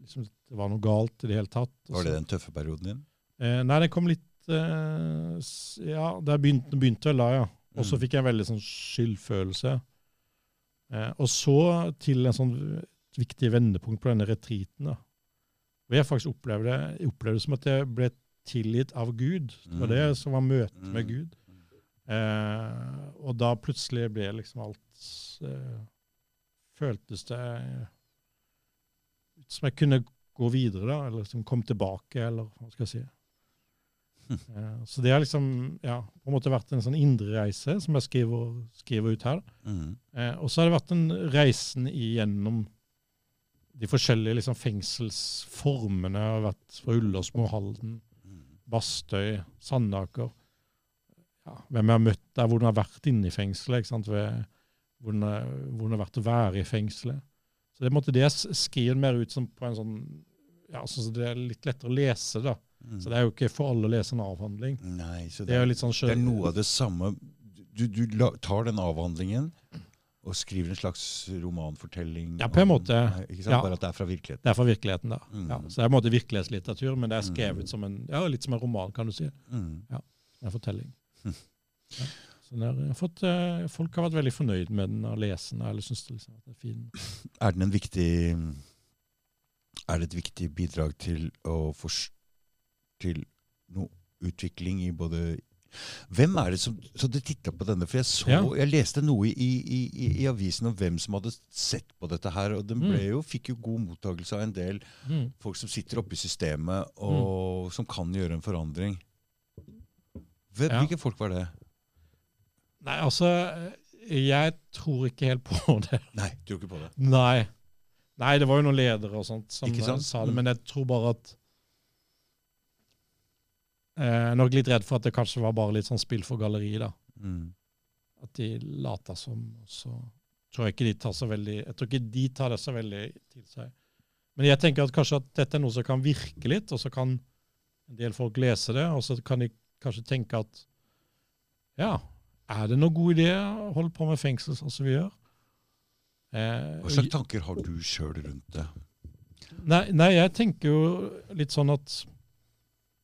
[SPEAKER 2] liksom, Det var noe galt i det hele tatt. og
[SPEAKER 1] Var
[SPEAKER 2] så-
[SPEAKER 1] det den tøffe perioden din?
[SPEAKER 2] Eh, nei, den kom litt eh, s- Ja, det begynte, den begynte vel da, ja. Og så
[SPEAKER 1] Mm.
[SPEAKER 2] fikk jeg en veldig sånn skyldfølelse. Eh, og så til en sånn et viktig vendepunkt på denne retreaten. da. Hvor jeg faktisk opplevde, jeg opplevde det som at jeg ble tilgitt av Gud. Det var det
[SPEAKER 1] Mm.
[SPEAKER 2] som var møtet
[SPEAKER 1] Mm.
[SPEAKER 2] med Gud. Eh, og da plutselig ble liksom alt eh, Føltes det eh, som jeg kunne gå videre, da, eller som kom tilbake, eller hva skal jeg si. Eh, Så det har liksom ja, på en måte vært en sånn indre reise som jeg skriver, skriver ut her.
[SPEAKER 1] Mm.
[SPEAKER 2] Eh, Og så har det vært en reisen igjennom de forskjellige liksom, fengselsformene. Jeg har vært fra Ullersmo, Halden,
[SPEAKER 1] Mm.
[SPEAKER 2] Bastøy, Sandaker. Ja, hvem jeg har møtt der, hvordan jeg har vært inne i fengselet. ikke sant? Ved, hvordan, jeg, hvordan det har vært å være i fengselet. Så det, er på en måte, det jeg s- skriver mer ut som på en sånn ja, sånn som det er litt lettere å lese. da.
[SPEAKER 1] Mm.
[SPEAKER 2] Så det er jo ikke for alle å lese en avhandling.
[SPEAKER 1] Nei, så
[SPEAKER 2] Det er jo litt sånn
[SPEAKER 1] Det er
[SPEAKER 2] skjø-
[SPEAKER 1] noe av det samme. Du, du la- tar den avhandlingen og skriver en slags romanfortelling.
[SPEAKER 2] Ja, på en
[SPEAKER 1] om-
[SPEAKER 2] måte.
[SPEAKER 1] Nei, Ikke sant?
[SPEAKER 2] Ja.
[SPEAKER 1] Bare at det er fra virkeligheten.
[SPEAKER 2] Det er fra virkeligheten, da.
[SPEAKER 1] Mm.
[SPEAKER 2] Ja, så det er på en måte virkelighetslitteratur, men det er skrevet som en, ja, litt som en roman, kan du si.
[SPEAKER 1] Mm.
[SPEAKER 2] En fortelling.
[SPEAKER 1] Hm.
[SPEAKER 2] Ja. Så den har jeg fått, eh, folk har vært veldig fornøyd med den og lest den, eller syns det liksom at det er fin.
[SPEAKER 1] Er den en viktig Er det et viktig bidrag til å forst... Til noe utvikling i både hvem er det som Så du titta på denne, for jeg så
[SPEAKER 2] Ja.
[SPEAKER 1] Jeg leste noe i, i, i, i avisen om hvem som hadde sett på dette her, og den ble jo, fikk jo god mottakelse av en del
[SPEAKER 2] Mm.
[SPEAKER 1] folk som sitter oppe i systemet, og som kan gjøre en forandring. Hvem,
[SPEAKER 2] Ja.
[SPEAKER 1] Hvilke folk var det?
[SPEAKER 2] Nei, altså, jeg tror ikke helt på det.
[SPEAKER 1] Nei, tror ikke på det.
[SPEAKER 2] Nei. Nei, det var jo noen ledere og sånt som
[SPEAKER 1] Ikke sant?
[SPEAKER 2] eh, sa det,
[SPEAKER 1] Mm.
[SPEAKER 2] men jeg tror bare at eh, Jeg er nok litt redd for at det kanskje var bare litt sånn spill for galleri, da.
[SPEAKER 1] Mm.
[SPEAKER 2] At de later som, og så tror jeg ikke de tar så veldig Jeg tror ikke de tar det så veldig til seg. Men jeg tenker at kanskje at dette er noe som kan virke litt, og så kan en del folk lese det, og så kan de kanskje tenke at ja, er det noen god idé å holde på med fengsel sånn som vi gjør? Eh,
[SPEAKER 1] Hva slags tanker har du sjøl rundt det?
[SPEAKER 2] Nei, nei, jeg tenker jo litt sånn at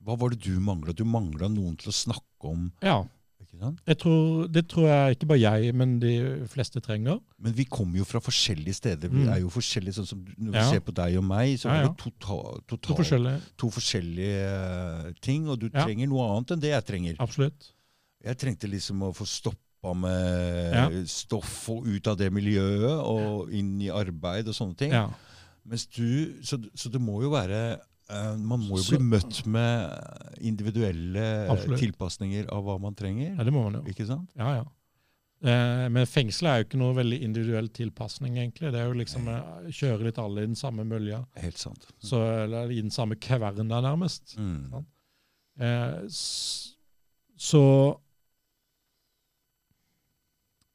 [SPEAKER 1] Hva var det du mangla? Du mangla noen til å snakke om.
[SPEAKER 2] Ja,
[SPEAKER 1] ikke sant?
[SPEAKER 2] jeg tror, det tror jeg ikke bare jeg, men de fleste trenger.
[SPEAKER 1] Men vi kommer jo fra forskjellige steder. Vi
[SPEAKER 2] Mm.
[SPEAKER 1] er jo forskjellige, sånn som du- Når vi
[SPEAKER 2] Ja.
[SPEAKER 1] ser på deg og meg, så
[SPEAKER 2] Ja,
[SPEAKER 1] er
[SPEAKER 2] ja.
[SPEAKER 1] det total,
[SPEAKER 2] To
[SPEAKER 1] total,
[SPEAKER 2] forskjellige.
[SPEAKER 1] to forskjellige eh, ting. Og du
[SPEAKER 2] Ja.
[SPEAKER 1] trenger noe annet enn det jeg trenger.
[SPEAKER 2] Absolutt.
[SPEAKER 1] Jeg trengte liksom å få stoppa med stoff og ut av det miljøet og inn i arbeid og sånne ting.
[SPEAKER 2] Ja.
[SPEAKER 1] Mens du, så, så det må jo være eh, Man må jo
[SPEAKER 2] Så-
[SPEAKER 1] bli møtt med individuelle
[SPEAKER 2] Absolutt.
[SPEAKER 1] tilpasninger av hva man trenger.
[SPEAKER 2] ja, det må man jo.
[SPEAKER 1] Ikke sant?
[SPEAKER 2] Ja, ja. Eh, men fengselet er jo ikke noe veldig individuell tilpasning, egentlig. Det er jo liksom eh, kjøre litt alle i den samme mølja,
[SPEAKER 1] Helt sant.
[SPEAKER 2] så, eller i den samme kverna, nærmest.
[SPEAKER 1] Mm.
[SPEAKER 2] sant? Eh, s- så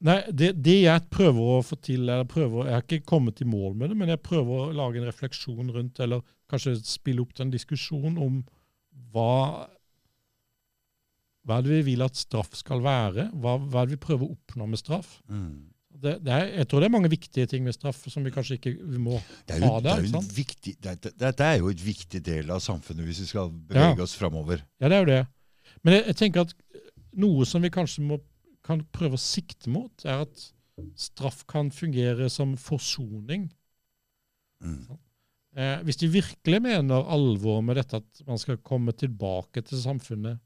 [SPEAKER 2] Nei, det, det jeg prøver å få til eller prøver, Jeg har ikke kommet i mål med det, men jeg prøver å lage en refleksjon rundt, eller kanskje spille opp til en diskusjon om hva Hva er det vi vil at straff skal være? Hva, hva er det vi prøver å oppnå med straff?
[SPEAKER 1] Mm.
[SPEAKER 2] Det, det er, jeg tror det er mange viktige ting med straff som vi kanskje ikke vi må
[SPEAKER 1] Det er jo,
[SPEAKER 2] Ha det,
[SPEAKER 1] det er
[SPEAKER 2] ikke
[SPEAKER 1] jo en
[SPEAKER 2] sant?
[SPEAKER 1] viktig, det, er- det, dette er jo et viktig del av samfunnet hvis vi skal bevege
[SPEAKER 2] Ja.
[SPEAKER 1] oss framover.
[SPEAKER 2] Ja, det er jo det. Men jeg, jeg tenker at eh, noe som vi kanskje må, kan prøve å sikte mot, er at straff kan fungere som forsoning.
[SPEAKER 1] Mm.
[SPEAKER 2] Eh, hvis de virkelig mener alvor med dette at man skal komme tilbake til samfunnet,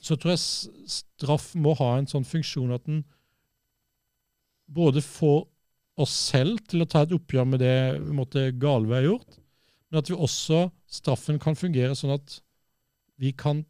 [SPEAKER 2] så tror jeg s- straff må ha en sånn funksjon at den både får oss selv til å ta et oppgjør med det på en måte, gale vi har gjort, men at vi også, straffen kan fungere sånn at vi kan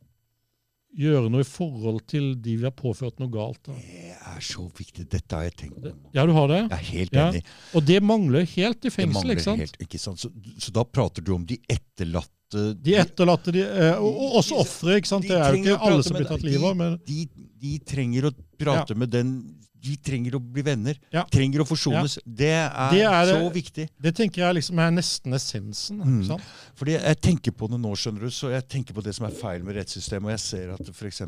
[SPEAKER 2] gjøre noe i forhold til de vi har påført noe galt. Da.
[SPEAKER 1] Det er så viktig. Dette har jeg tenkt på.
[SPEAKER 2] Ja, du har det?
[SPEAKER 1] Jeg er helt
[SPEAKER 2] Ja.
[SPEAKER 1] enig.
[SPEAKER 2] Og det mangler helt i
[SPEAKER 1] Det
[SPEAKER 2] fengsel,
[SPEAKER 1] mangler
[SPEAKER 2] ikke sant?
[SPEAKER 1] Helt, ikke sant? Så, så da prater du om de etterlatte
[SPEAKER 2] De etterlatte, de, eh, og, og også ofre. ikke sant?
[SPEAKER 1] de
[SPEAKER 2] Det er jo
[SPEAKER 1] trenger å
[SPEAKER 2] ikke alle
[SPEAKER 1] prate
[SPEAKER 2] som
[SPEAKER 1] med
[SPEAKER 2] blir tatt
[SPEAKER 1] deg.
[SPEAKER 2] livet av. men
[SPEAKER 1] de, de trenger å prate med den De trenger å bli venner.
[SPEAKER 2] Ja.
[SPEAKER 1] Trenger å forsones. Det, er
[SPEAKER 2] Det er-
[SPEAKER 1] så viktig.
[SPEAKER 2] Det tenker jeg liksom er nesten essensen.
[SPEAKER 1] Mm.
[SPEAKER 2] ikke sant?
[SPEAKER 1] Fordi jeg tenker på det nå, skjønner du, så jeg tenker på det som er feil med rettssystemet. Og jeg ser at f.eks.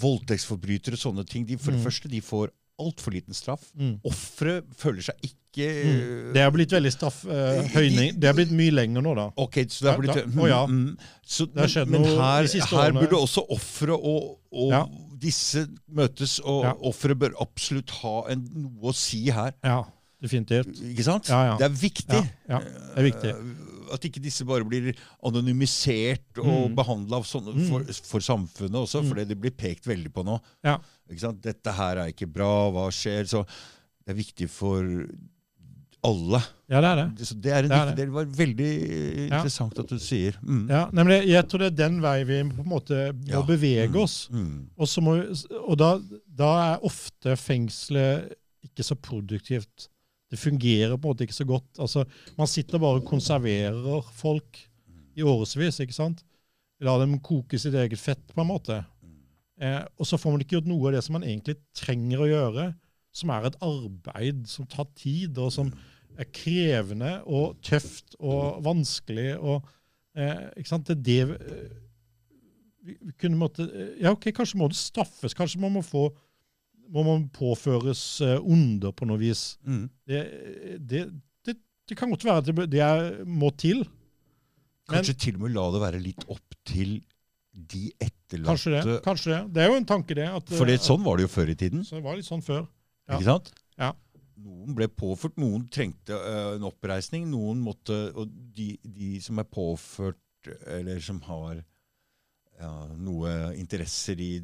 [SPEAKER 1] voldtektsforbrytere og sånne ting, de, for det
[SPEAKER 2] Mm.
[SPEAKER 1] første, de får altfor liten straff.
[SPEAKER 2] Mm.
[SPEAKER 1] Ofre føler seg ikke
[SPEAKER 2] Mm. Det er blitt veldig straff... eh,
[SPEAKER 1] de-
[SPEAKER 2] høyning. Det er blitt mye lenger nå, da.
[SPEAKER 1] Ok, så det har
[SPEAKER 2] Ja,
[SPEAKER 1] blitt
[SPEAKER 2] da-
[SPEAKER 1] mm,
[SPEAKER 2] å ja.
[SPEAKER 1] mm. så,
[SPEAKER 2] Det har skjedd
[SPEAKER 1] men,
[SPEAKER 2] noe
[SPEAKER 1] men her,
[SPEAKER 2] de siste
[SPEAKER 1] her
[SPEAKER 2] årene.
[SPEAKER 1] burde også ofre og, og
[SPEAKER 2] Ja.
[SPEAKER 1] disse møtes, og
[SPEAKER 2] Ja.
[SPEAKER 1] ofre bør absolutt ha en, noe å si her.
[SPEAKER 2] Ja, definitivt.
[SPEAKER 1] Ikke sant?
[SPEAKER 2] Ja, ja.
[SPEAKER 1] Det er viktig.
[SPEAKER 2] Ja, ja, det er viktig.
[SPEAKER 1] Eh, At ikke disse bare blir anonymisert og
[SPEAKER 2] Mm.
[SPEAKER 1] behandla for, for samfunnet også, for det blir pekt veldig på nå.
[SPEAKER 2] Ja.
[SPEAKER 1] Ikke sant? 'Dette her er ikke bra. Hva skjer?' Så det er viktig for alle.
[SPEAKER 2] Ja, det er det.
[SPEAKER 1] Så det er en
[SPEAKER 2] Det er
[SPEAKER 1] viktig del.
[SPEAKER 2] det.
[SPEAKER 1] Det var veldig eh,
[SPEAKER 2] Ja.
[SPEAKER 1] interessant at du sier. Mm.
[SPEAKER 2] Ja, nemlig, Jeg tror det er den vei vi på en måte må
[SPEAKER 1] Ja.
[SPEAKER 2] bevege
[SPEAKER 1] Mm.
[SPEAKER 2] oss.
[SPEAKER 1] Mm.
[SPEAKER 2] Og, så må, vi- og da, da er ofte fengselet ikke så produktivt. Det fungerer på en måte ikke så godt. Altså, man sitter bare og konserverer folk i årevis. ikke sant? La dem koke sitt eget fett, på en måte. Eh, og så får man ikke gjort noe av det som man egentlig trenger å gjøre, som er et arbeid som tar tid, og som er krevende og tøft og vanskelig. og eh, ikke sant? Det er det vi- eh, vi vi kunne måtte, eh, ja, ok, Kanskje må det straffes. Kanskje man må, få, må man påføres eh, onder på noe vis.
[SPEAKER 1] Mm.
[SPEAKER 2] Det, eh, det, det, det kan godt være at det, bør- det er- må til. Men-
[SPEAKER 1] Kanskje til og med la det være litt opp til de etterlatte.
[SPEAKER 2] Kanskje det. kanskje Det Det er jo en tanke, det. At, eh,
[SPEAKER 1] For det, sånn var det jo før i tiden.
[SPEAKER 2] Så det var litt sånn før. Ja.
[SPEAKER 1] ikke sant?
[SPEAKER 2] Ja.
[SPEAKER 1] Noen ble påført, noen trengte eh, en oppreisning. Noen måtte, og de, de som er påført, eller som har ja, noe interesser i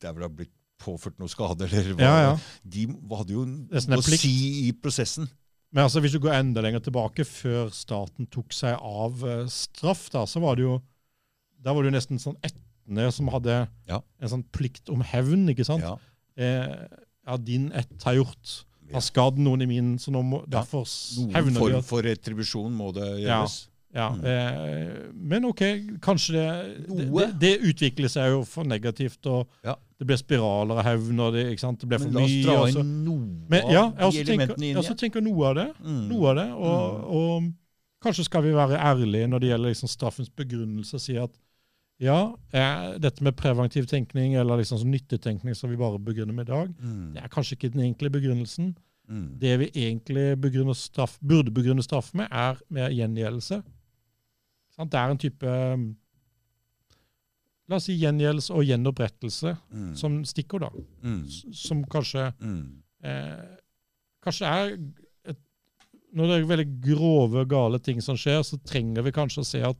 [SPEAKER 1] der hvor det har blitt påført noe skade, eller hva,
[SPEAKER 2] Ja, ja.
[SPEAKER 1] de hadde jo
[SPEAKER 2] Nesten en
[SPEAKER 1] noe å
[SPEAKER 2] plikt.
[SPEAKER 1] si i prosessen.
[SPEAKER 2] Men altså, hvis du går enda lenger tilbake, før staten tok seg av eh, straff, da, så var det jo da var det jo nesten sånn ættene som hadde
[SPEAKER 1] Ja.
[SPEAKER 2] en sånn plikt om hevn. ikke sant?
[SPEAKER 1] Ja.
[SPEAKER 2] eh, ja, din ett har gjort.
[SPEAKER 1] Ja.
[SPEAKER 2] Har skadd noen i min, så nå må,
[SPEAKER 1] Ja.
[SPEAKER 2] derfor
[SPEAKER 1] Noen
[SPEAKER 2] hevner vi
[SPEAKER 1] form
[SPEAKER 2] at
[SPEAKER 1] for retribusjon må det
[SPEAKER 2] Ja.
[SPEAKER 1] gjøres.
[SPEAKER 2] ja,
[SPEAKER 1] Mm.
[SPEAKER 2] eh, Men OK, kanskje det det, det
[SPEAKER 1] Noe.
[SPEAKER 2] det utvikler seg jo for negativt, og
[SPEAKER 1] Ja.
[SPEAKER 2] det blir spiraler av hevn, og det, ikke sant? det blir
[SPEAKER 1] Men
[SPEAKER 2] for
[SPEAKER 1] la oss
[SPEAKER 2] mye.
[SPEAKER 1] dra
[SPEAKER 2] og så-
[SPEAKER 1] inn noe
[SPEAKER 2] Men, ja, jeg
[SPEAKER 1] av de
[SPEAKER 2] også tenker,
[SPEAKER 1] elementene
[SPEAKER 2] jeg
[SPEAKER 1] inn
[SPEAKER 2] også tenker noe av det.
[SPEAKER 1] Mm.
[SPEAKER 2] Noe av det og, og kanskje skal vi være ærlige når det gjelder liksom straffens begrunnelse, og si at ja, eh, dette med preventiv tenkning eller liksom sånn nyttetenkning som vi bare begrunner med i dag,
[SPEAKER 1] Mm.
[SPEAKER 2] det er kanskje ikke den egentlige begrunnelsen.
[SPEAKER 1] Mm.
[SPEAKER 2] Det vi egentlig begrunner straff, burde begrunne straff med, er med gjengjeldelse. Sant? Det er en type um, La oss si gjengjeldelse og gjenopprettelse
[SPEAKER 1] Mm.
[SPEAKER 2] som stikkord, da.
[SPEAKER 1] Mm.
[SPEAKER 2] S- Som kanskje
[SPEAKER 1] Mm.
[SPEAKER 2] eh, Kanskje er et, Når det er veldig grove, gale ting som skjer, så trenger vi kanskje å se at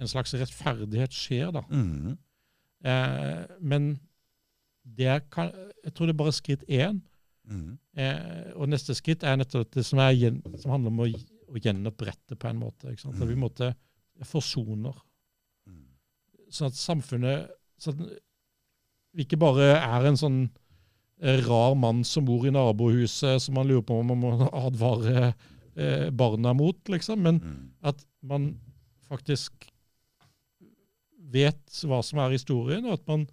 [SPEAKER 2] en slags rettferdighet skjer, da.
[SPEAKER 1] Mm.
[SPEAKER 2] Eh, men det er, kan- jeg tror det er bare skritt én.
[SPEAKER 1] Mm.
[SPEAKER 2] Eh, og neste skritt er nettopp det som, er, gjen- som handler om å, gi- å gjenopprette på en måte. Ikke sant? At vi måtte forsoner.
[SPEAKER 1] Mm.
[SPEAKER 2] Sånn at samfunnet sånn at vi ikke bare er en sånn eh, rar mann som bor i nabohuset, som man lurer på om man må advare eh, barna mot, liksom. Men
[SPEAKER 1] Mm.
[SPEAKER 2] at man faktisk vet hva som er historien, og at man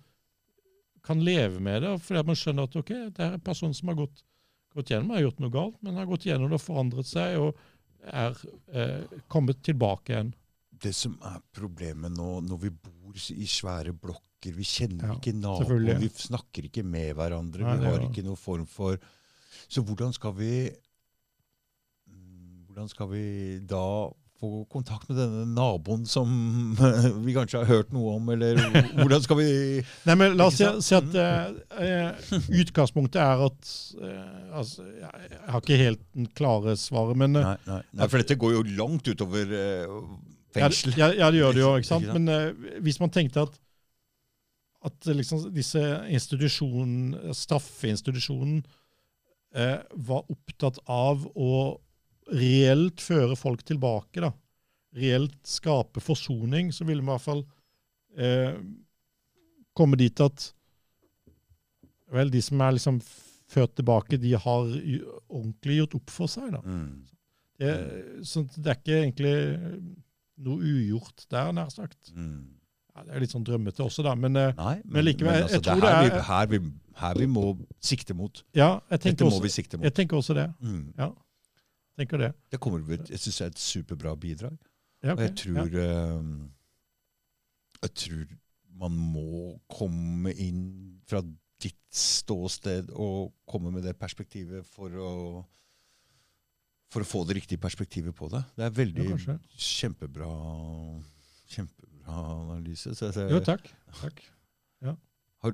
[SPEAKER 2] kan leve med det. Fordi at man skjønner at ok, det er en person som har gått, gått gjennom, har gjort noe galt, men har gått gjennom det og forandret seg og er eh, kommet tilbake igjen.
[SPEAKER 1] Det som er problemet nå, når vi bor i svære blokker snakker, vi kjenner
[SPEAKER 2] Ja,
[SPEAKER 1] ikke naboen,
[SPEAKER 2] selvfølgelig.
[SPEAKER 1] vi snakker ikke med hverandre.
[SPEAKER 2] Nei, det
[SPEAKER 1] vi
[SPEAKER 2] er
[SPEAKER 1] har
[SPEAKER 2] jo-
[SPEAKER 1] ikke noen form for Så hvordan skal vi mm, Hvordan skal vi da få kontakt med denne naboen som vi kanskje har hørt noe om, eller hvordan skal vi
[SPEAKER 2] Nei, men la oss si,
[SPEAKER 1] Ikke sant?
[SPEAKER 2] si at eh, eh, utgangspunktet er at eh, altså, jeg, jeg har ikke helt den klare svaret, men eh,
[SPEAKER 1] Nei, nei, nei for dette går jo langt utover eh,
[SPEAKER 2] Ja, det-
[SPEAKER 1] fengsel. Liksom,
[SPEAKER 2] Ja, ja, det gjør det jo,
[SPEAKER 1] Ikke
[SPEAKER 2] ikke sant.
[SPEAKER 1] sant?
[SPEAKER 2] Men eh, hvis man tenkte at at eh, liksom disse institusjonen, straffeinstitusjonen eh, var opptatt av å reelt føre folk tilbake, da. Reelt skape forsoning, så ville man i hvert fall eh, komme dit at Vel, de som er liksom ført tilbake, de har ju- ordentlig gjort opp for seg, da.
[SPEAKER 1] Mm.
[SPEAKER 2] Det, så det er ikke egentlig eh, noe ugjort der, nær sagt.
[SPEAKER 1] Mm.
[SPEAKER 2] Ja, det er litt sånn drømmete også, da. Men eh,
[SPEAKER 1] Nei, men,
[SPEAKER 2] Men likevel,
[SPEAKER 1] men
[SPEAKER 2] jeg-
[SPEAKER 1] altså,
[SPEAKER 2] jeg
[SPEAKER 1] det
[SPEAKER 2] tror
[SPEAKER 1] er her,
[SPEAKER 2] det
[SPEAKER 1] vi, her, vi, her vi må sikte mot.
[SPEAKER 2] ja, jeg
[SPEAKER 1] Dette
[SPEAKER 2] tenker,
[SPEAKER 1] må vi
[SPEAKER 2] også,
[SPEAKER 1] sikte mot.
[SPEAKER 2] jeg tenker også det.
[SPEAKER 1] Mm.
[SPEAKER 2] Tenker det.
[SPEAKER 1] Det kommer vel- jeg syns er et superbra bidrag.
[SPEAKER 2] Ja,
[SPEAKER 1] Og jeg
[SPEAKER 2] ok,
[SPEAKER 1] tror
[SPEAKER 2] ja.
[SPEAKER 1] eh, Jeg tror man må komme inn fra ditt ståsted og komme med det perspektivet for å for å få det riktige perspektivet på det. Det er veldig
[SPEAKER 2] Ja, kanskje.
[SPEAKER 1] kjempebra kjempebra analyse. Så jeg,
[SPEAKER 2] Jo, takk. takk.
[SPEAKER 1] har,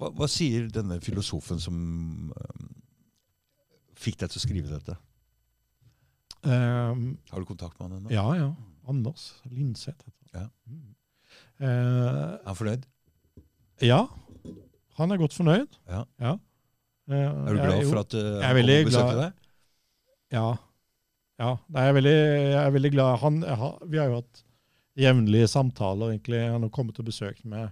[SPEAKER 1] hva, hva sier denne filosofen som eh, fikk deg til å skrive dette?
[SPEAKER 2] Ehm,
[SPEAKER 1] Har du kontakt med han ennå?
[SPEAKER 2] ja, ja. Anders Lindseth heter han.
[SPEAKER 1] Ja.
[SPEAKER 2] Mm. Eh,
[SPEAKER 1] Er han fornøyd?
[SPEAKER 2] ja, han er godt fornøyd.
[SPEAKER 1] Ja.
[SPEAKER 2] Eh,
[SPEAKER 1] Er du
[SPEAKER 2] jeg
[SPEAKER 1] glad
[SPEAKER 2] jo-
[SPEAKER 1] for at eh,
[SPEAKER 2] er
[SPEAKER 1] han kom
[SPEAKER 2] veldig
[SPEAKER 1] og besøkte deg?
[SPEAKER 2] Ja. ja. Nei, jeg, er veldig, jeg er veldig glad. Han, jeg har, vi har jo hatt jevnlige samtaler, egentlig. Han har kommet og besøkt meg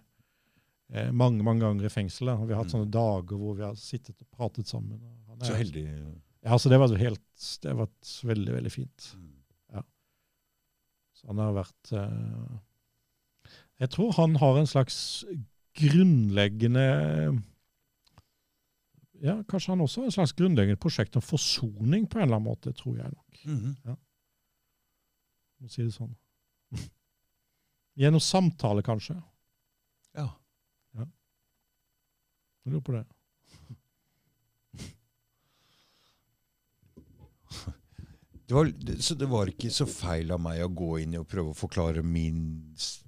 [SPEAKER 2] eh, mange mange ganger i fengsel. da. Og Vi har hatt
[SPEAKER 1] Mm.
[SPEAKER 2] sånne dager hvor vi har sittet og pratet sammen. Og Han er,
[SPEAKER 1] Så heldig.
[SPEAKER 2] Ja, så det var helt, det har vært veldig, veldig fint. Så han har vært eh, Jeg tror han har en slags grunnleggende ja, Kanskje han også har et slags grunnleggende prosjekt om forsoning på en eller annen måte, tror jeg nok.
[SPEAKER 1] Mhm.
[SPEAKER 2] må si det sånn. Gjennom samtale, kanskje.
[SPEAKER 1] Ja.
[SPEAKER 2] Jeg lurer på det.
[SPEAKER 1] Det var, det, så det var ikke så feil av meg å gå inn og prøve å forklare min s-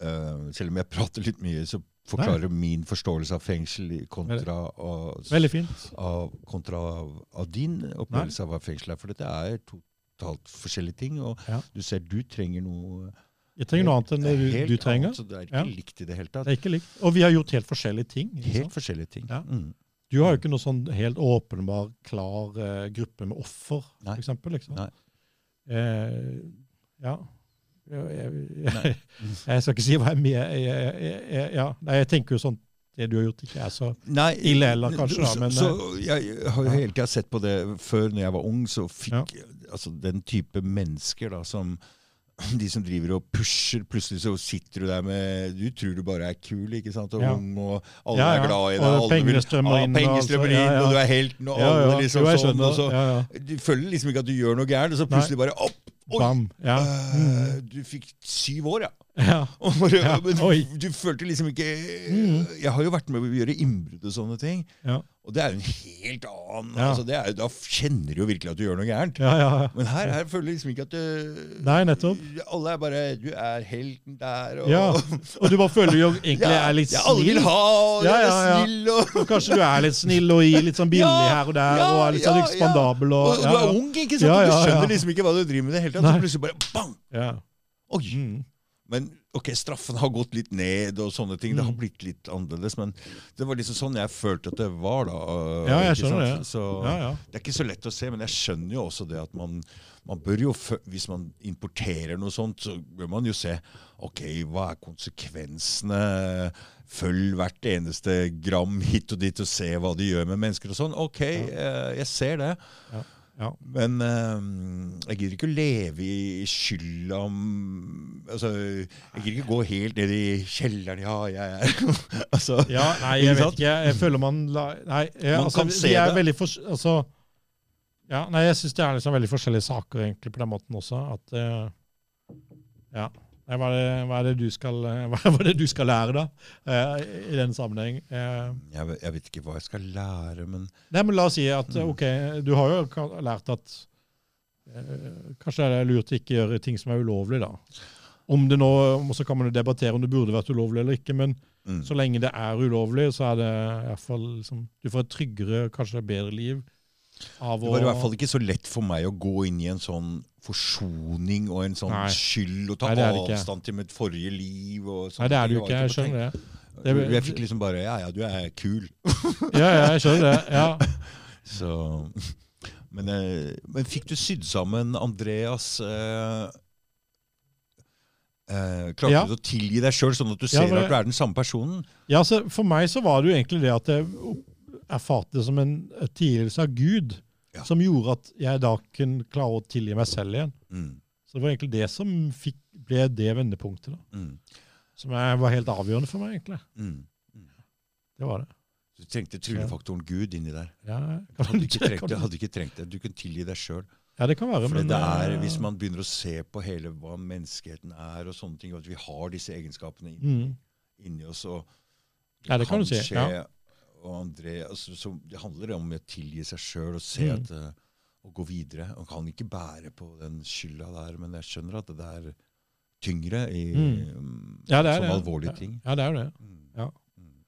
[SPEAKER 1] eh, Selv om jeg prater litt mye, så forklare min forståelse av fengsel i kontra og,
[SPEAKER 2] Veldig fint.
[SPEAKER 1] av, kontra av, av din opplevelse av hva fengsel er. For dette er totalt forskjellige ting. Og
[SPEAKER 2] Ja.
[SPEAKER 1] du ser du trenger noe
[SPEAKER 2] Jeg trenger noe annet enn det
[SPEAKER 1] helt
[SPEAKER 2] du, du trenger.
[SPEAKER 1] Annet, så det er ikke
[SPEAKER 2] Ja.
[SPEAKER 1] likt i det hele tatt.
[SPEAKER 2] Det er ikke likt. Og vi har gjort helt forskjellige ting. ikke
[SPEAKER 1] Helt
[SPEAKER 2] sant?
[SPEAKER 1] forskjellige ting.
[SPEAKER 2] Ja.
[SPEAKER 1] Mm.
[SPEAKER 2] Du har jo ikke noe sånn helt åpenbar, klar eh, gruppe med offer,
[SPEAKER 1] Nei.
[SPEAKER 2] for eksempel. Liksom.
[SPEAKER 1] Nei.
[SPEAKER 2] Eh, ja. Jeg, jeg, jeg, jeg skal ikke si hva jeg mener. Jeg, jeg, jeg, jeg, ja. Nei, jeg tenker jo sånn det du har gjort, ikke er så
[SPEAKER 1] Nei,
[SPEAKER 2] Ille eller kanskje, da,
[SPEAKER 1] så,
[SPEAKER 2] men- eh,
[SPEAKER 1] så, Jeg har jo hele tida sett på det før, når jeg var ung, så fikk altså, den type mennesker da, som de som driver og pusher, plutselig så sitter du der med Du tror du bare er kul, ikke sant? Og
[SPEAKER 2] Ja.
[SPEAKER 1] ung, og alle
[SPEAKER 2] Ja, ja.
[SPEAKER 1] er glad i deg.
[SPEAKER 2] Og
[SPEAKER 1] alle vil-
[SPEAKER 2] pengene strømmer
[SPEAKER 1] Ja,
[SPEAKER 2] inn, og
[SPEAKER 1] Penger
[SPEAKER 2] alt så-
[SPEAKER 1] strømmer
[SPEAKER 2] ja,
[SPEAKER 1] inn,
[SPEAKER 2] ja.
[SPEAKER 1] og du er helten, og
[SPEAKER 2] Ja, ja,
[SPEAKER 1] alle liksom
[SPEAKER 2] jo, jeg
[SPEAKER 1] sånn. Og
[SPEAKER 2] skjønner.
[SPEAKER 1] så,
[SPEAKER 2] Ja, ja.
[SPEAKER 1] Du føler liksom ikke at du gjør noe gærent, og så
[SPEAKER 2] Nei.
[SPEAKER 1] plutselig bare opp! Oi!
[SPEAKER 2] Bam. Ja. Mm.
[SPEAKER 1] øh, du fikk syv år, ja.
[SPEAKER 2] ja.
[SPEAKER 1] Og bare,
[SPEAKER 2] Ja,
[SPEAKER 1] men
[SPEAKER 2] oi. Mm.
[SPEAKER 1] du følte liksom ikke Jeg har jo vært med å gjøre innbrudd og sånne ting.
[SPEAKER 2] Ja.
[SPEAKER 1] Og det er jo en helt annen
[SPEAKER 2] Ja.
[SPEAKER 1] altså, det er, jo- Da kjenner du jo virkelig at du gjør noe gærent.
[SPEAKER 2] Ja, ja, ja.
[SPEAKER 1] Men her, her føler du liksom ikke at du,
[SPEAKER 2] Nei, nettopp.
[SPEAKER 1] Alle er bare Du er helten der, og
[SPEAKER 2] Ja. Og du bare føler jo egentlig
[SPEAKER 1] Ja,
[SPEAKER 2] er litt
[SPEAKER 1] ja, alle vil
[SPEAKER 2] snill.
[SPEAKER 1] ha, og
[SPEAKER 2] Ja,
[SPEAKER 1] jeg
[SPEAKER 2] ja, ja.
[SPEAKER 1] er snill, og
[SPEAKER 2] Og Kanskje du er litt snill og gir litt sånn billig
[SPEAKER 1] Ja,
[SPEAKER 2] her og der,
[SPEAKER 1] ja,
[SPEAKER 2] og er litt sånn
[SPEAKER 1] ja,
[SPEAKER 2] ekspandabel.
[SPEAKER 1] og,
[SPEAKER 2] Og,
[SPEAKER 1] Du er
[SPEAKER 2] ja,
[SPEAKER 1] ung, ikke sant?
[SPEAKER 2] Ja,
[SPEAKER 1] og
[SPEAKER 2] ja,
[SPEAKER 1] du skjønner
[SPEAKER 2] ja.
[SPEAKER 1] liksom ikke hva du driver med i det hele tatt. Så
[SPEAKER 2] Nei.
[SPEAKER 1] plutselig bare bang!
[SPEAKER 2] ja.
[SPEAKER 1] Oi!
[SPEAKER 2] Mm.
[SPEAKER 1] Men ok, straffen har gått litt ned, og sånne ting. Det har
[SPEAKER 2] Mm.
[SPEAKER 1] blitt litt annerledes. Men det var liksom sånn jeg følte at det var, da. øh,
[SPEAKER 2] Ja, jeg
[SPEAKER 1] ikke
[SPEAKER 2] skjønner
[SPEAKER 1] sant?
[SPEAKER 2] det.
[SPEAKER 1] Så,
[SPEAKER 2] ja, ja.
[SPEAKER 1] Det er ikke så lett å se, men jeg skjønner jo også det at man, man bør jo, fø- hvis man importerer noe sånt, så bør man jo se ok, hva er konsekvensene. Følg hvert eneste gram hit og dit og se hva de gjør med mennesker og sånn. Ok, eh, jeg ser det.
[SPEAKER 2] Ja, ja.
[SPEAKER 1] Men eh, jeg gidder ikke å leve i skylda om altså, Jeg gidder ikke gå helt ned i kjelleren. Ja, jeg er altså,
[SPEAKER 2] Ja, nei, jeg
[SPEAKER 1] Ikke
[SPEAKER 2] vet
[SPEAKER 1] sant?
[SPEAKER 2] ikke. Jeg føler man la, Nei, jeg,
[SPEAKER 1] Man
[SPEAKER 2] altså,
[SPEAKER 1] kan se
[SPEAKER 2] vi er
[SPEAKER 1] det.
[SPEAKER 2] veldig fors... Altså, ja, nei, jeg syns det er liksom veldig forskjellige saker egentlig på den måten også. At eh, Ja. Nei, hva, er det, hva, er det du skal, hva er det du skal lære, da, eh, i den sammenheng? Eh,
[SPEAKER 1] Jeg, vet- jeg vet ikke hva jeg skal lære, men
[SPEAKER 2] Nei, men la oss si at
[SPEAKER 1] Mm.
[SPEAKER 2] ok, du har jo ka- lært at eh, kanskje det er lurt å ikke gjøre ting som er ulovlig, da. Om det nå, og Så kan man jo debattere om det burde vært ulovlig eller ikke, men
[SPEAKER 1] mm.
[SPEAKER 2] så lenge det er ulovlig, så er det i hvert fall liksom, Du får et tryggere, kanskje bedre liv av
[SPEAKER 1] Det
[SPEAKER 2] å
[SPEAKER 1] var i hvert fall ikke så lett for meg å gå inn i en sånn forsoning og en sånn
[SPEAKER 2] Nei.
[SPEAKER 1] skyld og ta
[SPEAKER 2] Nei, det er det ikke.
[SPEAKER 1] avstand til mitt forrige liv. og sånne
[SPEAKER 2] Nei, det er det
[SPEAKER 1] ting.
[SPEAKER 2] jo ikke. Jeg
[SPEAKER 1] sånn var
[SPEAKER 2] skjønner det.
[SPEAKER 1] på
[SPEAKER 2] Det-
[SPEAKER 1] tenk- Jeg fikk liksom bare Ja, ja, du er kul.
[SPEAKER 2] Ja, ja, jeg skjønner det. Ja.
[SPEAKER 1] Så Men, eh, men fikk du sydd sammen Andreas eh, eh, Klarte
[SPEAKER 2] Ja.
[SPEAKER 1] du å tilgi deg sjøl, sånn at du
[SPEAKER 2] Ja,
[SPEAKER 1] ser
[SPEAKER 2] men-
[SPEAKER 1] at du er den samme personen?
[SPEAKER 2] Ja, så For meg så var det jo egentlig det at jeg opp- erfarte det som en et tilgivelse av Gud,
[SPEAKER 1] Ja.
[SPEAKER 2] som gjorde at jeg da kunne klare å tilgi meg selv igjen.
[SPEAKER 1] Mm,
[SPEAKER 2] Så det var egentlig det som fikk, ble det vendepunktet, da,
[SPEAKER 1] mm,
[SPEAKER 2] som er, var helt avgjørende for meg. egentlig.
[SPEAKER 1] mm.
[SPEAKER 2] Det var det.
[SPEAKER 1] Du trengte tryllefaktoren Gud inni der.
[SPEAKER 2] Ja,
[SPEAKER 1] Du
[SPEAKER 2] kan,
[SPEAKER 1] hadde ikke trengt det.
[SPEAKER 2] kan,
[SPEAKER 1] Hadde ikke trengt det. Du kunne tilgi deg sjøl.
[SPEAKER 2] ja, det kan være,
[SPEAKER 1] For
[SPEAKER 2] men
[SPEAKER 1] det er,
[SPEAKER 2] eh,
[SPEAKER 1] Hvis man begynner å se på hele hva menneskeheten er, og sånne ting, og at vi har disse egenskapene inn-
[SPEAKER 2] mm,
[SPEAKER 1] inni oss og
[SPEAKER 2] Ja, det kan du si,
[SPEAKER 1] skje, og André, altså, så Det handler om å tilgi seg sjøl og se
[SPEAKER 2] Mm.
[SPEAKER 1] at eh, og gå videre. Man kan ikke bære på den skylda der, men jeg skjønner at det er tyngre i, mm.
[SPEAKER 2] ja, det er
[SPEAKER 1] som
[SPEAKER 2] det.
[SPEAKER 1] alvorlige ting.
[SPEAKER 2] Ja, det er jo det.
[SPEAKER 1] Mm.
[SPEAKER 2] Ja.
[SPEAKER 1] Mm.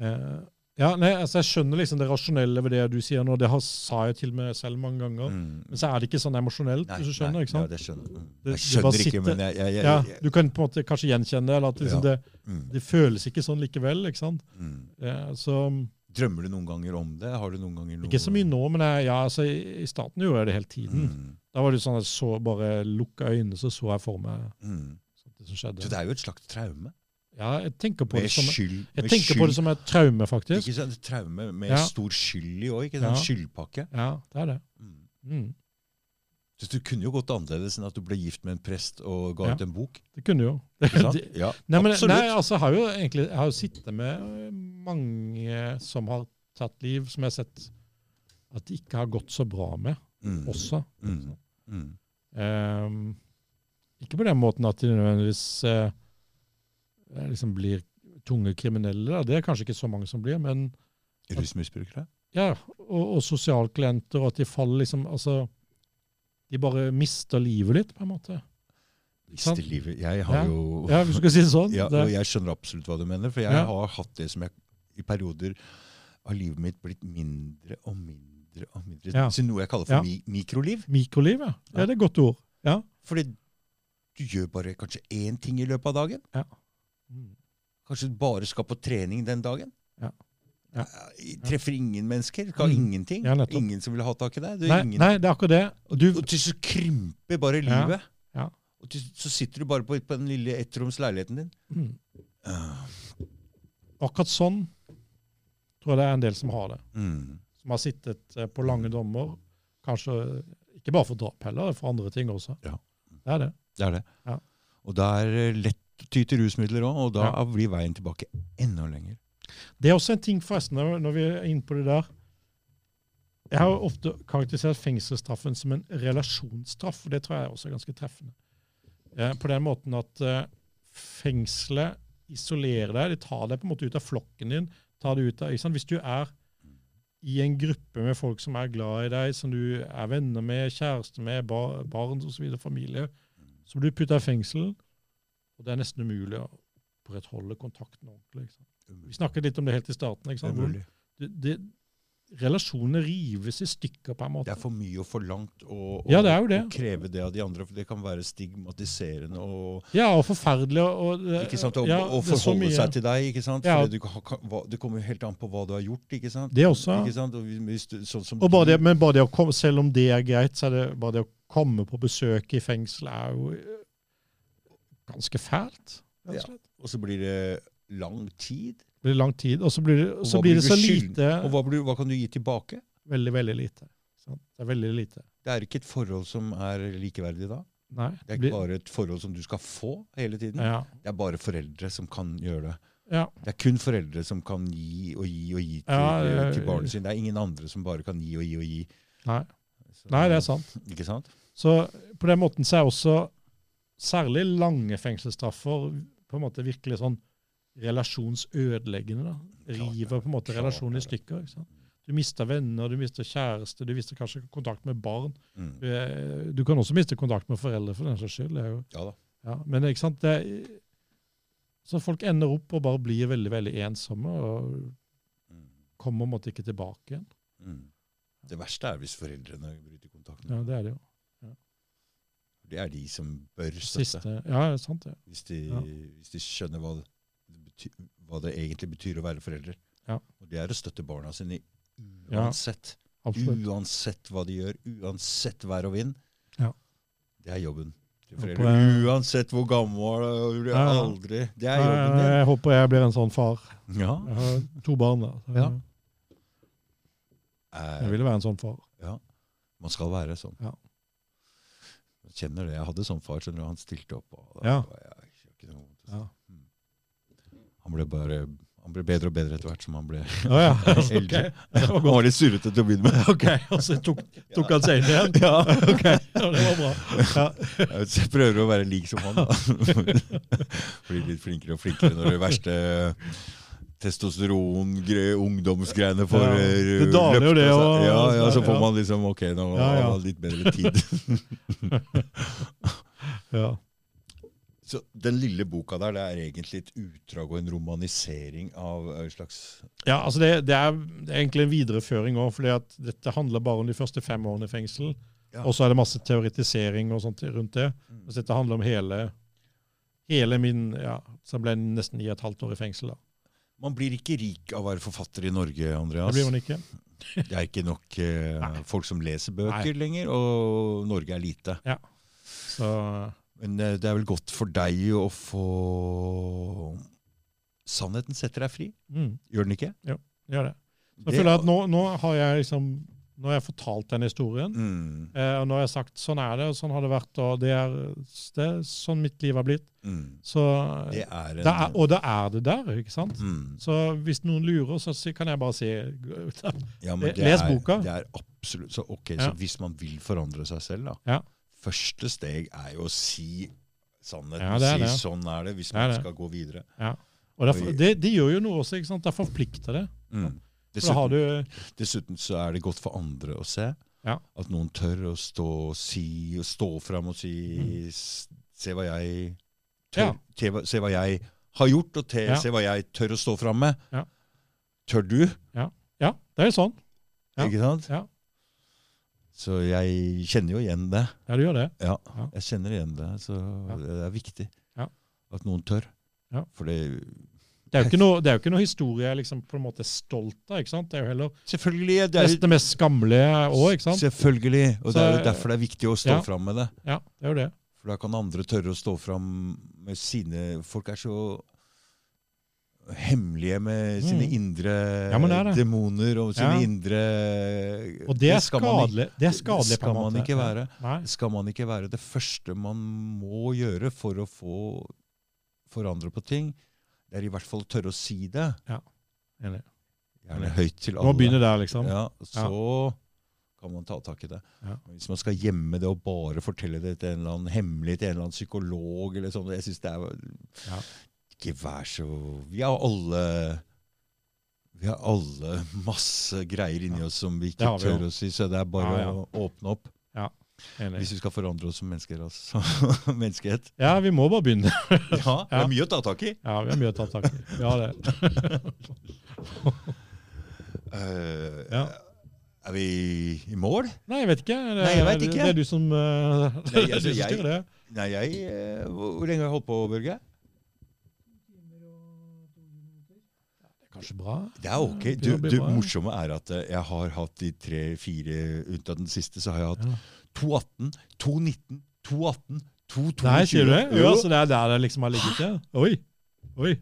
[SPEAKER 2] Eh, ja, nei, altså Jeg skjønner liksom det rasjonelle ved det du sier nå. Det har, sa jeg til meg selv mange ganger. Men så er det ikke sånn emosjonelt.
[SPEAKER 1] Mm. Nei,
[SPEAKER 2] hvis du skjønner,
[SPEAKER 1] nei,
[SPEAKER 2] ikke sant?
[SPEAKER 1] Ja, det skjønner. jeg. Mm.
[SPEAKER 2] Det-
[SPEAKER 1] Jeg
[SPEAKER 2] det bare
[SPEAKER 1] skjønner ikke,
[SPEAKER 2] sitter-
[SPEAKER 1] men jeg, jeg, jeg,
[SPEAKER 2] Ja,
[SPEAKER 1] jeg
[SPEAKER 2] du kan på en måte kanskje gjenkjenne det, eller at liksom
[SPEAKER 1] Ja.
[SPEAKER 2] det,
[SPEAKER 1] mm,
[SPEAKER 2] det føles ikke sånn likevel. ikke sant?
[SPEAKER 1] mm.
[SPEAKER 2] Eh, så,
[SPEAKER 1] Drømmer du noen ganger om det? Har du noen ganger noe
[SPEAKER 2] Ikke så mye nå, men jeg, ja, altså, i, i starten gjorde jeg det hele tiden.
[SPEAKER 1] Mm.
[SPEAKER 2] Da var det jo sånn at jeg så bare lukka øynene, så så jeg for meg
[SPEAKER 1] Mm.
[SPEAKER 2] sånt det som
[SPEAKER 1] Så
[SPEAKER 2] skjedde.
[SPEAKER 1] det er jo et slags traume.
[SPEAKER 2] Ja, jeg tenker på
[SPEAKER 1] Med
[SPEAKER 2] det som,
[SPEAKER 1] skyld.
[SPEAKER 2] jeg
[SPEAKER 1] med
[SPEAKER 2] tenker på det som et traume, faktisk.
[SPEAKER 1] Ikke sant? Traume med
[SPEAKER 2] Ja.
[SPEAKER 1] stor skyld i òg. Ikke
[SPEAKER 2] Ja.
[SPEAKER 1] sant? Skyldpakke.
[SPEAKER 2] Ja, det er det.
[SPEAKER 1] Mm.
[SPEAKER 2] Mm.
[SPEAKER 1] Så du kunne jo gått annerledes enn at du ble gift med en prest og ga
[SPEAKER 2] Ja.
[SPEAKER 1] ut en bok.
[SPEAKER 2] Det kunne jo.
[SPEAKER 1] Ikke sant?
[SPEAKER 2] Det-
[SPEAKER 1] Ja,
[SPEAKER 2] Nei, men,
[SPEAKER 1] absolutt.
[SPEAKER 2] nei, altså, jeg har jo egentlig jeg har jo sittet med eh, mange som har tatt liv, som jeg har sett at det ikke har gått så bra med
[SPEAKER 1] Mm.
[SPEAKER 2] også.
[SPEAKER 1] Mm. Mm.
[SPEAKER 2] Ehm, ikke på den måten at de nødvendigvis eh, eh, liksom blir tunge kriminelle. Da. Det er kanskje ikke så mange som blir, men
[SPEAKER 1] Rusmisbrukere.
[SPEAKER 2] ja, og, og sosialklienter, og at de faller liksom altså, De bare mister livet litt, på en måte. sant?
[SPEAKER 1] Visste livet. Jeg har
[SPEAKER 2] Ja.
[SPEAKER 1] jo
[SPEAKER 2] Ja, Hvis du skal si det sånn.
[SPEAKER 1] ja,
[SPEAKER 2] det,
[SPEAKER 1] og jeg skjønner absolutt hva du mener, for jeg
[SPEAKER 2] Ja.
[SPEAKER 1] har hatt det som jeg i perioder av livet mitt blitt mindre og mindre og mindre.
[SPEAKER 2] Ja.
[SPEAKER 1] Så noe jeg kaller for
[SPEAKER 2] Ja.
[SPEAKER 1] mi mikroliv.
[SPEAKER 2] mikroliv, ja. ja.
[SPEAKER 1] Ja.
[SPEAKER 2] Det er et godt ord. Ja.
[SPEAKER 1] Fordi du gjør bare kanskje én ting i løpet av dagen. Kanskje du bare skal på trening den dagen?
[SPEAKER 2] Ja. Ja.
[SPEAKER 1] Eh, Treffer ingen mennesker? Kan
[SPEAKER 2] Mm.
[SPEAKER 1] ingenting?
[SPEAKER 2] Ja, nettopp.
[SPEAKER 1] ingen som vil ha tak i deg? Du,
[SPEAKER 2] Nei,
[SPEAKER 1] ingen,
[SPEAKER 2] nei, det er akkurat det. Du,
[SPEAKER 1] Og til så krymper bare
[SPEAKER 2] Ja.
[SPEAKER 1] livet.
[SPEAKER 2] Ja.
[SPEAKER 1] Og til, så sitter du bare på, på den lille ettromsleiligheten din.
[SPEAKER 2] mm,
[SPEAKER 1] Ah,
[SPEAKER 2] akkurat sånn tror jeg det er en del som har det.
[SPEAKER 1] Mm.
[SPEAKER 2] som har sittet eh, på lange dommer, kanskje eh, ikke bare for drap heller, for andre ting også.
[SPEAKER 1] Ja.
[SPEAKER 2] Det er det.
[SPEAKER 1] Det er det.
[SPEAKER 2] Ja.
[SPEAKER 1] Og det er eh, lett å ty til rusmidler òg, og da
[SPEAKER 2] Ja.
[SPEAKER 1] blir veien tilbake enda lenger.
[SPEAKER 2] Det er også en ting forresten, når- når vi er inne på det der. Jeg har jo ofte karakterisert fengselsstraffen som en relasjonsstraff, og det tror jeg også er ganske treffende. Eh, På den måten at eh, fengselet isolerer deg, de tar deg på en måte ut av flokken din, tar deg ut av, ikke sant? Hvis du er i en gruppe med folk som er glad i deg, som du er venner med, kjæreste med, bar, barn osv., familie, så blir du putta i fengsel, og det er nesten umulig å opprettholde kontakten ordentlig. ikke sant? Vi snakket litt om det helt i starten. ikke sant? Hvor
[SPEAKER 1] Umulig.
[SPEAKER 2] Det, det, relasjonene rives i stykker på
[SPEAKER 1] Det
[SPEAKER 2] en måte.
[SPEAKER 1] er for mye og for langt å å-
[SPEAKER 2] Ja, det er jo
[SPEAKER 1] å
[SPEAKER 2] det.
[SPEAKER 1] kreve det av de andre, for det kan være stigmatiserende og
[SPEAKER 2] Ja, og forferdelig. Og, og, det-
[SPEAKER 1] Ikke sant? Og,
[SPEAKER 2] Eh, ja,
[SPEAKER 1] og
[SPEAKER 2] det er så
[SPEAKER 1] forholde
[SPEAKER 2] mye.
[SPEAKER 1] seg til deg. ikke sant?
[SPEAKER 2] Ja.
[SPEAKER 1] Fordi Du, kan- kan- hva- det kommer jo helt an på hva du har gjort. ikke sant?
[SPEAKER 2] Det også.
[SPEAKER 1] Ikke sant? Og hvis du, sånn som
[SPEAKER 2] Og bare det,
[SPEAKER 1] du,
[SPEAKER 2] men bare det å komme, selv om det er greit, så er det bare det å komme på besøk i fengsel er jo eh, ganske fælt. rett og
[SPEAKER 1] Ja.
[SPEAKER 2] slett.
[SPEAKER 1] Og så blir det lang tid.
[SPEAKER 2] Det blir lang tid, og så blir det,
[SPEAKER 1] Og
[SPEAKER 2] så
[SPEAKER 1] hva
[SPEAKER 2] blir
[SPEAKER 1] blir
[SPEAKER 2] det så
[SPEAKER 1] du skylden?
[SPEAKER 2] lite.
[SPEAKER 1] Og hva, blir, hva kan du gi tilbake?
[SPEAKER 2] Veldig, veldig lite. ikke sant? Det er veldig lite.
[SPEAKER 1] Det er ikke et forhold som er likeverdig da.
[SPEAKER 2] Nei.
[SPEAKER 1] Det er ikke bare et forhold som du skal få hele tiden.
[SPEAKER 2] ja.
[SPEAKER 1] Det er bare foreldre som kan gjøre det.
[SPEAKER 2] ja.
[SPEAKER 1] Det er kun foreldre som kan gi og gi og gi til, eh,
[SPEAKER 2] Ja, ja, ja.
[SPEAKER 1] til barnet sitt. Det er ingen andre som bare kan gi og gi og gi.
[SPEAKER 2] Nei.
[SPEAKER 1] Så-
[SPEAKER 2] Nei, det er sant.
[SPEAKER 1] Ikke sant?
[SPEAKER 2] Så på den måten så er også Særlig lange fengselsstraffer på en måte virkelig sånn relasjonsødeleggende. da.
[SPEAKER 1] Klart det,
[SPEAKER 2] River på en måte
[SPEAKER 1] klart
[SPEAKER 2] relasjonen i
[SPEAKER 1] det.
[SPEAKER 2] stykker. ikke sant? Du mister venner, du mister kjæreste, du mister kanskje kontakt med barn.
[SPEAKER 1] Mm.
[SPEAKER 2] Du, er- du kan også miste kontakt med foreldre, for den saks skyld. Det er jo
[SPEAKER 1] Ja da.
[SPEAKER 2] ja, men ikke sant? Det, er- så folk ender opp og bare blir veldig veldig ensomme og
[SPEAKER 1] Mm.
[SPEAKER 2] kommer på en måte ikke tilbake igjen.
[SPEAKER 1] Mm. Det verste er hvis foreldrene bryter kontakten.
[SPEAKER 2] Ja, Det er det jo.
[SPEAKER 1] Det er de som bør støtte.
[SPEAKER 2] Siste, ja, det er sant det.
[SPEAKER 1] Hvis de,
[SPEAKER 2] Ja.
[SPEAKER 1] hvis de skjønner hva det, betyr, hva det egentlig betyr å være forelder.
[SPEAKER 2] Ja.
[SPEAKER 1] Og det er å støtte barna sine
[SPEAKER 2] Ja.
[SPEAKER 1] uansett. Mm.
[SPEAKER 2] Absolutt.
[SPEAKER 1] Uansett hva de gjør, uansett vær og vind.
[SPEAKER 2] Ja.
[SPEAKER 1] Det er jobben. til
[SPEAKER 2] Og på-
[SPEAKER 1] foreldre. Uansett hvor gammel du blir,
[SPEAKER 2] Ja.
[SPEAKER 1] aldri Det er jobben din.
[SPEAKER 2] Jeg håper jeg blir en sånn far.
[SPEAKER 1] Ja.
[SPEAKER 2] Jeg har to barn. da. så
[SPEAKER 1] Ja.
[SPEAKER 2] Jeg
[SPEAKER 1] Eh,
[SPEAKER 2] ville være en sånn far.
[SPEAKER 1] man skal være sånn.
[SPEAKER 2] Ja.
[SPEAKER 1] Jeg kjenner det. Jeg hadde sånn far, skjønner du. Han stilte opp. Og da,
[SPEAKER 2] Ja.
[SPEAKER 1] var jeg ikke noe vondt å si.
[SPEAKER 2] Ja.
[SPEAKER 1] Han ble bare han ble bedre og bedre etter hvert som han ble
[SPEAKER 2] Å ja, ok.
[SPEAKER 1] eldre. Han var litt surrete til å begynne med.
[SPEAKER 2] Ok, og så tok, tok han seg inn igjen?
[SPEAKER 1] Ja.
[SPEAKER 2] Ok, ja, det var bra. Ja.
[SPEAKER 1] Jeg prøver å være lik som han. da. Blir litt flinkere og flinkere når det verste eh, testosteron-ungdomsgreiene får
[SPEAKER 2] Ja,
[SPEAKER 1] eh,
[SPEAKER 2] det daler
[SPEAKER 1] løpt av
[SPEAKER 2] jo det,
[SPEAKER 1] seg.
[SPEAKER 2] og-
[SPEAKER 1] Ja, ja, så
[SPEAKER 2] ja.
[SPEAKER 1] får man liksom Ok, nå
[SPEAKER 2] Ja,
[SPEAKER 1] har
[SPEAKER 2] ja.
[SPEAKER 1] man litt bedre tid.
[SPEAKER 2] Ja.
[SPEAKER 1] Så den lille boka der, det er egentlig et utdrag og en romanisering av en slags
[SPEAKER 2] ja, altså det, det, er, det er egentlig en videreføring òg, for dette handler bare om de første fem årene i fengsel.
[SPEAKER 1] Ja.
[SPEAKER 2] Og så er det masse teoretisering og sånt rundt det. Så dette handler om hele, hele min ja, Så jeg ble nesten ni og et halvt år i fengsel. da.
[SPEAKER 1] Man blir ikke rik av å være forfatter i Norge,
[SPEAKER 2] Det
[SPEAKER 1] Andreas.
[SPEAKER 2] blir man ikke.
[SPEAKER 1] Det er ikke nok eh,
[SPEAKER 2] Nei.
[SPEAKER 1] folk som leser bøker lenger, og Norge er lite.
[SPEAKER 2] Så
[SPEAKER 1] Men eh, det er vel godt for deg å få Sannheten setter deg fri,
[SPEAKER 2] mm,
[SPEAKER 1] gjør den ikke?
[SPEAKER 2] gjør det. Så
[SPEAKER 1] Det-
[SPEAKER 2] jeg føler at nå, nå har jeg liksom Nå har jeg fortalt den historien.
[SPEAKER 1] Mm,
[SPEAKER 2] Eh, og nå har jeg sagt sånn er det, og sånn har det vært, og det er, det er sånn mitt liv har blitt.
[SPEAKER 1] mm.
[SPEAKER 2] Så, eh,
[SPEAKER 1] Det er en
[SPEAKER 2] det er, og da er det der, ikke sant?
[SPEAKER 1] mm,
[SPEAKER 2] Så hvis noen lurer, så si- kan jeg bare si
[SPEAKER 1] ja, men
[SPEAKER 2] Eh, les
[SPEAKER 1] er,
[SPEAKER 2] boka.
[SPEAKER 1] Det er absolutt så, ok,
[SPEAKER 2] Ja.
[SPEAKER 1] så hvis man vil forandre seg selv, da
[SPEAKER 2] Ja.
[SPEAKER 1] Første steg er jo å si sannheten.
[SPEAKER 2] Ja, det er
[SPEAKER 1] si
[SPEAKER 2] det.
[SPEAKER 1] sånn er det, hvis
[SPEAKER 2] Det er
[SPEAKER 1] man
[SPEAKER 2] det.
[SPEAKER 1] skal gå videre.
[SPEAKER 2] Og derfor, det, det gjør jo noe også, ikke sant? Det forplikter det.
[SPEAKER 1] Mm.
[SPEAKER 2] For da har
[SPEAKER 1] Dessuten,
[SPEAKER 2] du
[SPEAKER 1] dessuten så er det godt for andre å se.
[SPEAKER 2] Ja.
[SPEAKER 1] At noen tør å stå og si, og stå fram og si s- Se hva jeg tør,
[SPEAKER 2] Mm. Ja.
[SPEAKER 1] te, hva- Se hva jeg har gjort, og te,
[SPEAKER 2] Ja.
[SPEAKER 1] se hva jeg tør å stå fram med.
[SPEAKER 2] Ja.
[SPEAKER 1] Tør du?
[SPEAKER 2] Ja, det er jo sånn. Ja.
[SPEAKER 1] Ikke sant?
[SPEAKER 2] Ja.
[SPEAKER 1] Så jeg kjenner jo igjen det.
[SPEAKER 2] Ja, du gjør det.
[SPEAKER 1] Ja,
[SPEAKER 2] Ja.
[SPEAKER 1] jeg kjenner igjen det. Så
[SPEAKER 2] Ja.
[SPEAKER 1] det er viktig
[SPEAKER 2] Ja.
[SPEAKER 1] at noen tør.
[SPEAKER 2] Ja.
[SPEAKER 1] For det
[SPEAKER 2] Det er jo ikke noe, det er jo ikke noe historie jeg liksom på en måte er stolt av. ikke sant? Det er jo heller
[SPEAKER 1] Selvfølgelig. Det er,
[SPEAKER 2] nesten det mest skammelige òg, ikke sant?
[SPEAKER 1] selvfølgelig. Og
[SPEAKER 2] Så-
[SPEAKER 1] det er jo derfor det er viktig å stå
[SPEAKER 2] Ja.
[SPEAKER 1] fram med det.
[SPEAKER 2] Ja, det er jo det.
[SPEAKER 1] For da kan andre tørre å stå fram med sine Folk er så hemmelige med sine
[SPEAKER 2] Mm.
[SPEAKER 1] indre
[SPEAKER 2] Ja, men det er det.
[SPEAKER 1] demoner og sine
[SPEAKER 2] Ja.
[SPEAKER 1] indre
[SPEAKER 2] Og det er
[SPEAKER 1] skal man ikke-
[SPEAKER 2] skadelig. Det er skadelig
[SPEAKER 1] det skal man ikke være.
[SPEAKER 2] Nei.
[SPEAKER 1] Det skal man ikke være. Det første man må gjøre for å få forandre på ting, det er i hvert fall å tørre å si det.
[SPEAKER 2] Enig.
[SPEAKER 1] Gjerne høyt til
[SPEAKER 2] Du må
[SPEAKER 1] alle.
[SPEAKER 2] begynne der, liksom.
[SPEAKER 1] Ja, så kan man ta tak i det.
[SPEAKER 2] Ja.
[SPEAKER 1] Men Hvis man skal gjemme det og bare fortelle det til en eller annen hemmelig til en eller annen psykolog eller sånn, jeg synes det er
[SPEAKER 2] Ja.
[SPEAKER 1] Ikke vær så Vi har alle vi har alle masse greier inni
[SPEAKER 2] Ja.
[SPEAKER 1] oss som vi
[SPEAKER 2] Det
[SPEAKER 1] ikke
[SPEAKER 2] har vi
[SPEAKER 1] tør
[SPEAKER 2] jo.
[SPEAKER 1] å si, så det er bare
[SPEAKER 2] Ja, ja.
[SPEAKER 1] å åpne opp.
[SPEAKER 2] Enig.
[SPEAKER 1] Hvis vi skal forandre oss som mennesker, altså. som menneskehet.
[SPEAKER 2] Ja, vi må bare begynne.
[SPEAKER 1] Ja, det
[SPEAKER 2] Ja.
[SPEAKER 1] er mye å ta tak i.
[SPEAKER 2] Ja, vi har mye å ta tak i. Vi har det.
[SPEAKER 1] Eh,
[SPEAKER 2] Ja.
[SPEAKER 1] Er vi i mål?
[SPEAKER 2] Nei, jeg vet ikke. Det,
[SPEAKER 1] Nei, jeg vet ikke.
[SPEAKER 2] Det, er du som
[SPEAKER 1] Nei,
[SPEAKER 2] eh, det er
[SPEAKER 1] altså,
[SPEAKER 2] du som
[SPEAKER 1] jeg-
[SPEAKER 2] styrer det.
[SPEAKER 1] Nei, jeg eh, Hvor hvor lenge har jeg holdt på, Børge?
[SPEAKER 2] Det er kanskje bra.
[SPEAKER 1] Det er ok.
[SPEAKER 2] Ja, det
[SPEAKER 1] Du,
[SPEAKER 2] blir
[SPEAKER 1] du,
[SPEAKER 2] bra.
[SPEAKER 1] morsomme er at eh, jeg har hatt de tre-fire unntatt den siste, så har jeg hatt
[SPEAKER 2] Ja.
[SPEAKER 1] 218, 219, 218, 222.
[SPEAKER 2] Nei, sier du det? Jo,
[SPEAKER 1] Jo.
[SPEAKER 2] altså, det er der det liksom har ligget, ja. Oi. Oi.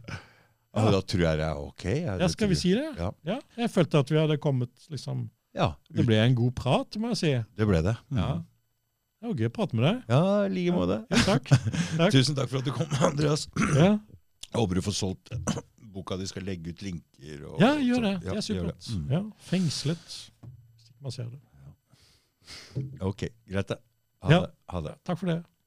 [SPEAKER 1] Ja, da tror jeg det er ok. Ja,
[SPEAKER 2] Ja, skal vi si det?
[SPEAKER 1] Ja.
[SPEAKER 2] Ja, jeg følte at vi hadde kommet liksom
[SPEAKER 1] Ja,
[SPEAKER 2] Det ble en god prat, må jeg si.
[SPEAKER 1] det ble det. Mm.
[SPEAKER 2] Ja. Det var gøy å prate med deg.
[SPEAKER 1] Ja, i like måte.
[SPEAKER 2] Ja, takk. Takk.
[SPEAKER 1] Tusen takk for at du kom, Andreas.
[SPEAKER 2] Ja,
[SPEAKER 1] Jeg håper du får solgt boka di, skal legge ut linker og
[SPEAKER 2] ja gjør
[SPEAKER 1] sånt.
[SPEAKER 2] det. Det er
[SPEAKER 1] gjør
[SPEAKER 2] supert.
[SPEAKER 1] det. Mm.
[SPEAKER 2] Ja, fengslet. Hvis ikke man ser det.
[SPEAKER 1] Ok, greit det.
[SPEAKER 2] Ja.
[SPEAKER 1] Ha det. Ha det.
[SPEAKER 2] Takk for det.